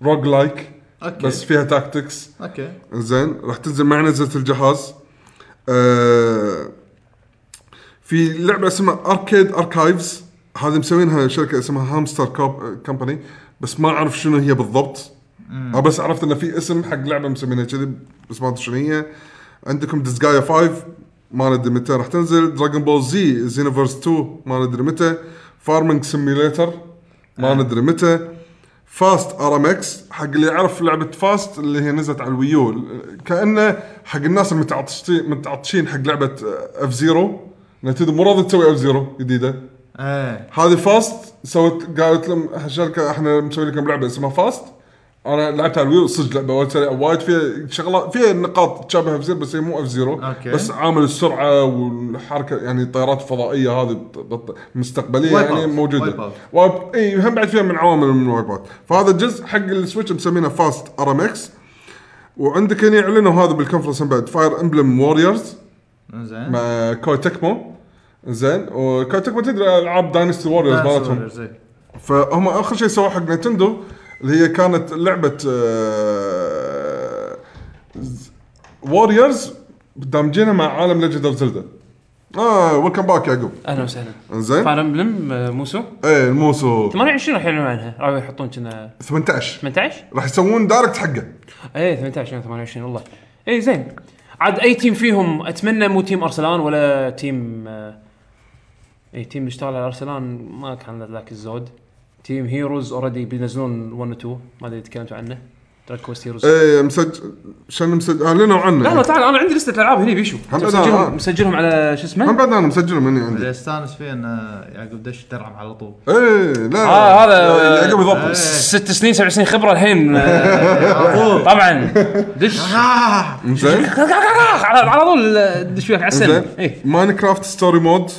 S2: روج لايك
S4: اوكي
S2: بس فيها تاكتكس
S4: اوكي
S2: زين راح تنزل مع نزله الجهاز آه في لعبه اسمها اركيد اركايفز هذه مسوينها شركه اسمها هامستر كوب كمباني بس ما اعرف شنو هي بالضبط أنا بس عرفت ان في اسم حق لعبه مسمينها كذي بس ما ادري شنو هي عندكم ديسجايا 5 ما ندري متى راح تنزل دراجون بول زي زينوفرس 2 ما ندري متى فارمنج سيميوليتر ما ندري متى فاست ارامكس حق اللي يعرف لعبه فاست اللي هي نزلت على الويو كانه حق الناس المتعطشين متعطشين حق آه، لعبه اف زيرو نتندو يعني مو راضي تسوي اف زيرو جديده
S4: ايه
S2: هذه فاست سوت قالت لهم هالشركه احنا مسوي لكم لعبه اسمها فاست انا لعبت على الويو صدق لعبه وايد سريعه وايد فيها شغلات فيها نقاط تشابه اف زيرو بس هي مو اف زيرو
S4: أوكي.
S2: بس عامل السرعه والحركه يعني الطيارات الفضائيه هذه بت- بت- مستقبليه
S4: Wipeout.
S2: يعني موجوده
S4: Wipeout.
S2: وايب اي هم بعد فيها من عوامل من وايب اوت فهذا الجزء حق السويتش مسمينه فاست ارامكس وعندك هنا اعلنوا هذا بالكونفرنس من بعد فاير امبلم ووريرز
S4: انزين
S2: مع كوي تكمو زين وكوي تكمو تدري العاب داينستي ووريرز مالتهم فهم اخر شيء سووه حق نينتندو اللي هي كانت آه، لعبه ووريرز دامجينها مع عالم ليجند اوف زلدا اه ويلكم باك يعقوب
S1: اهلا وسهلا
S2: زين
S1: فاير امبلم آه، موسو
S2: ايه الموسو
S1: 28 راح يعلنون عنها راح يحطون كنا
S2: 18
S1: 18
S2: راح يسوون دايركت حقه
S1: اي 18 يوم 28 والله اي زين عاد اي تيم فيهم اتمنى مو تيم ارسلان ولا تيم آه، اي تيم اللي اشتغل على ارسلان ما كان ذاك الزود تيم هيروز اوريدي بينزلون 1 و 2 ما ادري تكلمتوا عنه دراج كويست هيروز
S2: ايه مسجل شنو مسجل اعلنوا عنه
S1: لا لا تعال انا عندي لسته الالعاب هني بيشو
S2: هم
S1: مسجلهم
S2: أنا-
S1: مسجلهم على شو
S2: هم
S1: اسمه
S2: بعد انا مسجله مني
S4: اللي
S2: عندي
S4: استانس فيه انه يعقوب دش درعم على طول
S2: ايه لا لا
S1: آه، هذا-
S2: يعقوب
S1: آه،
S2: يضبط
S1: ست سنين سبع سنين خبره الحين آه، طبعا دش
S2: آه!
S1: آه، (laughs)
S2: زين
S1: على على طول دش وياك على السنه
S2: زين
S1: اي
S2: ماين كرافت ستوري مود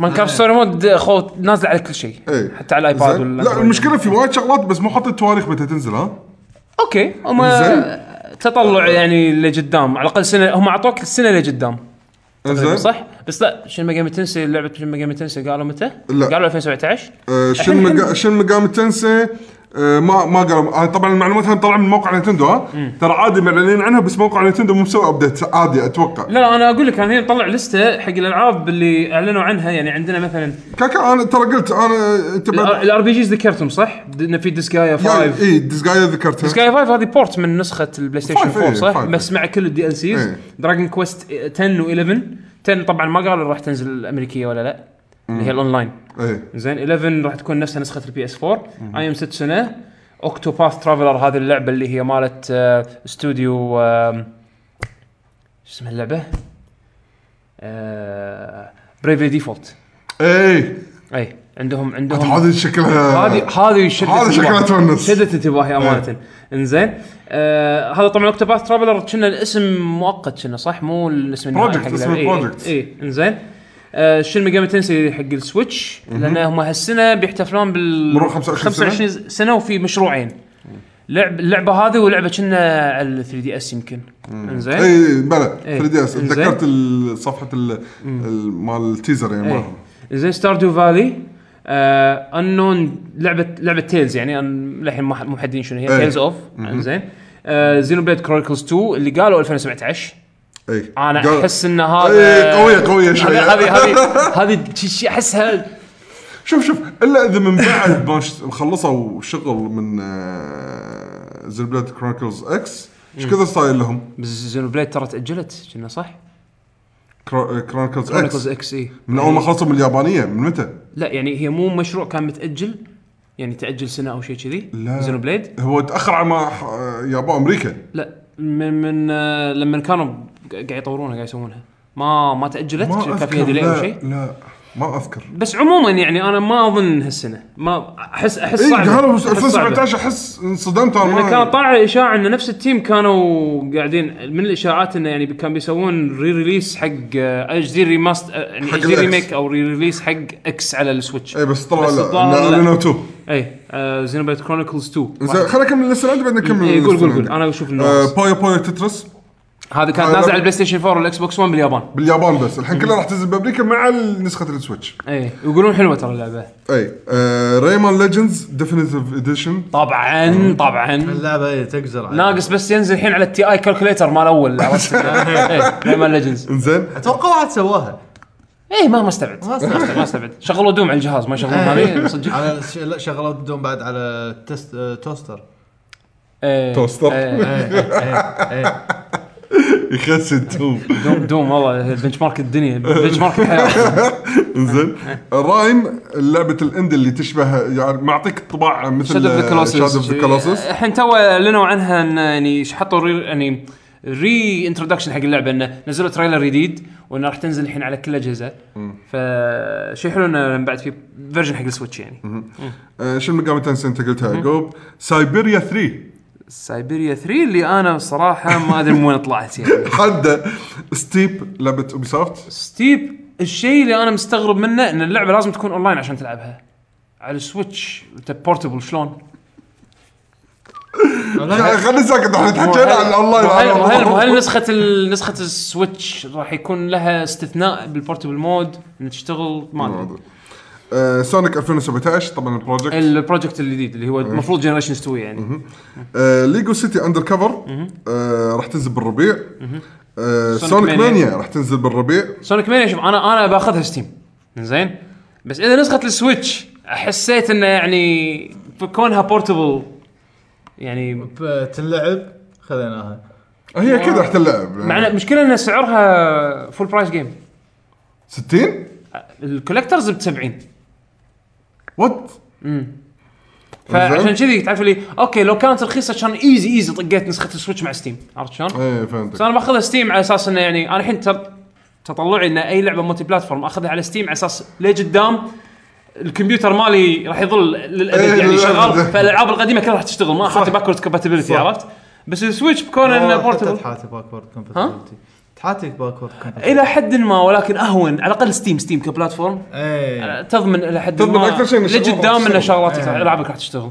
S1: ماينكرافت ستوري مود اخو نازل على كل شيء
S2: إيه.
S1: حتى على الايباد
S2: زين.
S1: ولا
S2: لا المشكله في وايد شغلات بس مو حاطين تواريخ متى تنزل ها
S1: اوكي هم
S2: زين.
S1: تطلع يعني لقدام على الاقل سنه هم اعطوك السنه لقدام
S2: زين
S1: طيب، صح بس لا شنو ميجامي تنسي لعبه شنو ميجامي تنسي قالوا متى؟
S2: لا.
S1: قالوا 2017
S2: آه، شن مقا... شن مقام تنسي آه، ما ما قالوا آه، طبعا المعلومات هاي طالعه من موقع نينتندو ها ترى عادي معلنين عنها بس موقع نينتندو مو مسوي ابديت عادي اتوقع
S1: لا لا انا اقول لك انا هنا مطلع لسته حق الالعاب اللي اعلنوا عنها يعني عندنا مثلا
S2: كاكا انا ترى قلت انا انت بعد
S1: الار بي جيز ذكرتهم صح؟ د- ان في ديسكايا 5
S2: اي ديسجايا إيه، ذكرتها
S1: ديسكايا 5 هذه بورت من نسخه البلاي ستيشن
S2: Five،
S1: 4
S2: إيه،
S1: صح؟
S2: Five.
S1: بس مع كل الدي ال سيز
S2: إيه.
S1: دراجون كويست 10 و11 10 طبعا ما قالوا راح تنزل الامريكيه ولا لا اللي هي الاونلاين
S2: اي
S1: زين 11 راح تكون نفسها نسخه البي اس 4 اي ام 6 سنه اوكتوباث ترافلر هذه اللعبه اللي هي مالت آه، استوديو آم، شو اسمها آه، اللعبه؟ بريفري ديفولت
S2: اي
S1: اي عندهم عندهم
S2: إيه. هذه شكلها
S1: هذه هذه شدت
S2: هذا شكلها
S1: انتباهي.
S2: تونس.
S1: شدت
S2: إيه.
S1: انتباهي امانه انزين آه هذا طبعا اوكتوباث ترافلر كنا الاسم مؤقت كنا صح مو الاسم النهائي
S2: Project،
S1: حق
S2: اسم
S1: اللعبة.
S2: الproject.
S1: اي إي، انزين آه شن ميجامي تنسي حق السويتش لان هم هالسنه بيحتفلون بال
S2: مرور 25 سنة.
S1: 25 سنه, وفي مشروعين لعب اللعبه هذه ولعبه كنا على 3 دي اس يمكن انزين
S2: اي بلى 3 دي اس
S1: إيه،
S2: تذكرت ال- صفحه ال- ال- مال التيزر يعني
S1: إيه.
S2: مالهم
S1: زين ستاردو فالي آه انون لعبه لعبه تيلز يعني أن- للحين ما حد- مو محددين شنو هي
S2: إيه.
S1: تيلز اوف زين آه زينو بليد كرونيكلز 2 اللي قالوا 2017
S2: اي
S1: انا
S2: قال-
S1: احس ان هذا
S2: إيه، قوية- قوية شوية.
S1: هذه- هذه
S2: (laughs)
S1: هذه هذه شي- شي احسها
S2: شوف شوف الا اذا من بعد (laughs) ما ش- خلصوا شغل من آه، زين بلاد كرونيكلز اكس ايش كثر صاير لهم؟
S1: بس زينو بليد ترى تاجلت كنا صح؟
S2: كرو- كرونيكلز
S1: كرونيكلز
S2: اكس
S1: اكس اي
S2: آه، من اول ما خلصوا من اليابانيه من متى؟
S1: لا يعني هي مو مشروع كان متاجل يعني تاجل سنه او شيء كذي
S2: لا.
S1: زينو بليد
S2: هو تاخر على ما ح- آه، يابان امريكا
S1: لا من من آه، لما كانوا قاعد يطورونها قاعد يسوونها ما ما تاجلت
S2: ما
S1: كان
S2: اذكر
S1: فيها ديلي او
S2: لا,
S1: شيء
S2: لا ما اذكر
S1: بس عموما يعني انا ما اظن هالسنه ما احس احس
S2: اي
S1: صعب
S2: قالوا 2017 احس انصدمت أنا
S1: لان
S2: ما-
S1: كان طالع اشاعه ان نفس التيم كانوا قاعدين من الاشاعات انه يعني كانوا بيسوون ري ريليس حق آه، اجدي ريماست يعني
S2: حق إيه.
S1: HD
S2: الإكس.
S1: ريميك او ري ريليس حق اكس على السويتش إيه، آه،
S2: اي بس طلع
S1: بس
S2: لا
S1: طلع لا.
S2: لا اعلنوا تو
S1: اي زينوبيت كرونيكلز 2
S2: زين خلينا نكمل لسه عندي بعدين نكمل
S1: إيه، قول
S2: اللسة
S1: قول
S2: اللي
S1: قول
S2: عندي.
S1: انا اشوف
S2: آه،
S1: النواقص
S2: بايو بايو تترس
S1: هذا كانت
S2: آه،
S1: نازل
S2: لا.
S1: على البلاي ستيشن 4 والاكس بوكس 1 باليابان
S2: باليابان بس الحين كلها راح تنزل بامريكا مع نسخه السويتش
S1: اي إيه، يقولون حلوه ترى اللعبه
S2: اي آه ريمان ليجندز ديفينيتيف اديشن
S1: طبعا طبعا
S4: اللعبه اي تقزر عليه.
S1: ناقص بس ينزل الحين على التي اي كالكوليتر مال
S2: (laughs)
S1: اول عرفت إيه، ريمان ليجندز
S2: انزين
S4: اتوقع واحد سواها
S1: ايه ما ما استبعد
S4: ما استبعد.
S1: (laughs) ما استبعد شغلوا دوم على الجهاز ما يشغلون
S3: آه، إيه،
S1: هذه صدق
S4: على ش- لا شغلات دوم بعد على تست آه،
S2: (laughs)
S4: توستر
S1: إيه.
S2: توستر.
S1: إيه.
S2: (laughs) يخس التوم
S1: دوم دوم والله بنش مارك الدنيا بنش مارك الحياه
S2: انزين رايم لعبه الاند اللي تشبه يعني معطيك طباع مثل آه،
S1: شاد اوف ذا
S2: شاد اوف
S1: كلوسس
S2: ذا كلوسس
S1: الحين تو اعلنوا عنها ان يعني ش- حطوا ري يعني ري انتروداكشن حق اللعبه انه نزلوا تريلر جديد وانه راح تنزل الحين على كل الاجهزه فشيء حلو انه بعد في فيرجن حق السويتش يعني
S2: شو المقام تنسي انت قلتها يعقوب سايبيريا 3
S1: سايبيريا 3 اللي انا صراحه ما ادري من وين طلعت يعني
S2: حدا ستيب لعبه اوبي سوفت
S1: ستيب الشيء اللي انا مستغرب منه ان اللعبه لازم تكون اونلاين عشان تلعبها على السويتش انت بورتبل شلون؟
S2: خلينا ساكت احنا تحكينا عن الاونلاين
S1: وهل,
S2: عن
S1: وهل,
S2: الموضوع. (laughs)
S1: وهل نسخه ال- نسخه السويتش راح يكون لها استثناء بالبورتبل مود ان تشتغل ما ادري
S2: الموضوع. آه، سونيك 2017 طبعا البروجكت
S1: البروجكت الجديد اللي هو المفروض جنريشن 2 يعني
S2: آه، ليجو سيتي اندر كفر آه، راح تنزل بالربيع آه، سونيك
S1: مانيا.
S2: مانيا راح تنزل بالربيع
S1: سونيك مانيا شوف انا انا باخذها ستيم زين بس اذا نسخه السويتش حسيت انه يعني كونها بورتبل يعني
S4: ب- تنلعب خذيناها
S2: هي كذا حتى اللعب
S1: مع ان المشكله ان سعرها فول برايس جيم
S2: 60
S1: الكولكترز ب 70
S2: وات
S1: فعشان كذي تعرف لي اوكي لو كانت رخيصه كان ايزي ايزي طقيت نسخه السويتش مع ستيم عرفت شلون؟
S2: ايه
S1: بس
S2: فهمتك
S1: انا باخذها ستيم على اساس انه يعني انا الحين تر- تطلعي ان اي لعبه مالتي بلاتفورم اخذها على ستيم على اساس لقدام الكمبيوتر مالي راح يظل للابد
S2: إيه،
S1: يعني
S2: للأبد.
S1: شغال فالالعاب القديمه كلها راح تشتغل ما احط باكورد كومباتيبلتي عرفت؟ بس السويتش بكون انه
S4: حتى
S1: بورتبل
S4: تحاتي باكورد كومباتيبلتي تحاتي باكورد كومباتيبلتي
S1: الى حد ما ولكن اهون على الاقل ستيم ستيم كبلاتفورم
S4: ايه
S1: آه، تضمن الى حد
S2: إيه. تضمن
S1: ما
S2: أكثر شيء إيه. إن الشغلات
S1: لقدام
S2: راح
S1: ان
S2: تشتغل.
S1: شغلات العابك راح تشتغل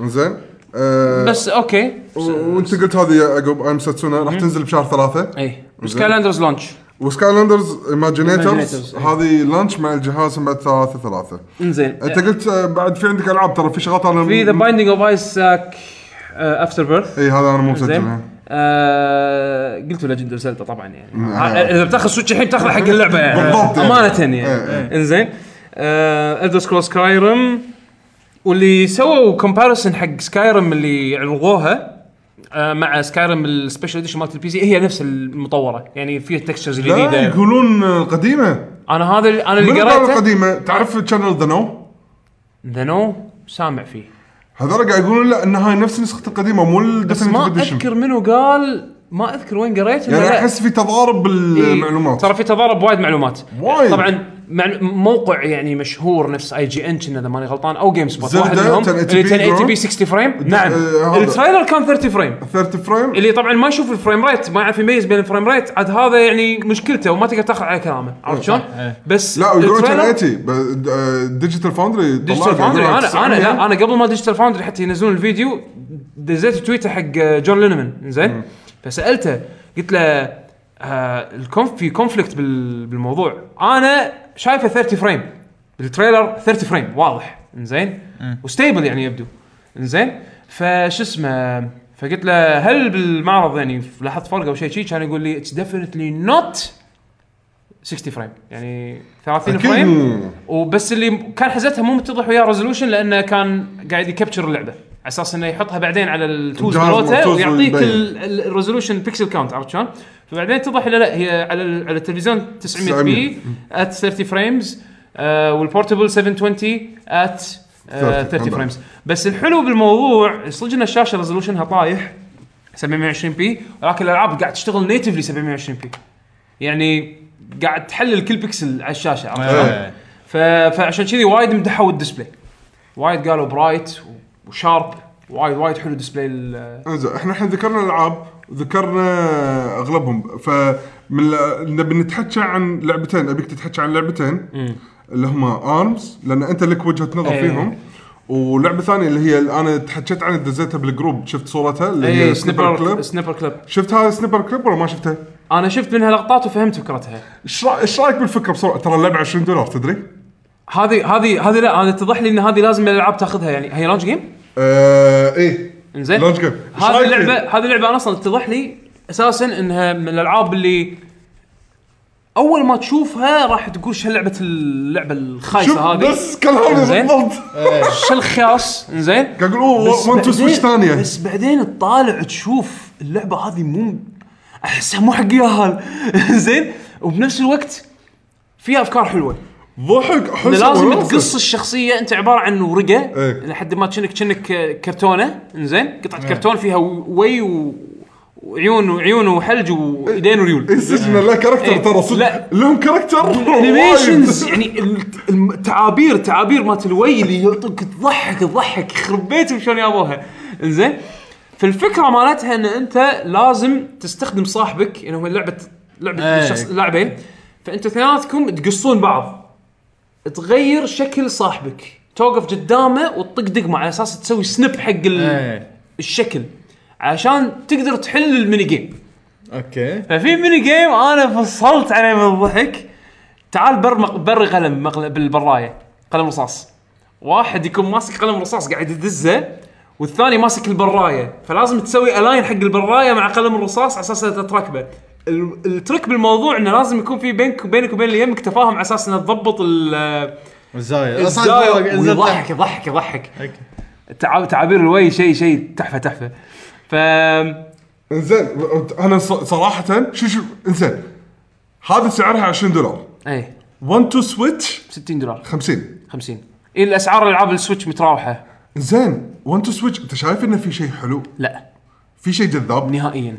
S2: انزين آه،
S1: بس اوكي
S2: و- وانت قلت هذه يا عقب ام ساتسونا راح تنزل بشهر ثلاثه
S1: اي وسكايلاندرز لونش
S2: وسكايلاندرز
S1: Imaginators،
S2: ايماجينيترز
S1: إيه.
S2: هذه لانش مع الجهاز بعد ثلاثه ثلاثه
S1: انزين
S2: انت قلت آه، بعد في عندك العاب ترى في شغلات انا
S1: إيه. في ذا بايندينج اوف ايساك افتر بيرث
S2: اي إيه، هذا انا مو مسجلها
S1: زين آه قلت لجند اوف زلدا طبعا يعني
S2: مم.
S1: آه، اذا بتاخذ سويتش الحين بتاخذ حق اللعبه يعني
S2: نعم. بالضبط يعني.
S1: امانه يعني آه،
S2: إيه،
S1: انزين الدر سكرول سكايرم واللي سووا كومباريسون حق سكايرم اللي عرضوها آه، مع سكايرم السبيشل اديشن مالت البي سي هي نفس المطوره يعني فيها تكستشرز
S2: لا
S1: جديده
S2: يقولون القديمه
S1: انا هذا اللي- انا
S2: من
S1: اللي
S2: الألعاب
S1: قريته
S2: القديمه تعرف شانل ذا نو
S1: ذا نو سامع فيه
S2: هذول قاعد يقولون لا ان هاي نفس نسخه القديمه مو
S1: بس
S2: الديفينيتيف
S1: ما
S2: اديشن
S1: اذكر منو قال ما اذكر وين قريت إنه
S2: يعني
S1: لا. إيه،
S2: احس في تضارب بالمعلومات
S1: ترى في تضارب وايد معلومات
S2: وايد.
S1: طبعا مع موقع يعني مشهور نفس اي جي ان كنا اذا ماني غلطان او جيم سبوت
S2: زلدة
S1: واحد منهم إيه،
S2: 1080p
S1: اللي 1080 بي
S2: نعم.
S1: 60 فريم نعم
S2: آه، هذا.
S1: التريلر كان 30 فريم
S2: 30 فريم
S1: اللي طبعا ما يشوف الفريم ريت ما يعرف يميز بين الفريم ريت عاد هذا يعني مشكلته وما تقدر تاخذ على كلامه عرفت شلون؟ بس
S2: إيه. لا يقولون
S1: التريلر-
S2: 1080 ديجيتال فاوندري
S1: ديجيتال فاوندري انا انا لا انا قبل ما ديجيتال فاوندري حتى ينزلون الفيديو دزيت تويتر حق جون لينمان زين فسالته قلت له آه الكونف في كونفليكت بال- بالموضوع انا شايفه 30 فريم بالتريلر 30 فريم واضح زين وستيبل يعني يبدو زين فش اسمه فقلت له هل بالمعرض يعني لاحظت فرق او شيء شي كان يقول لي اتس ديفينتلي نوت 60 فريم يعني 30
S2: اكيد
S1: فريم
S2: مو
S1: وبس اللي كان حزتها مو متضح وياه ريزولوشن لانه كان قاعد يكبتشر اللعبه على اساس انه يحطها بعدين على التولز
S2: الجهاز
S1: مالته
S2: والتولز
S1: ويعطيك
S2: ويبين.
S1: الريزولوشن بيكسل كاونت عرفت شلون؟ فبعدين اتضح لا لا هي على ال- على التلفزيون 900 بي
S2: 900.
S1: ات 30 فريمز آه، والبورتبل 720 ات 30
S2: 30
S1: فريمز آه، بس الحلو بالموضوع صدق ان الشاشه ريزولوشنها طايح 720 بي ولكن الالعاب قاعد تشتغل نيتفلي 720 بي يعني قاعد تحلل كل بكسل على الشاشه عرفت
S3: أيوة.
S1: شلون؟
S4: إيه.
S1: ف... فعشان كذي وايد مدحوا الديسبلاي وايد قالوا برايت وشارب وايد وايد حلو ديسبلاي ال-
S2: انزين احنا الحين ذكرنا العاب ذكرنا اغلبهم فمن ال- نبي نتحكى عن لعبتين ابيك تتحكى عن لعبتين اللي هما ارمز لان انت لك وجهه نظر
S1: إيه.
S2: فيهم ولعبه ثانيه اللي هي انا تحكيت عن دزيتها بالجروب شفت صورتها اللي
S1: اي
S2: هي سنيبر
S1: سنيبر
S2: كليب
S1: سنيبر كليب
S2: شفت هذا سنيبر كليب ولا ما شفته؟
S1: انا شفت منها لقطات وفهمت فكرتها
S2: ايش رأ- إيش رايك بالفكره بصراحه ترى اللعبه 20 دولار تدري؟
S1: هذه هذه هذه لا انا اتضح لي ان هذه لازم الالعاب تاخذها يعني هي لونج جيم
S2: آه ايه
S1: انزين
S2: لونج جيم إيش
S1: هذه
S2: رأيك
S1: اللعبه
S2: فيه؟
S1: هذه اللعبه انا اصلا اتضح لي اساسا انها من الالعاب اللي اول ما تشوفها راح تقول شو لعبه اللعبه
S2: شوف
S1: الخايسه هذه
S2: بس كلامي
S1: إنزين.
S2: بالضبط
S1: شو الخاص انزين
S2: قاعد اقول اوه وان تو
S1: بعدين-
S2: سويتش ثانيه
S1: بس بعدين تطالع تشوف اللعبه هذه مو احسها مو حق ياهال (laughs) زين وبنفس الوقت فيها افكار حلوه
S2: ضحك احس
S1: إن لازم
S2: وناسة.
S1: تقص الشخصيه انت عباره عن ورقه
S2: إيه.
S1: لحد ما كأنك كأنك كرتونه زين قطعه كرتون فيها وي و- وعيون وعيون وحلج وايدين وريول
S2: اي سجن لا كاركتر
S1: إيه.
S2: ترى صدق
S1: لا.
S2: لهم كاركتر
S1: الانيميشنز
S2: (laughs) وايد.
S1: يعني ال- الم- التعابير تعابير مالت الوي اللي يعطوك تضحك تضحك يخرب بيتهم شلون جابوها انزين فالفكره مالتها ان انت لازم تستخدم صاحبك يعني هم لعبه لعبه
S4: إيه.
S1: شخص لاعبين فانت اثنيناتكم تقصون بعض تغير شكل صاحبك توقف قدامه وتطق دقمه على اساس تسوي سنب حق ال-
S4: إيه.
S1: الشكل عشان تقدر تحل الميني جيم
S4: اوكي
S1: ففي ميني جيم انا فصلت عليه من الضحك تعال بر مق... بر قلم مقل... بالبرايه قلم رصاص واحد يكون ماسك قلم رصاص قاعد يدزه والثاني ماسك البرايه فلازم تسوي الاين حق البرايه مع قلم الرصاص على اساس إنها تتركبه ال- الترك بالموضوع انه لازم يكون في بينك وبينك وبين اللي يمك تفاهم على اساس انه تضبط ال-
S4: الزاويه
S1: الزاويه
S4: الزاوية-
S1: ويضحك يضحك يضحك
S4: أوكي.
S1: تعاب- تعابير الوي شيء شيء تحفه تحفه ف
S2: انزين انا ص- صراحه شو شو انزين هذا سعرها 20 دولار
S1: اي
S2: 1 تو سويتش
S1: 60 إيه، دولار
S2: 50
S1: 50 اي الاسعار إيه العاب السويتش متراوحه
S2: انزين 1 تو سويتش انت شايف انه في شيء حلو
S1: لا
S2: في شيء جذاب
S1: نهائيا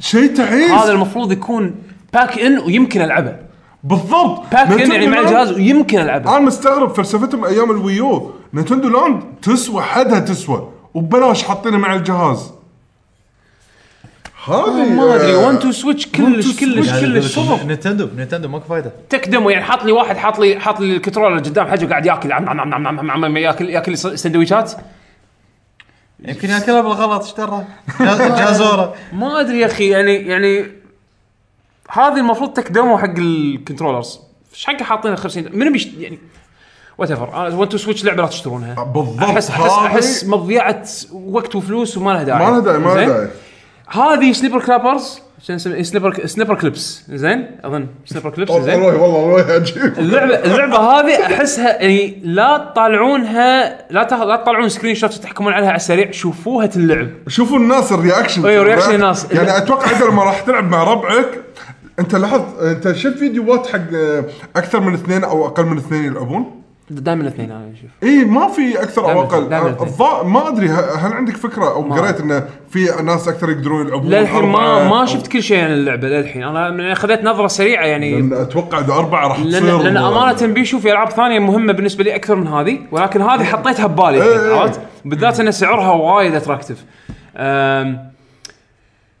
S2: شيء
S1: هذا
S2: تعيس
S1: المفروض يكون باك ان ويمكن العبه
S2: بالضبط
S1: باك ان
S2: نتندو
S1: يعني مع
S2: لاند-
S1: الجهاز ويمكن العبه
S2: انا مستغرب فلسفتهم ايام الويو نتندو لاند تسوى حدها تسوى وببلاش حاطينها مع الجهاز هذه
S1: ما ادري
S2: آه،
S1: 1 تو سويتش
S2: One
S1: كلش
S2: to
S1: كلش
S2: Switch.
S1: كلش صفر
S4: نتندو نتندو ماكو فايده
S1: تك دمو يعني حاط لي واحد حاط لي حاط لي الكنترولر قدام حجه قاعد ياكل عم عم عم عم عم, عم, عم ياكل ياكل سندويشات
S4: يمكن ياكلها بالغلط
S1: (laughs)
S4: اشترى جازوره
S1: ما ادري يا اخي يعني يعني هذه المفروض تك دمو حق الكنترولرز ايش حق حاطينها 50 من بيشت يعني آه، وات ايفر 1 تو سويتش لعبه لا تشترونها
S2: بالضبط
S1: احس احس
S2: هذه
S1: احس مضيعه وقت وفلوس وما لها داعي
S2: ما لها داعي ما لها
S1: زين؟
S2: داعي
S1: هذه سنيبر كلابرز شو اسمه إيه، سنيبر سنيبر كليبس زين اظن سنيبر كليبس
S2: والله
S1: زين
S2: والله والله عجيب
S1: اللعبه اللعبه هذه احسها يعني لا تطالعونها لا تاخ- لا تطالعون سكرين شوت تحكمون عليها على السريع شوفوها تنلعب
S2: شوفوا الناس الرياكشن
S1: أيوة، رياكشن الناس.
S2: يعني اتوقع اذا لما راح تلعب مع ربعك انت لاحظ انت شفت فيديوهات حق آه، اكثر من اثنين او اقل من اثنين يلعبون؟
S1: دائما اثنين انا اشوف
S2: اي ما في اكثر او
S1: دائماً-
S2: اقل
S1: دائماً
S2: آه،
S1: اثنين.
S2: الظا- ما ادري ه- هل عندك فكره او
S1: ما
S2: قريت انه في ناس اكثر يقدرون يلعبون
S1: للحين ما
S2: أربعة
S1: ما
S2: أو-
S1: شفت كل شيء عن اللعبه للحين انا من- اخذت نظره سريعه يعني
S2: لان اتوقع اذا اربعه راح تصير
S1: لان لان امانه بيشو في العاب ثانيه مهمه بالنسبه لي اكثر من هذه ولكن هذه حطيتها ببالي الحين،
S2: إيه.
S1: عرفت بالذات ان سعرها وايد اتراكتف أم،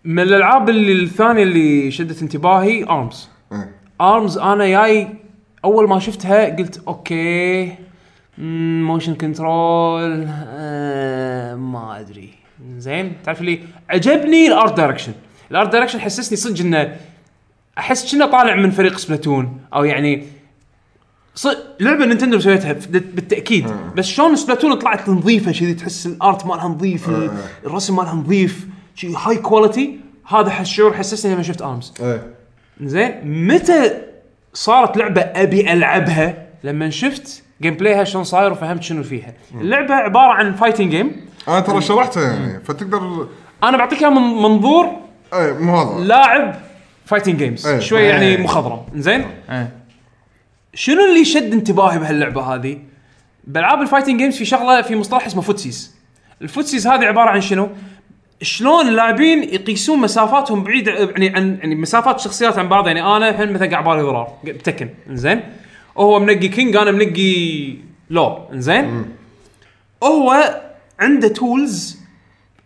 S1: من الالعاب اللي الثانيه اللي شدت انتباهي ارمز
S2: إيه.
S1: ارمز انا جاي اول ما شفتها قلت اوكي موشن كنترول آه، ما ادري زين تعرف لي عجبني الارت دايركشن الارت دايركشن حسسني صدق انه احس كنا طالع من فريق سبلاتون او يعني ص... لعبه نينتندو سويتها بت- بالتاكيد بس شلون سبلاتون طلعت نظيفه كذي تحس الارت مالها نظيف ال- الرسم مالها نظيف شي هاي كواليتي هذا الشعور حسسني لما شفت ارمز
S2: إيه.
S1: زين متى صارت لعبه ابي العبها لما شفت جيم بلايها شلون صاير وفهمت شنو فيها اللعبه عباره عن فايتنج جيم
S2: انا ترى شرحتها يعني فتقدر
S1: انا بعطيك إياها من منظور
S2: اي مو هذا
S1: لاعب فايتنج جيمز
S2: إيه.
S1: شوي يعني مخضرم زين
S4: إيه.
S1: شنو اللي شد انتباهي بهاللعبه هذه بالعاب الفايتنج جيمز في شغله في مصطلح اسمه فوتسيز الفوتسيز هذه عباره عن شنو شلون اللاعبين يقيسون مسافاتهم بعيد يعني عن يعني مسافات الشخصيات عن بعض يعني انا الحين مثلا قاعد بالي ضرار بتكن زين وهو منقي كينج انا منقي لو زين هو عنده تولز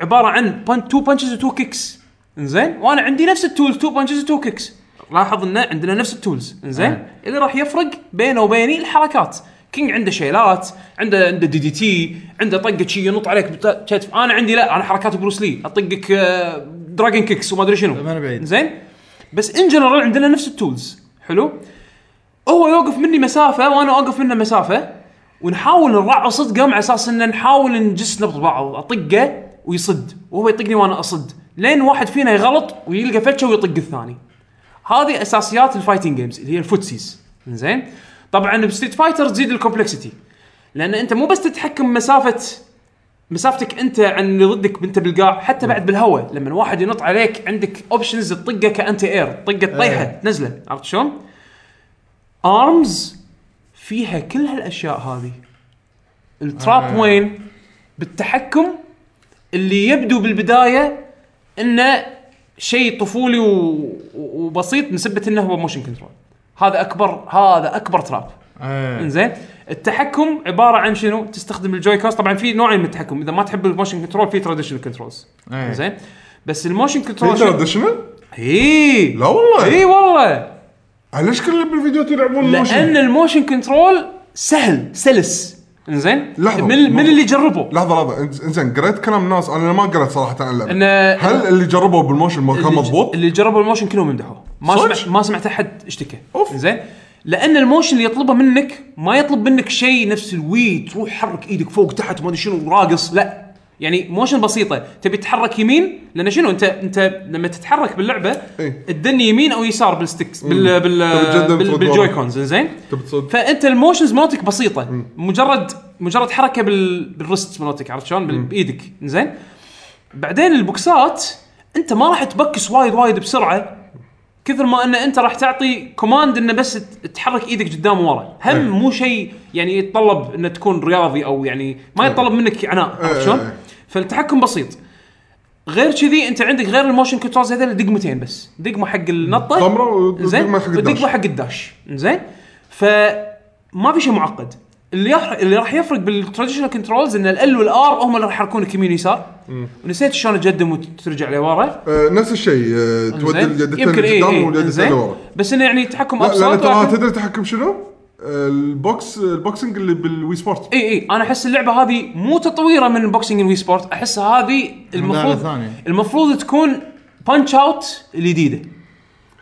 S1: عباره عن بان تو بانشز وتو كيكس انزين وانا عندي نفس التولز تو بانشز وتو كيكس لاحظ ان عندنا نفس التولز انزين آه. اللي راح يفرق بينه وبيني الحركات كينج عنده شيلات عنده عنده دي دي تي عنده طقه شي ينط عليك بتا- كتف انا عندي لا انا حركات بروس لي اطقك آه، دراجون كيكس وما ادري شنو
S4: ما طيب، أنا بعيد.
S1: زين بس ان جنرال عندنا نفس التولز حلو هو يوقف مني مسافه وانا اوقف منه مسافه ونحاول نرعى صدقه مع اساس ان نحاول نجسنا ببعض اطقه ويصد وهو يطقني وانا اصد لين واحد فينا يغلط ويلقى فتشه ويطق الثاني هذه اساسيات الفايتنج جيمز اللي هي الفوتسيز زين طبعا بستريت فايتر تزيد الكومبلكسيتي لان انت مو بس تتحكم مسافه مسافتك انت عن اللي ضدك انت بالقاع حتى بعد بالهواء لما واحد ينط عليك عندك اوبشنز تطقه كانتي اير طقه طيحه نزله عرفت شلون؟ ارمز فيها كل هالاشياء هذه التراب وين؟ بالتحكم اللي يبدو بالبدايه انه شيء طفولي و... و- وبسيط نسبه انه هو موشن كنترول هذا اكبر هذا اكبر تراب (laughs) انزين التحكم عباره عن شنو؟ تستخدم الجوي كوست طبعا في نوعين من التحكم اذا ما تحب الموشن كنترول في تراديشنال كنترولز زين بس الموشن كنترول
S2: إيه. في
S1: شنو؟
S2: تراديشنال؟
S1: اي
S2: لا والله.
S1: اي والله
S2: ليش كل اللي بالفيديوهات يلعبون
S1: لان
S2: موشن؟
S1: الموشن كنترول سهل سلس انزين
S2: لحظة،
S1: من من
S2: مو-
S1: اللي جربوا
S2: لحظه لحظه إنز- انزين قريت كلام ناس انا ما قريت صراحه عن اللعبه
S1: إنه-
S2: هل اللي جربوا بالموشن ما كان
S1: اللي-
S2: مضبوط؟
S1: اللي جربوا الموشن كلهم يمدحوه ما
S2: صدق؟
S1: سمعت ما سمعت احد اشتكى
S2: أوف.
S1: زين لان الموشن اللي يطلبه منك ما يطلب منك شيء نفس الوي تروح حرك ايدك فوق تحت ما ادري شنو راقص لا يعني موشن بسيطه تبي تتحرك يمين لان شنو انت انت لما تتحرك باللعبه
S2: إيه. طيب،
S1: تدني يمين او يسار بالستكس بال
S2: تبي
S1: بال
S2: تجدم
S1: بال
S2: ترد
S1: بالجوي
S2: ورا.
S1: كونز زين
S2: تبي تصد.
S1: فانت الموشنز مالتك بسيطه مجرد مجرد حركه بال بالرست مالتك عرفت شلون بال- بايدك زين بعدين البوكسات انت ما راح تبكس وايد وايد بسرعه كثر ما ان انت راح تعطي كوماند انه بس ت- تحرك ايدك قدام ورا هم مو شيء يعني يتطلب انه تكون رياضي او يعني ما يتطلب منك عناء عرفت شلون؟ فالتحكم بسيط غير كذي انت عندك غير الموشن كنترولز هذول دقمتين بس دقمه حق النطه
S2: ضمرة ودقمة
S1: زين
S2: حق الداش.
S1: ودقمه حق الداش زين فما في شيء معقد اللي يح... اللي راح يفرق بالتراديشنال كنترولز ان ال والار هم اللي راح يحركونك يمين يسار ونسيت شلون تقدم وترجع لورا
S2: آه، نفس الشيء آه، تودي
S1: زين؟
S2: اليدتين
S1: يمكن إيه، اي
S2: لقدام
S1: اي
S2: واليدتين
S1: زين.
S2: لورا
S1: بس انه يعني تحكم
S2: لا لان
S1: ابسط
S2: ترى
S1: ولكن-
S2: تدري تحكم شنو؟ آه، البوكس البوكسنج اللي بالوي سبورت
S1: اي اي انا احس اللعبه هذه مو تطويره من بوكسينج وي سبورت احس هذه المفروض
S4: ثانية.
S1: المفروض تكون بانش اوت الجديده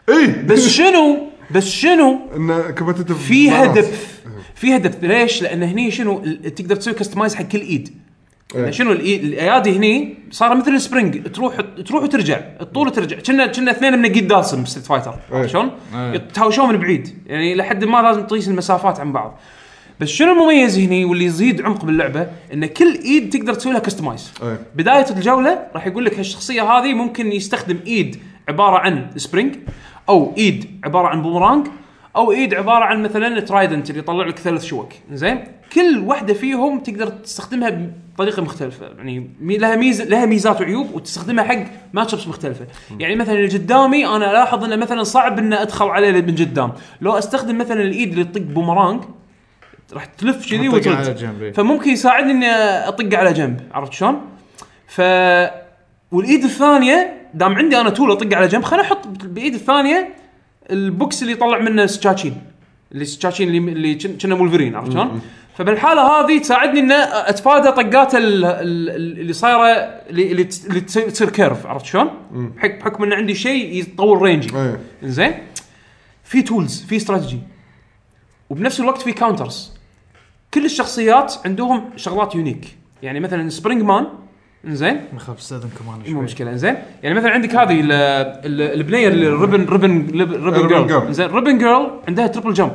S2: اي
S1: بس
S2: (laughs)
S1: شنو بس شنو
S2: انه كومبتتف
S1: فيها دبث فيها دبث ليش؟ لان هني شنو ال- تقدر تسوي كستمايز حق كل ايد يعني شنو الإي- الايادي هني صار مثل السبرينج تروح تروح وترجع تطول وترجع كنا كنا اثنين من قيد داسم بستريت فايتر عرفت شلون؟ يتهاوشون من بعيد يعني لحد ما لازم تقيس المسافات عن بعض بس شنو المميز هني واللي يزيد عمق باللعبه ان كل ايد تقدر تسوي لها كستمايز
S2: أي.
S1: بدايه الجوله راح يقول لك هالشخصيه هذه ممكن يستخدم ايد عباره عن سبرينج او ايد عباره عن بومرانج او ايد عباره عن مثلا ترايدنت اللي يطلع لك ثلاث شوك زين كل واحده فيهم تقدر تستخدمها بطريقه مختلفه يعني مي- لها ميزه لها ميزات وعيوب وتستخدمها حق ماتش ابس مختلفه يعني مثلا اللي قدامي انا الاحظ انه مثلا صعب ان ادخل عليه من قدام لو استخدم مثلا الايد اللي تطق بومرانج راح تلف كذي
S4: أطق على
S1: وترد
S4: الجنب، إي.
S1: فممكن يساعدني اني اطق على جنب عرفت شلون؟ ف والايد الثانيه دام عندي انا تول اطق على جنب خليني احط بالايد الثانيه البوكس اللي يطلع منه سكاكين اللي سكاكين اللي اللي كن- كنا مولفرين عرفت شلون؟ فبالحاله هذه تساعدني ان اتفادى طقات ال- ال- ال- اللي صايره اللي اللي تس- اللي تسوي- تصير كيرف عرفت شلون؟ بحك- بحكم ان عندي شيء يطول رينجي
S2: إيه.
S1: زين في تولز في استراتيجي وبنفس الوقت في كاونترز كل الشخصيات عندهم شغلات يونيك يعني مثلا سبرينج مان زين
S4: إيه. مخاف استاذنكم انا
S1: مو
S4: شوي
S1: مشكله زين يعني مثلا عندك هذه ال- ال- البنيه اللي ريبن ريبن ريبن
S2: ريبن
S1: جيرل
S2: جيرل.
S1: زين ريبن جيرل عندها تربل جمب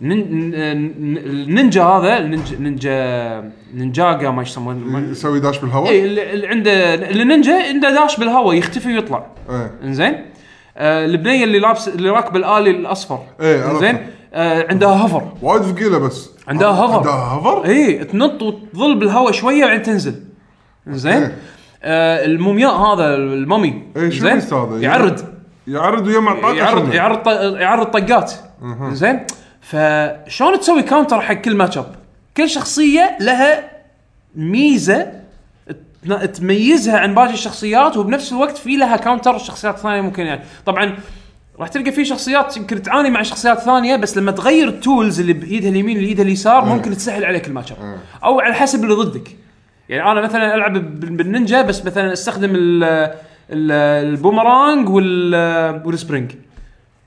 S1: نين- ن- ن- النينجا هذا النينجا نينجا نينجاغا ما يسمونه ما-
S2: يسوي داش
S1: اي
S2: بالهواء
S1: اللي اللي عنده اللي نينجا عنده داش بالهواء يختفي ويطلع
S2: ايه
S1: انزين آه البنيه اللي لابس اللي راكبه الالي الاصفر
S2: إيه، عرفت.
S1: انزين آه عندها هفر
S2: وايد ثقيله بس
S1: عندها هفر.
S2: عندها هفر؟
S1: اي إيه، تنط وتظل بالهواء شويه وبعدين تنزل انزين
S2: إيه.
S1: آه المومياء هذا الممي
S2: إيه، شو
S1: إنزين؟
S2: بيست هذا؟
S1: يعرض
S2: يعرض ويا معطاك
S1: يعرض
S2: عشان-
S1: يعرض ط- يعرض طقات زين فشلون تسوي كاونتر حق كل ماتش اب؟ كل شخصيه لها ميزه تن- تميزها عن باقي الشخصيات وبنفس الوقت في لها كاونتر الشخصيات الثانيه ممكن يعني طبعا راح تلقى في شخصيات يمكن تعاني مع شخصيات ثانيه بس لما تغير التولز اللي بايدها اليمين اللي بايدها اليسار
S2: إيه.
S1: ممكن تسهل عليك الماتش اب او على حسب اللي ضدك يعني انا مثلا العب بال- بالنينجا بس مثلا استخدم ال ال- البومرانج وال والسبرينج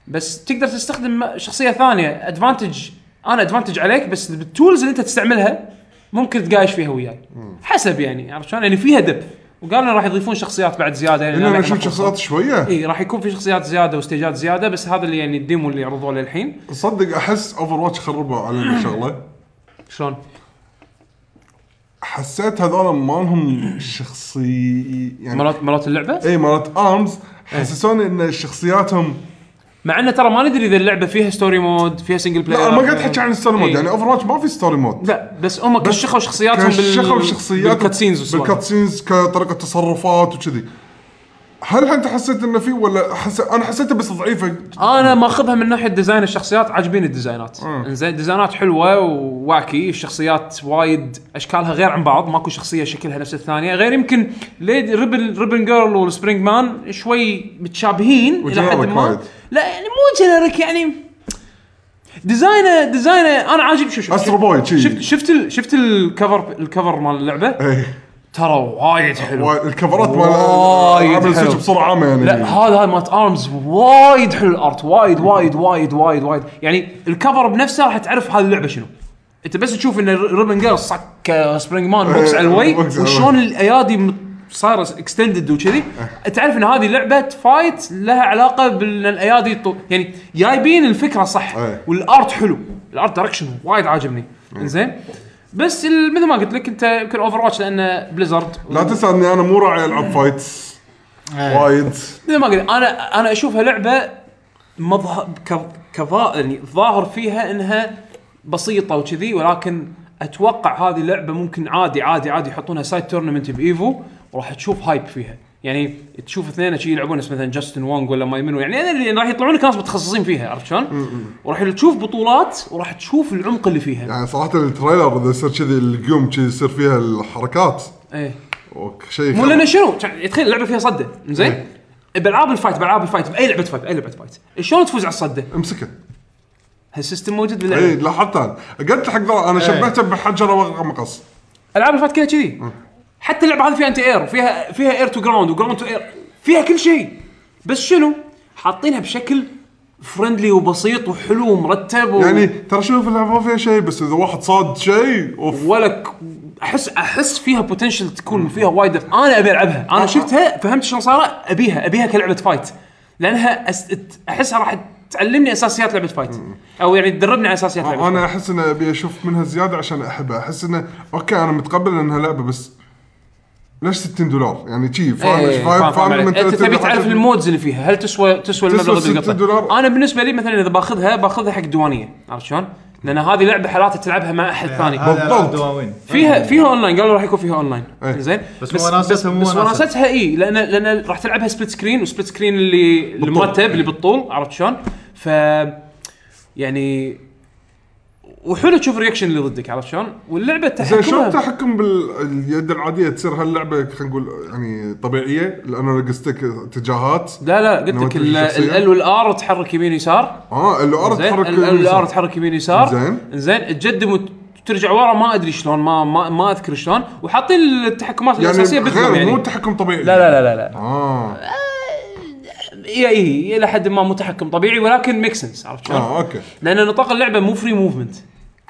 S1: بس تقدر تستخدم شخصيه ثانيه ادفانتج انا ادفانتج عليك بس بالتولز اللي انت تستعملها ممكن تقايش فيها وياي حسب يعني عرفت شلون؟ يعني فيها دب وقالوا راح يضيفون شخصيات بعد زياده يعني
S2: هنا
S1: أنا
S2: انا
S1: الحين
S2: شفت شخصيات شويه
S1: اي راح يكون في شخصيات زياده وستيجات زياده بس هذا اللي يعني الديمو اللي عرضوه للحين
S2: تصدق احس اوفر واتش خربوا علينا (clears throat) الشغله
S1: شلون؟
S2: حسيت هذول ما لهم شخصي يعني
S1: مرات إيه. مرات اللعبه
S2: اي مالت ارمز حسسوني ان شخصياتهم
S1: مع انه ترى ما ندري اذا اللعبه فيها ستوري مود فيها سنجل بلاير
S2: لا انا ما قاعد احكي عن الستوري مود
S1: إيه.
S2: يعني اوفر واتش ما في ستوري مود
S1: لا بس هم كشخوا شخصياتهم بال
S2: كشخوا شخصيات
S1: بالكاتسينز والسوالف.
S2: بالكاتسينز كطريقه تصرفات وكذي هل انت حسيت انه في ولا حس... انا حسيته بس ضعيفه
S1: انا ماخذها من ناحيه ديزاين الشخصيات عاجبين الديزاينات
S2: آه.
S1: انزين ديزاينات حلوه وواكي الشخصيات وايد اشكالها غير عن بعض ماكو شخصيه شكلها نفس الثانيه غير يمكن ليد ريبن ريبن جيرل والسبرينج مان شوي متشابهين الى حد
S2: وجنريك
S1: ما
S2: وايد.
S1: لا يعني مو جنريك يعني ديزاينه ديزاينه انا عاجب شو شو
S2: أسترو بوي، شي.
S1: شفت شفت ال- شفت الكفر الكفر مال اللعبه
S2: إيه.
S1: ترى وايد حلو
S2: وايد- الكفرات مال
S1: وايد
S2: العاب السويتش
S1: حلو.
S2: بصوره عامه يعني
S1: لا هذا هذا مالت ارمز وايد حلو الارت وايد وايد وايد وايد وايد يعني الكفر بنفسه راح تعرف هذه اللعبه شنو انت بس تشوف ان ريبن جيرل صك آه، سبرينج مان بوكس على الوي
S2: بوكس على
S1: وشلون
S2: الوي.
S1: الايادي م- صايره اكستندد وكذي تعرف ان هذه لعبه فايت لها علاقه بان الايادي طو... يعني جايبين الفكره صح
S2: أي.
S1: والارت حلو الارت دايركشن وايد عاجبني زين بس ال- مثل ما قلت لك انت يمكن اوفر واتش لانه بليزرد
S2: لا تنسى اني انا مو راعي العاب فايتس وايد
S1: ما قلت انا انا اشوفها لعبه مظهر كظاهر يعني ظاهر فيها انها بسيطه وكذي ولكن اتوقع هذه اللعبه ممكن عادي عادي عادي يحطونها سايد تورنمنت بايفو وراح تشوف هايب فيها يعني تشوف اثنين شي يلعبون نفس مثلا جاستن وونغ ولا ماي منو يعني اللي راح يطلعون لك ناس متخصصين فيها عرفت شلون؟ وراح تشوف بطولات وراح تشوف العمق اللي فيها
S2: يعني صراحه التريلر اذا يصير كذي القيوم كذي يصير فيها الحركات
S1: ايه
S2: أوك، شيء
S1: مو
S2: كذا.
S1: لان شنو؟ تخيل اللعبه فيها صده زين؟ بالعاب الفايت بالعاب الفايت باي لعبه فايت باي لعبه فايت شلون تفوز على الصده؟
S2: امسكه
S1: هالسيستم موجود
S2: اي
S1: باللعبه
S2: لاحظت انا قلت حق ذا
S1: إيه.
S2: انا شبهته بحجره ومقص
S1: العاب الفايت كلها كذي حتى اللعبه هذه فيها انتي اير فيها فيها اير تو جراوند وجراوند تو اير فيها كل شيء بس شنو؟ حاطينها بشكل فرندلي وبسيط وحلو ومرتب و...
S2: يعني ترى شوف اللعبه ما فيها شيء بس اذا واحد صاد شيء اوف
S1: ولا ك- احس احس فيها بوتنشل تكون فيها وايد انا ابي العبها انا شفتها فهمت شلون صار ابيها ابيها كلعبه فايت لانها أس... ت- احسها راح تعلمني اساسيات لعبه فايت او يعني تدربني على اساسيات لعبه فايت.
S2: انا احس انه ابي اشوف منها زياده عشان احبها احس انه اوكي انا متقبل انها لعبه بس ليش 60 دولار يعني شي فاهم
S1: إيه،
S2: إيش؟ فاهم فاهم
S1: عليك.
S2: المنتاليتي
S1: انت تبي
S2: اللي
S1: تعرف
S2: حاطط-
S1: المودز اللي فيها هل تسوى تسوى
S2: تسوى
S1: المبلغ اللي
S2: 60
S1: قطعته
S2: دولار؟
S1: انا بالنسبه لي مثلا اذا باخذها باخذها حق الديوانيه عرفت شلون؟ لان هذه لعبه حالات تلعبها مع احد ثاني
S2: هذا- بالضبط.
S4: دواوين
S1: فيها فيها اونلاين قالوا راح يكون فيها اونلاين
S2: إيه.
S1: زين
S4: بس وناستها مو
S1: بس
S4: وناسة.
S1: وناستها اي لان لان راح تلعبها سبليت سكرين وسبليت سكرين اللي المرتب اللي بالطول عرفت شلون؟ ف يعني وحلو تشوف الرياكشن اللي ضدك عرفت شلون؟ واللعبه
S2: زين شلون
S1: تحكمها
S2: التحكم باليد العاديه تصير هاللعبه خلينا نقول يعني طبيعيه الانالوج ستيك اتجاهات
S1: لا لا قلت لك
S2: نواتج الشخصية؟
S1: ال والار تحرك يمين يسار
S2: اه اللي ارض
S1: زين
S2: تحرك
S1: الار تحرك يمين يسار
S2: زين.
S1: زين تقدم وترجع ورا ما ادري شلون ما ما, ما اذكر شلون وحاطين التحكمات
S2: يعني
S1: الاساسيه
S2: غير
S1: مثلهم يعني
S2: مو تحكم طبيعي
S1: لا لا يعني لا لا لا
S2: اه
S1: إي- اي الى حد ما متحكم طبيعي ولكن ميك سنس عرفت شلون؟
S2: اه اوكي
S1: لان نطاق اللعبه مو فري موفمنت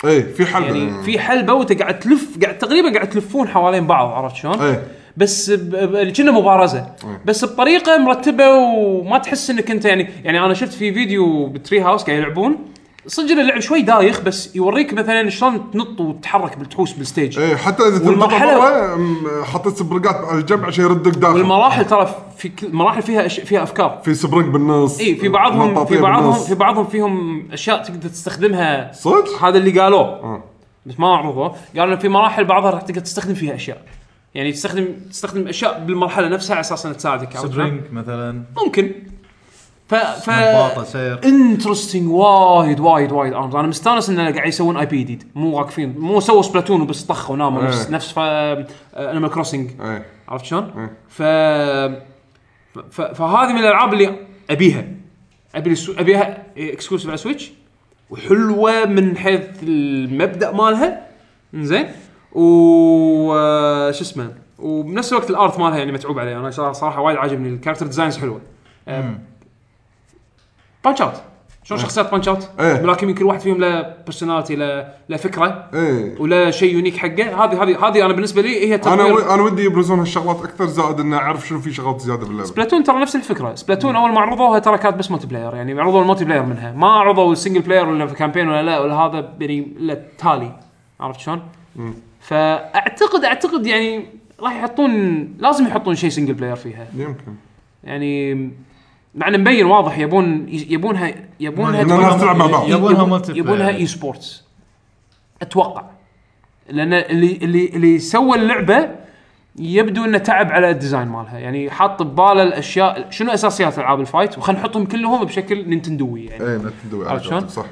S2: اي إيه، في حل
S1: يعني في حلبه وانت قاعد تلف قاعد تقريبا قاعد تلفون حوالين بعض عرفت شلون؟
S2: ايه
S1: بس ب- ب- كنا مبارزه بس بطريقه مرتبه وما تحس انك انت يعني يعني انا شفت في فيديو بتري هاوس قاعد يلعبون صدق إن اللعب شوي دايخ بس يوريك مثلا شلون تنط وتتحرك بالتحوس بالستيج
S2: ايه حتى اذا
S1: والمرحلة-
S2: تنطبع برا م- حطيت سبرقات على الجنب عشان يردك داخل
S1: والمراحل ترى في كل- مراحل فيها أش... فيها افكار
S2: في سبرق بالنص
S1: اي إيه، في بعضهم
S2: مطاطية
S1: في بعضهم
S2: بالنص.
S1: في بعضهم فيهم اشياء تقدر تستخدمها
S2: صدق؟
S1: هذا اللي قالوه
S2: آه.
S1: بس ما عرضوه قالوا إن في مراحل بعضها راح تقدر تستخدم فيها اشياء يعني تستخدم تستخدم اشياء بالمرحله نفسها على اساس انها تساعدك عرفت شلون؟
S4: سبرينج مثلا
S1: ممكن ف ف
S4: نباطة سير
S1: انترستنج وايد وايد وايد ارمز انا مستانس ان قاعد يسوون اي بي جديد مو واقفين مو سووا سبلاتون وبس طخوا ناموا نفس
S2: إيه.
S1: نفس انيمال كروسنج
S2: ايه
S1: عرفت شلون؟
S2: إيه.
S1: ف ف- فهذه من الالعاب اللي ابيها ابي السو... ابيها اكسكلوسيف على سويتش وحلوه من حيث المبدا مالها زين و آه، شو اسمه وبنفس الوقت الارت مالها يعني متعوب عليه انا صراحه, صراحة وايد عاجبني الكاركتر ديزاينز حلوه بانش اوت آه، شلون شخصيات بانش اوت؟
S2: آه. إيه.
S1: ولكن كل واحد فيهم له بيرسوناليتي له له فكره
S2: ايه
S1: ولا شيء يونيك حقه هذه هذه هذه انا بالنسبه لي هي
S2: انا
S1: تطوير-
S2: و... انا ودي يبرزون هالشغلات اكثر زائد انه اعرف شنو في شغلات زياده باللعبه
S1: سبلاتون ترى نفس الفكره سبلاتون اول ما عرضوها ترى كانت بس ملتي بلاير يعني عرضوا الملتي بلاير منها ما عرضوا السنجل بلاير ولا في كامبين ولا لا ولا هذا يعني إلا التالي عرفت شلون؟ فاعتقد اعتقد يعني راح يحطون لازم يحطون شيء سنجل بلاير فيها
S2: يمكن
S1: يعني مع انه مبين واضح يبون يبونها يبونها
S2: إن الناس تلعب مع بعض.
S4: يبونها
S1: يبون-
S4: مالتي بلاير.
S1: يبونها اي سبورتس اتوقع لان اللي اللي اللي سوى اللعبه يبدو انه تعب على الديزاين مالها يعني حاط بباله الاشياء شنو اساسيات العاب الفايت وخلينا نحطهم كلهم بشكل نينتندوي يعني
S2: ايه ما تدوي على
S1: عرفت شلون؟
S2: قولتك، صح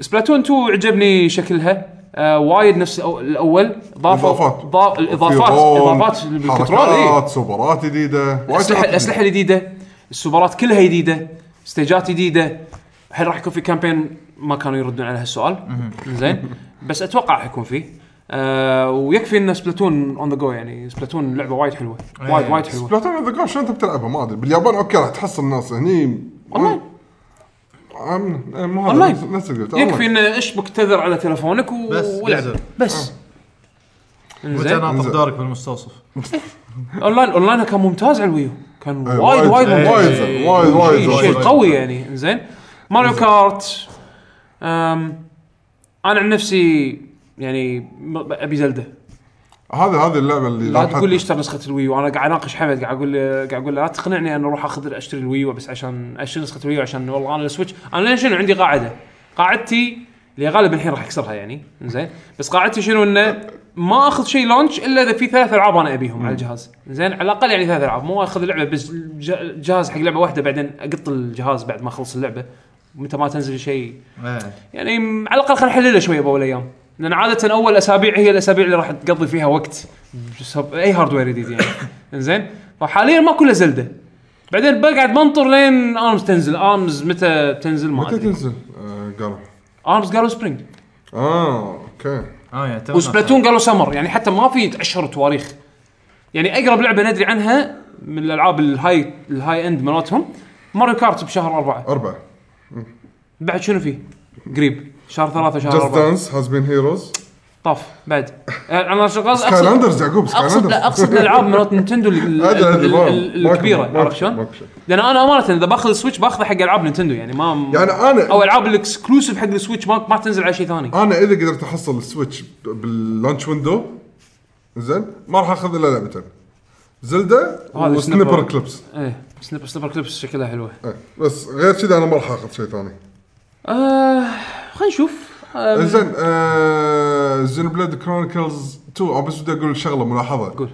S1: سبلاتون 2 عجبني شكلها آه وايد نفس الأو- الاول ضافوا
S2: إضافات.
S1: ضاف الاضافات
S2: في رول،
S1: اضافات بالكنترول اي
S2: حركات سوبرات جديده وايد
S1: الاسلحه
S2: شغلات
S1: الاسلحه الجديده السوبرات كلها جديده ستيجات جديده هل راح يكون في كامبين ما كانوا يردون على هالسؤال زين بس اتوقع راح يكون فيه آه ويكفي ان سبلاتون اون ذا جو يعني سبلاتون لعبه وايد حلوه وايد وايد حلوه
S2: سبلاتون اوف ذا جراوند شلون انت بتلعبها ما ادري باليابان اوكي راح تحصل ناس هني
S1: اونلاين
S2: أم- أم- مو هذا،
S1: اونلاين
S2: نفس- نفس اللي قلت
S1: يكفي
S2: أونلاين.
S1: ان اشبك تذر على تلفونك و...
S4: بس،
S1: ولعب
S4: نزل.
S1: بس زين
S4: متناطق
S2: إنزين.
S4: دورك بالمستوصف
S1: اونلاين اونلاين كان ممتاز على الويو كان
S2: إيه،
S1: وايد وايد
S2: وايد
S1: ممتاز
S2: زين، وايد وايد
S1: شيء- شيء
S2: وايد
S1: قوي يعني زين ماريو كارت أم انا عن نفسي يعني ب- ابي زلده
S2: هذا هذه اللعبه اللي
S1: لا
S2: راحت-
S1: تقول لي اشتري نسخه الوي وانا قاعد اناقش حمد قاعد اقول له- قاعد اقول له لا تقنعني انا اروح اخذ اشتري الوي بس عشان اشتري نسخه الوي عشان والله انا السويتش انا لين شنو عندي قاعده قاعدتي اللي غالبا الحين راح اكسرها يعني زين بس قاعدتي شنو انه ما اخذ شيء لونش الا اذا في ثلاث العاب انا ابيهم على الجهاز زين على الاقل يعني ثلاث العاب مو اخذ لعبه بس ج- جهاز حق لعبه واحده بعدين اقط الجهاز بعد ما اخلص اللعبه متى ما تنزل شيء
S4: إيه.
S1: يعني م- على الاقل خلينا نحللها شويه باول ايام لان عاده اول اسابيع هي الاسابيع اللي راح تقضي فيها وقت بسبب اي هاردوير جديد يعني زين فحاليا ما كله زلده بعدين بقعد بنطر لين ارمز تنزل ارمز متى تنزل ما
S2: متى
S1: ادري
S2: تنزل؟ آه، قالوا
S1: ارمز قالوا سبرينج
S2: اه اوكي
S4: اه يعني تو
S1: وسبلاتون قالوا سمر يعني حتى ما في اشهر تواريخ يعني اقرب لعبه ندري عنها من الالعاب الهاي الهاي اند مالتهم ماريو كارت بشهر اربعه
S2: أربعة
S1: بعد شنو فيه؟ قريب شهر ثلاثه شهر
S2: جاست
S1: اربعه
S2: دانس هاز بين هيروز
S1: طاف بعد آه، انا شغال
S2: سكاي لاندرز يعقوب سكاي
S1: اقصد
S2: لاندرز
S1: لا اقصد
S2: (laughs)
S1: الالعاب مالت نينتندو ال-
S2: أدري، أدري،
S1: ال-
S2: ما-
S1: ال-
S2: ماكو-
S1: الكبيره
S2: ماكو-
S1: عرفت شلون؟
S2: ماكو شيء.
S1: لان انا امانه اذا باخذ السويتش باخذه حق العاب نينتندو يعني ما
S2: يعني أنا-
S1: او العاب الاكسكلوسيف حق السويتش ما ما تنزل على شيء ثاني
S2: انا اذا قدرت احصل السويتش باللانش ويندو زين ما راح اخذ الا لعبتين زلدا
S1: هذا
S2: وسنيبر
S1: سنيبر.
S2: كليبس
S1: ايه سنيبر سنيبر كليبس شكلها حلوه
S2: إيه. بس غير كذا انا ما راح اخذ شيء ثاني
S1: إيه. آه خلينا نشوف آه،
S2: زين آه زين بلاد كرونيكلز 2 أنا بس بدي اقول شغله ملاحظه
S1: قول.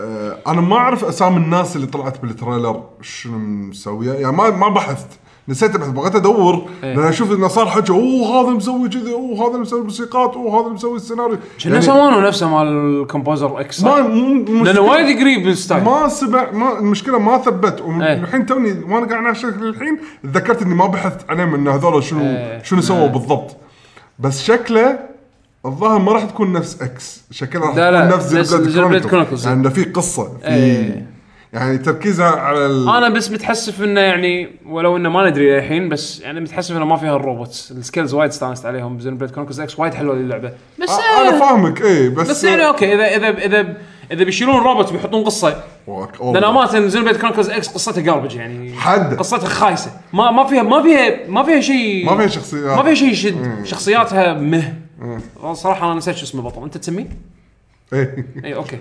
S2: آه انا ما اعرف اسامي الناس اللي طلعت بالتريلر شنو مسويه يعني ما ما بحثت نسيت ابحث بغيت ادور
S1: إيه.
S2: لان اشوف انه صار حكي اوه هذا مسوي كذا اوه هذا مسوي الموسيقات اوه هذا مسوي السيناريو
S1: كنا سوانه نفسه مال الكومبوزر اكس
S2: يعني ما مو- مو-
S1: لانه وايد قريب الستايل
S2: ما سبع ما المشكله ما ثبت
S1: طيب. إيه.
S2: والحين توني وانا قاعد اناقشك الحين تذكرت اني ما بحثت عليهم ان هذول شنو
S1: إيه.
S2: شنو سووا بالضبط بس شكله الظاهر ما راح تكون نفس اكس شكلها راح
S1: لا، لا،
S2: تكون نفس
S1: نفس
S2: زي
S1: زي
S2: بلاد
S1: Blade
S2: كرونيكلز
S1: Chronicles.
S2: يعني في قصه في
S1: إيه.
S2: يعني تركيزها على ال...
S1: انا بس متحسف انه يعني ولو انه ما ندري الحين بس يعني متحسف انه ما فيها الروبوتس السكيلز وايد استانست عليهم بزين بليد كونكوز اكس وايد حلوه اللعبه بس
S2: آه،
S1: آه،
S2: انا فاهمك اي بس
S1: بس يعني اوكي اذا اذا اذا اذا بيشيلون روبوت بيحطون قصه
S2: واك-
S1: لان
S2: والله.
S1: امانه زين بيت كرونكلز اكس قصتها جاربج يعني
S2: Oh, حد.
S1: قصتها خايسه ما ما فيها ما فيها ما فيها شيء
S2: ما فيها شخصيات
S1: ما فيها شيء يشد شخصياتها مه والله صراحه انا نسيت شو اسمه بطل انت تسميه؟
S2: إيه.
S1: اي
S2: (laughs)
S1: اوكي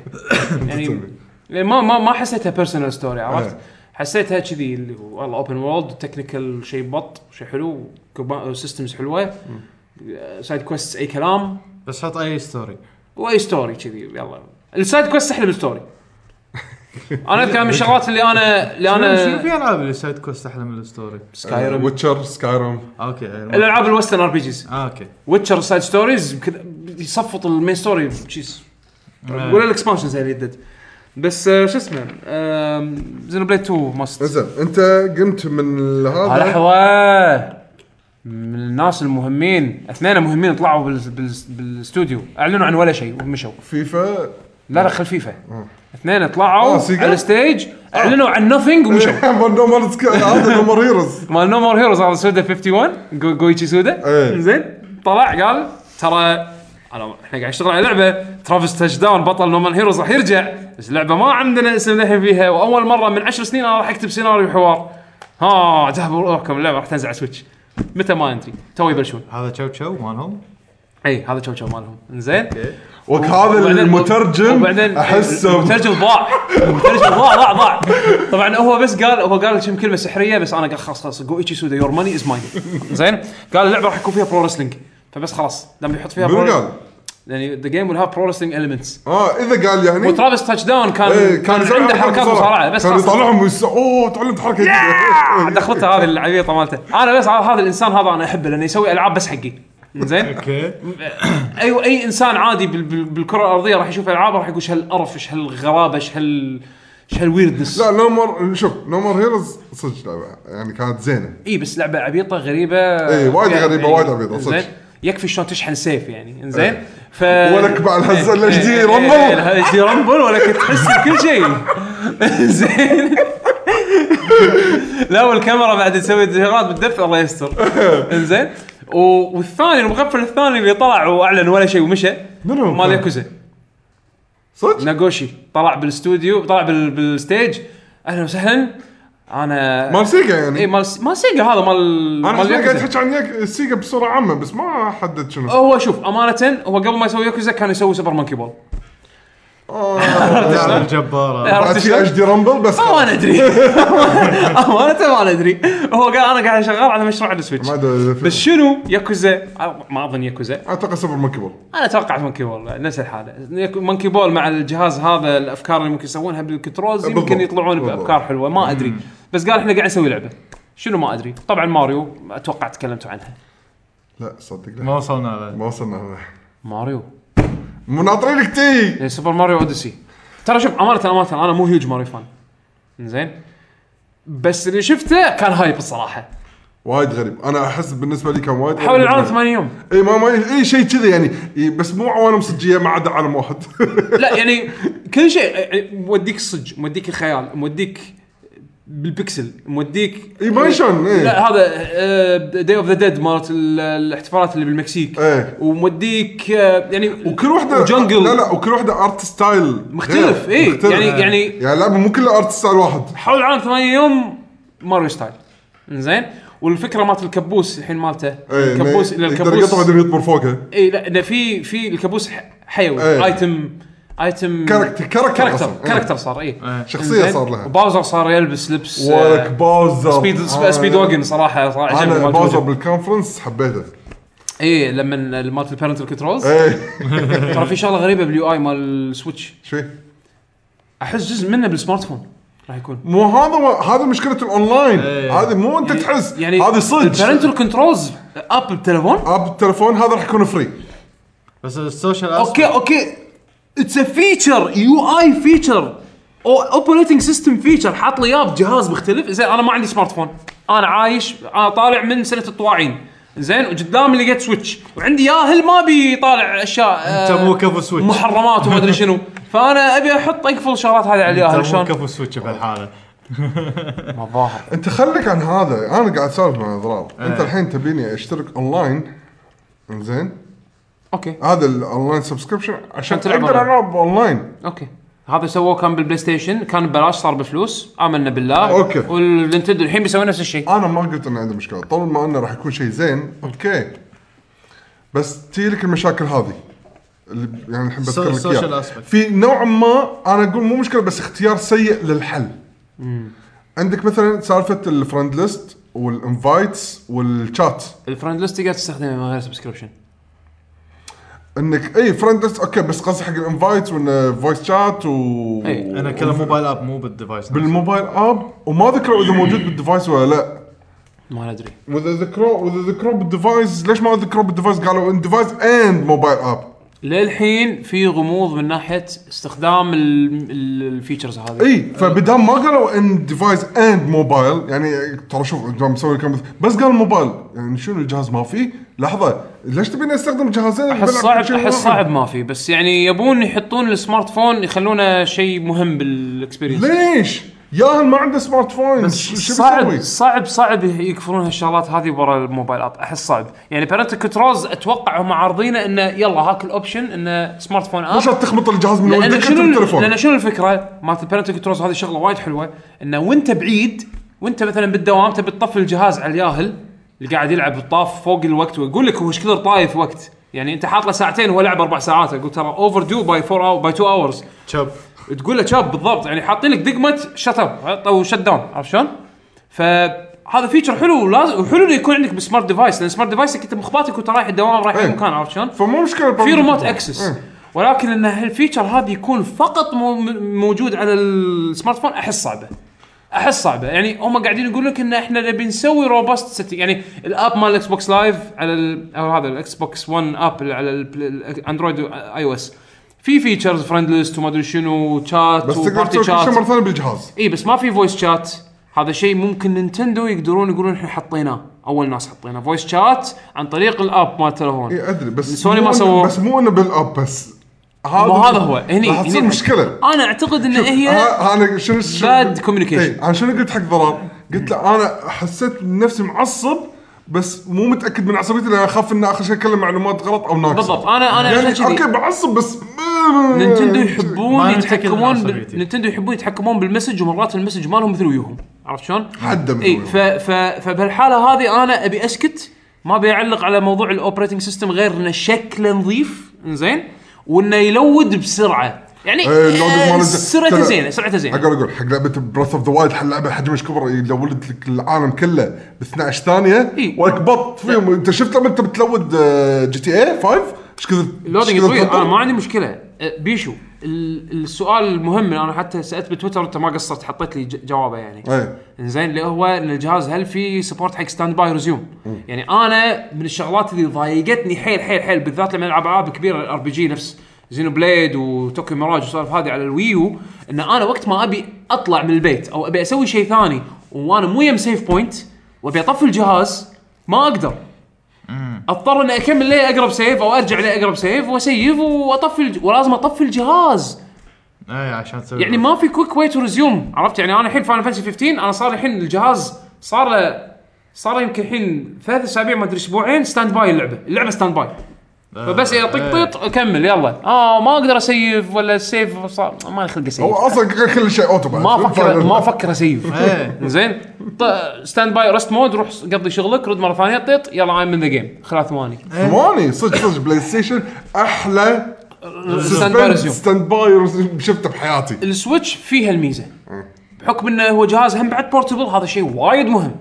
S1: يعني يعني ما ما ما حسيتها بيرسونال ستوري عرفت؟
S2: إيه.
S1: حسيتها كذي اللي هو والله اوبن وورلد تكنيكال شيء بط شيء حلو سيستمز حلوه سايد كويست اي كلام
S4: بس حط اي ستوري
S1: واي ستوري كذي يلا السايد كويست احلى من الستوري انا اذكر من الشغلات اللي انا اللي
S4: شنو
S1: انا
S4: في العاب اللي سايد كوست احلى من الستوري؟
S1: سكايرم
S2: ويتشر سكايرم
S4: اوكي يعني
S1: الالعاب الوسترن ار بي جيز
S4: آه، اوكي
S1: ويتشر سايد ستوريز كذا يصفط المين ستوري بشيز
S4: آه.
S1: ولا الاكسبانشن زي اللي يدد بس آه، شو اسمه زينو بليد 2 ماست
S2: زين انت قمت من هذا
S1: لحظه من الناس المهمين اثنين مهمين طلعوا بال- بال- بالاستوديو اعلنوا عن ولا شيء ومشوا
S2: فيفا
S1: لا لا خل فيفا اثنين طلعوا
S2: آه، سيجا؟ آه.
S1: على الستيج اعلنوا عن نوثينج
S2: (laughs)
S1: ومشوا
S2: مال نو مال سكاي- هذا نمر هيروز
S1: مال نو مور هيروز هذا سودا 51 جو جويتشي
S2: إيه.
S1: سودا زين طلع قال ترى انا احنا قاعد نشتغل على لعبه ترافيس تاتش داون بطل نو مان هيروز راح يرجع بس اللعبه ما عندنا اسم للحين فيها واول مره من 10 سنين انا راح اكتب سيناريو وحوار ها دهبوا روحكم اللعبه راح تنزل على سويتش متى ما ادري تو يبلشون
S4: هذا تشو تشو مالهم
S1: اي هذا شو شو مالهم زين
S2: وك هذا
S1: وبعدين-
S2: المترجم
S1: وبعدين
S2: احسه
S1: المترجم ضاع المترجم ضاع ضاع ضاع طبعا هو بس قال هو قال كم كلمه سحريه بس انا قال خلاص خلاص جو ايتشي سودا يور ماني از ماين زين قال اللعبه راح يكون فيها برو رسلينج فبس خلاص لما يحط فيها
S2: منو
S1: برو
S2: قال؟
S1: يعني ذا جيم ويل هاف برو رسلينج المنتس
S2: اه اذا قال يعني
S1: وترافيس تاتش داون كان
S2: إيه،
S1: كان
S2: يسوي
S1: عنده حركات مصارعه بس
S2: كان
S1: خلاص
S2: يطلعهم ويس... اوه تعلمت حركه (laughs)
S1: آه،
S2: جديده
S1: دخلتها هذه العبيطه مالته انا بس هذا الانسان هذا انا احبه لانه يسوي العاب بس حقي زين
S4: اوكي
S1: اي اي انسان عادي بال- بال- بالكره الارضيه راح يشوف العاب راح يقول ايش هالقرف ايش هالغرابه ايش هال ايش هالويردنس
S2: لا نومر شوف نومر هيروز صدق لعبه يعني كانت زينه
S1: اي إيه، بس لعبه عبيطه غريبه
S2: إي، إيه، وايد
S1: يعني-
S2: غريبة، وايد عبيطة، صدق.
S1: زين يكفي شلون تشحن سيف يعني انزين
S2: إيه.
S1: ف إيه،
S2: ولك بعد هز- ال HD رامبل.
S1: الاتش دي إيه، رامبل ولك تحس بكل شيء زين لا والكاميرا بعد تسوي شغلات بتدفع الله يستر انزين و- والثاني المغفل الثاني اللي طلع واعلن ولا شيء ومشى
S2: منو؟
S1: مال ياكوزا
S2: صدق
S1: ناغوشي طلع بالاستوديو طلع بال... بالستيج اهلا وسهلا انا
S2: مال سيجا
S1: اي
S2: يعني
S1: إيه، مال س... مال سيجا هذا مال
S2: انا
S1: مال
S2: حسيت قاعد
S1: ياكوزا.
S2: تحكي عن ياك- سيجا بصوره عامه بس ما حدد شنو
S1: هو شوف امانه هو قبل ما يسوي ياكوزا كان يسوي سوبر مونكي بول
S4: تعال الجباره
S2: بعد
S1: عرفت
S2: في
S1: شلون؟
S2: اتش دي رامبل بس
S1: ما انا (laughs) ادري امانه ما أنا ادري هو قال انا قاعد شغال على مشروع السويتش
S2: ما ادري
S1: بس شنو ياكوزا ما اظن ياكوزا
S2: اعتقد سوبر مونكي بول
S1: انا اتوقع مونكي بول نفس الحاله ياكو- مونكي بول مع الجهاز هذا الافكار اللي ممكن يسوونها بالكنترولز
S2: بالضبط.
S1: يمكن يطلعون
S2: بالضبط.
S1: بافكار حلوه ما ادري بس قال احنا قاعد نسوي لعبه شنو ما ادري طبعا ماريو اتوقع تكلمتوا عنها
S2: لا صدق لا
S4: ما وصلنا له
S2: ما وصلنا هنا.
S1: ماريو
S2: مو ناطرينك تي
S1: إيه، سوبر ماريو اوديسي ترى شوف امانه امانه انا مو هيوج ماريو فان زين بس اللي شفته كان هايب الصراحه
S2: وايد غريب انا احس بالنسبه لي كان وايد غريب.
S1: حول
S2: (laughs)
S1: العالم 80 يوم
S2: اي ما ما اي شيء كذا يعني إي بس مو عوالم صجيه ما عدا عالم واحد (laughs)
S1: لا يعني كل شيء يعني موديك الصج موديك الخيال موديك بالبكسل موديك
S2: إي، ما يشون، إي.
S1: لا هذا آه، داي اوف ذا ديد مالت ال- الاحتفالات اللي بالمكسيك
S2: إيه.
S1: وموديك آه، يعني
S2: وكل واحده
S1: وجنجل
S2: لا لا وكل واحده ارت ستايل
S1: مختلف،
S2: غير.
S1: إي، يعني- يعني-
S2: يعني اللعبه مو كلها ارت ستايل واحد
S1: حول العالم ثمانية يوم ماريو ستايل زين والفكره مالت الكبوس الحين مالته
S2: إي، إيه، إنه
S1: الكبوس إن
S2: يقدر يقطع بعدين يطمر فوقها
S1: اي لا إن في في الكبوس ح- حيوي
S2: إيه.
S1: ايتم ايتم
S2: كاركتر- كاركتر
S1: كاركتر
S2: أصلاً. إيه.
S1: كاركتر صار اي
S2: شخصية صار لها.
S1: وباوزر صار يلبس لبس آه،
S2: ولك باوزر
S1: سبيد
S2: آه،
S1: سبيد واجن صراحه صراحه عجبني
S2: انا
S1: مال
S2: باوزر
S1: جوجو.
S2: بالكونفرنس حبيته
S1: اي إيه، لما مالت البارنتال كنترولز
S2: ايه
S1: ترى في شغله غريبه باليو اي مال السويتش
S2: شوي
S1: احس جزء منه بالسمارت فون راح يكون
S2: مو هذا و... هذا مشكله الاونلاين هذه مو انت تحس يعني هذه صدق
S1: البارنتال كنترولز اب التليفون
S2: اب التليفون هذا راح يكون فري
S4: بس السوشيال
S1: اوكي اوكي اتس ا فيتشر يو اي فيتشر او اوبريتنج سيستم فيتشر حاط لي اياه بجهاز مختلف زين انا ما عندي سمارت فون انا عايش انا طالع من سنه الطواعين زين وقدامي لقيت سويتش وعندي ياهل ما بي طالع اشياء
S4: انت مو كفو سويتش
S1: محرمات وما ادري شنو فانا ابي احط اقفل شغلات هذه على الياهل
S4: انت مو
S1: شلون
S4: كفو سويتش بهالحاله
S1: ما ظاهر
S2: انت خليك عن هذا انا قاعد اسولف مع اضرار
S4: إيه.
S2: انت الحين تبيني اشترك اونلاين زين
S1: اوكي
S2: هذا الاونلاين سبسكريبشن عشان
S1: عشان تلعب
S2: اقدر
S1: أونلاين.
S2: العب اونلاين
S1: اوكي هذا سووه كان بالبلاي ستيشن كان ببلاش صار بفلوس امنا بالله
S2: أوكي.
S1: والنتندو الحين بيسوي نفس الشيء
S2: انا ما قلت ان عندي مشكله طول ما انه راح يكون شيء زين اوكي بس تجي لك المشاكل هذه اللي يعني الحين بذكر لك إياها.
S4: social aspect.
S2: في نوع ما انا اقول مو مشكله بس اختيار سيء للحل عندك مثلا سالفه الفرند ليست والانفايتس والشات
S1: الفرند ليست تقدر تستخدمه من غير سبسكربشن
S2: انك اي فرند ليست اوكي بس قصدي حق الانفايتس وانه فويس شات و
S1: إي.
S4: انا كله موبايل اب مو بالديفايس نفسه.
S2: بالموبايل اب وما ذكروا اذا موجود بالديفايس ولا لا
S1: ما ادري
S2: واذا ذكروه واذا ذكروه بالديفايس ليش ما ذكروه بالديفايس قالوا ان ديفايس اند موبايل اب
S1: للحين في غموض من ناحيه استخدام ال- ال- الفيتشرز هذه
S2: اي فبدام ما قالوا ان ديفايس اند موبايل يعني ترى شوف قام مسوي كم بس قال موبايل يعني شنو الجهاز ما فيه لحظه ليش تبيني استخدم جهازين
S1: احس
S2: بلعب
S1: صعب
S2: شيء
S1: احس
S2: واحد؟
S1: صعب ما في بس يعني يبون يحطون السمارت فون يخلونه شيء مهم بالاكسبيرينس
S2: ليش؟ ياهل ما عنده سمارت فون
S1: بس
S2: ش- شو
S1: صعب
S2: بيسوي؟
S1: صعب صعب يقفلون هالشغلات هذه ورا الموبايل اب احس صعب يعني بارنت كنترولز اتوقع هم عارضينه انه يلا هاك الاوبشن انه سمارت فون
S2: مو
S1: اب
S2: شرط تخبط الجهاز من
S1: لان
S2: ولدك
S1: شنو
S2: التليفون
S1: لان شنو الفكره مالت البارنت كنترولز هذه شغله وايد حلوه انه وانت بعيد وانت مثلا بالدوام تبي تطفي الجهاز على الياهل اللي قاعد يلعب الطاف فوق الوقت ويقول لك هو ايش كثر طايف وقت يعني انت حاط له ساعتين وهو لعب اربع ساعات اقول ترى اوفر دو باي 4 اور باي 2 اورز
S4: شب
S1: تقول له شاب بالضبط يعني حاطين لك دقمه شت اب او شت داون عرفت شلون؟ فهذا فيتشر حلو ولازم وحلو انه يكون عندك بسمارت ديفايس لان سمارت ديفايسك انت مخباتك وانت رايح الدوام رايح
S2: إيه.
S1: اي مكان عرفت شلون؟
S2: فمو مشكله
S1: في ريموت اكسس
S2: إيه.
S1: ولكن ان هالفيتشر هذا يكون فقط مو- م- موجود على السمارت فون احس صعبه احس صعبه يعني هم قاعدين يقول لك ان احنا نبي نسوي روبست سيتنج يعني الاب مال الاكس بوكس لايف على ال- او هذا الاكس بوكس 1 اب اللي على ال- الاندرويد واي او اس في فيتشرز فرند ليست وما ادري شنو شات
S2: بس تقدر تسوي
S1: وبارتي
S2: كل
S1: شات
S2: شيء مره ثانيه بالجهاز
S1: اي إيه، بس ما في فويس شات هذا شيء ممكن نينتندو يقدرون يقولون احنا حطيناه اول ناس حطيناه فويس شات عن طريق الاب مال التليفون
S2: اي ادري إيه، بس
S1: سوني
S2: مو
S1: ما
S2: إنه-
S1: سووه.
S2: بس مو انه بالاب بس هذا
S1: مو هذا هو هني
S2: راح تصير
S1: هني-
S2: مشكله
S1: انا اعتقد ان هي
S2: ها- انا شنو شنو-
S1: Bad communication.
S2: إيه، انا شنو قلت حق ضرار؟ قلت له انا حسيت نفسي معصب بس مو متاكد من عصبيتي لان اخاف ان اخر شيء اتكلم معلومات غلط او ناقصه
S1: بالضبط انا انا
S2: يعني
S1: عشان
S2: اوكي
S1: كذي
S2: بعصب بس
S1: نينتندو
S4: ما
S1: يحبون
S4: نتأكد من
S1: يتحكمون بال-
S4: عصبيتي.
S1: نينتندو يحبون يتحكمون بالمسج ومرات المسج مالهم مثل ويوهم عرفت شلون؟
S2: حدا من
S1: اي
S2: ويوهم.
S1: ف ف فبهالحاله هذه انا ابي اسكت ما ابي اعلق على موضوع الاوبريتنج سيستم غير انه شكله نظيف زين وانه يلود بسرعه يعني
S2: إيه، اللودنج
S1: آه،
S2: مال-
S1: سرعته
S2: كذا.
S1: زينه سرعته زينه
S2: اقول اقول حق لعبه براث اوف ذا وايلد حق لعبه حجمش كبر لولت لك العالم كله ب 12 ثانيه
S1: إي.
S2: واكبط فيهم انت شفت لما انت بتلود آه، جي تي اي 5 ايش كذا
S1: اللودنج
S2: إيش كذا
S1: طويل
S2: تنطر؟
S1: انا ما عندي مشكله أه، بيشو ال- السؤال المهم انا حتى سالت بتويتر انت ما قصرت حطيت لي ج- جوابه يعني
S2: إيه.
S1: زين اللي هو إن الجهاز هل في سبورت حق ستاند باي ريزيوم يعني انا من الشغلات اللي ضايقتني حيل حيل حيل بالذات لما العب العاب كبيره الار بي جي نفس زينو بليد وتوكيو ميراج والسوالف هذه على الويو ان انا وقت ما ابي اطلع من البيت او ابي اسوي شيء ثاني وانا مو يم سيف بوينت وابي اطفي الجهاز ما اقدر اضطر اني اكمل لي اقرب سيف او ارجع لي اقرب سيف واسيف واطفي الج... ولازم اطفي الجهاز
S4: اي إيه، عشان تسوي
S1: يعني ما في كويك واي تو ريزيوم عرفت يعني انا الحين فاينل فانتسي 15 انا صار الحين الجهاز صار له صار له يمكن الحين ثلاث اسابيع ما ادري اسبوعين ستاند باي اللعبه اللعبه ستاند باي فبس يعطيك طيط اكمل يلا اه ما اقدر اسيف ولا السيف صار ما لي خلق اسيف
S2: هو اصلا كل- كل شيء اوتو بعد.
S1: ما افكر
S2: فاينل.
S1: ما افكر اسيف
S4: إيه.
S1: زين ط- ستاند باي رست مود روح قضي شغلك رد مره ثانيه طيط يلا ايم من ذا جيم خلال ثواني
S2: ثواني صدق صدق بلاي ستيشن احلى
S1: ستاند باي ريزيوم
S2: ستاند باي رسم شفته بحياتي
S1: السويتش فيها الميزه بحكم انه هو جهاز هم بعد بورتبل هذا شيء وايد مهم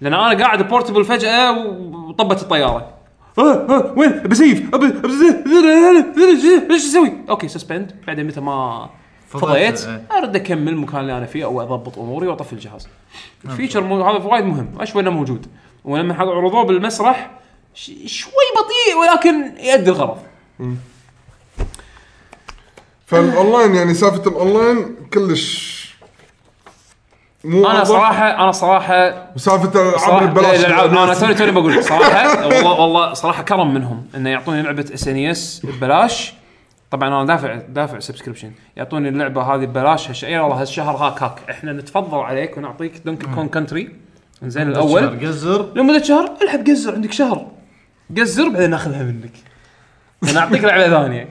S1: لان انا قاعد بورتبل فجاه وطبت الطياره آه، آه، وين بسيف أبي- أبي- ايش اسوي؟ اوكي سسبند بعدين متى ما فضيت
S4: فضيت، إيه.
S1: ارد اكمل المكان اللي انا فيه او اضبط اموري واطفي الجهاز. الفيتشر مو هذا وايد مهم اشوي انه موجود ولما حط- عرضوه بالمسرح ش- شوي بطيء ولكن يؤدي الغرض.
S2: فالاونلاين يعني سالفه الاونلاين كلش مو
S1: انا
S2: واضح.
S1: صراحه انا صراحه
S2: وسالفه الالعاب
S1: صراحه
S2: اللي
S1: لا،
S2: ببلاش
S1: لا، لا، انا توني توني بقول لك صراحه والله والله صراحه كرم منهم انه يعطوني لعبه اس ان اس E ببلاش طبعا انا دافع دافع سبسكريبشن يعطوني اللعبه هذه ببلاش هالشهر يلا هالشهر هاك هاك احنا نتفضل عليك ونعطيك دونكي كون كنتري زين الاول
S4: قزر
S1: لمده شهر الحب قزر عندك شهر قزر بعدين ناخذها منك نعطيك لعبه ثانيه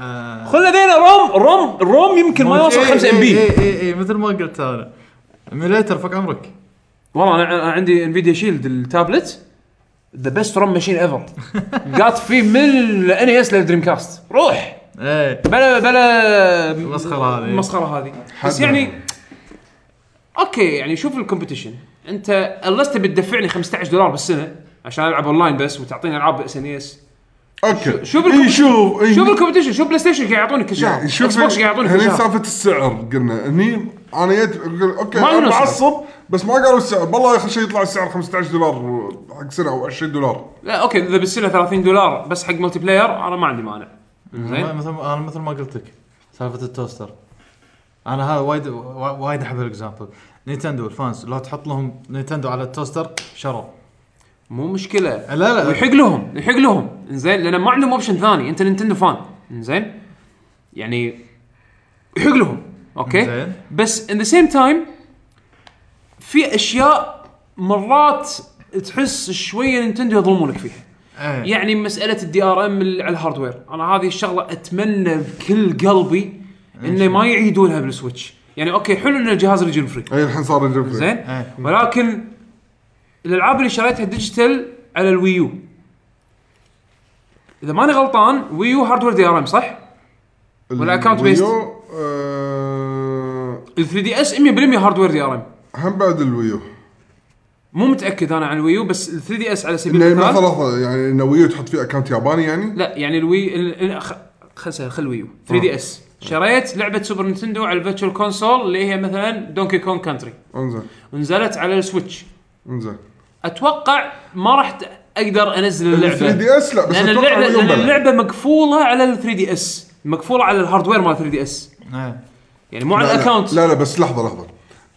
S4: آه.
S1: خل لدينا روم روم روم إيه، يمكن ما
S4: إيه،
S1: يوصل 5 ام بي
S4: اي اي اي إيه، مثل ما قلت انا ايميليتر فك عمرك
S1: والله انا أنا عندي انفيديا شيلد التابلت ذا بيست رم ماشين
S2: (laughs)
S1: ايفر قاعد فيه من E الان اس للدريم كاست روح
S4: اي
S1: بلا بلا
S4: المسخرة هذه.
S1: المسخره هذه بس يعني اوكي يعني شوف الكومبetition انت unless تبي تدفعني 15 دولار بالسنه عشان العب اونلاين بس وتعطيني العاب اس ان اس
S2: اوكي
S1: شوف
S2: إي،
S1: الكم-
S2: إيه، شوف إي.
S1: E شوف الكومبتيشن شوف بلاي ستيشن قاعد يعطونك كل شهر
S2: يعني شوف
S1: اكس بوكس قاعد يعطونك
S2: هني
S1: كل شهر
S2: سالفه السعر قلنا هني انا جيت أقول اوكي
S1: ما
S2: انا
S1: قالوا سعر.
S2: معصب بس ما قالوا السعر والله اخر شيء يطلع السعر 15 دولار حق سنه او 20 دولار
S1: لا اوكي اذا بالسنه 30 دولار بس حق ملتي بلاير انا ما عندي مانع زين
S4: مثل انا مثل ما قلت لك سالفه التوستر انا هذا وايد وا- وايد احب الاكزامبل نينتندو الفانس لو تحط لهم نينتندو على التوستر شرر
S1: مو مشكله
S4: لا لا
S1: ويحق لهم يحق لهم انزين لان ما عندهم اوبشن ثاني انت نينتندو فان انزين يعني يحق لهم اوكي
S4: إنزين.
S1: بس ان ذا سيم تايم في اشياء مرات تحس شويه نينتندو يظلمونك فيها
S4: إيه.
S1: يعني مساله الدي ار ام على الهاردوير انا هذه الشغله اتمنى بكل قلبي انه ما يعيدونها بالسويتش يعني اوكي حلو ان الجهاز ريجن فري
S2: اي الحين صار يجيب لي.
S1: زين
S4: إيه.
S1: ولكن الالعاب اللي شريتها ديجيتال على الويو اذا ماني غلطان ويو هاردوير دي ار ام صح؟ ولا account based؟
S2: الويو، آه،
S1: ال 3 دي اس 100% هاردوير دي ار ام
S2: هم بعد الويو
S1: مو متاكد انا عن الويو بس ال 3 دي اس على سبيل
S2: انه
S1: المثال
S2: مثلا يعني انه ويو تحط فيه اكونت ياباني يعني
S1: لا يعني الوي ال- ال- خ- خل سهل، خل ويو 3 دي اس شريت لعبه سوبر نينتندو على الفيرتشوال كونسول اللي هي مثلا دونكي كون كانتري
S2: انزين
S1: ونزلت على السويتش
S2: انزين
S1: اتوقع ما راح ت- اقدر انزل اللعبه
S2: 3 دي اس لا بس
S1: لان
S2: أتوقع
S1: اللعبه
S2: الويو
S1: لان
S2: بلى.
S1: اللعبه مقفوله على ال 3 دي اس مقفوله على الهاردوير مال 3 دي اس
S4: إيه.
S1: يعني مو على
S2: لا، لا.
S1: الاكونت
S2: لا لا بس لحظه لحظه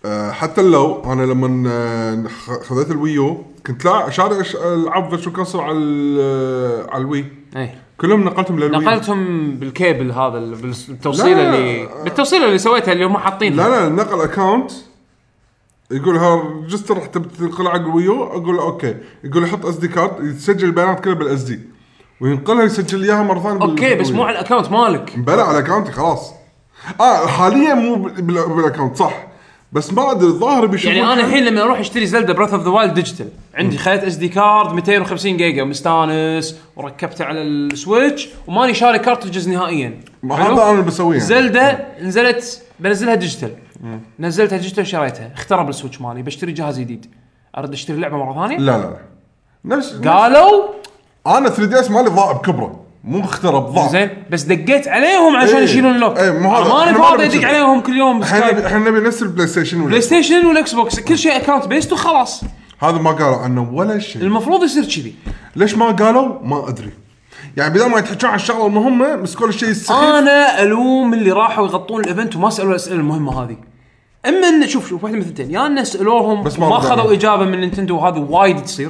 S2: أه حتى لو انا لما آه، خ- خذيت الويو كنت لا شاري أش- العاب فيرتشوال كونسول على ال- آه، على الوي
S1: اي
S2: كلهم نقلتهم للوي
S1: إيه. نقلتهم بالكيبل هذا ال- بالس- بالتوصيله
S2: لا.
S1: اللي بالتوصيله اللي سويتها اللي هم
S2: لا
S1: حاطينها
S2: لا نقل اكونت يقول ها ريجستر حتى تنقل على الويو اقول له اوكي يقول لي حط اس دي كارد يسجل البيانات كلها بالاس دي وينقلها يسجل اياها مره ثانيه بال-
S1: اوكي بس مو
S2: بالويو.
S1: على الاكونت مالك
S2: آه، بلا على اكونتي خلاص اه حاليا مو بال- بال- بالاكونت صح بس ما ادري الظاهر بيشوفون
S1: يعني انا الحين لما اروح اشتري زلدا براث اوف ذا وايلد ديجيتال عندي خليت اس دي كارد 250 جيجا مستانس وركبته على السويتش وماني شاري كارترجز نهائيا
S2: ما هذا انا بسويه يعني.
S1: زلدا نزلت بنزلها ديجيتال
S2: نعم.
S1: نزلتها ديجيتال شريتها اخترب السويتش مالي بشتري جهاز جديد ارد اشتري لعبه مره ثانيه
S2: لا لا لا نفس نفس-
S1: قالوا
S2: انا 3 دي اس مالي ضاع بكبره مو مخترب ضاع
S1: زين بس دقيت عليهم عشان
S2: آه. إيه.
S1: يشيلون اللوك
S2: إيه، مو هذا.
S1: ماني
S2: إحنا ما
S1: فاضي
S2: نبي
S1: ادق
S2: كذا.
S1: عليهم كل يوم
S2: احنا نبي-
S1: بلاي
S2: احنا نبي نفس البلاي ستيشن ولا
S1: ستيشن والاكس بوكس كل شيء اكونت بيست وخلاص
S2: هذا ما قالوا عنه ولا شيء
S1: المفروض يصير كذي
S2: ليش ما قالوا ما ادري يعني بدل ما يتحكون عن الشغله المهمه مسكوا الشيء السخيف
S1: انا الوم اللي راحوا يغطون الايفنت وما سالوا الاسئله المهمه هذه اما ان شوف شوف واحده من الثنتين يا ان سالوهم
S2: بس ما نعم.
S1: ما
S2: ردوا.
S1: اخذوا اجابه من نينتندو وهذه وايد تصير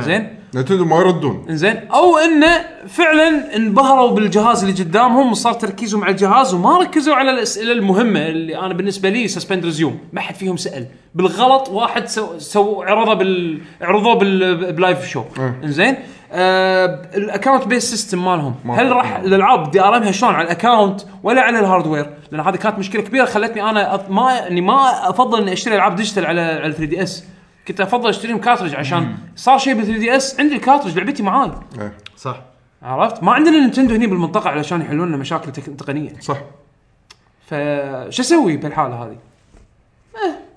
S1: زين
S2: نتندو ما يردون
S1: زين او انه فعلا انبهروا بالجهاز اللي قدامهم وصار تركيزهم على الجهاز وما ركزوا على الاسئله المهمه اللي انا بالنسبه لي سسبند ريزيوم ما حد فيهم سال بالغلط واحد سو, سو عرضه بال عرضوه بال... بلايف شو زين آه الاكونت بيس سيستم مالهم هل راح الالعاب دي ار امها شلون على الاكونت ولا على الهاردوير لان هذه كانت مشكله كبيره خلتني انا أط... ما اني ما افضل اني اشتري العاب ديجيتال على على 3 دي اس كنت افضل اشتريهم كارترج عشان صار شيء بال 3 دي اس عندي الكارترج لعبتي معاي
S2: إيه،
S4: صح
S1: عرفت؟ ما عندنا نينتندو هنا بالمنطقه علشان يحلون لنا مشاكل تك- تقنيه،
S2: صح
S1: فش اسوي بالحاله هذه؟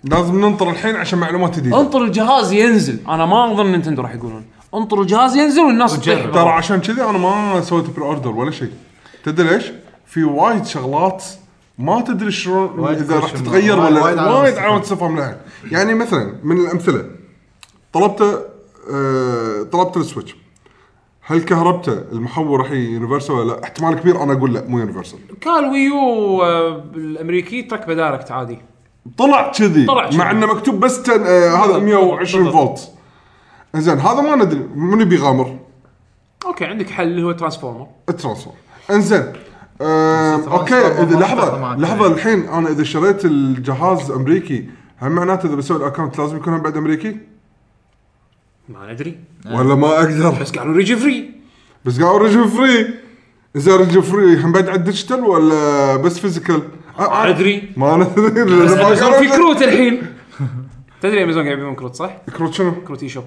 S2: لازم ننطر الحين عشان معلومات جديده
S1: انطر الجهاز ينزل، انا ما اظن نينتندو راح يقولون، انطر الجهاز ينزل والناس تطيح
S2: ترى عشان كذي انا ما سويت بري اوردر ولا شيء تدري ليش؟ في وايد شغلات ما تدري شلون
S4: وايد
S2: اذا راح
S4: question mark.
S2: تتغير
S4: وايد-
S2: ولا
S4: وايد علامات
S2: وايد
S4: استفهام.
S2: علامات استفهام لها يعني مثلا من الامثله طلبت آه طلبت السويتش هل كهربته المحول راح يونيفرسال ولا لا؟ احتمال كبير انا اقول لا مو يونيفرسال
S1: كان الويو آه، الامريكي تركبه دايركت عادي،
S2: طلع كذي
S1: طلع كذي.
S2: مع انه مكتوب بس تن... آه هذا 120 فولت زين هذا ما ندري من بيغامر
S1: اوكي عندك حل اللي هو ترانسفورمر،
S2: الترانسفور انزين آه، آم،
S4: بس
S2: اوكي
S4: الترانسفور
S2: اذا
S4: ما
S2: لحظه
S4: تاخذه معك.
S2: لحظه الحين انا اذا شريت الجهاز امريكي هل معناته اذا بسوي الاكونت لازم يكون هم بعد امريكي؟
S1: إيه. ما ندري،
S2: ولا ما اقدر
S1: بس قالوا ريجي فري،
S2: بس قالوا رجل فري اذا رجل فري هم بعد على الديجيتال ولا بس فيزيكال؟
S1: ما ادري،
S2: ما ندري لأن ما
S1: امازون في
S2: قالوا-
S1: كروت الحين تدري امازون قاعد يبيعون كروت صح؟
S2: كروت شنو؟
S1: كروت اي شوب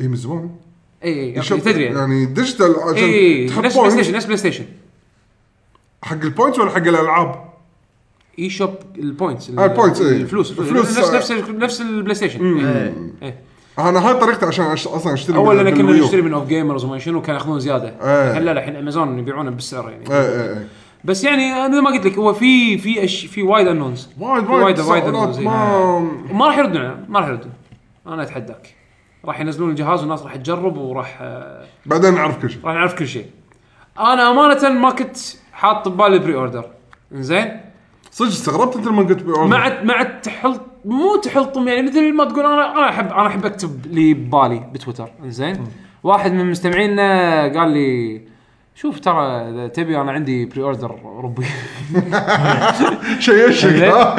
S2: اي من زمان
S1: اي اي
S2: يشوف-
S1: تدري يعني
S2: يعني ديجيتال
S1: اي
S2: عشان
S1: نفس بلاي
S2: تحطون
S1: ستيشن نفس بلاي ستيشن
S2: حق البوينتس ولا حق الالعاب؟
S1: اي شوب البوينتس
S2: آه، البوينتس، إيه.
S1: الفلوس
S2: الفلوس،
S1: الفلوس نفس
S2: آه.
S1: نفس نفس البلاي ستيشن
S4: إيه.
S2: انا هاي طريقتي عشان أش- اصلا اشتري
S1: اول لان كنا
S2: بالويو.
S1: نشتري من اوف جيمرز وما شنو كانوا ياخذون زياده
S2: إيه.
S1: الحين لا لا، الحين امازون يبيعونه بالسعر يعني
S2: ايه ايه ايه
S1: بس يعني انا مثل ما قلت لك هو في في أش في وايد انونز
S2: وايد
S1: وايد-
S2: وايد
S1: وايد
S2: تساؤلات
S1: زين.
S2: ما
S1: وما راح يردون علينا، ما راح يردون انا اتحداك راح ينزلون الجهاز والناس راح تجرب وراح آه،
S2: بعدين نعرف كل شيء
S1: راح نعرف كل شيء انا امانه ما كنت حاط ببالي بري اوردر زين
S2: صدق استغربت انت لما قلت بأوردر.
S1: مع مع التحلط مو تحلطم يعني مثل ما تقول انا انا احب انا احب اكتب لي ببالي بتويتر زين واحد من مستمعينا قال لي شوف ترى اذا تبي انا عندي بري اوردر
S2: (laughs)
S1: اوروبي
S2: شيء شيء
S1: زين؟
S2: ها؟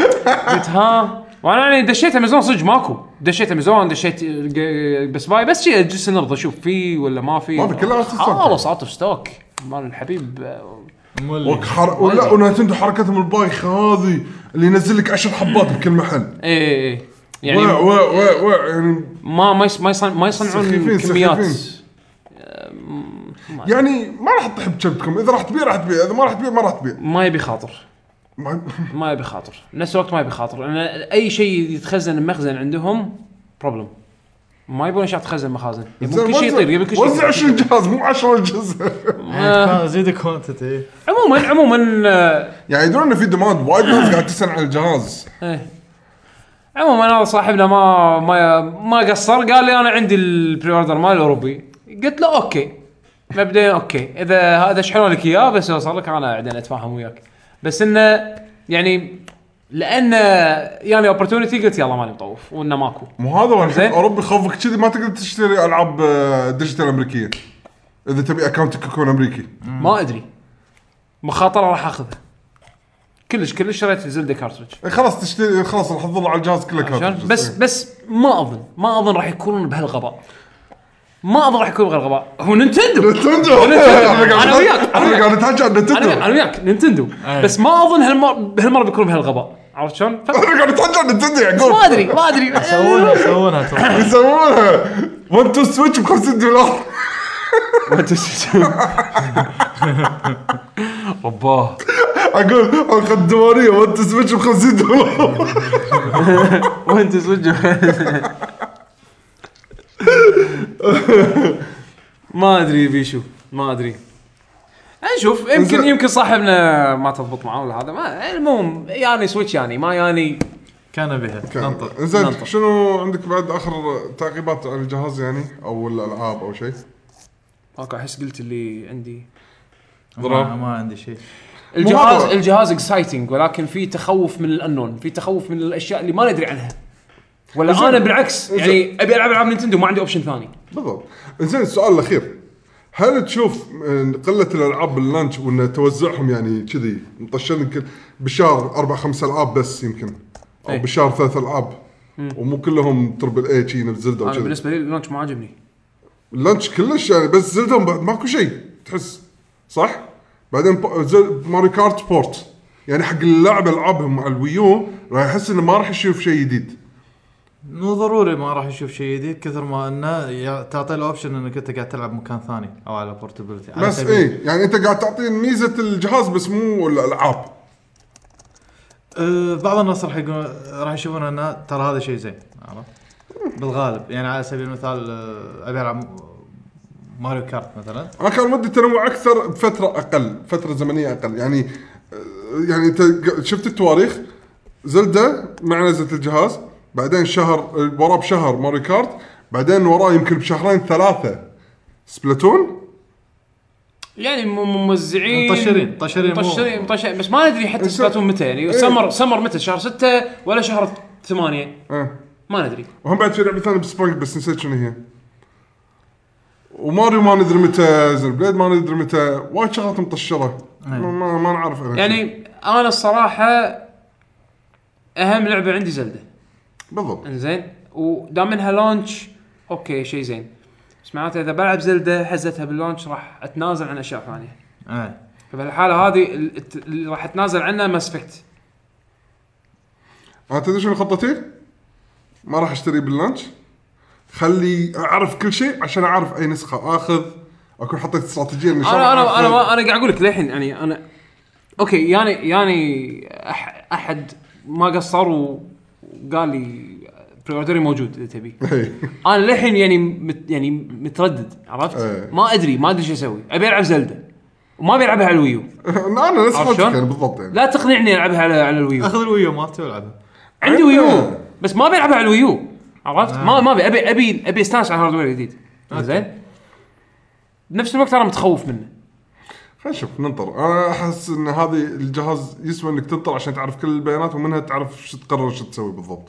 S1: قلت ها وانا يعني دشيت امازون صدق ماكو دشيت امازون دشيت ج- بس باي بس شي اجلس نبض اشوف في ولا ما في
S2: ما في، كلها اوت اوف ستوك.
S1: خلاص اوت اوف ستوك مال الحبيب آه،
S4: مولي
S2: وكحر... ولا ونتندو حركتهم البايخ هذه اللي ينزل لك 10 حبات بكل محل
S1: ايه ايه إيه.
S2: يعني
S1: يعني
S2: وا وا وا وا يعني
S1: ما ما يص- ما يصنع- ما يصنعون
S2: سخيفين-
S1: كميات
S2: سخيفين. يعني ما راح تطيح بجبكم اذا راح تبيع راح تبيع اذا ما راح تبيع ما راح تبيع
S1: ما يبي خاطر
S2: ما-
S1: ما يبي خاطر نفس الوقت ما يبي خاطر لان اي شيء يتخزن بمخزن عندهم بروبلم ما يبون اشياء تخزن مخازن
S2: (laughs)
S1: يبون كل شيء يطير يبي كل شيء
S2: وزع
S1: يطير.
S2: 20 جهاز مو 10 جهاز (laughs)
S4: إيه، كان زيد كوانتيتي
S1: عموما عموما آه،
S2: يعني يدرون انه في ديماند وايد ناس قاعد تسال على الجهاز
S1: إيه. عموما هذا صاحبنا ما ما ما قصر قال لي انا عندي البري اوردر مال الاوروبي قلت له اوكي مبدئيا اوكي اذا هذا شحنوا لك اياه بس يوصل لك انا بعدين اتفاهم وياك بس انه يعني لان يعني اوبرتونيتي قلت يلا ماني مطوف وانه ماكو
S2: مو هذا ولا
S1: زين.
S2: الحين اوروبي خوفك كذي ما تقدر تشتري العاب آه، ديجيتال امريكيه اذا تبي اكونتك يكون امريكي
S1: ما ادري مخاطره راح اخذها كلش كلش شريت زلدة كارترج
S2: خلاص تشتري خلاص راح تظل على الجهاز كله
S1: عشان
S2: كارترجز.
S1: بس بس ما اظن ما اظن راح يكونون بهالغباء ما اظن راح يكونون بهالغباء هو نينتندو
S2: نتندو
S1: أنا وياك، أنا
S2: انا
S1: وياك.
S2: قاعد اتحكى عن
S1: انا
S2: نتندو
S1: انا وياك نينتندو بس ما اظن هالمره هالمره بيكونون بهالغباء إيه. عرفت شلون؟ ف-
S2: انا قاعد اتحجر نتندو
S1: ما
S2: يعقوب
S1: ادري ما ادري
S4: يسوونها
S1: (laughs)
S4: يسوونها ترى
S2: يسوونها 1 تو سويتش ب 50 دولار
S1: رباه
S2: اقول اخذ الديوانيه 1 تو سويتش ب 50 دولار
S1: وانت سجل ما ادري بيشو ما ادري نشوف يمكن
S2: إنزين.
S1: يمكن صاحبنا ما تضبط معاه ولا هذا ما المهم ياني سويتش ياني ما يعني- ياني
S4: كان بها ننطر
S2: زين
S1: ننطر.
S2: شنو عندك بعد اخر تعقيبات عن الجهاز يعني او الالعاب او شيء
S1: اوكي احس قلت اللي عندي
S4: ما, ما عندي شيء
S1: الجهاز
S2: مو هذا.
S1: الجهاز اكسايتنج ولكن في تخوف من الانون في تخوف من الاشياء اللي ما ندري عنها ولا انا بالعكس يعني ابي العب العاب نينتندو ما عندي اوبشن ثاني
S2: بالضبط زين السؤال الاخير هل تشوف قله الالعاب باللانش وان توزعهم يعني كذي مطشر يمكن بالشهر اربع خمس العاب بس يمكن او
S1: إيه.
S2: بالشهر ثلاث العاب ومو كلهم تربل اي شي نفس
S4: طيب،
S2: زلدا
S1: انا
S2: وكذي
S1: بالنسبه لي اللونش ما عجبني
S2: اللانش كلش يعني بس زلدا بعد ماكو شيء تحس صح؟ بعدين ب- زل- ماري كارت بورت يعني حق اللاعب العابهم مع الويو راح يحس انه ما راح يشوف شيء جديد
S4: مو ضروري ما راح يشوف شيء جديد كثر ما انه يع- تعطي له اوبشن انك انت قاعد تلعب مكان ثاني او على بورتبيلتي على
S2: بس
S4: سبيل-
S2: ايه يعني انت قاعد تعطيه ميزه الجهاز بس مو الالعاب
S4: أه بعض الناس راح يقولون راح يشوفون انه ترى هذا شيء زين عرفت؟ بالغالب يعني على سبيل المثال أه، ابي العب ماريو كارت مثلا
S2: انا كان ودي تنوع اكثر بفتره اقل فتره زمنيه اقل يعني يعني انت ق- شفت التواريخ زلدة مع نزله الجهاز بعدين شهر وراه بشهر ماري كارت بعدين وراه يمكن بشهرين ثلاثه سبلاتون
S1: يعني م- ممزعين
S4: مطشرين- طشرين مو-
S1: مطشرين مطشرين بس ما ندري حتى
S2: بس-
S1: سبلاتون متى يعني سمر سمر متى شهر 6 ولا شهر 8
S2: اه
S1: ما ندري
S2: وهم بعد في لعبه ثانيه بسبرينج بس نسيت شنو هي وماريو ما ندري متى زل بليد ما ندري متى وايد شغلات مطشره ما, ما, ما نعرف عنها شيء.
S1: يعني انا الصراحه اهم لعبه عندي زلده
S2: بالضبط
S1: انزين ودام انها لونش اوكي شيء زين بس معناته اذا بلعب زلده حزتها باللونش راح اتنازل عن اشياء ثانيه
S4: ايه
S1: فبهالحاله هذه ال- الت- اللي راح اتنازل عنها ماس افكت
S2: انا تدري شنو خطتي؟ ما راح اشتري باللانش خلي اعرف كل شيء عشان اعرف اي نسخه اخذ اكون حطيت استراتيجيه اني شلون
S1: انا انا انا
S2: آخذ.
S1: ما- انا قاعد اقول لك للحين يعني انا اوكي يعني يعني أح احد ما قصر وقال لي بري اوردري موجود اذا تبي
S2: إيه. (laughs)
S1: انا للحين يعني مت يعني متردد عرفت؟
S2: إيه.
S1: ما ادري ما ادري شو اسوي ابي العب زلده وما ابي العبها على الويو
S2: انا
S1: عرفت
S2: نفس حالتك
S1: شلون؟
S2: يعني بالضبط يعني
S1: لا تقنعني العبها على على الويو
S4: اخذ الويو مالتي والعبها
S1: عندي ويو بس ما بلعبها على الويو عرفت؟ ما ما ابي ابي ابي ابي استانس على الهاردوير الجديد زين بنفس الوقت انا متخوف منه
S2: خلينا نشوف ننطر انا احس ان هذه الجهاز يسوى انك تنطر عشان تعرف كل البيانات ومنها تعرف شو تقرر شو تسوي بالضبط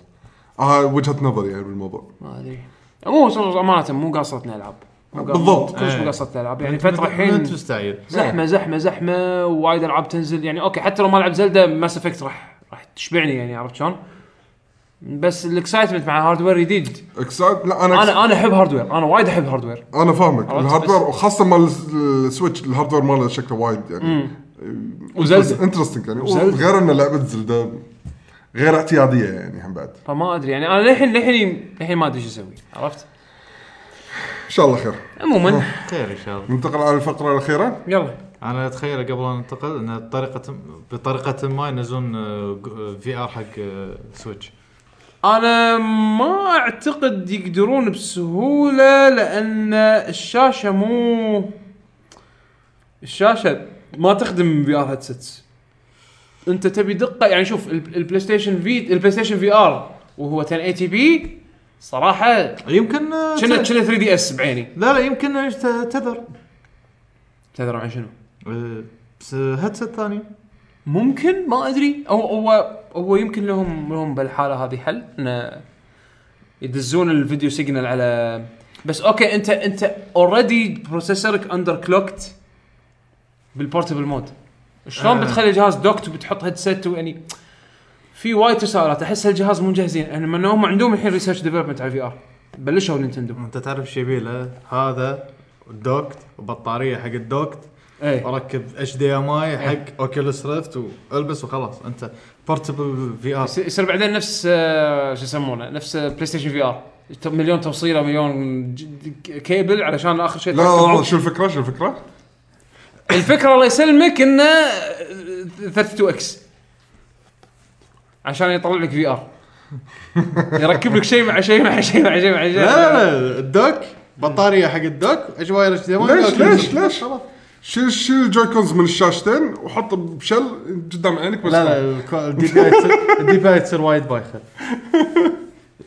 S2: آه وجهه نظري يعني بالموضوع
S1: ما ادري مو صدق امانه مو قاصرتنا العاب مو قا-
S2: بالضبط.
S1: مو- كلش مو
S4: إيه.
S1: قاصرتنا العاب يعني
S4: مت-
S1: فتره
S4: مت
S1: الحين
S4: مستعجل
S1: زحمه زحمه زحمه وايد العاب تنزل يعني اوكي حتى لو ما لعب زلدا ماس افكت راح راح تشبعني يعني عرفت شلون؟ بس الاكسايتمنت مع هاردوير جديد
S2: اكسايت لا انا
S1: انا انا احب هاردوير انا وايد احب هاردوير
S2: انا فاهمك
S1: عرفت
S2: الهاردوير
S1: بس-
S2: وخاصه مال السويتش الهاردوير ماله شكله وايد يعني
S1: وزلدة.
S2: انترستنج يعني
S1: وزلدة.
S2: غير ان لعبه زلدا غير اعتياديه يعني هم بعد
S1: فما ادري يعني انا للحين للحين للحين ما ادري شو اسوي عرفت؟
S2: ان شاء الله خير
S1: عموما
S4: خير ان شاء الله
S2: ننتقل على الفقره الاخيره
S1: يلا
S4: انا اتخيل قبل ان انتقل ان بطريقه بطريقه ما ينزلون أه، في ار حق آه، سويتش
S1: انا ما اعتقد يقدرون بسهوله لان الشاشه مو الشاشه ما تخدم في ار هيدسيتس انت تبي دقه يعني شوف ال- البلاي ستيشن في البلاي ستيشن في ار وهو 1080 بي صراحه
S4: يمكن آه،
S1: كنا كنا
S4: ت-
S1: 3 دي اس بعيني
S4: لا لا يمكن إيش ت- تذر
S1: تدري عن شنو
S4: آه، بس هيدسيت ثاني
S1: ممكن ما ادري هو هو هو يمكن لهم لهم بالحاله هذه حل انه يدزون الفيديو سيجنال على بس اوكي انت انت اوريدي بروسيسورك اندر كلوكت بالبورتبل مود شلون
S4: آه.
S1: بتخلي الجهاز دوكت وبتحط هيدسيت ويعني في وايد تساؤلات احس الجهاز مو مجهزين يعني من هم عندهم الحين ريسيرش ديفلوبمنت على الفي ار بلشوا نينتندو
S4: انت تعرف ايش يبي له هذا الدوكت وبطاريه حق الدوكت
S3: إيه.
S1: ايه
S4: اركب اتش دي ام
S2: إيه.
S4: اي حق اوكيلس ريفت والبس وخلاص انت بورتبل في ار
S1: يصير- يصير بعدين نفس آه، شو يسمونه نفس بلاي ستيشن في ار مليون توصيله مليون ج- ج- كيبل علشان اخر شيء
S2: لا لا لا، شو الفكره شو الفكره؟
S1: الفكره الله يسلمك آه، انه 32 اكس عشان يطلع لك
S4: (laughs)
S1: في ار يركب لك شيء مع شيء مع شيء مع شيء مع شيء
S4: لا لا لا الدوك بطاريه حق الدوك اجواير اتش دي ام
S2: ليش ليش ليش؟ شيل شيل الجويكونز من الشاشتين وحط بشل قدام عينك بس
S4: لا
S2: (laughs)
S4: لا الكو- الدي بي آي تصير- الدي بي آي تصير وايد بايخه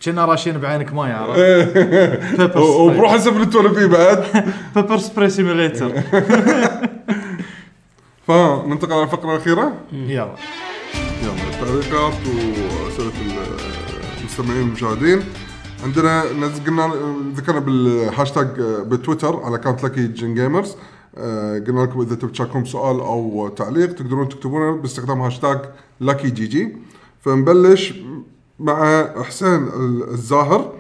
S4: كنا راشين بعينك ماي
S2: (laughs)
S4: عرفت
S2: إيه. و- وبروح حسب التون بي بعد
S4: بيبر سبراي سيميليتر
S2: فننتقل على الفقره الاخيره
S4: (laughs) يلا
S2: يلا تعليقات واسئله المستمعين والمشاهدين عندنا نز- قلنا ذكرنا بالهاشتاج بتويتر على اكونت لكي جن جيمرز آه، قلنا لكم اذا تبي تشاركون سؤال او تعليق تقدرون تكتبونه باستخدام هاشتاج لكي جي جي فنبلش مع حسين ال- الزاهر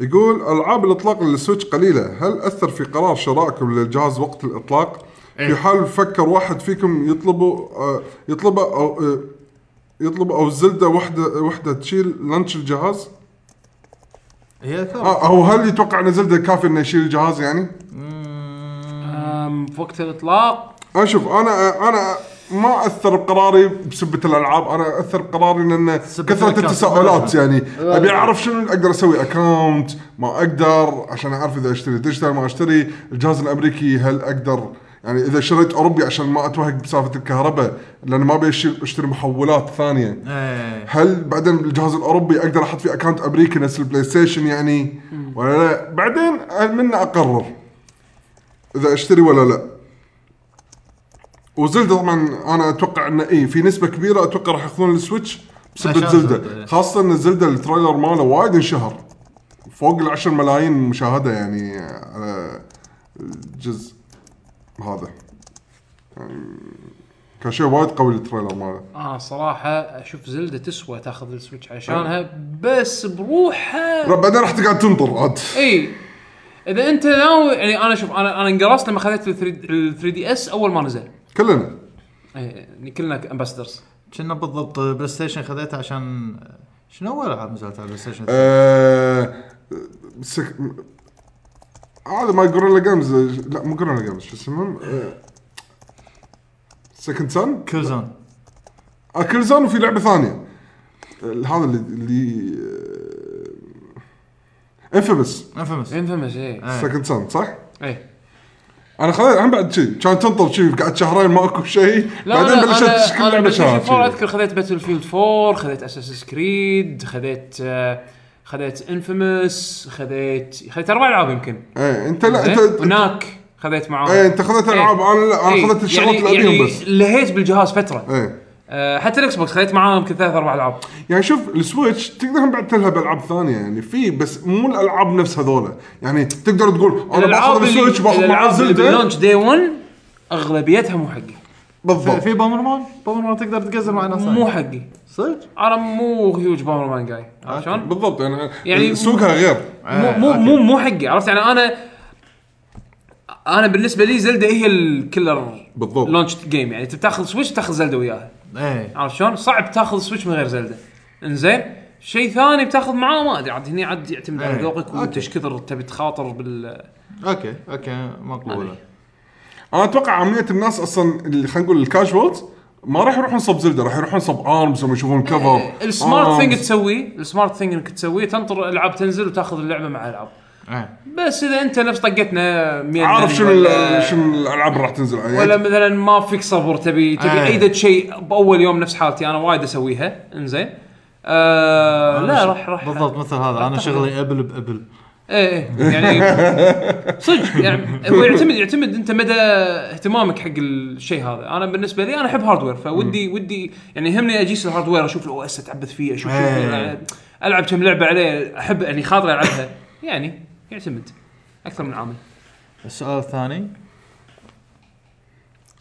S2: يقول العاب الاطلاق للسويتش قليله هل اثر في قرار شرائكم للجهاز وقت الاطلاق في حال فكر واحد فيكم يطلبه آه، يطلبه او آه، يطلب او زلده وحده وحده تشيل لانش الجهاز
S4: هي ثورة.
S2: آه او هل يتوقع ان زلده كافي انه يشيل الجهاز يعني؟
S1: أم، في وقت الاطلاق
S2: انا شوف انا انا ما اثر بقراري بسبه الالعاب انا اثر بقراري لان كثره
S4: الأكونت.
S2: التساؤلات يعني ابي اعرف شنو اقدر اسوي اكونت ما اقدر عشان اعرف اذا اشتري ديجيتال ما اشتري الجهاز الامريكي هل اقدر يعني اذا شريت اوروبي عشان ما اتوهق بسالفه الكهرباء لان ما ابي أشيل- اشتري محولات ثانيه
S4: إيه.
S2: هل بعدين بالجهاز الاوروبي اقدر احط فيه اكونت امريكي نفس البلاي ستيشن يعني ولا لا بعدين من اقرر اذا اشتري ولا لا وزلدة طبعا انا اتوقع انه اي إيه، في نسبه كبيره اتوقع راح ياخذون السويتش بسبب
S4: عشان زلدة،
S2: زلدة
S4: إيه.
S2: خاصه ان زلدة التريلر ماله وايد انشهر فوق ال 10 ملايين مشاهده يعني على الجزء هذا يعني كان شيء وايد قوي التريلر ماله
S1: انا صراحه اشوف زلده تسوى تاخذ السويتش عشانها بس بروحها
S2: رب- بعدين راح تقعد تنطر عاد
S1: اي اذا انت ناوي يعني انا شوف انا انا انقرصت لما اخذت ال 3 دي اس اول ما نزل
S2: كلنا
S1: إي، يعني كلنا امباسدرز
S4: كنا بالضبط بلاي ستيشن خذيته عشان شنو اول العاب نزلت على بلاي ستيشن؟
S2: آه، سك... هذا ما جوريلا جيمز لا مو جوريلا جيمز شو آه، اسمهم؟ سكند سن
S4: كوزون
S2: اكل زون آه، وفي لعبه ثانيه آه، هذا اللي اللي آه، انفيمس
S4: انفيمس
S1: انفيمس اي
S4: إيه.
S3: آه.
S2: سكند سن صح؟
S1: اي
S2: انا خذيت انا بعد شيء كان تنطر شيء قعدت شهرين ما اكو شيء بعدين بلشت كل لعبه
S1: شهر
S2: شهر
S1: اذكر خذيت باتل فيلد 4 خذيت اساس كريد خذيت آه، خذيت انفيمس خذيت خذيت اربع العاب يمكن
S2: اي انت إيه، لا
S1: زين؟
S2: انت
S1: وناك خذيت معاهم
S2: اي انت خذيت العاب انا لا
S1: إي،
S2: انا خذيت الشغلات اللي
S1: يعني,
S2: ابيهم
S1: يعني
S2: بس
S1: لهيت بالجهاز فتره
S2: اي
S1: آه، حتى الاكس بوكس خذيت معاهم يمكن ثلاث اربع العاب
S2: يعني شوف السويتش تقدر بعد تلعب العاب ثانيه يعني في بس مو الالعاب نفس هذولا يعني تقدر تقول انا باخذ
S1: اللي-
S2: السويتش باخذ معاه
S1: الألعاب اللي
S2: زلده
S1: باللونش دي 1 اغلبيتها مو حقي
S4: في-
S2: بالضبط
S4: في بامرمان بامرمان تقدر تقزر مع ناس
S1: مو
S4: ثانية.
S1: حقي
S4: صدق؟
S1: انا مو هيوج باور مان جاي عرفت شلون؟
S2: بالضبط يعني,
S1: يعني-
S2: يعني سوقها غير
S3: آه،
S1: مو مو مو مو حقي عرفت يعني انا انا بالنسبه لي زلده هي الكلر
S2: بالضبط.
S1: لونش جيم يعني انت بتاخذ سويتش تاخذ زلده وياها
S4: ايه
S1: عرفت شلون؟ صعب تاخذ سويتش من غير زلده انزين شيء ثاني بتاخذ معاه ما ادري عاد هني عاد يعتمد على
S4: إيه.
S1: ذوقك وانت
S4: أوكي.
S1: ايش كثر تبي تخاطر بال
S4: اوكي اوكي مقبوله
S2: انا اتوقع عاميه الناس اصلا اللي خلينا نقول الكاجوالز ما راح يروحون صب زلده راح يروحون صب ارمز لما يشوفون
S1: إيه،
S2: كفر
S1: السمارت ثينج
S2: ثينج
S1: تسويه السمارت ثينج انك تسويه تنطر العاب تنزل وتاخذ اللعبه مع العاب
S4: ايه
S1: بس اذا انت نفس طقتنا 100
S2: عارف شنو
S1: يعني، ولا-
S2: ال- شنو الالعاب اللي راح تنزل عليها
S1: ولا مثلا ما فيك صبر
S2: إيه.
S1: تبي تبي
S4: آه.
S1: عيدة شيء باول يوم نفس حالتي انا وايد اسويها انزين آه لا راح راح
S4: بالضبط مثل هذا انا شغلي ابل بابل
S1: ايه ايه يعني صدق يعني هو يعتمد يعتمد انت مدى اهتمامك حق الشيء هذا انا بالنسبه لي انا احب هاردوير فودي ودي يعني يهمني اجيس الهاردوير اشوف الاو اس اتعبث فيه اشوف شو
S4: إيه.
S1: فيه، العب كم لعبه عليه احب يعني خاطر العبها يعني يعتمد اكثر من عامل
S4: السؤال الثاني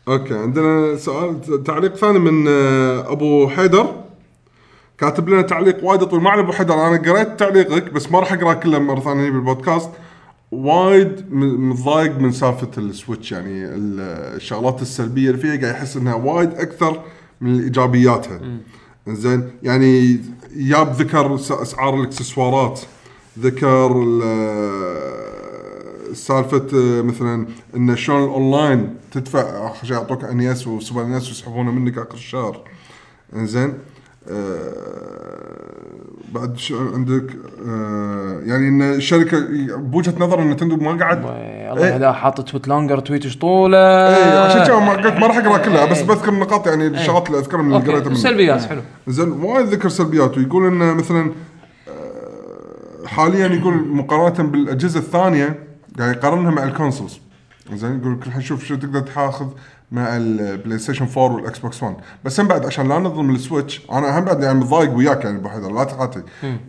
S2: اوكي عندنا سؤال تعليق ثاني من آه، ابو حيدر كاتب لنا تعليق وايد طويل ما على ابو حيدر انا قريت تعليقك بس ما راح اقراه كله مره ثانيه بالبودكاست وايد م- متضايق من سالفه السويتش يعني ال- الشغلات السلبيه اللي فيها قاعد يحس انها وايد اكثر من ايجابياتها زين يعني ياب ذكر س- اسعار الاكسسوارات ذكر ال- سالفه آه، مثلا ان شلون الاونلاين تدفع اخر شيء يعطوك ان اس وسوبر ان اس ويسحبونه منك اخر الشهر انزين آه، بعد شو عندك آه، يعني ان الشركه بوجهه نظر ان نتندو ما قاعد
S1: الله
S2: إيه.
S1: يهداه حاط تويت لونجر تويت ايش طوله
S2: اي إيه، عشان كذا ما قلت ما راح اقرا كلها بس بذكر النقاط يعني الشغلات اللي اذكرها من اللي
S6: اوكي
S2: قريتها منها.
S6: سلبيات حلو
S2: زين وايد ذكر سلبيات ويقول انه مثلا آه، حاليا يقول مقارنه بالاجهزه الثانيه قاعد يقارنها مع الكونسولز زين يقول لك راح نشوف شو تقدر تاخذ مع البلاي ستيشن 4 والاكس بوكس 1 بس هم بعد عشان لا نظلم السويتش انا هم بعد يعني متضايق وياك يعني ابو حيدر لا تعاطي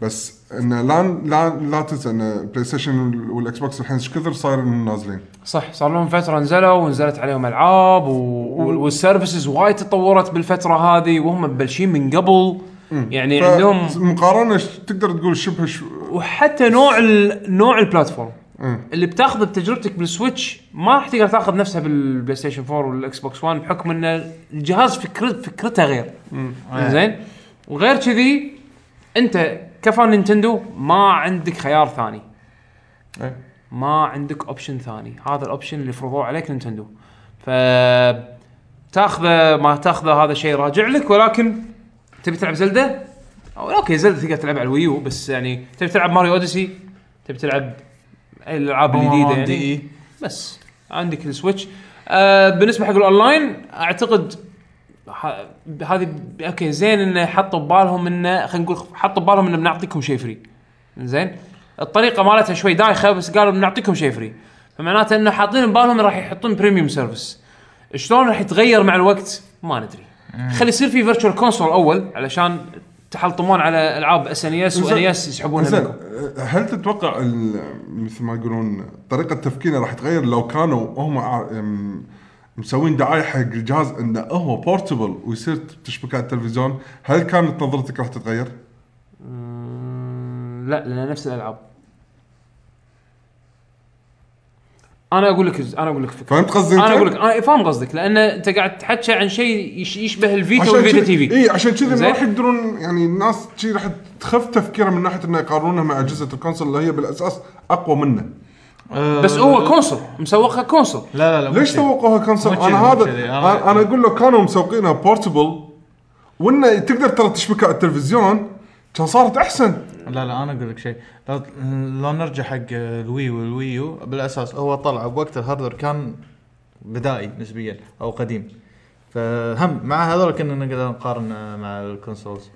S2: بس انه لا لا لا تنسى ان البلاي ستيشن والاكس بوكس الحين ايش كثر صاير انهم نازلين
S1: صح صار لهم فتره نزلوا ونزلت عليهم العاب و... وال- والسيرفيسز وايد تطورت بالفتره هذه وهم مبلشين من قبل يعني
S2: ف-
S1: عندهم
S2: مقارنه ش- تقدر تقول شبه شو
S1: وحتى نوع ال... نوع البلاتفورم
S2: مم.
S1: اللي بتاخذه بتجربتك بالسويتش ما راح تقدر تاخذ نفسها بالبلاي ستيشن 4 والاكس بوكس 1 بحكم ان الجهاز فكر... فكرته غير
S3: آه.
S4: إيه.
S1: زين وغير كذي انت كفان نينتندو ما عندك خيار ثاني
S2: إيه.
S1: ما عندك اوبشن ثاني هذا الاوبشن اللي فرضوه عليك نينتندو ف تاخذه ما تاخذه هذا شيء راجع لك ولكن تبي تلعب زلدة أو اوكي زلدة تقدر تلعب على الويو بس يعني تبي تلعب ماريو اوديسي تبي تلعب أي الالعاب الجديده
S3: دي
S1: يعني
S3: اي
S1: بس عندك السويتش آه بالنسبه حق الاونلاين اعتقد ح- هذه اوكي زين انه حطوا ببالهم انه خلينا نقول حطوا ببالهم انه بنعطيكم شيء فري زين الطريقه مالتها شوي دايخه بس قالوا بنعطيكم شيء فري فمعناته انه حاطين ببالهم راح يحطون بريميوم سيرفيس شلون راح يتغير مع الوقت ما ندري خلي يصير في فيرتشوال كونسول اول علشان تحلطمون على العاب اس ان اس وان اس E يسحبونها
S2: زين
S1: منكم
S2: هل تتوقع ال- مثل ما يقولون طريقه تفكيره راح تغير لو كانوا هم ع- أم- مسوين دعايه حق الجهاز انه هو بورتبل ويصير تشبكه على التلفزيون هل كانت نظرتك راح تتغير؟
S1: مم، لا لان نفس الالعاب انا اقول لك انا اقول لك فكره
S2: فهمت قصدي
S1: انا اقول لك انا فاهم قصدك لان انت قاعد تحكي عن شيء يش- يشبه الفيتا والفيتا تي في
S2: اي عشان إيه. كذا ما
S1: زين.
S2: راح يقدرون يعني الناس شي راح تخف تفكيرها من ناحيه انه يقارنونها مع اجهزه الكونسول اللي هي بالاساس اقوى منه
S4: إيه.
S1: بس هو كونسول مسوقها كونسول
S3: لا لا لا مو
S2: ليش
S3: شي.
S2: سوقوها كونسول؟
S3: مو
S2: انا
S3: كذي، مو
S2: هذا
S3: كذي.
S2: انا
S3: أنا-
S2: أنا اقول لو كانوا مسوقينها بورتبل وانه تقدر ترى تشبكها على التلفزيون كان صارت احسن
S3: لا لا انا اقول لك شيء لا لو نرجع حق الوي والويو بالاساس هو طلع بوقت الهاردوير كان بدائي نسبيا او قديم فهم مع هذول كنا نقدر نقارن مع الكونسولز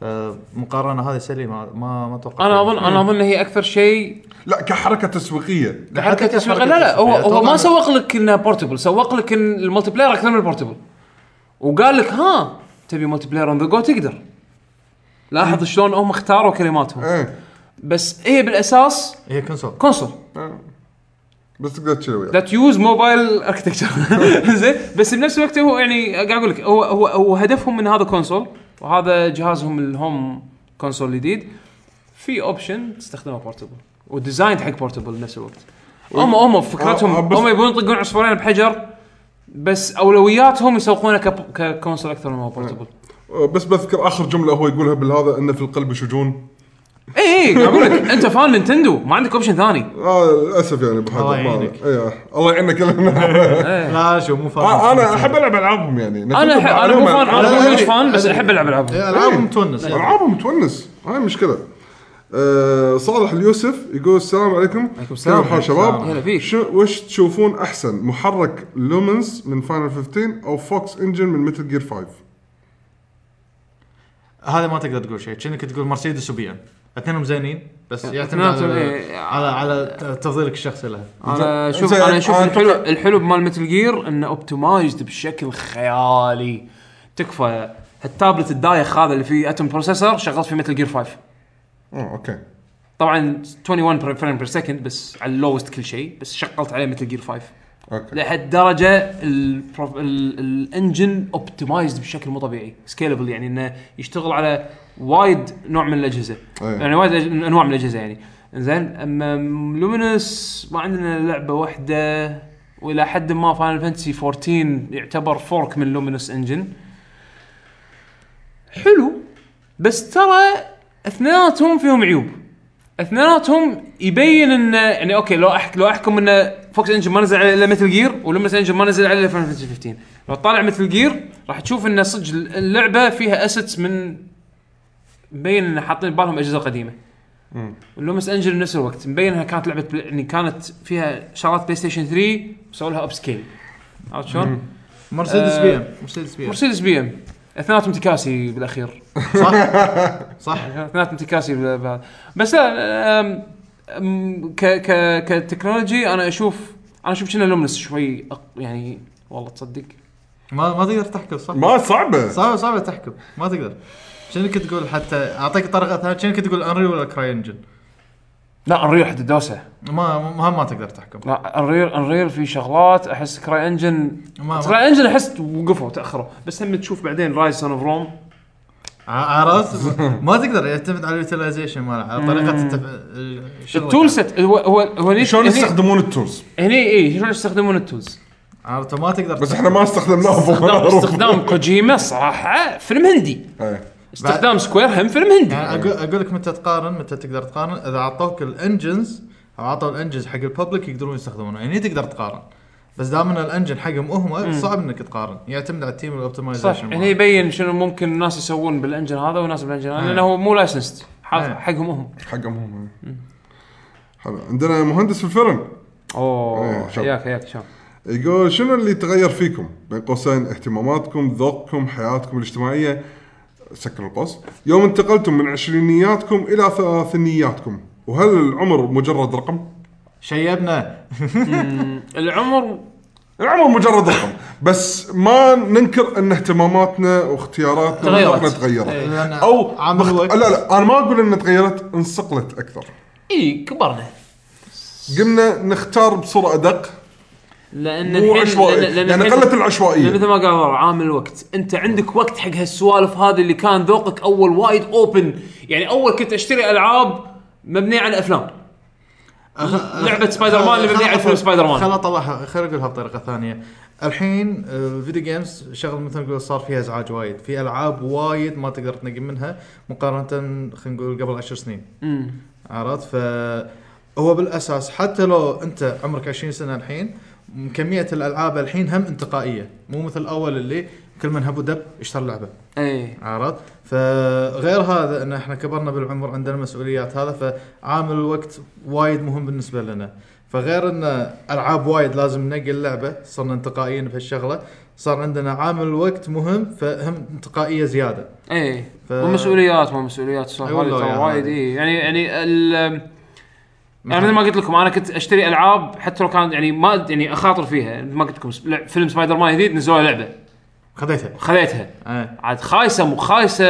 S3: فمقارنه هذه سليمه ما ما اتوقع
S1: انا اظن انا اظن هي اكثر شيء
S2: لا كحركه تسويقيه
S1: حتى تسويق لا لا هو هو ما سوق لك انها بورتبل سوق لك ان الملتي بلاير اكثر من البورتبل وقال لك ها تبي ملتي بلاير اون ذا جو تقدر لاحظ شلون هم اختاروا كلماتهم
S2: ايه
S1: بس هي بالاساس
S3: هي كونسول
S1: كونسول
S2: بس تقدر تشيل وياه
S1: ذات يوز موبايل اركتكتشر (laughs) زين بس بنفس الوقت هو يعني قاعد اقول لك هو هو هو هدفهم من هذا كونسول وهذا جهازهم الهوم كونسول الجديد في اوبشن تستخدمه بورتبل وديزاين حق بورتبل بنفس الوقت هم هم فكرتهم
S2: آه، آه، بس-
S1: هم يبون يطقون عصفورين بحجر بس اولوياتهم يسوقونه كب- ككونسول اكثر من هو بورتبل
S2: (laughs) أه، بس بذكر اخر جمله هو يقولها بالهذا انه في القلب شجون
S1: اي اي إيه، قاعد اقول لك انت فان نينتندو ما عندك اوبشن ثاني
S2: آه للاسف يعني ابو حاتم
S3: الله
S2: ما-
S3: يعينك.
S2: إيه، الله يعينك (laughs) آه،
S3: لا شو مو فاهم
S2: انا احب العب العابهم يعني
S1: انا أح- انا مو فان انا
S7: لا،
S1: مو
S7: لا،
S1: مش
S7: لا.
S1: فان بس احب العب العاب
S7: إيه، العابهم تونس
S1: طيب.
S7: يعني.
S2: العابهم تونس هاي المشكله أه صالح اليوسف يقول السلام عليكم عليكم
S1: السلام.
S2: كيف الحال شباب
S1: هلا فيك.
S2: شو وش تشوفون احسن محرك لومنس من فاينل 15 او فوكس انجن من متل جير 5
S3: هذا ما تقدر تقول شيء كأنك تقول مرسيدس وبي ام اثنينهم زينين بس يعتمد
S1: اثنيناتهم،
S3: على
S1: إيه.
S3: على على تفضيلك الشخصي لها
S1: انا
S2: زين.
S1: شوف
S2: زين.
S1: انا اشوف
S2: أنا
S1: الحلو
S2: أتفق-
S1: الحلو بمال متل جير انه اوبتمايزد بشكل خيالي تكفى التابلت الدايخ هذا اللي فيه اتم بروسيسور شغلت في متل جير 5
S2: اه اوكي
S1: طبعا 21 فريم بير سكند بس على اللوست كل شيء بس شغلت عليه متل جير 5
S2: اوكي
S1: لحد درجه الانجن اوبتمايزد بشكل مو طبيعي سكيلبل يعني انه يشتغل على وايد نوع من الاجهزه
S2: أي.
S1: يعني وايد أج- انواع من الاجهزه يعني زين اما لومينس ما عندنا لعبه واحده والى حد ما فاينل فانتسي 14 يعتبر فورك من لومينس انجن حلو بس ترى اثنيناتهم فيهم عيوب اثنيناتهم يبين ان يعني اوكي لو أحك لو احكم ان فوكس انجن ما نزل عليه الا مثل جير ولومينس انجن ما نزل عليه الا فاينل فانتسي 15 لو تطالع مثل جير راح تشوف ان صدق اللعبه فيها اسيتس من مبين ان حاطين ببالهم اجهزه قديمه لومس انجل بنفس الوقت مبين انها كانت لعبه بل... يعني كانت فيها شغلات بلاي ستيشن 3 وسووا لها اب سكيل عرفت شلون؟
S3: مرسيدس بي ام مرسيدس بي ام
S1: مرسيدس بي ام اثنيناتهم تكاسي بالاخير آه.
S3: صح
S1: اثنيناتهم تكاسي بال- بهذا بس لا، أم- أم، ك ك كتكنولوجي انا اشوف انا اشوف كنا لومنس شوي أق- يعني والله تصدق
S3: ما ما تقدر تحكم صح
S2: ما صعبه
S3: صعبه صعبه تحكم ما تقدر شنو كنت تقول حتى اعطيك طريقه ثانيه شنو كنت تقول انري ولا كراي انجن
S1: لا انريل حد دوسه
S3: ما ما ما تقدر تحكم
S1: لا انريل انريل في شغلات احس كراي انجن
S3: ما ما-
S1: كراي انجن احس وقفوا تاخروا بس هم تشوف بعدين رايز سون اوف روم
S3: ع- عرفت ما تقدر يعتمد على اليوتيلايزيشن ماله على طريقه التف... الشغل
S1: التول سيت هو هو هو هني
S2: شلون
S1: هني-
S2: يستخدمون التولز
S1: هني اي شلون يستخدمون التولز
S3: عرفت ما تقدر
S2: بس احنا ما استخدمناهم فوق (laughs)
S1: استخدام,
S2: الحروف.
S1: استخدام كوجيما صراحه فيلم هندي
S2: إيه.
S1: استخدام سكوير هم فيلم هندي
S3: يعني اقول اقول لك متى تقارن متى تقدر تقارن اذا اعطوك الانجنز او اعطوا الانجنز حق الببليك يقدرون يستخدمونه يعني تقدر تقارن بس دام ان الانجن حقهم هم صعب انك تقارن يعتمد على التيم
S1: صح يعني
S3: الاوبتمايزيشن
S1: هني يبين شنو ممكن الناس يسوون بالانجن هذا والناس بالانجن هذا لانه هو مو لايسنسد
S3: إيه.
S1: حقهم هم
S2: حقهم هم حلو عندنا مهندس في الفيلم
S1: اوه
S2: إيه، شوف.
S1: حياك حياك شوف
S2: يقول شنو اللي تغير فيكم بين قوسين اهتماماتكم ذوقكم حياتكم الاجتماعيه سكر القوس يوم انتقلتم من عشرينياتكم الى ثلاثينياتكم وهل العمر مجرد رقم
S3: شيبنا
S1: العمر
S2: العمر مجرد رقم بس ما ننكر ان اهتماماتنا واختياراتنا
S1: تغيرت.
S2: وذوقنا تغيرت
S3: لأن
S2: او
S3: عامل
S2: بخت-
S3: وقت.
S2: لا لا انا ما اقول انها تغيرت انصقلت اكثر
S1: اي إيه، كبرنا
S2: قمنا نختار بصوره (laughs) ادق
S1: لان
S2: مو
S1: الحين
S2: عشوائي
S1: لأن- لأن
S2: يعني
S1: الحين-
S2: قلت
S1: لأن
S2: العشوائيه
S1: مثل ما قال عمر، عامل الوقت انت عندك وقت حق هالسوالف هذه اللي كان ذوقك اول وايد اوبن يعني اول كنت اشتري العاب مبنيه على افلام لعبه سبايدر مان اللي مبنيه على فيلم سبايدر مان
S3: خل اطلعها خل اقولها بطريقه ثانيه الحين آه، الفيديو جيمز شغل مثل ما نقول صار فيها ازعاج وايد في العاب وايد ما تقدر تنقي منها مقارنه خلينا نقول قبل عشر سنين عرفت ف هو بالاساس حتى لو انت عمرك 20 سنه الحين م- كميه الالعاب الحين هم انتقائيه مو مثل اول اللي كل من هب ودب اشترى لعبه
S1: اي
S3: عرفت فغير هذا ان احنا كبرنا بالعمر عندنا مسؤوليات هذا فعامل الوقت وايد مهم بالنسبه لنا فغير ان العاب وايد لازم ننقي اللعبه صرنا انتقائيين في الشغله صار عندنا عامل الوقت مهم فهم انتقائيه زياده
S1: اي
S3: ف-
S1: إيه. ومسؤوليات ما مسؤوليات السوالف
S3: أي
S1: هذه
S3: والله
S1: ترى
S3: يعني.
S1: وايد اي يعني يعني ال يعني مثل ما قلت لكم انا كنت اشتري العاب حتى لو كانت يعني ما يعني اخاطر فيها مثل ما قلت لكم سب- لع- فيلم سبايدر مان جديد نزلوا لعبه
S3: خذيتها
S1: خذيتها
S3: ايه.
S1: عاد خايسه مو خايسه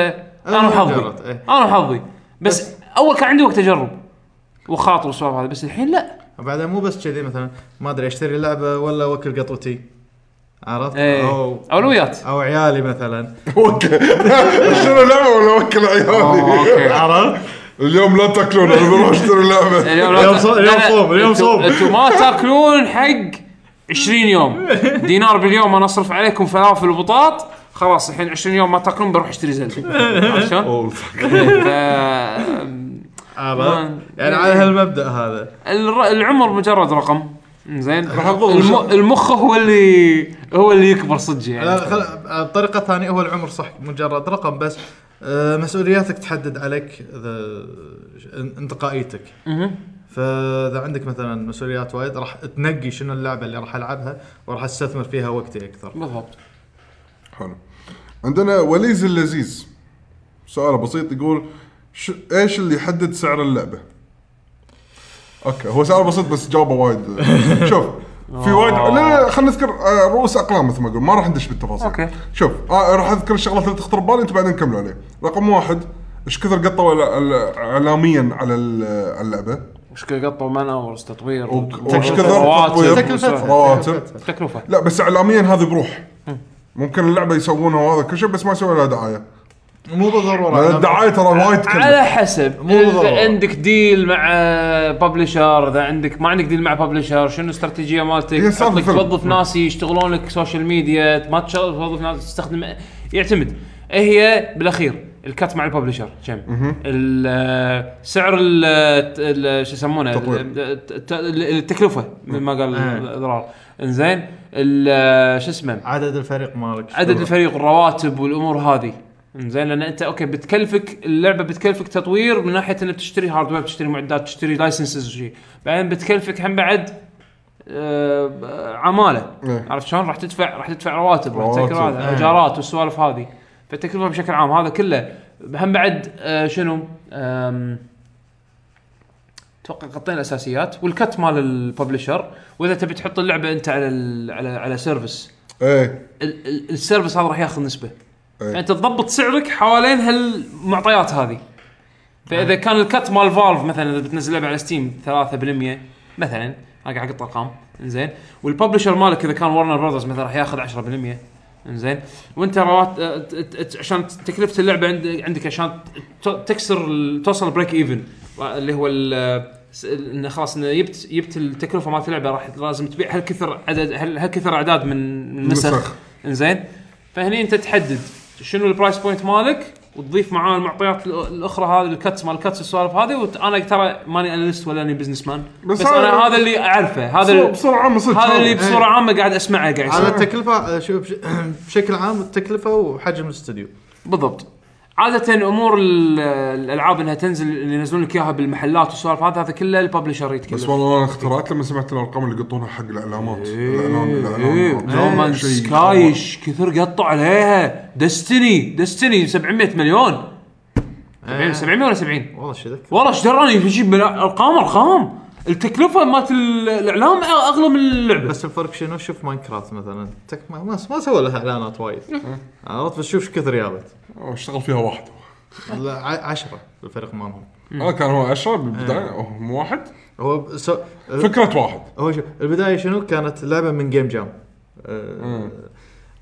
S1: انا
S3: مجرد،
S1: وحظي
S3: إيه.
S1: انا وحظي بس, اول كان عندي وقت اجرب وخاطر والسوالف هذه بس الحين لا
S3: وبعدين مو بس كذي مثلا ما ادري اشتري لعبه ولا وكل قطوتي عرفت
S1: ايه
S3: او (laughs)
S1: اولويات
S3: او عيالي مثلا
S2: (laughs) شنو لعبه ولا وكل عيالي
S1: اوكي
S3: عرفت
S2: اليوم لا تاكلون انا بروح اشتري لعبه
S1: اليوم
S3: اليوم
S1: لا-
S3: صوم-
S1: لا-
S3: اليوم
S1: لا،
S3: صوم، اليوم
S1: انتوا-
S3: صوم.
S1: انتوا ما تاكلون حق 20 يوم
S3: (laughs)
S1: دينار باليوم انا اصرف عليكم فلافل وبطاط خلاص الحين 20 يوم ما تاكلون بروح اشتري
S3: (laughs)
S1: زلده عرفت شلون؟ (laughs)
S2: أوه.
S1: ف-
S3: عرفت
S1: ما-
S3: يعني على
S1: إيه.
S3: هالمبدا هذا
S1: الر- العمر مجرد رقم زين
S2: راح أظل شو-
S1: المخ هو اللي هو اللي يكبر صدق
S3: لا،
S1: يعني
S3: آه، خل... بطريقه ثانيه هو العمر صح مجرد رقم بس آه، مسؤولياتك تحدد عليك إذا ان- انتقائيتك فاذا عندك مثلا مسؤوليات وايد راح تنقي شنو اللعبه اللي راح العبها وراح استثمر فيها وقتي اكثر
S1: بالضبط
S2: حلو عندنا وليز اللذيذ سؤال بسيط يقول ش... ايش اللي يحدد سعر اللعبه؟ اوكي هو سؤال بسيط بس جاوبه
S1: (laughs)
S2: وايد شوف في وايد لا لا لا، خلينا نذكر آه، رؤوس اقلام مثل ما اقول ما راح ندش بالتفاصيل
S1: أوكي.
S2: شوف آه راح اذكر الشغلات اللي تخطر ببالي انتم بعدين نكمل عليه رقم واحد ايش كثر قطوا ال- ال- اعلاميا على ال- على اللعبه
S1: وش قطوا مان اورز تطوير
S2: وش كثر
S3: تكلفتها.
S2: تطوير رواتب
S3: تكلفتها.
S1: تكلفه
S2: لا بس اعلاميا هذا بروح ممكن اللعبه يسوونها وهذا كل شيء بس ما يسوون لها دعايه
S3: مو بالضروره
S2: لأن الدعايه ترى وايد تكلف
S1: على حسب
S3: مو بالضرورة.
S1: اذا عندك ديل مع ببلشر اذا عندك ما عندك ديل مع ببلشر شنو الاستراتيجيه
S2: هي
S1: مالتك
S2: سالفة
S1: حطك
S2: الفيلم.
S1: توظف ناس يشتغلون لك سوشيال ميديا ما تشغل توظف ناس تستخدم يعتمد إيه هي بالاخير الكات مع الببلشر كم ال- سعر ال- ال- شو يسمونه
S2: تطوير.
S1: ال- الت- التكلفه مثل ما قال
S3: إيه.
S1: ضرار انزين ال- شو اسمه
S3: عدد الفريق مالك
S1: عدد الفريق الرواتب والامور هذه زين لان انت اوكي بتكلفك اللعبه بتكلفك تطوير من ناحيه انك تشتري هاردوير تشتري معدات تشتري لايسنسز وشي بعدين بتكلفك هم بعد آه، آه، عماله
S2: إيه.
S1: عرفت شلون راح تدفع راح تدفع رواتب راح
S2: رواتب.
S1: تدفع هذا
S3: إيه.
S1: اجارات والسوالف هذه فالتكلفه بشكل عام هذا كله هم بعد آه، شنو آم، اتوقع غطينا الاساسيات والكت مال الببلشر واذا تبي تحط اللعبه انت على ال- على على سيرفس
S2: ايه
S1: ال- ال- السيرفس هذا راح ياخذ نسبه
S2: إيه.
S1: يعني انت تضبط سعرك حوالين هالمعطيات هذه فاذا كان الكت مال فالف مثلا اذا بتنزل لعبه على ستيم 3% مثلا انا قاعد احط ارقام انزين والببلشر مالك اذا كان ورنر براذرز مثلا راح ياخذ 10% انزين وانت روات اه، ت- ت- عشان تكلفه اللعبه عند- عندك عشان ت- تكسر ال- توصل بريك ايفن اللي هو ال- س- انه خلاص انه جبت جبت التكلفه مالت اللعبه راح لازم تبيع هالكثر عدد هال- هالكثر اعداد من من
S2: نسخ.
S1: نسخ انزين فهني انت تحدد شنو البرايس بوينت مالك وتضيف معاه المعطيات ال- الاخرى هذه الكتس مال الكتس والسوالف هذه وانا ترى ماني اناليست ولا اني بزنس مان
S2: بس
S1: بس,
S2: هذا-
S1: انا هذا اللي اعرفه هذا
S2: بصورة-
S1: ال-
S2: بصورة عامة صدق
S1: هذا اللي
S2: هذا.
S1: بصوره عامه قاعد اسمعه قاعد
S3: على
S1: يصير
S3: التكلفه شوف بش- (clears throat) بشكل عام التكلفه وحجم الاستوديو
S1: بالضبط عادة امور ال- الالعاب انها تنزل اللي ينزلون لك اياها بالمحلات والسوالف هذا هذا كله الببلشر
S2: إيه. بس
S1: يتكلف
S2: والله انا اخترعت لما سمعت الارقام اللي يقطونها حق الاعلامات
S1: إيه،
S2: الاعلان
S1: نو
S2: الاعلان
S1: مان سكاي إيش كثر قطوا عليها دستني دستني 700 مليون
S3: إيه.
S1: 70 700 ولا 70
S3: آه، والله شو ذك
S1: والله ايش دراني يجيب من ارقام ارقام التكلفه مالت ال- الاعلام اغلى من (laughs) اللعبه
S3: بس الفرق شنو شوف ماينكرافت مثلا تك ما, ما, ما سوى لها اعلانات وايد عرفت بس شوف ايش كثر جابت
S2: اشتغل فيها واحد
S3: لا، ع- عشرة الفريق مالهم
S2: انا كان هو 10 بالبدايه أوه، مو واحد
S3: هو ب- سو...
S2: فكره واحد
S3: هو شو البدايه شنو كانت لعبه من جيم جام
S2: مم.
S3: أه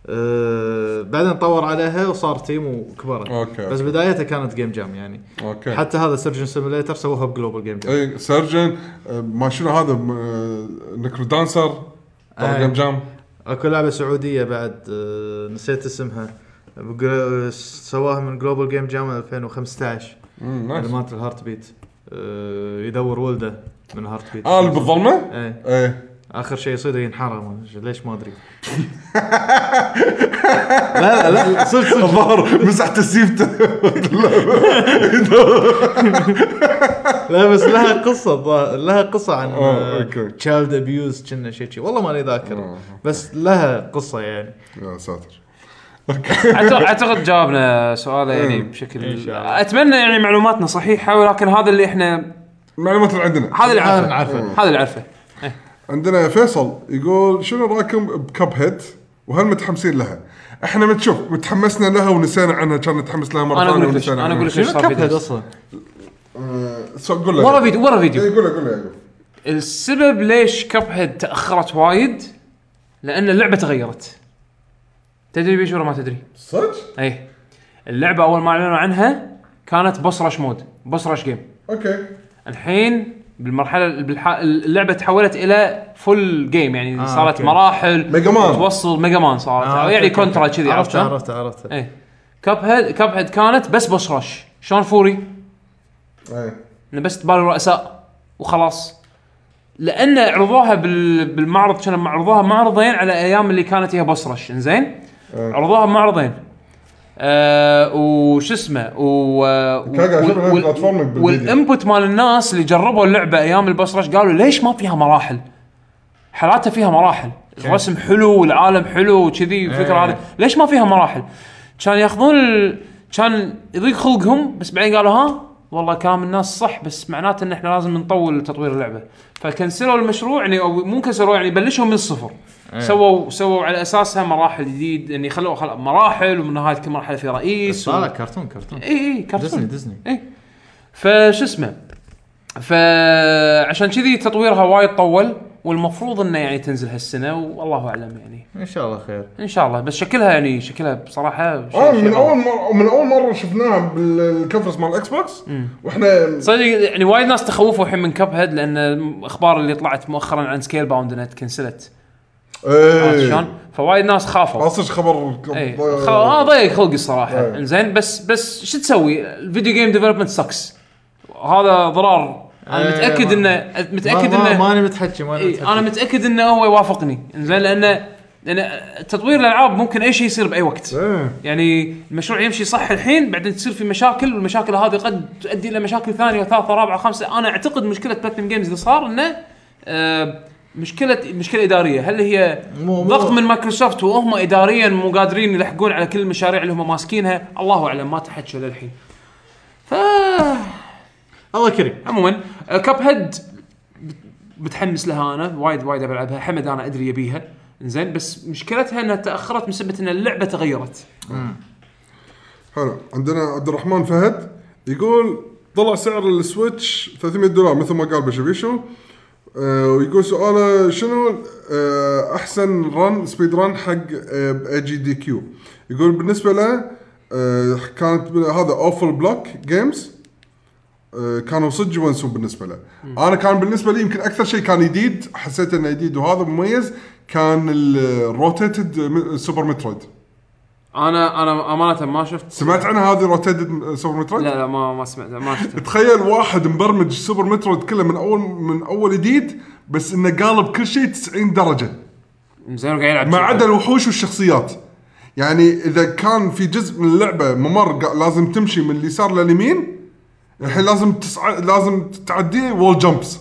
S3: أه بعدين طور عليها وصار تيم وكبرت
S2: أوكي.
S3: بس بدايتها كانت جيم جام يعني
S2: اوكي
S3: حتى هذا سيرجن سيميليتر سووها بجلوبال جيم جام
S2: اي إيه، سيرجن آه، ما شنو هذا م- آه، نكرو دانسر ترى
S3: أي.
S2: جيم جام
S3: اكو لعبه سعوديه بعد أه نسيت اسمها بجل- سواها من جلوبال جيم جام 2015
S2: مم،
S3: اللي
S2: نايس.
S3: مالت الهارت بيت أه يدور ولده من هارت بيت
S2: اه اللي بالظلمه؟
S3: ايه
S2: ايه
S3: اخر شيء يصيده ينحرم ليش ما ادري (laughs) لا لا لا صدق صدق
S2: الظاهر مسح تسيبته
S3: لا بس لها قصه الظاهر- لها قصه عن
S2: آه، أوكي.
S3: تشايلد ابيوز كنا شيء شي والله ماني ذاكر
S2: آه.
S3: بس لها قصه يعني
S2: يا ساتر
S1: اعتقد أعتقد جاوبنا سؤاله يعني
S3: إيه. إن
S1: بشكل
S3: شاء الله.
S1: اتمنى يعني معلوماتنا صحيحه ولكن هذا اللي احنا
S2: المعلومات اللي عندنا
S1: هذا اللي
S3: هذا
S1: عارفه
S3: نعرفه.
S1: هذا اللي عارفه
S2: عندنا فيصل يقول شنو رايكم بكب هيد وهل متحمسين لها؟ احنا متشوف متحمسنا لها ونسينا عنها كان نتحمس لها مره
S1: انا
S2: ثانيه
S1: اقول لك ليش
S2: ونسينا
S1: انا اقول لك
S3: شنو
S1: ليش صار
S3: كاب هيد
S1: فيديو
S3: اصلا؟
S2: آه، سو- قول له
S1: ورا فيديو ورا فيديو
S2: إيه، قول له قول له يعقوب.
S1: السبب ليش كاب هيد تاخرت وايد لان اللعبه تغيرت تدري بيش ولا ما تدري؟
S2: صدق؟
S1: اي اللعبه اول ما اعلنوا عنها كانت بوس رش مود بوس رش جيم
S2: اوكي
S1: الحين بالمرحله بالح... اللعبه تحولت الى فول جيم يعني آه صارت
S3: أوكي.
S1: مراحل
S2: ميجا مان.
S1: توصل ميجا مان صارت آه يعني كونترا كذي إيه،
S3: عرفت
S1: عرفت
S3: عرفت عرفت
S1: اي كاب هيد كاب هيد كانت بس بوس رش شلون فوري
S2: إيه.
S1: انه بس تبالي رؤساء وخلاص لان عرضوها بال... بالمعرض كانوا عرضوها معرضين على ايام اللي كانت هي بصرش انزين
S2: إيه.
S1: عرضوها معرضين آه وش اسمه و... آه، و...
S2: كان قاعد أشوف
S1: وال-
S2: البلاتفورمينج بالفيديو.
S1: والانبوت مال الناس اللي جربوا اللعبه ايام البصرش قالوا ليش ما فيها مراحل؟ حالاته فيها مراحل الرسم حلو والعالم حلو وكذي الفكره هذه ليش ما فيها مراحل كان ياخذون ال... كان يضيق خلقهم بس بعدين قالوا ها والله كلام الناس صح بس معناته ان احنا لازم نطول تطوير اللعبه فكنسلوا المشروع يعني او مو كنسلوا يعني بلشوا من الصفر
S3: إيه.
S1: سووا سووا على اساسها مراحل جديد يعني خلوا خل... مراحل ومن نهايه كل مرحله في رئيس
S3: لا لا كرتون كرتون
S1: اي اي
S3: ديزني
S1: كرتون إيه.
S3: ديزني
S1: اي فشو اسمه فعشان كذي تطويرها وايد طول والمفروض انه يعني تنزل هالسنه والله اعلم يعني
S3: ان شاء الله خير
S1: ان شاء الله بس شكلها يعني شكلها بصراحه شيء-
S2: اه
S1: شيء
S2: من
S1: غريب.
S2: اول مره من اول مره شفناها بالكونفرنس مال الاكس بوكس واحنا
S1: صدق يعني وايد ناس تخوفوا الحين من كاب هيد لان الاخبار اللي طلعت مؤخرا عن سكيل باوند انها تكنسلت عرفت
S2: ايه
S1: آه، شلون؟ فوايد ناس خافوا
S2: اصج آه، خبر
S1: اي خ... اه ضيق خلقي الصراحه انزين بس بس شو تسوي؟ الفيديو جيم ديفلوبمنت سكس هذا ضرار انا
S3: إيه،
S1: متاكد
S3: ما-
S1: انه متاكد
S3: ما- ما-
S1: انه
S3: ماني متحكي ماني
S1: إيه،
S3: متحكي
S1: انا متاكد انه هو يوافقني انزين لانه لان تطوير الالعاب ممكن اي شيء يصير باي وقت
S2: إيه.
S1: يعني المشروع يمشي صح الحين بعدين تصير في مشاكل والمشاكل هذه قد تؤدي الى مشاكل ثانيه وثالثه رابعه خمسه انا اعتقد مشكله بلاتنم جيمز اللي صار انه آه، مشكله مشكله اداريه هل هي
S3: مو- مو-
S1: ضغط من مايكروسوفت وهم اداريا مو قادرين يلحقون على كل المشاريع اللي هم ماسكينها الله اعلم ما تحكى للحين ف
S3: الله كريم
S1: عموما كاب هيد متحمس لها انا وايد وايد بلعبها حمد انا ادري يبيها زين بس مشكلتها انها تاخرت بسبب ان اللعبه تغيرت
S2: حلو عندنا عبد الرحمن فهد يقول طلع سعر السويتش 300 دولار مثل ما قال بشبيشو آه ويقول سؤاله شنو آه احسن رن سبيد رن حق آه، اي جي دي كيو يقول بالنسبه له آه كانت بال- هذا اوفل بلوك جيمز آه، كانوا صدق يونسون بالنسبه له انا كان بالنسبه لي يمكن اكثر شيء كان جديد حسيت انه جديد وهذا مميز كان آه، الروتيتد سوبر مترويد
S1: انا انا امانه ما شفت
S2: سمعت عنها هذه آه، روتيتد سوبر مترويد
S1: لا لا ما ما سمعت ما شفت
S2: تخيل واحد مبرمج سوبر مترويد كله من اول من اول جديد بس انه قالب كل شيء 90 درجه
S1: زين قاعد يلعب
S2: ما
S1: شيء.
S2: عدا الوحوش والشخصيات يعني اذا كان في جزء من اللعبه ممر قا- لازم تمشي من اليسار لليمين الحين لازم تسع... لازم تعديه وول جمبس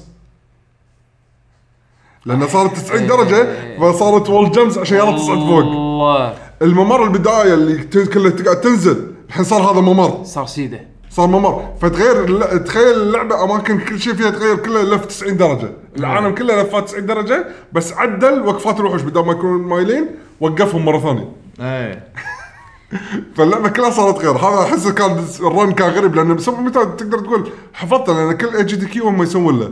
S2: لانه صارت 90 درجه فصارت وول جمبس عشان يلا تصعد فوق
S1: والله
S2: الممر البدايه اللي ت- كله تقعد تنزل الحين صار هذا ممر
S1: صار سيده
S2: صار ممر فتغير الل- تخيل اللعبه اماكن كل شيء فيها تغير كله لف 90 درجه العالم كله لفات 90 درجه بس عدل وقفات الوحوش بدل ما يكونون مايلين وقفهم مره ثانيه
S3: ايه
S2: فاللعبه كلها صارت غير هذا احس كان الرن كان غريب لان بسبب متى تقدر تقول حفظته لان كل اتش دي كيو هم يسوون له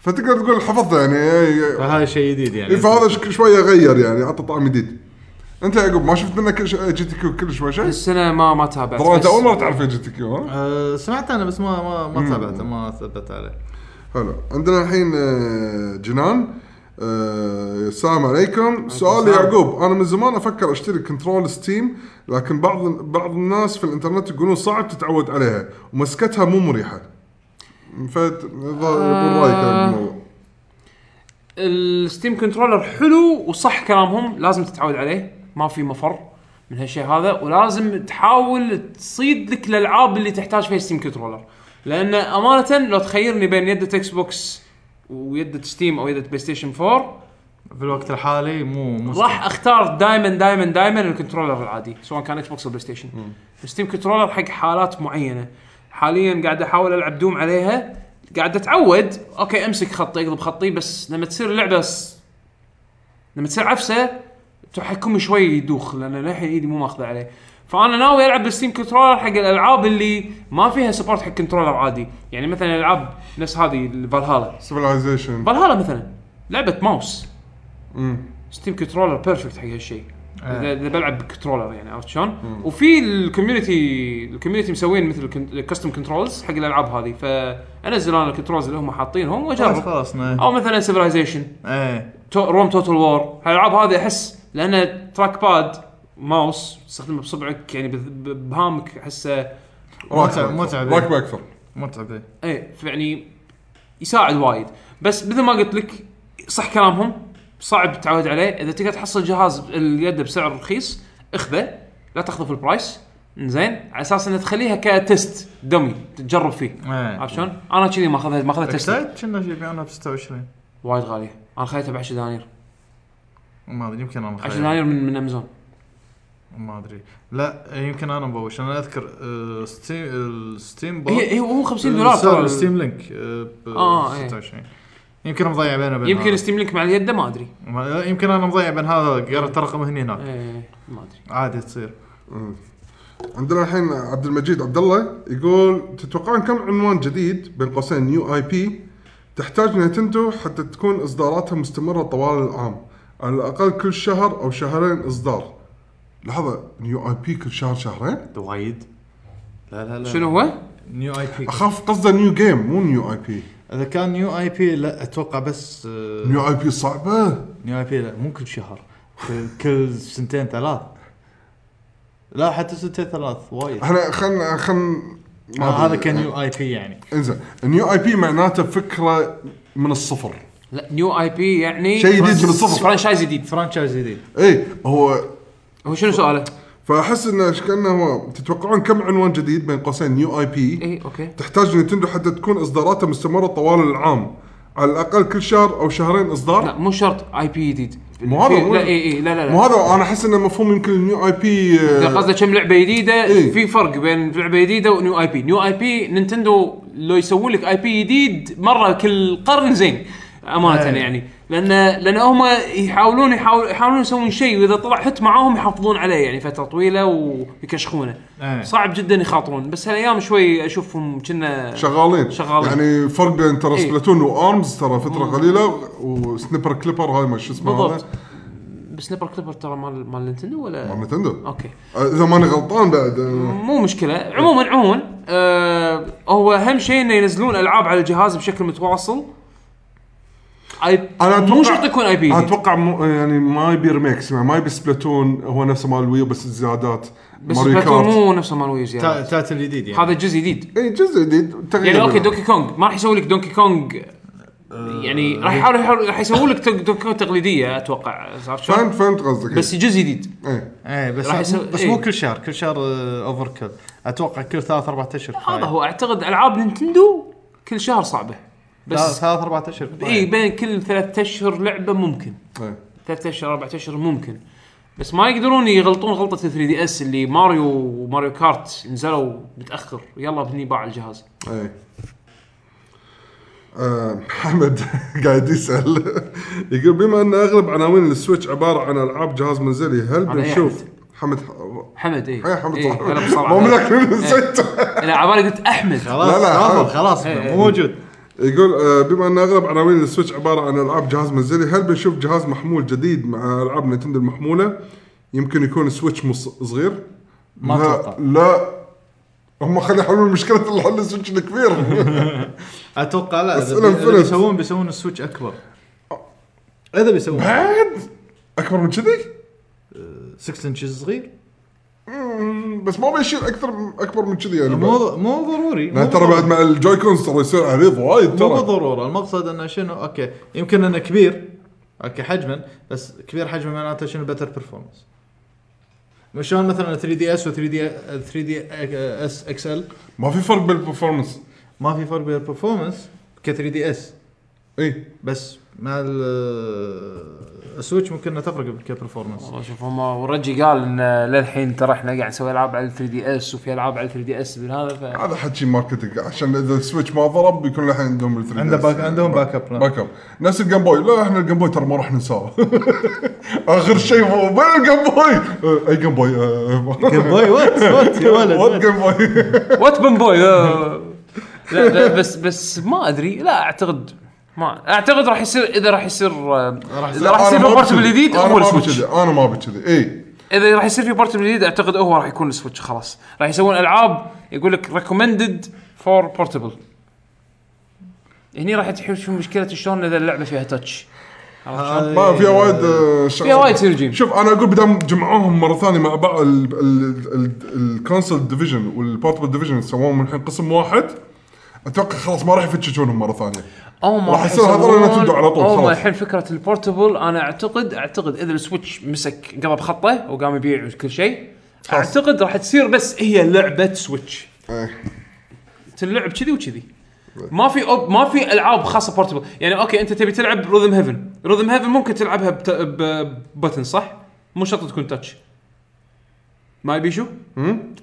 S2: فتقدر تقول حفظته يعني إيه، إيه.
S3: فهذا شيء جديد يعني
S2: فهذا شك- شويه غير يعني عطى طعم جديد انت يا يعقوب ما شفت منك اتش دي كيو كل شوي شيء؟
S1: بس انا ما ما تابعت
S2: ترى انت
S1: بس-
S2: اول مره تعرف اتش دي كيو ها؟
S3: آه، سمعت انا بس ما ما ما تابعته ما ثبت عليه
S2: حلو عندنا الحين آه، جنان آه، السلام عليكم سؤال يعقوب انا من زمان افكر اشتري كنترول ستيم لكن بعض بعض الناس في الانترنت يقولون صعب تتعود عليها ومسكتها مو مريحه فت يقول رايك عن الموضوع
S1: الستيم كنترولر حلو وصح كلامهم لازم تتعود عليه ما في مفر من هالشيء هذا ولازم تحاول تصيد لك الالعاب اللي تحتاج فيها ستيم كنترولر لان امانه لو تخيرني بين يده اكس بوكس ويده ستيم او يده بلاي ستيشن 4
S3: في الوقت الحالي مو مو
S1: راح اختار دائما دائما دائما الكنترولر العادي سواء كان اكس بوكس او بلاي ستيشن الستيم كنترولر حق حالات معينه حاليا قاعد احاول العب دوم عليها قاعد اتعود اوكي امسك خطي اقلب خطي بس لما تصير اللعبه س... لما تصير عفسه تحكمي شوي يدوخ لان للحين ايدي مو ماخذه عليه فانا ناوي العب بالستيم كنترولر حق الالعاب اللي ما فيها سبورت حق كنترولر عادي يعني مثلا العاب نفس هذه الفالهالا
S2: سيفلايزيشن
S1: فالهالا مثلا لعبه ماوس ستيم كنترولر بيرفكت حق هالشيء
S3: إيه.
S1: اذا اذا بلعب بكنترولر يعني عرفت شلون؟ وفي الكوميونتي الكوميونتي مسوين مثل الكستم كنترولز حق الالعاب هذه فانزل انا الكنترولز اللي هم حاطينهم
S3: خلاص
S1: واجرب
S3: خلاص نه.
S1: او مثلا سيفلايزيشن
S3: ايه
S1: روم توتال وور هالالعاب هذه احس لان تراك باد ماوس تستخدمه بصبعك يعني بذ- ب- بهامك احسه
S3: متعب متعب إيه.
S2: راكبه اكثر
S3: متعب إيه.
S1: اي يعني يساعد وايد بس مثل ما قلت لك صح كلامهم صعب تتعود عليه اذا تقدر تحصل جهاز اليد بسعر رخيص اخذه لا تاخذه في البرايس زين على اساس انه تخليها كتست دمي تجرب فيه
S3: ايه
S1: عرفت شلون؟ انا كذي ماخذها ماخذها تست
S3: اكسايد كنا يبيعونها ب 26
S1: وايد غاليه انا خذيتها ب 10 دنانير
S3: ما ادري يمكن انا
S1: 10
S3: مخيل.
S1: دنانير من من امازون
S3: ما ادري لا يمكن انا مبوش انا اذكر آه، ستيم الستيم بوك
S1: هي هي هو 50 دولار
S3: سعر
S1: ترى
S3: الستيم لينك آه، ب
S1: آه، إيه.
S3: 26 يمكن مضيع بينه وبين
S1: يمكن
S3: هذا.
S1: ستيم لينك مع اليد ما ادري
S3: ما- لا، يمكن انا مضيع بين هذا قرأت الرقم هني هناك
S1: إيه، ما ادري
S3: عادي تصير
S2: عندنا الحين عبد المجيد عبد الله يقول تتوقعون كم عنوان جديد بين قوسين نيو اي بي تحتاج نينتندو حتى تكون اصداراتها مستمره طوال العام على الاقل كل شهر او شهرين اصدار لحظه نيو اي بي كل شهر شهرين
S8: وايد لا لا لا
S1: شنو هو؟
S3: نيو اي بي
S2: اخاف قصده نيو جيم مو نيو اي بي
S3: اذا كان نيو اي بي لا اتوقع بس آه،
S2: نيو اي بي صعبه
S3: نيو اي بي لا مو كل شهر كل- كل سنتين ثلاث لا حتى سنتين ثلاث وايد
S2: احنا خلنا خلنا
S3: آه، هذا كان نيو اي بي يعني
S2: انزين النيو اي بي معناته فكره من الصفر
S1: لا نيو اي بي يعني
S2: شيء جديد من الصفر.
S1: فرانشايز جديد
S3: فرانشايز جديد
S2: اي إيه، هو
S1: هو شنو سؤاله؟
S2: فاحس انه إيش كانه هو تتوقعون كم عنوان جديد بين قوسين نيو اي بي
S1: اي اوكي
S2: تحتاج نينتندو حتى تكون اصداراتها مستمره طوال العام على الاقل كل شهر او شهرين
S1: لا
S2: اصدار
S1: مو شرط اي بي جديد
S2: مو هذا
S1: في-
S2: مو-
S1: لا اي اي لا لا
S2: مو
S1: لا
S2: هذا انا احس انه مفهوم يمكن النيو اي بي
S1: إذا قصدك كم لعبه جديده
S2: إيه.
S1: في فرق بين لعبه جديده ونيو اي بي نيو اي بي نينتندو لو يسوون لك اي بي جديد مره كل قرن زين امانه
S2: إيه.
S3: أي.
S1: يعني لان لان هم يحاولون يحاول- يحاولون يسوون شيء واذا طلع حت معاهم يحافظون عليه يعني فتره طويله ويكشخونه
S2: إيه.
S3: أي.
S1: صعب جدا يخاطرون بس هالايام شوي اشوفهم كنا
S2: شغالين
S1: شغالين.
S2: يعني فرق بين ترى
S1: إيه.
S2: سبلاتون وارمز ترى فتره قليله وسنيبر كليبر هاي ما شو اسمه
S1: بالضبط
S2: هذا؟
S1: بس نيبر كليبر ترى مال مال نينتندو
S2: مال
S1: ولا
S2: نينتندو
S1: اوكي
S2: اذا آه، ماني غلطان بعد آه،
S1: مو مشكله عموما عموما آه هو اهم شيء انه ينزلون العاب على الجهاز بشكل متواصل اي
S2: أنا
S1: مو
S2: أتوقع-
S1: شرط يكون اي بي
S2: انا
S1: جديد.
S2: اتوقع مو يعني ما يبي ريميكس ما يبي سبلاتون هو نفسه مال الويو بس زيادات
S1: بس سبلاتون مو نفسه مال ويو زيادة.
S3: تا- تايتل جديد يعني
S1: هذا جزء جديد
S2: اي إيه، جزء جديد تغيير
S1: يعني اوكي
S2: منه.
S1: دونكي كونج ما راح يسوي لك دونكي كونج يعني راح يحاول يحاول- راح يسوون لك دونكي كونج تقليديه اتوقع عرفت شلون؟
S2: فهمت فهمت قصدك
S1: بس جزء جديد
S2: إيه.
S3: ايه بس
S1: راح يسوي-
S3: بس
S1: إيه.
S3: مو كل شهر كل شهر اوفر كل اتوقع كل ثلاث اربع اشهر
S1: هذا هو اعتقد العاب نينتندو كل شهر صعبه بس
S3: بس
S1: إيه،
S3: ثلاث اربع اشهر
S1: اي بين كل ثلاثة اشهر لعبه ممكن
S2: إيه.
S1: ثلاثة اشهر اربعة اشهر ممكن بس ما يقدرون يغلطون غلطه 3 دي اس اللي ماريو وماريو كارت نزلوا متاخر يلا هني باع الجهاز
S2: إيه. آه، حمد (laughs) قاعد يسال يقول بما ان اغلب عناوين السويتش عباره عن العاب جهاز منزلي هل
S1: على أي
S2: بنشوف حمد
S1: حمد إيه. اي
S2: يا حمد صح
S1: هلا
S2: مو
S1: بصراحه
S2: منك من السويتش
S1: لا عبالي قلت احمد
S3: خلاص
S2: لا، لا،
S3: رفض،
S2: هذا-
S3: خلاص
S1: إيه.
S3: مو موجود
S2: يقول آه، بما ان اغلب عناوين السويتش عباره عن العاب جهاز منزلي هل بنشوف جهاز محمول جديد مع العاب نتندو المحموله يمكن يكون سويتش مص- صغير
S3: ما
S2: لا-
S3: أتوقع.
S2: لا هم خلي يحلون مشكله اللي حل السويتش
S3: (laughs)
S2: الكبير
S3: اتوقع لا
S2: بس
S3: إذا-
S2: أنا
S3: اذا
S2: فلت.
S3: بيسوون بيسوون السويتش اكبر اذا بيسوون
S2: بعد اكبر من كذي
S3: 6 انشز صغير
S2: مم، بس ما بيشيل اكثر اكبر من كذي يعني بعد.
S3: مو مو ضروري
S2: لا
S3: مو
S2: ترى
S3: ضروري.
S2: بعد مع الجوي كونز ترى يصير عريض وايد
S3: مو
S2: ترى
S3: بالضروره المقصد انه شنو اوكي يمكن انه كبير اوكي حجما بس كبير حجما معناته شنو بتر برفورمانس شلون مثلا 3 دي اس و 3 دي 3 دي اس اكس ال
S2: ما في فرق بالبرفورمانس
S3: ما في فرق بين البرفورمانس ك 3 دي اس
S2: اي
S3: بس مع ال- السويتش ممكن انه تفرق كبرفورمانس
S1: والله شوف هم ورجي قال ان للحين ترى احنا قاعد نسوي العاب على 3 دي اس وفي العاب على 3 دي اس من هذا (laughs) ف
S2: هذا حكي ماركتنج عشان اذا السويتش ما ضرب بيكون الحين عندهم ال 3
S3: عنده باك- عندهم باك اب (laughs) بلان.
S2: باك اب نفس الجيم بوي لا احنا الجيم بوي ترى ما راح ننساه (laughs) اخر شيء مو وين الجيم بوي آه، اي جيم بوي آه،
S3: جيم بوي وات وات يا
S2: وات
S3: ولد
S2: جيم بوي
S1: وات بن بوي لا آه. لا بس بس ما ادري لا اعتقد ما اعتقد راح يصير اذا راح يصير آه، اذا راح يصير
S2: أنا ما
S1: بورتبل
S2: بكذي.
S1: جديد
S2: أنا
S1: هو
S2: ما
S1: السويتش
S2: بكذي، انا ما إيه. بكذي اي
S1: اذا راح يصير في بورتبل جديد اعتقد هو راح يكون السويتش خلاص راح يسوون العاب يقول لك ريكومندد فور بورتبل هني راح تحوش في مشكله شلون اذا اللعبه فيها تاتش
S2: ما في وايد آه، شغل.
S1: فيها إيه. وايد سيرجين
S2: شوف انا اقول بدام جمعوهم مره ثانيه مع بعض ال- ال- ال- الكونسل ديفيجن والبورتبل ديفيجن سووهم الحين قسم واحد اتوقع خلاص ما راح يفتشونهم مره ثانيه
S1: او ما
S2: راح يصير هذول
S1: يسوون-
S2: نتندو على طول،
S1: او ما
S2: خلاص.
S1: الحين فكره البورتبل انا اعتقد اعتقد اذا السويتش مسك قلب خطه وقام يبيع كل شيء
S2: خلاص.
S1: اعتقد راح تصير بس هي لعبه سويتش
S2: إيه.
S1: تنلعب كذي وكذي ما في أوب ما في العاب خاصه بورتبل يعني اوكي انت تبي تلعب رذم هيفن رذم هيفن ممكن تلعبها بت... ب- ببتن صح مو شرط تكون تاتش ما يبي شو؟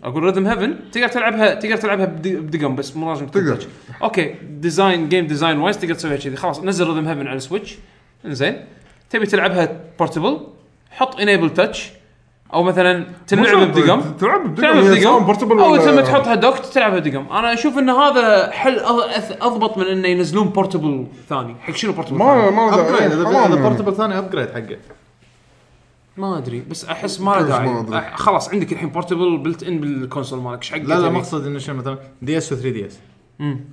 S1: اقول ريذم هيفن تقدر تلعبها تقدر تلعبها بدي- بدقم بس مو لازم تكون
S2: تقدر.
S1: touch. اوكي ديزاين جيم ديزاين وايز تقدر تسويها كذي خلاص نزل ريذم هيفن على السويتش انزين تبي تلعبها بورتبل حط انيبل تاتش او مثلا تلعب بدقم
S2: تلعب بدقم
S1: تلعب
S2: هي سواء بورتبل
S1: بدقم او
S2: ولا-
S1: تم تحطها دوك تلعبها بدقم انا اشوف ان هذا حل أض- أث- اضبط من انه ينزلون بورتبل ثاني حق شنو بورتبل
S2: ما
S1: ثاني؟
S2: ما له داعي.
S3: ابجريد اذا
S2: حرام
S3: إذا
S2: يعني.
S3: بورتبل ثاني ابجريد حقه
S1: ما ادري بس احس ما له
S2: كيف ما
S1: داعي
S2: أدري.
S1: أح- خلاص عندك الحين بورتبل بلت ان بالكونسول مالك ايش حق
S3: لا لا مقصد انه شنو مثلا دي اس و 3 دي اس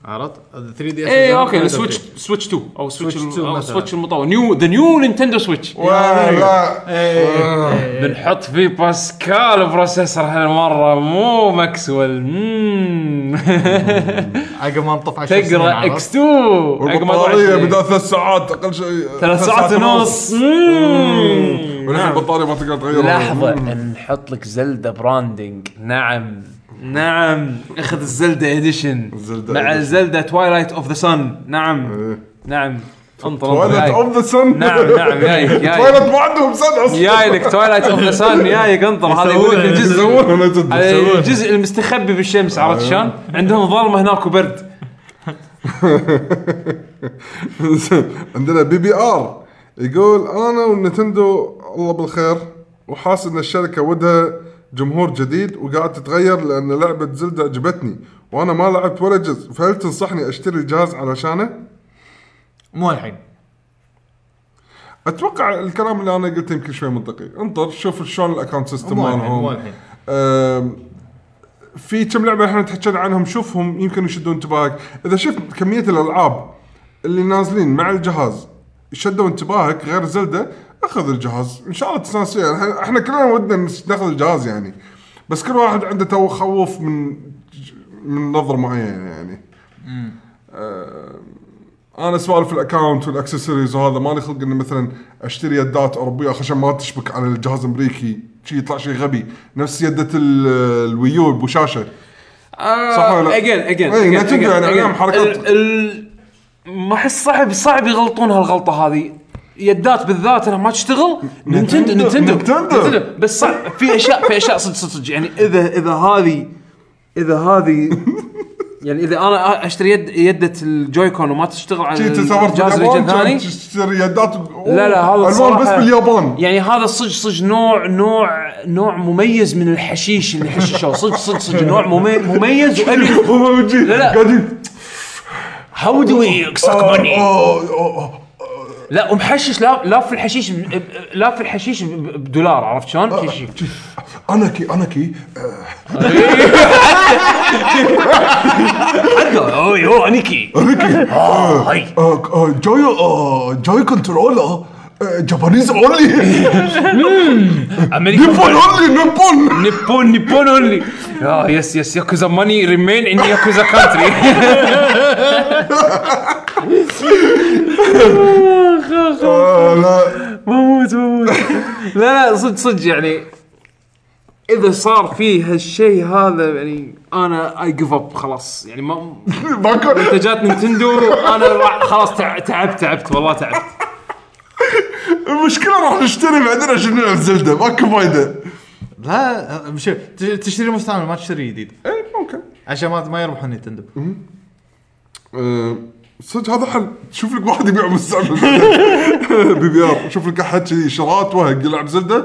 S3: عرفت 3 دي اس
S1: اي اوكي السويتش سويتش 2 او سويتش
S3: سويتش
S1: ال-
S3: 2
S1: أو
S3: مثلاً.
S1: سويتش المطور نيو ذا نيو نينتندو سويتش
S2: ولا
S1: إيه.
S2: آه.
S1: بنحط فيه باسكال بروسيسور هالمره مو ماكسويل (laughs) مم.
S3: عقب ما نطف 10 سنين،
S1: تقرا
S3: عرفت؟
S1: اكس 2 عقب ما طلع
S2: والبطاريه
S1: شيء.
S2: بدها ثلاث ساعات اقل شيء
S1: ثلاث ساعات ونص مم.
S2: ونحن البطاريه ما تقدر تغيرها
S1: لحظة نحط لك زلدة براندنج نعم نعم اخذ الزلدة اديشن
S2: الزلدة
S1: مع
S2: edition.
S1: زلدة توايلايت اوف ذا سن نعم
S2: إيه.
S1: نعم انطر انطر
S2: توالت
S1: جاي.
S2: اوف ذا سن
S1: نعم
S2: (laughs)
S1: نعم جايك جايك
S2: توالت ما عندهم سن اصلا
S1: جاي لك توايلايت اوف ذا سن جايك انطر هذا يقول لك الجزء
S2: يسوونها لا تدري.
S1: هذا الجزء المستخبي بالشمس عرفت شلون؟ عندهم ظلمة هناك وبرد
S2: (laughs) عندنا بي بي ار يقول انا والنتندو الله بالخير وحاس ان الشركه ودها جمهور جديد وقاعد تتغير لان لعبه زلدة عجبتني وانا ما لعبت ولا جزء فهل تنصحني اشتري الجهاز علشانه؟
S3: مو الحين
S2: اتوقع الكلام اللي انا قلته يمكن شوي منطقي انطر شوف شلون الاكونت سيستم
S3: مو الحين مو
S2: مالهم
S3: الحين
S2: أم، في كم لعبه احنا تحكينا عنهم شوفهم يمكن يشدون انتباهك اذا شفت كميه الالعاب اللي نازلين مع الجهاز شدوا انتباهك غير زلدة اخذ الجهاز ان شاء الله تستانس فيها إحنا- احنا كلنا ودنا نس- ناخذ الجهاز يعني بس كل واحد عنده تو خوف من من نظر معين يعني أم، انا سوالف الاكونت والاكسسوارز وهذا مالي خلق اني مثلا اشتري يدات اوروبيه عشان ما تشبك على الجهاز الامريكي شي يطلع شيء غبي نفس يده ال- الويو بوشاشه
S1: آه،
S2: صح ولا لا؟
S1: اجين اجين
S2: إيه، لا تنجو يعني أيام حركات.
S1: ما احس صعب صعب يغلطون هالغلطه هذه يدات بالذات انها ما تشتغل نينتندو نينتندو
S2: نينتندو.
S1: نينتندو. بس صعب في اشياء في اشياء صدق صدق صدق يعني اذا اذا هذه اذا
S2: (laughs)
S1: هذه يعني اذا انا اشتري يد يده الجويكون وما تشتغل على
S2: شي تسافرت
S1: الجهاز
S2: باليابان
S1: الثاني
S2: كان تشتري يدات و-
S1: لا لا هذا
S2: الوان
S1: الصراحة-
S2: بس
S1: (laughs)
S2: باليابان
S1: يعني هذا صدق صدق نوع نوع نوع مميز من الحشيش اللي حششوه صدق صدق صدق نوع ممي- مميز وابي
S2: هم موجودين.
S1: لا، لا.
S2: قاعدين آه،
S1: هاو دو وي ساك ماني
S2: أوه، أوه، أوه.
S1: لا ومحشش لا لا في الحشيش ب- ب- لا في الحشيش ب- بدولار عرفت شلون؟ في شيء.
S2: انكي انكي
S1: اوي او انيكي (laughs)
S2: انكي آه،
S1: هاي.
S2: آه، آه، جاي آه، جاي كنترولر آه،
S1: (laughs)
S2: جابانيز اونلي نيبون اونلي نيبون
S1: نيبون نيبون آه، اونلي يا يس يس ياكوزا ماني ريمين ان ياكوزا
S2: (laughs)
S1: كانتري
S2: آه، لا
S1: بموت بموت لا لا صدق صدق يعني اذا صار في هالشيء هذا يعني انا اي جيف اب خلاص يعني ما
S2: ماكو
S1: منتجات نينتندو انا راح- خلاص تع- تعبت تعبت والله تعبت
S2: المشكله راح نشتري بعدين عشان نلعب زلده ماكو فايده
S3: لا مش تش- تشتري مستعمل ما تشتري جديد
S2: اي ممكن
S3: عشان ما ما يربحون نينتندو
S2: أه، صدق هذا حل شوف لك واحد يبيع مستعمل (laughs) بي بي ار شوف لك احد كذي شراط وهق يلعب زلده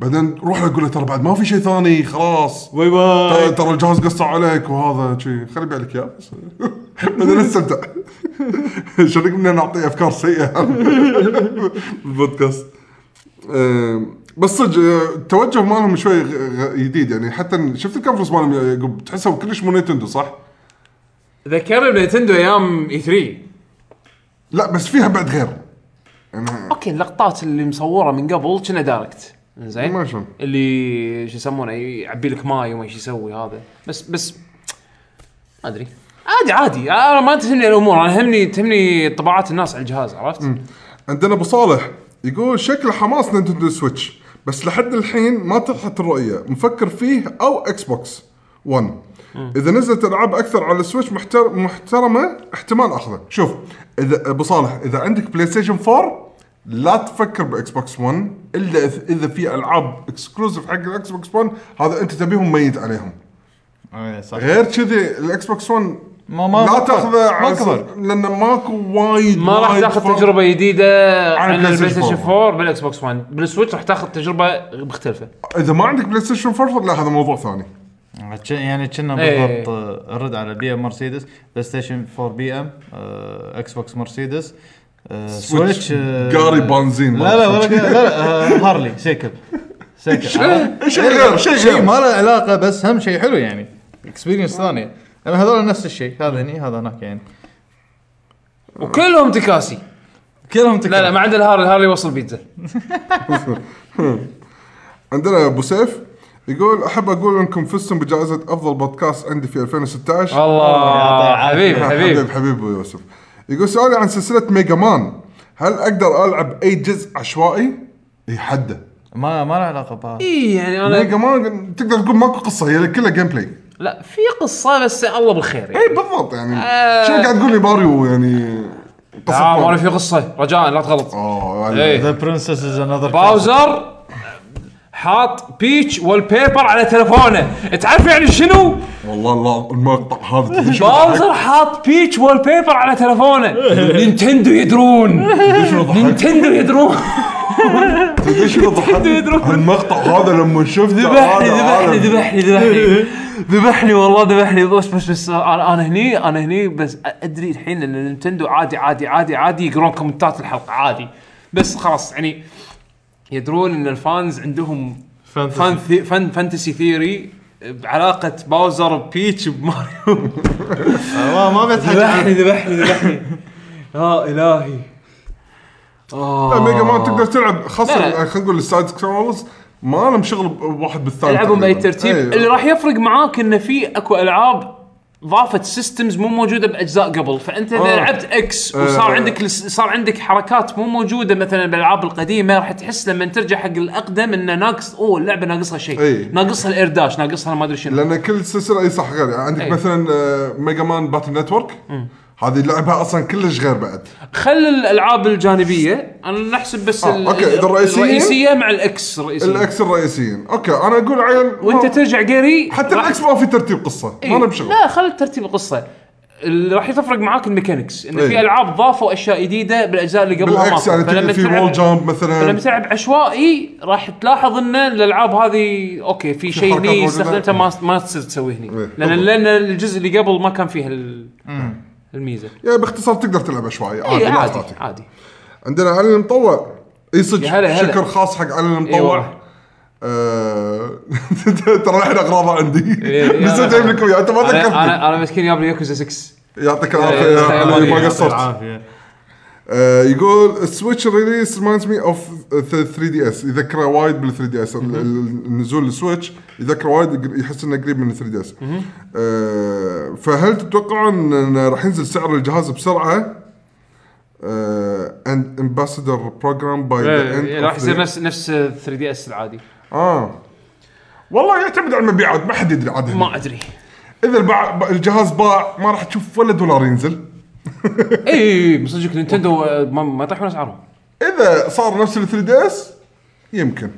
S2: بعدين روح له قول له ترى بعد ما في شيء ثاني خلاص
S3: باي باي
S2: ترى- ترى الجهاز قصه عليك وهذا شي خلي يبيع لك اياه بس. (laughs) بعدين (laughs) استمتع شلون قمنا نعطي افكار سيئه (laughs) بالبودكاست أم، بس صدق أه، التوجه مالهم شوي غ- غ- جديد يعني حتى شفت الكونفرنس مالهم يا يعقوب تحسه كلش مو نينتندو صح؟
S1: ذكرني بنينتندو ايام اي 3
S2: لا بس فيها بعد غير
S1: اوكي اللقطات اللي مصوره من قبل كنا دايركت زين
S2: ما شلون
S1: اللي شو يسمونه يعبي لك ماي وما شو يسوي هذا بس بس ما ادري عادي عادي انا ما تهمني الامور انا همني تهمني طباعات الناس على الجهاز عرفت؟
S2: عندنا ابو صالح يقول شكل حماس نينتندو سويتش بس لحد الحين ما طرحت الرؤيه مفكر فيه او اكس بوكس 1 اذا نزلت العاب اكثر على السويتش محتر... محترمه احتمال اخذه شوف اذا ابو صالح اذا عندك بلاي ستيشن 4 لا تفكر باكس بوكس 1 الا إذ- اذا في العاب اكسكلوسيف حق الاكس بوكس 1 هذا انت تبيهم ميت عليهم
S3: إيه، صح
S2: غير كذي الاكس بوكس 1
S3: ما ما
S2: لا تاخذه على
S3: ما
S2: أساس-
S3: كبر
S2: لان ماكو وايد
S1: ما راح
S2: وايد
S1: تاخذ
S2: فرق.
S1: تجربه جديده
S2: عن
S1: عن
S2: البلاي
S1: البلاي
S2: ستيشن
S1: ستيشن
S2: فور.
S1: 4 بالاكس بوكس 1 بالسويتش راح تاخذ تجربه مختلفه
S2: اذا ما عندك بلاي ستيشن 4 لا هذا موضوع ثاني
S3: عشان- يعني كنا
S1: إيه.
S3: بالضبط آه، الرد على بي ام مرسيدس بلاي ستيشن 4 بي ام آه، اكس بوكس مرسيدس آه، سويتش آه،
S2: قاري بنزين
S3: لا لا ولا لا لا آه، هارلي سيكل سيكل عرفت؟
S2: شيء غير شيء
S3: شيء
S2: غير
S3: إيه، ما له علاقه بس هم شيء حلو يعني اكسبيرينس
S1: آه.
S3: ثانيه انا هذول نفس الشيء هذا هني هذا هناك يعني
S1: وكلهم تكاسي
S3: كلهم
S1: لا لا ما عدا الهارلي الهارلي وصل بيتزا
S2: عندنا ابو سيف يقول احب اقول انكم فزتم بجائزه افضل بودكاست عندي في 2016
S1: الله حبيب
S2: نعم، حبيب
S1: حبيب
S2: حبيب ابو يوسف يقول سؤالي عن سلسله ميجا مان هل اقدر العب اي جزء عشوائي؟ اي حده
S3: ما ما له علاقه بها
S1: اي يعني انا
S2: ميجا مان تقدر تقول ماكو يعني قصه هي كلها جيم بلاي
S1: لا في قصه بس الله بالخير يعني
S2: اي بالضبط يعني
S1: آه.
S2: شو قاعد تقول لي ماريو يعني قصه
S1: لا ما
S2: ماريو.
S1: في قصه رجاء لا تغلط
S2: اه
S1: إيه.
S2: يعني
S3: ذا برنسس از انذر
S1: باوزر حاط بيتش والبيبر على تلفونه تعرف يعني شنو
S2: والله الله المقطع هذا تدري
S1: (laughs)
S2: شنو ضحك؟
S1: باوزر حاط بيتش والبيبر على تلفونه نينتندو يدرون نينتندو يدرون
S2: تدري شنو ضحك؟
S1: يدرون.
S2: المقطع هذا لما شفته
S1: ذبحني
S2: هذا
S1: ذبحني
S2: عالم.
S1: ذبحني ذبحني ذبحني والله ذبحني بس بس بس انا انا هني انا هني بس ادري الحين ان نينتندو عادي عادي عادي عادي يقرون كومنتات الحلقه عادي بس خلاص يعني يدرون ان الفانز عندهم فان ثي فان فانتسي ثيري بعلاقه باوزر ببيتش بماريو
S3: آه، ما ما بيتحكى
S1: ذبحني
S3: عن-
S1: ذبحني ذبحني يا الهي آه.
S2: لا، ميجا مان آه، تقدر تلعب
S1: لا، لا.
S2: خاصه خلينا نقول السايد سكرولز ما لهم شغل بواحد بالثاني
S1: العبهم باي
S2: تقريباً.
S1: ترتيب
S2: أيوة.
S1: اللي راح يفرق معاك انه في اكو العاب ضافت سيستمز مو موجوده باجزاء قبل فانت اذا
S2: آه.
S1: لعبت اكس
S2: آه.
S1: وصار عندك لس- صار عندك حركات مو موجوده مثلا بالالعاب القديمه راح تحس لما ترجع حق الاقدم انه ناقص اوه اللعبه ناقصها
S2: أي.
S1: شيء ناقصها الاير داش ناقصها ما ادري شنو
S2: لان كل سلسله اي صح غير يعني عندك
S1: أي.
S2: مثلا آه، ميجا مان باتل نتورك هذه لعبها اصلا كلش غير بعد
S1: خل الالعاب الجانبيه انا نحسب بس
S2: آه،
S1: ال-
S2: أوكي، إذا الرئيسية؟
S1: الرئيسيه مع الاكس الرئيسيه
S2: الاكس الرئيسيين اوكي انا اقول عيل
S1: وانت
S2: ما-
S1: ترجع قري
S2: حتى
S1: راح
S2: الاكس ما في ترتيب قصه ما
S1: إيه.
S2: لهم شغل
S1: لا خل ترتيب القصه اللي راح يفرق معاك الميكانكس ان
S2: إيه.
S1: في العاب ضافوا اشياء جديده بالاجزاء اللي قبلها
S2: بالعكس
S1: ماكو.
S2: يعني تلعب في وول جامب
S1: فلما
S2: مثلا
S1: تلعب عشوائي راح تلاحظ ان الالعاب هذه اوكي في شيء
S2: حركات
S1: هني
S2: موجودة.
S1: استخدمته ما ما تصير تسويه هني
S2: إيه.
S1: لان
S2: بالضبط.
S1: لان الجزء اللي قبل ما كان فيه ال- الميزه
S2: يعني باختصار تقدر تلعب شوي عادي
S1: إيه،
S2: لا
S1: عادي
S2: تعطي.
S1: عادي
S2: عندنا علي المطوع اي
S1: يا هلا،
S2: صدق
S1: هلا. أيوة.
S2: شكر خاص حق علي
S1: إي
S2: المطوع
S1: والله.
S2: آه، (laughs) ترى الحين اغراضه عندي
S1: إيه، إيه،
S2: نسيت اجيب لكم اياه انت ما
S1: انا
S2: ذكرتني
S1: انا, أنا مسكين جاب لي ياكوزا 6
S2: يعطيك
S1: إيه،
S2: العافيه
S1: إيه،
S2: يا علي ما
S1: يعطيك
S2: قصرت آه، يقول السويتش ريليس ريمايندز مي اوف 3 دي اس يذكره وايد بال 3 دي اس النزول السويتش يذكره وايد يق- يحس انه قريب من 3 دي اس آه، فهل تتوقعون انه راح ينزل سعر الجهاز آه، بسرعه؟ اند امباسادور بروجرام باي ذا اند
S1: إيه، راح يصير نفس نفس 3 دي اس العادي
S2: اه والله يعتمد على المبيعات ما حد يدري عاد هني.
S1: ما ادري
S2: اذا الباع ب- الجهاز باع ما راح تشوف ولا دولار ينزل
S1: إي، اي إي، صدق نينتندو آه، ما ما يطيحون اسعارهم
S2: اذا صار نفس ال 3 دي اس يمكن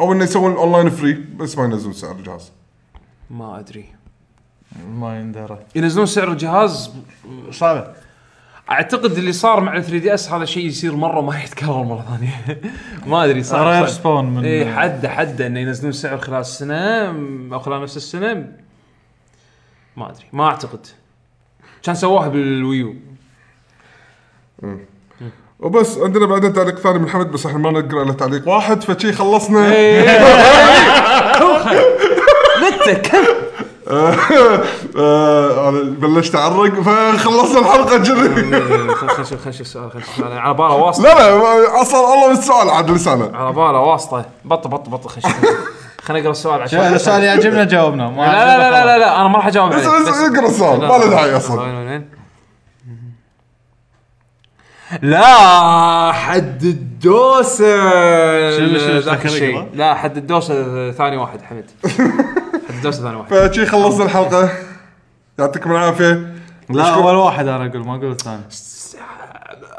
S2: او انه يسوون اونلاين فري بس ما ينزلون سعر الجهاز
S1: ما ادري
S3: ما يندرى
S1: ينزلون سعر الجهاز
S3: صعبه
S1: اعتقد اللي صار مع 3 دي اس هذا شيء يصير مره ما يتكرر مره ثانيه ما ادري صار
S3: رير سبون من
S1: اي إيه، حد حد انه ينزلون سعر خلال السنه م- او خلال نفس السنه ما ادري ما اعتقد كان سواها بالويو
S2: وبس عندنا بعدين تعليق ثاني من حمد بس احنا ما نقرا الا تعليق واحد فشي خلصنا
S1: متى
S2: (laughs) آه، أنا بلشت اعرق فخلصنا الحلقه كذي
S1: خل شوف خل شوف سؤال خل شوف سؤال على باله واسطه
S2: لا لا اصلا الله من السؤال عاد لسانه
S1: على باله واسطه بط بط بط خل خليني اقرا السؤال عشان
S3: هذا السؤال يعجبنا جاوبنا ما
S1: لا لا لا لا لا, لا انا ما راح اجاوب
S2: بس-
S1: عليه
S2: بس اقرا السؤال ما له داعي اصلا
S1: وين وين وين؟ لا حد الدوسه
S3: شنو- شنو
S1: ذاك
S3: تذكر
S1: الشيء.
S3: يقرأ؟
S1: لا حد الدوسه ثاني واحد حمد حد الدوسه ثاني واحد
S2: فشي خلصنا الحلقه يعطيكم العافيه
S3: لا اول واحد انا اقول ما اقول الثاني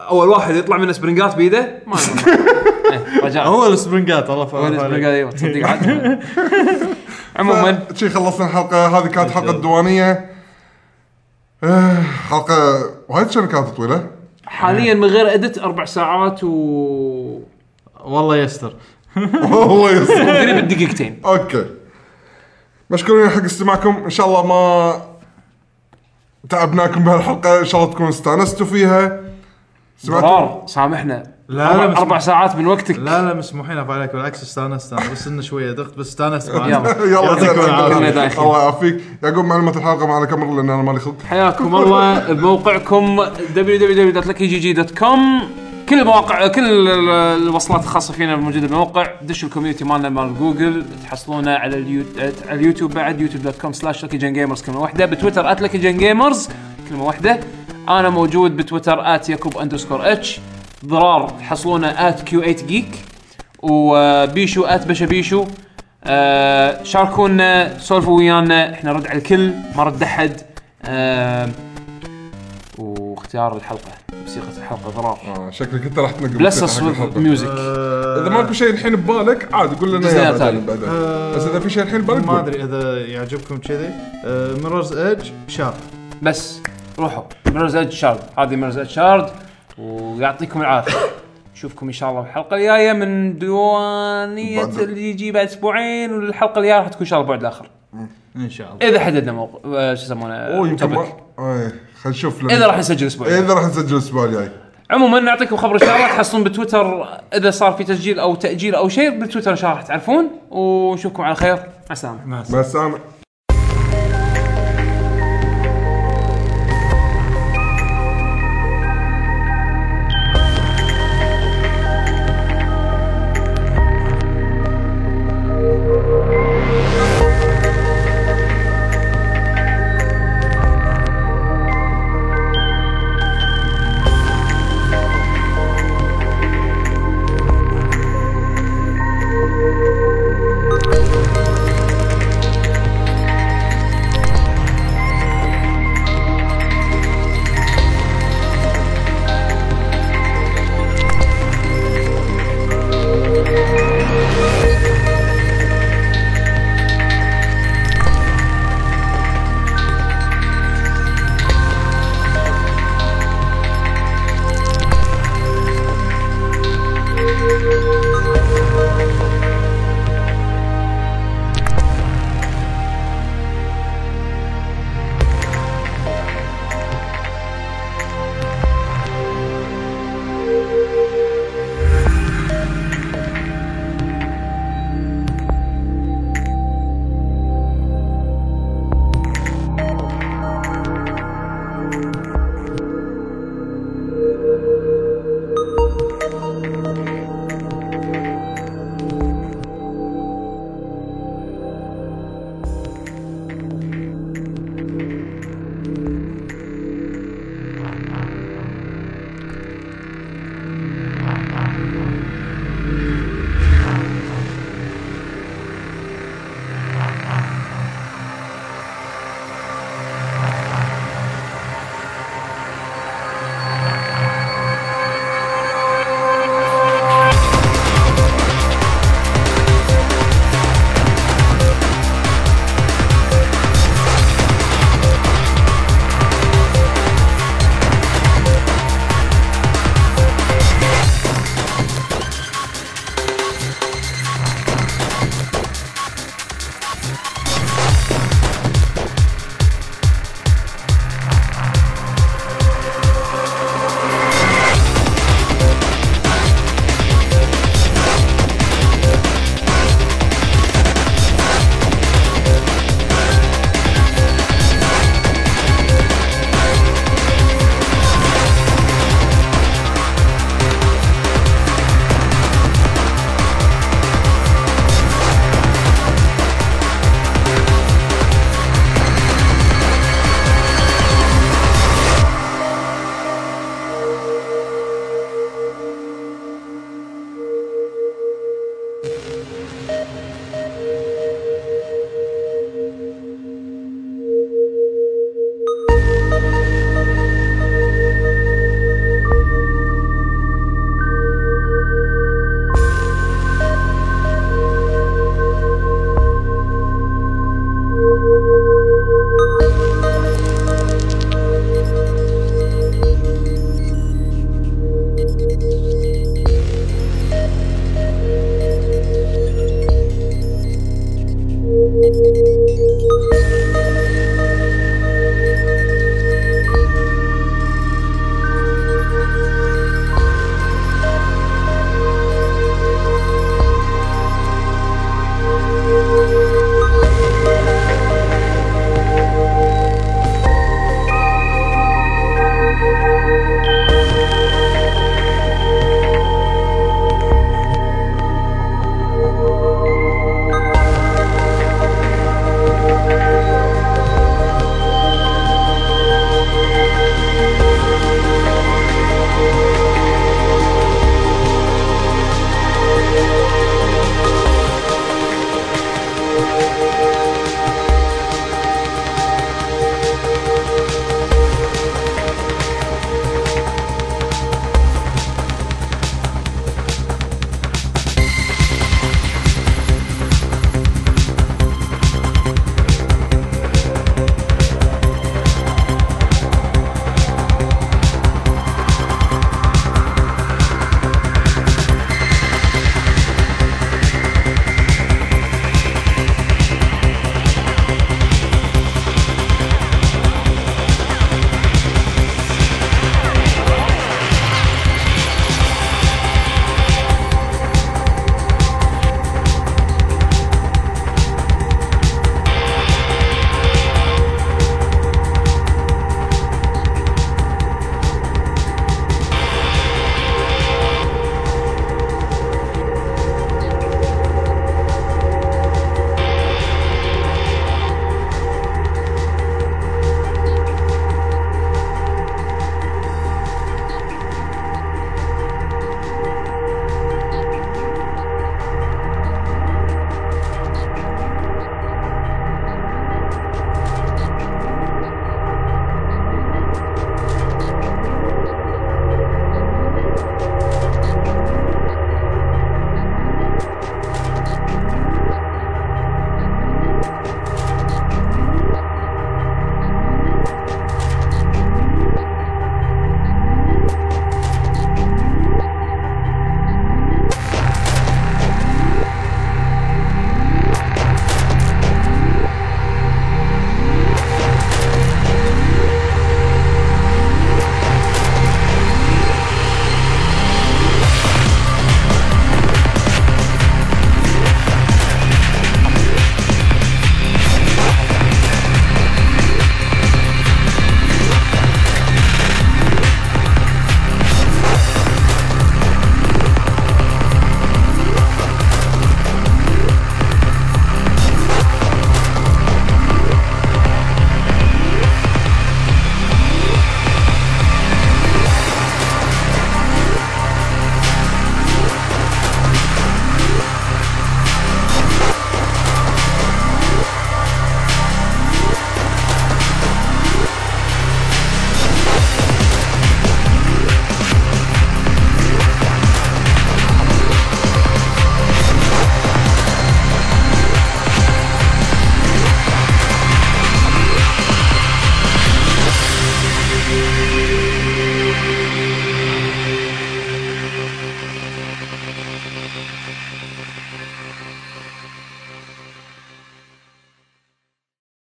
S1: اول واحد يطلع من سبرنجات بايده ما إيه، رجاء
S3: هو السبرنجات الله
S1: أول
S3: فاهم
S1: سبرنجات، أيوة، تصدق عاد عموما
S2: شي خلصنا الحلقه هذه كانت حلقه الديوانيه آه، حلقه وايد شنو كانت طويله (laughs)
S1: حاليا من غير ادت اربع ساعات و
S3: والله يستر
S2: والله يسر
S1: قريب الدقيقتين
S2: اوكي مشكورين حق استماعكم ان شاء الله ما تعبناكم بهالحلقه ان شاء الله تكونوا استانستوا فيها
S3: آه.
S2: سمعتوا
S1: ضرار سامحنا
S3: لا،
S1: اربع,
S3: لا، بس-
S1: أربع ساعات من وقتك
S3: لا لا مسموحين أفا عليك بالعكس استانست انا بس انه شويه ضغط بس استانست
S1: يلا.
S2: يلا
S3: يعطيكم العافية.
S1: داخل.
S2: الله يعافيك يعقوب معلومات الحلقه معنا كاميرا لان انا مالي خلق
S1: حياكم الله بموقعكم www.luckygg.com كل المواقع كل ال- ال- الوصلات الخاصه فينا موجوده بالموقع دش الكوميونتي مالنا مال جوجل تحصلونه على اليو... على اليوتيوب بعد youtube.com slash luckygengamers كلمه واحده بتويتر at luckygengamers كلمه واحده انا موجود بتويتر at يكوب اندرسكور اتش ضرار تحصلونه at q8geek وبيشو ات بشا بيشو آه شاركونا سولفوا ويانا احنا رد على الكل ما رد احد آه واختيار الحلقه موسيقى الحلقه ضرار
S2: آه، شكلك انت راح تنقل
S1: بلس
S2: حق الحلقة.
S1: ميوزك
S3: آه،
S2: اذا ماكو شيء الحين ببالك عاد قول لنا
S1: دزينا
S2: إياه
S1: تالي.
S2: بعدين بعدين بس اذا في شيء الحين ببالك
S3: آه، ما
S2: قول.
S3: ادري اذا يعجبكم كذي آه، ميرورز ايدج شارب
S1: بس روحوا مرز اد شارد هذه مرز اد شارد ويعطيكم العافيه (coughs) نشوفكم ان شاء الله بالحلقه الجايه من ديوانيه
S2: بعد-
S1: اللي يجي بعد اسبوعين والحلقه الجايه راح تكون ان شاء الله بعد الاخر
S3: ان شاء الله
S1: اذا حددنا موقع آه، شو
S2: اوه
S1: يسمونه
S2: يمكن
S1: topic.
S2: ما- ايه خلينا نشوف لأن-
S1: اذا راح نسجل اسبوعين
S2: اذا راح نسجل الاسبوع الجاي
S1: عموما نعطيكم خبر ان شاء الله تحصلون بتويتر اذا صار في تسجيل او تاجيل او شيء بالتويتر ان شاء الله راح تعرفون ونشوفكم على خير مع السلامه
S2: مع السلامه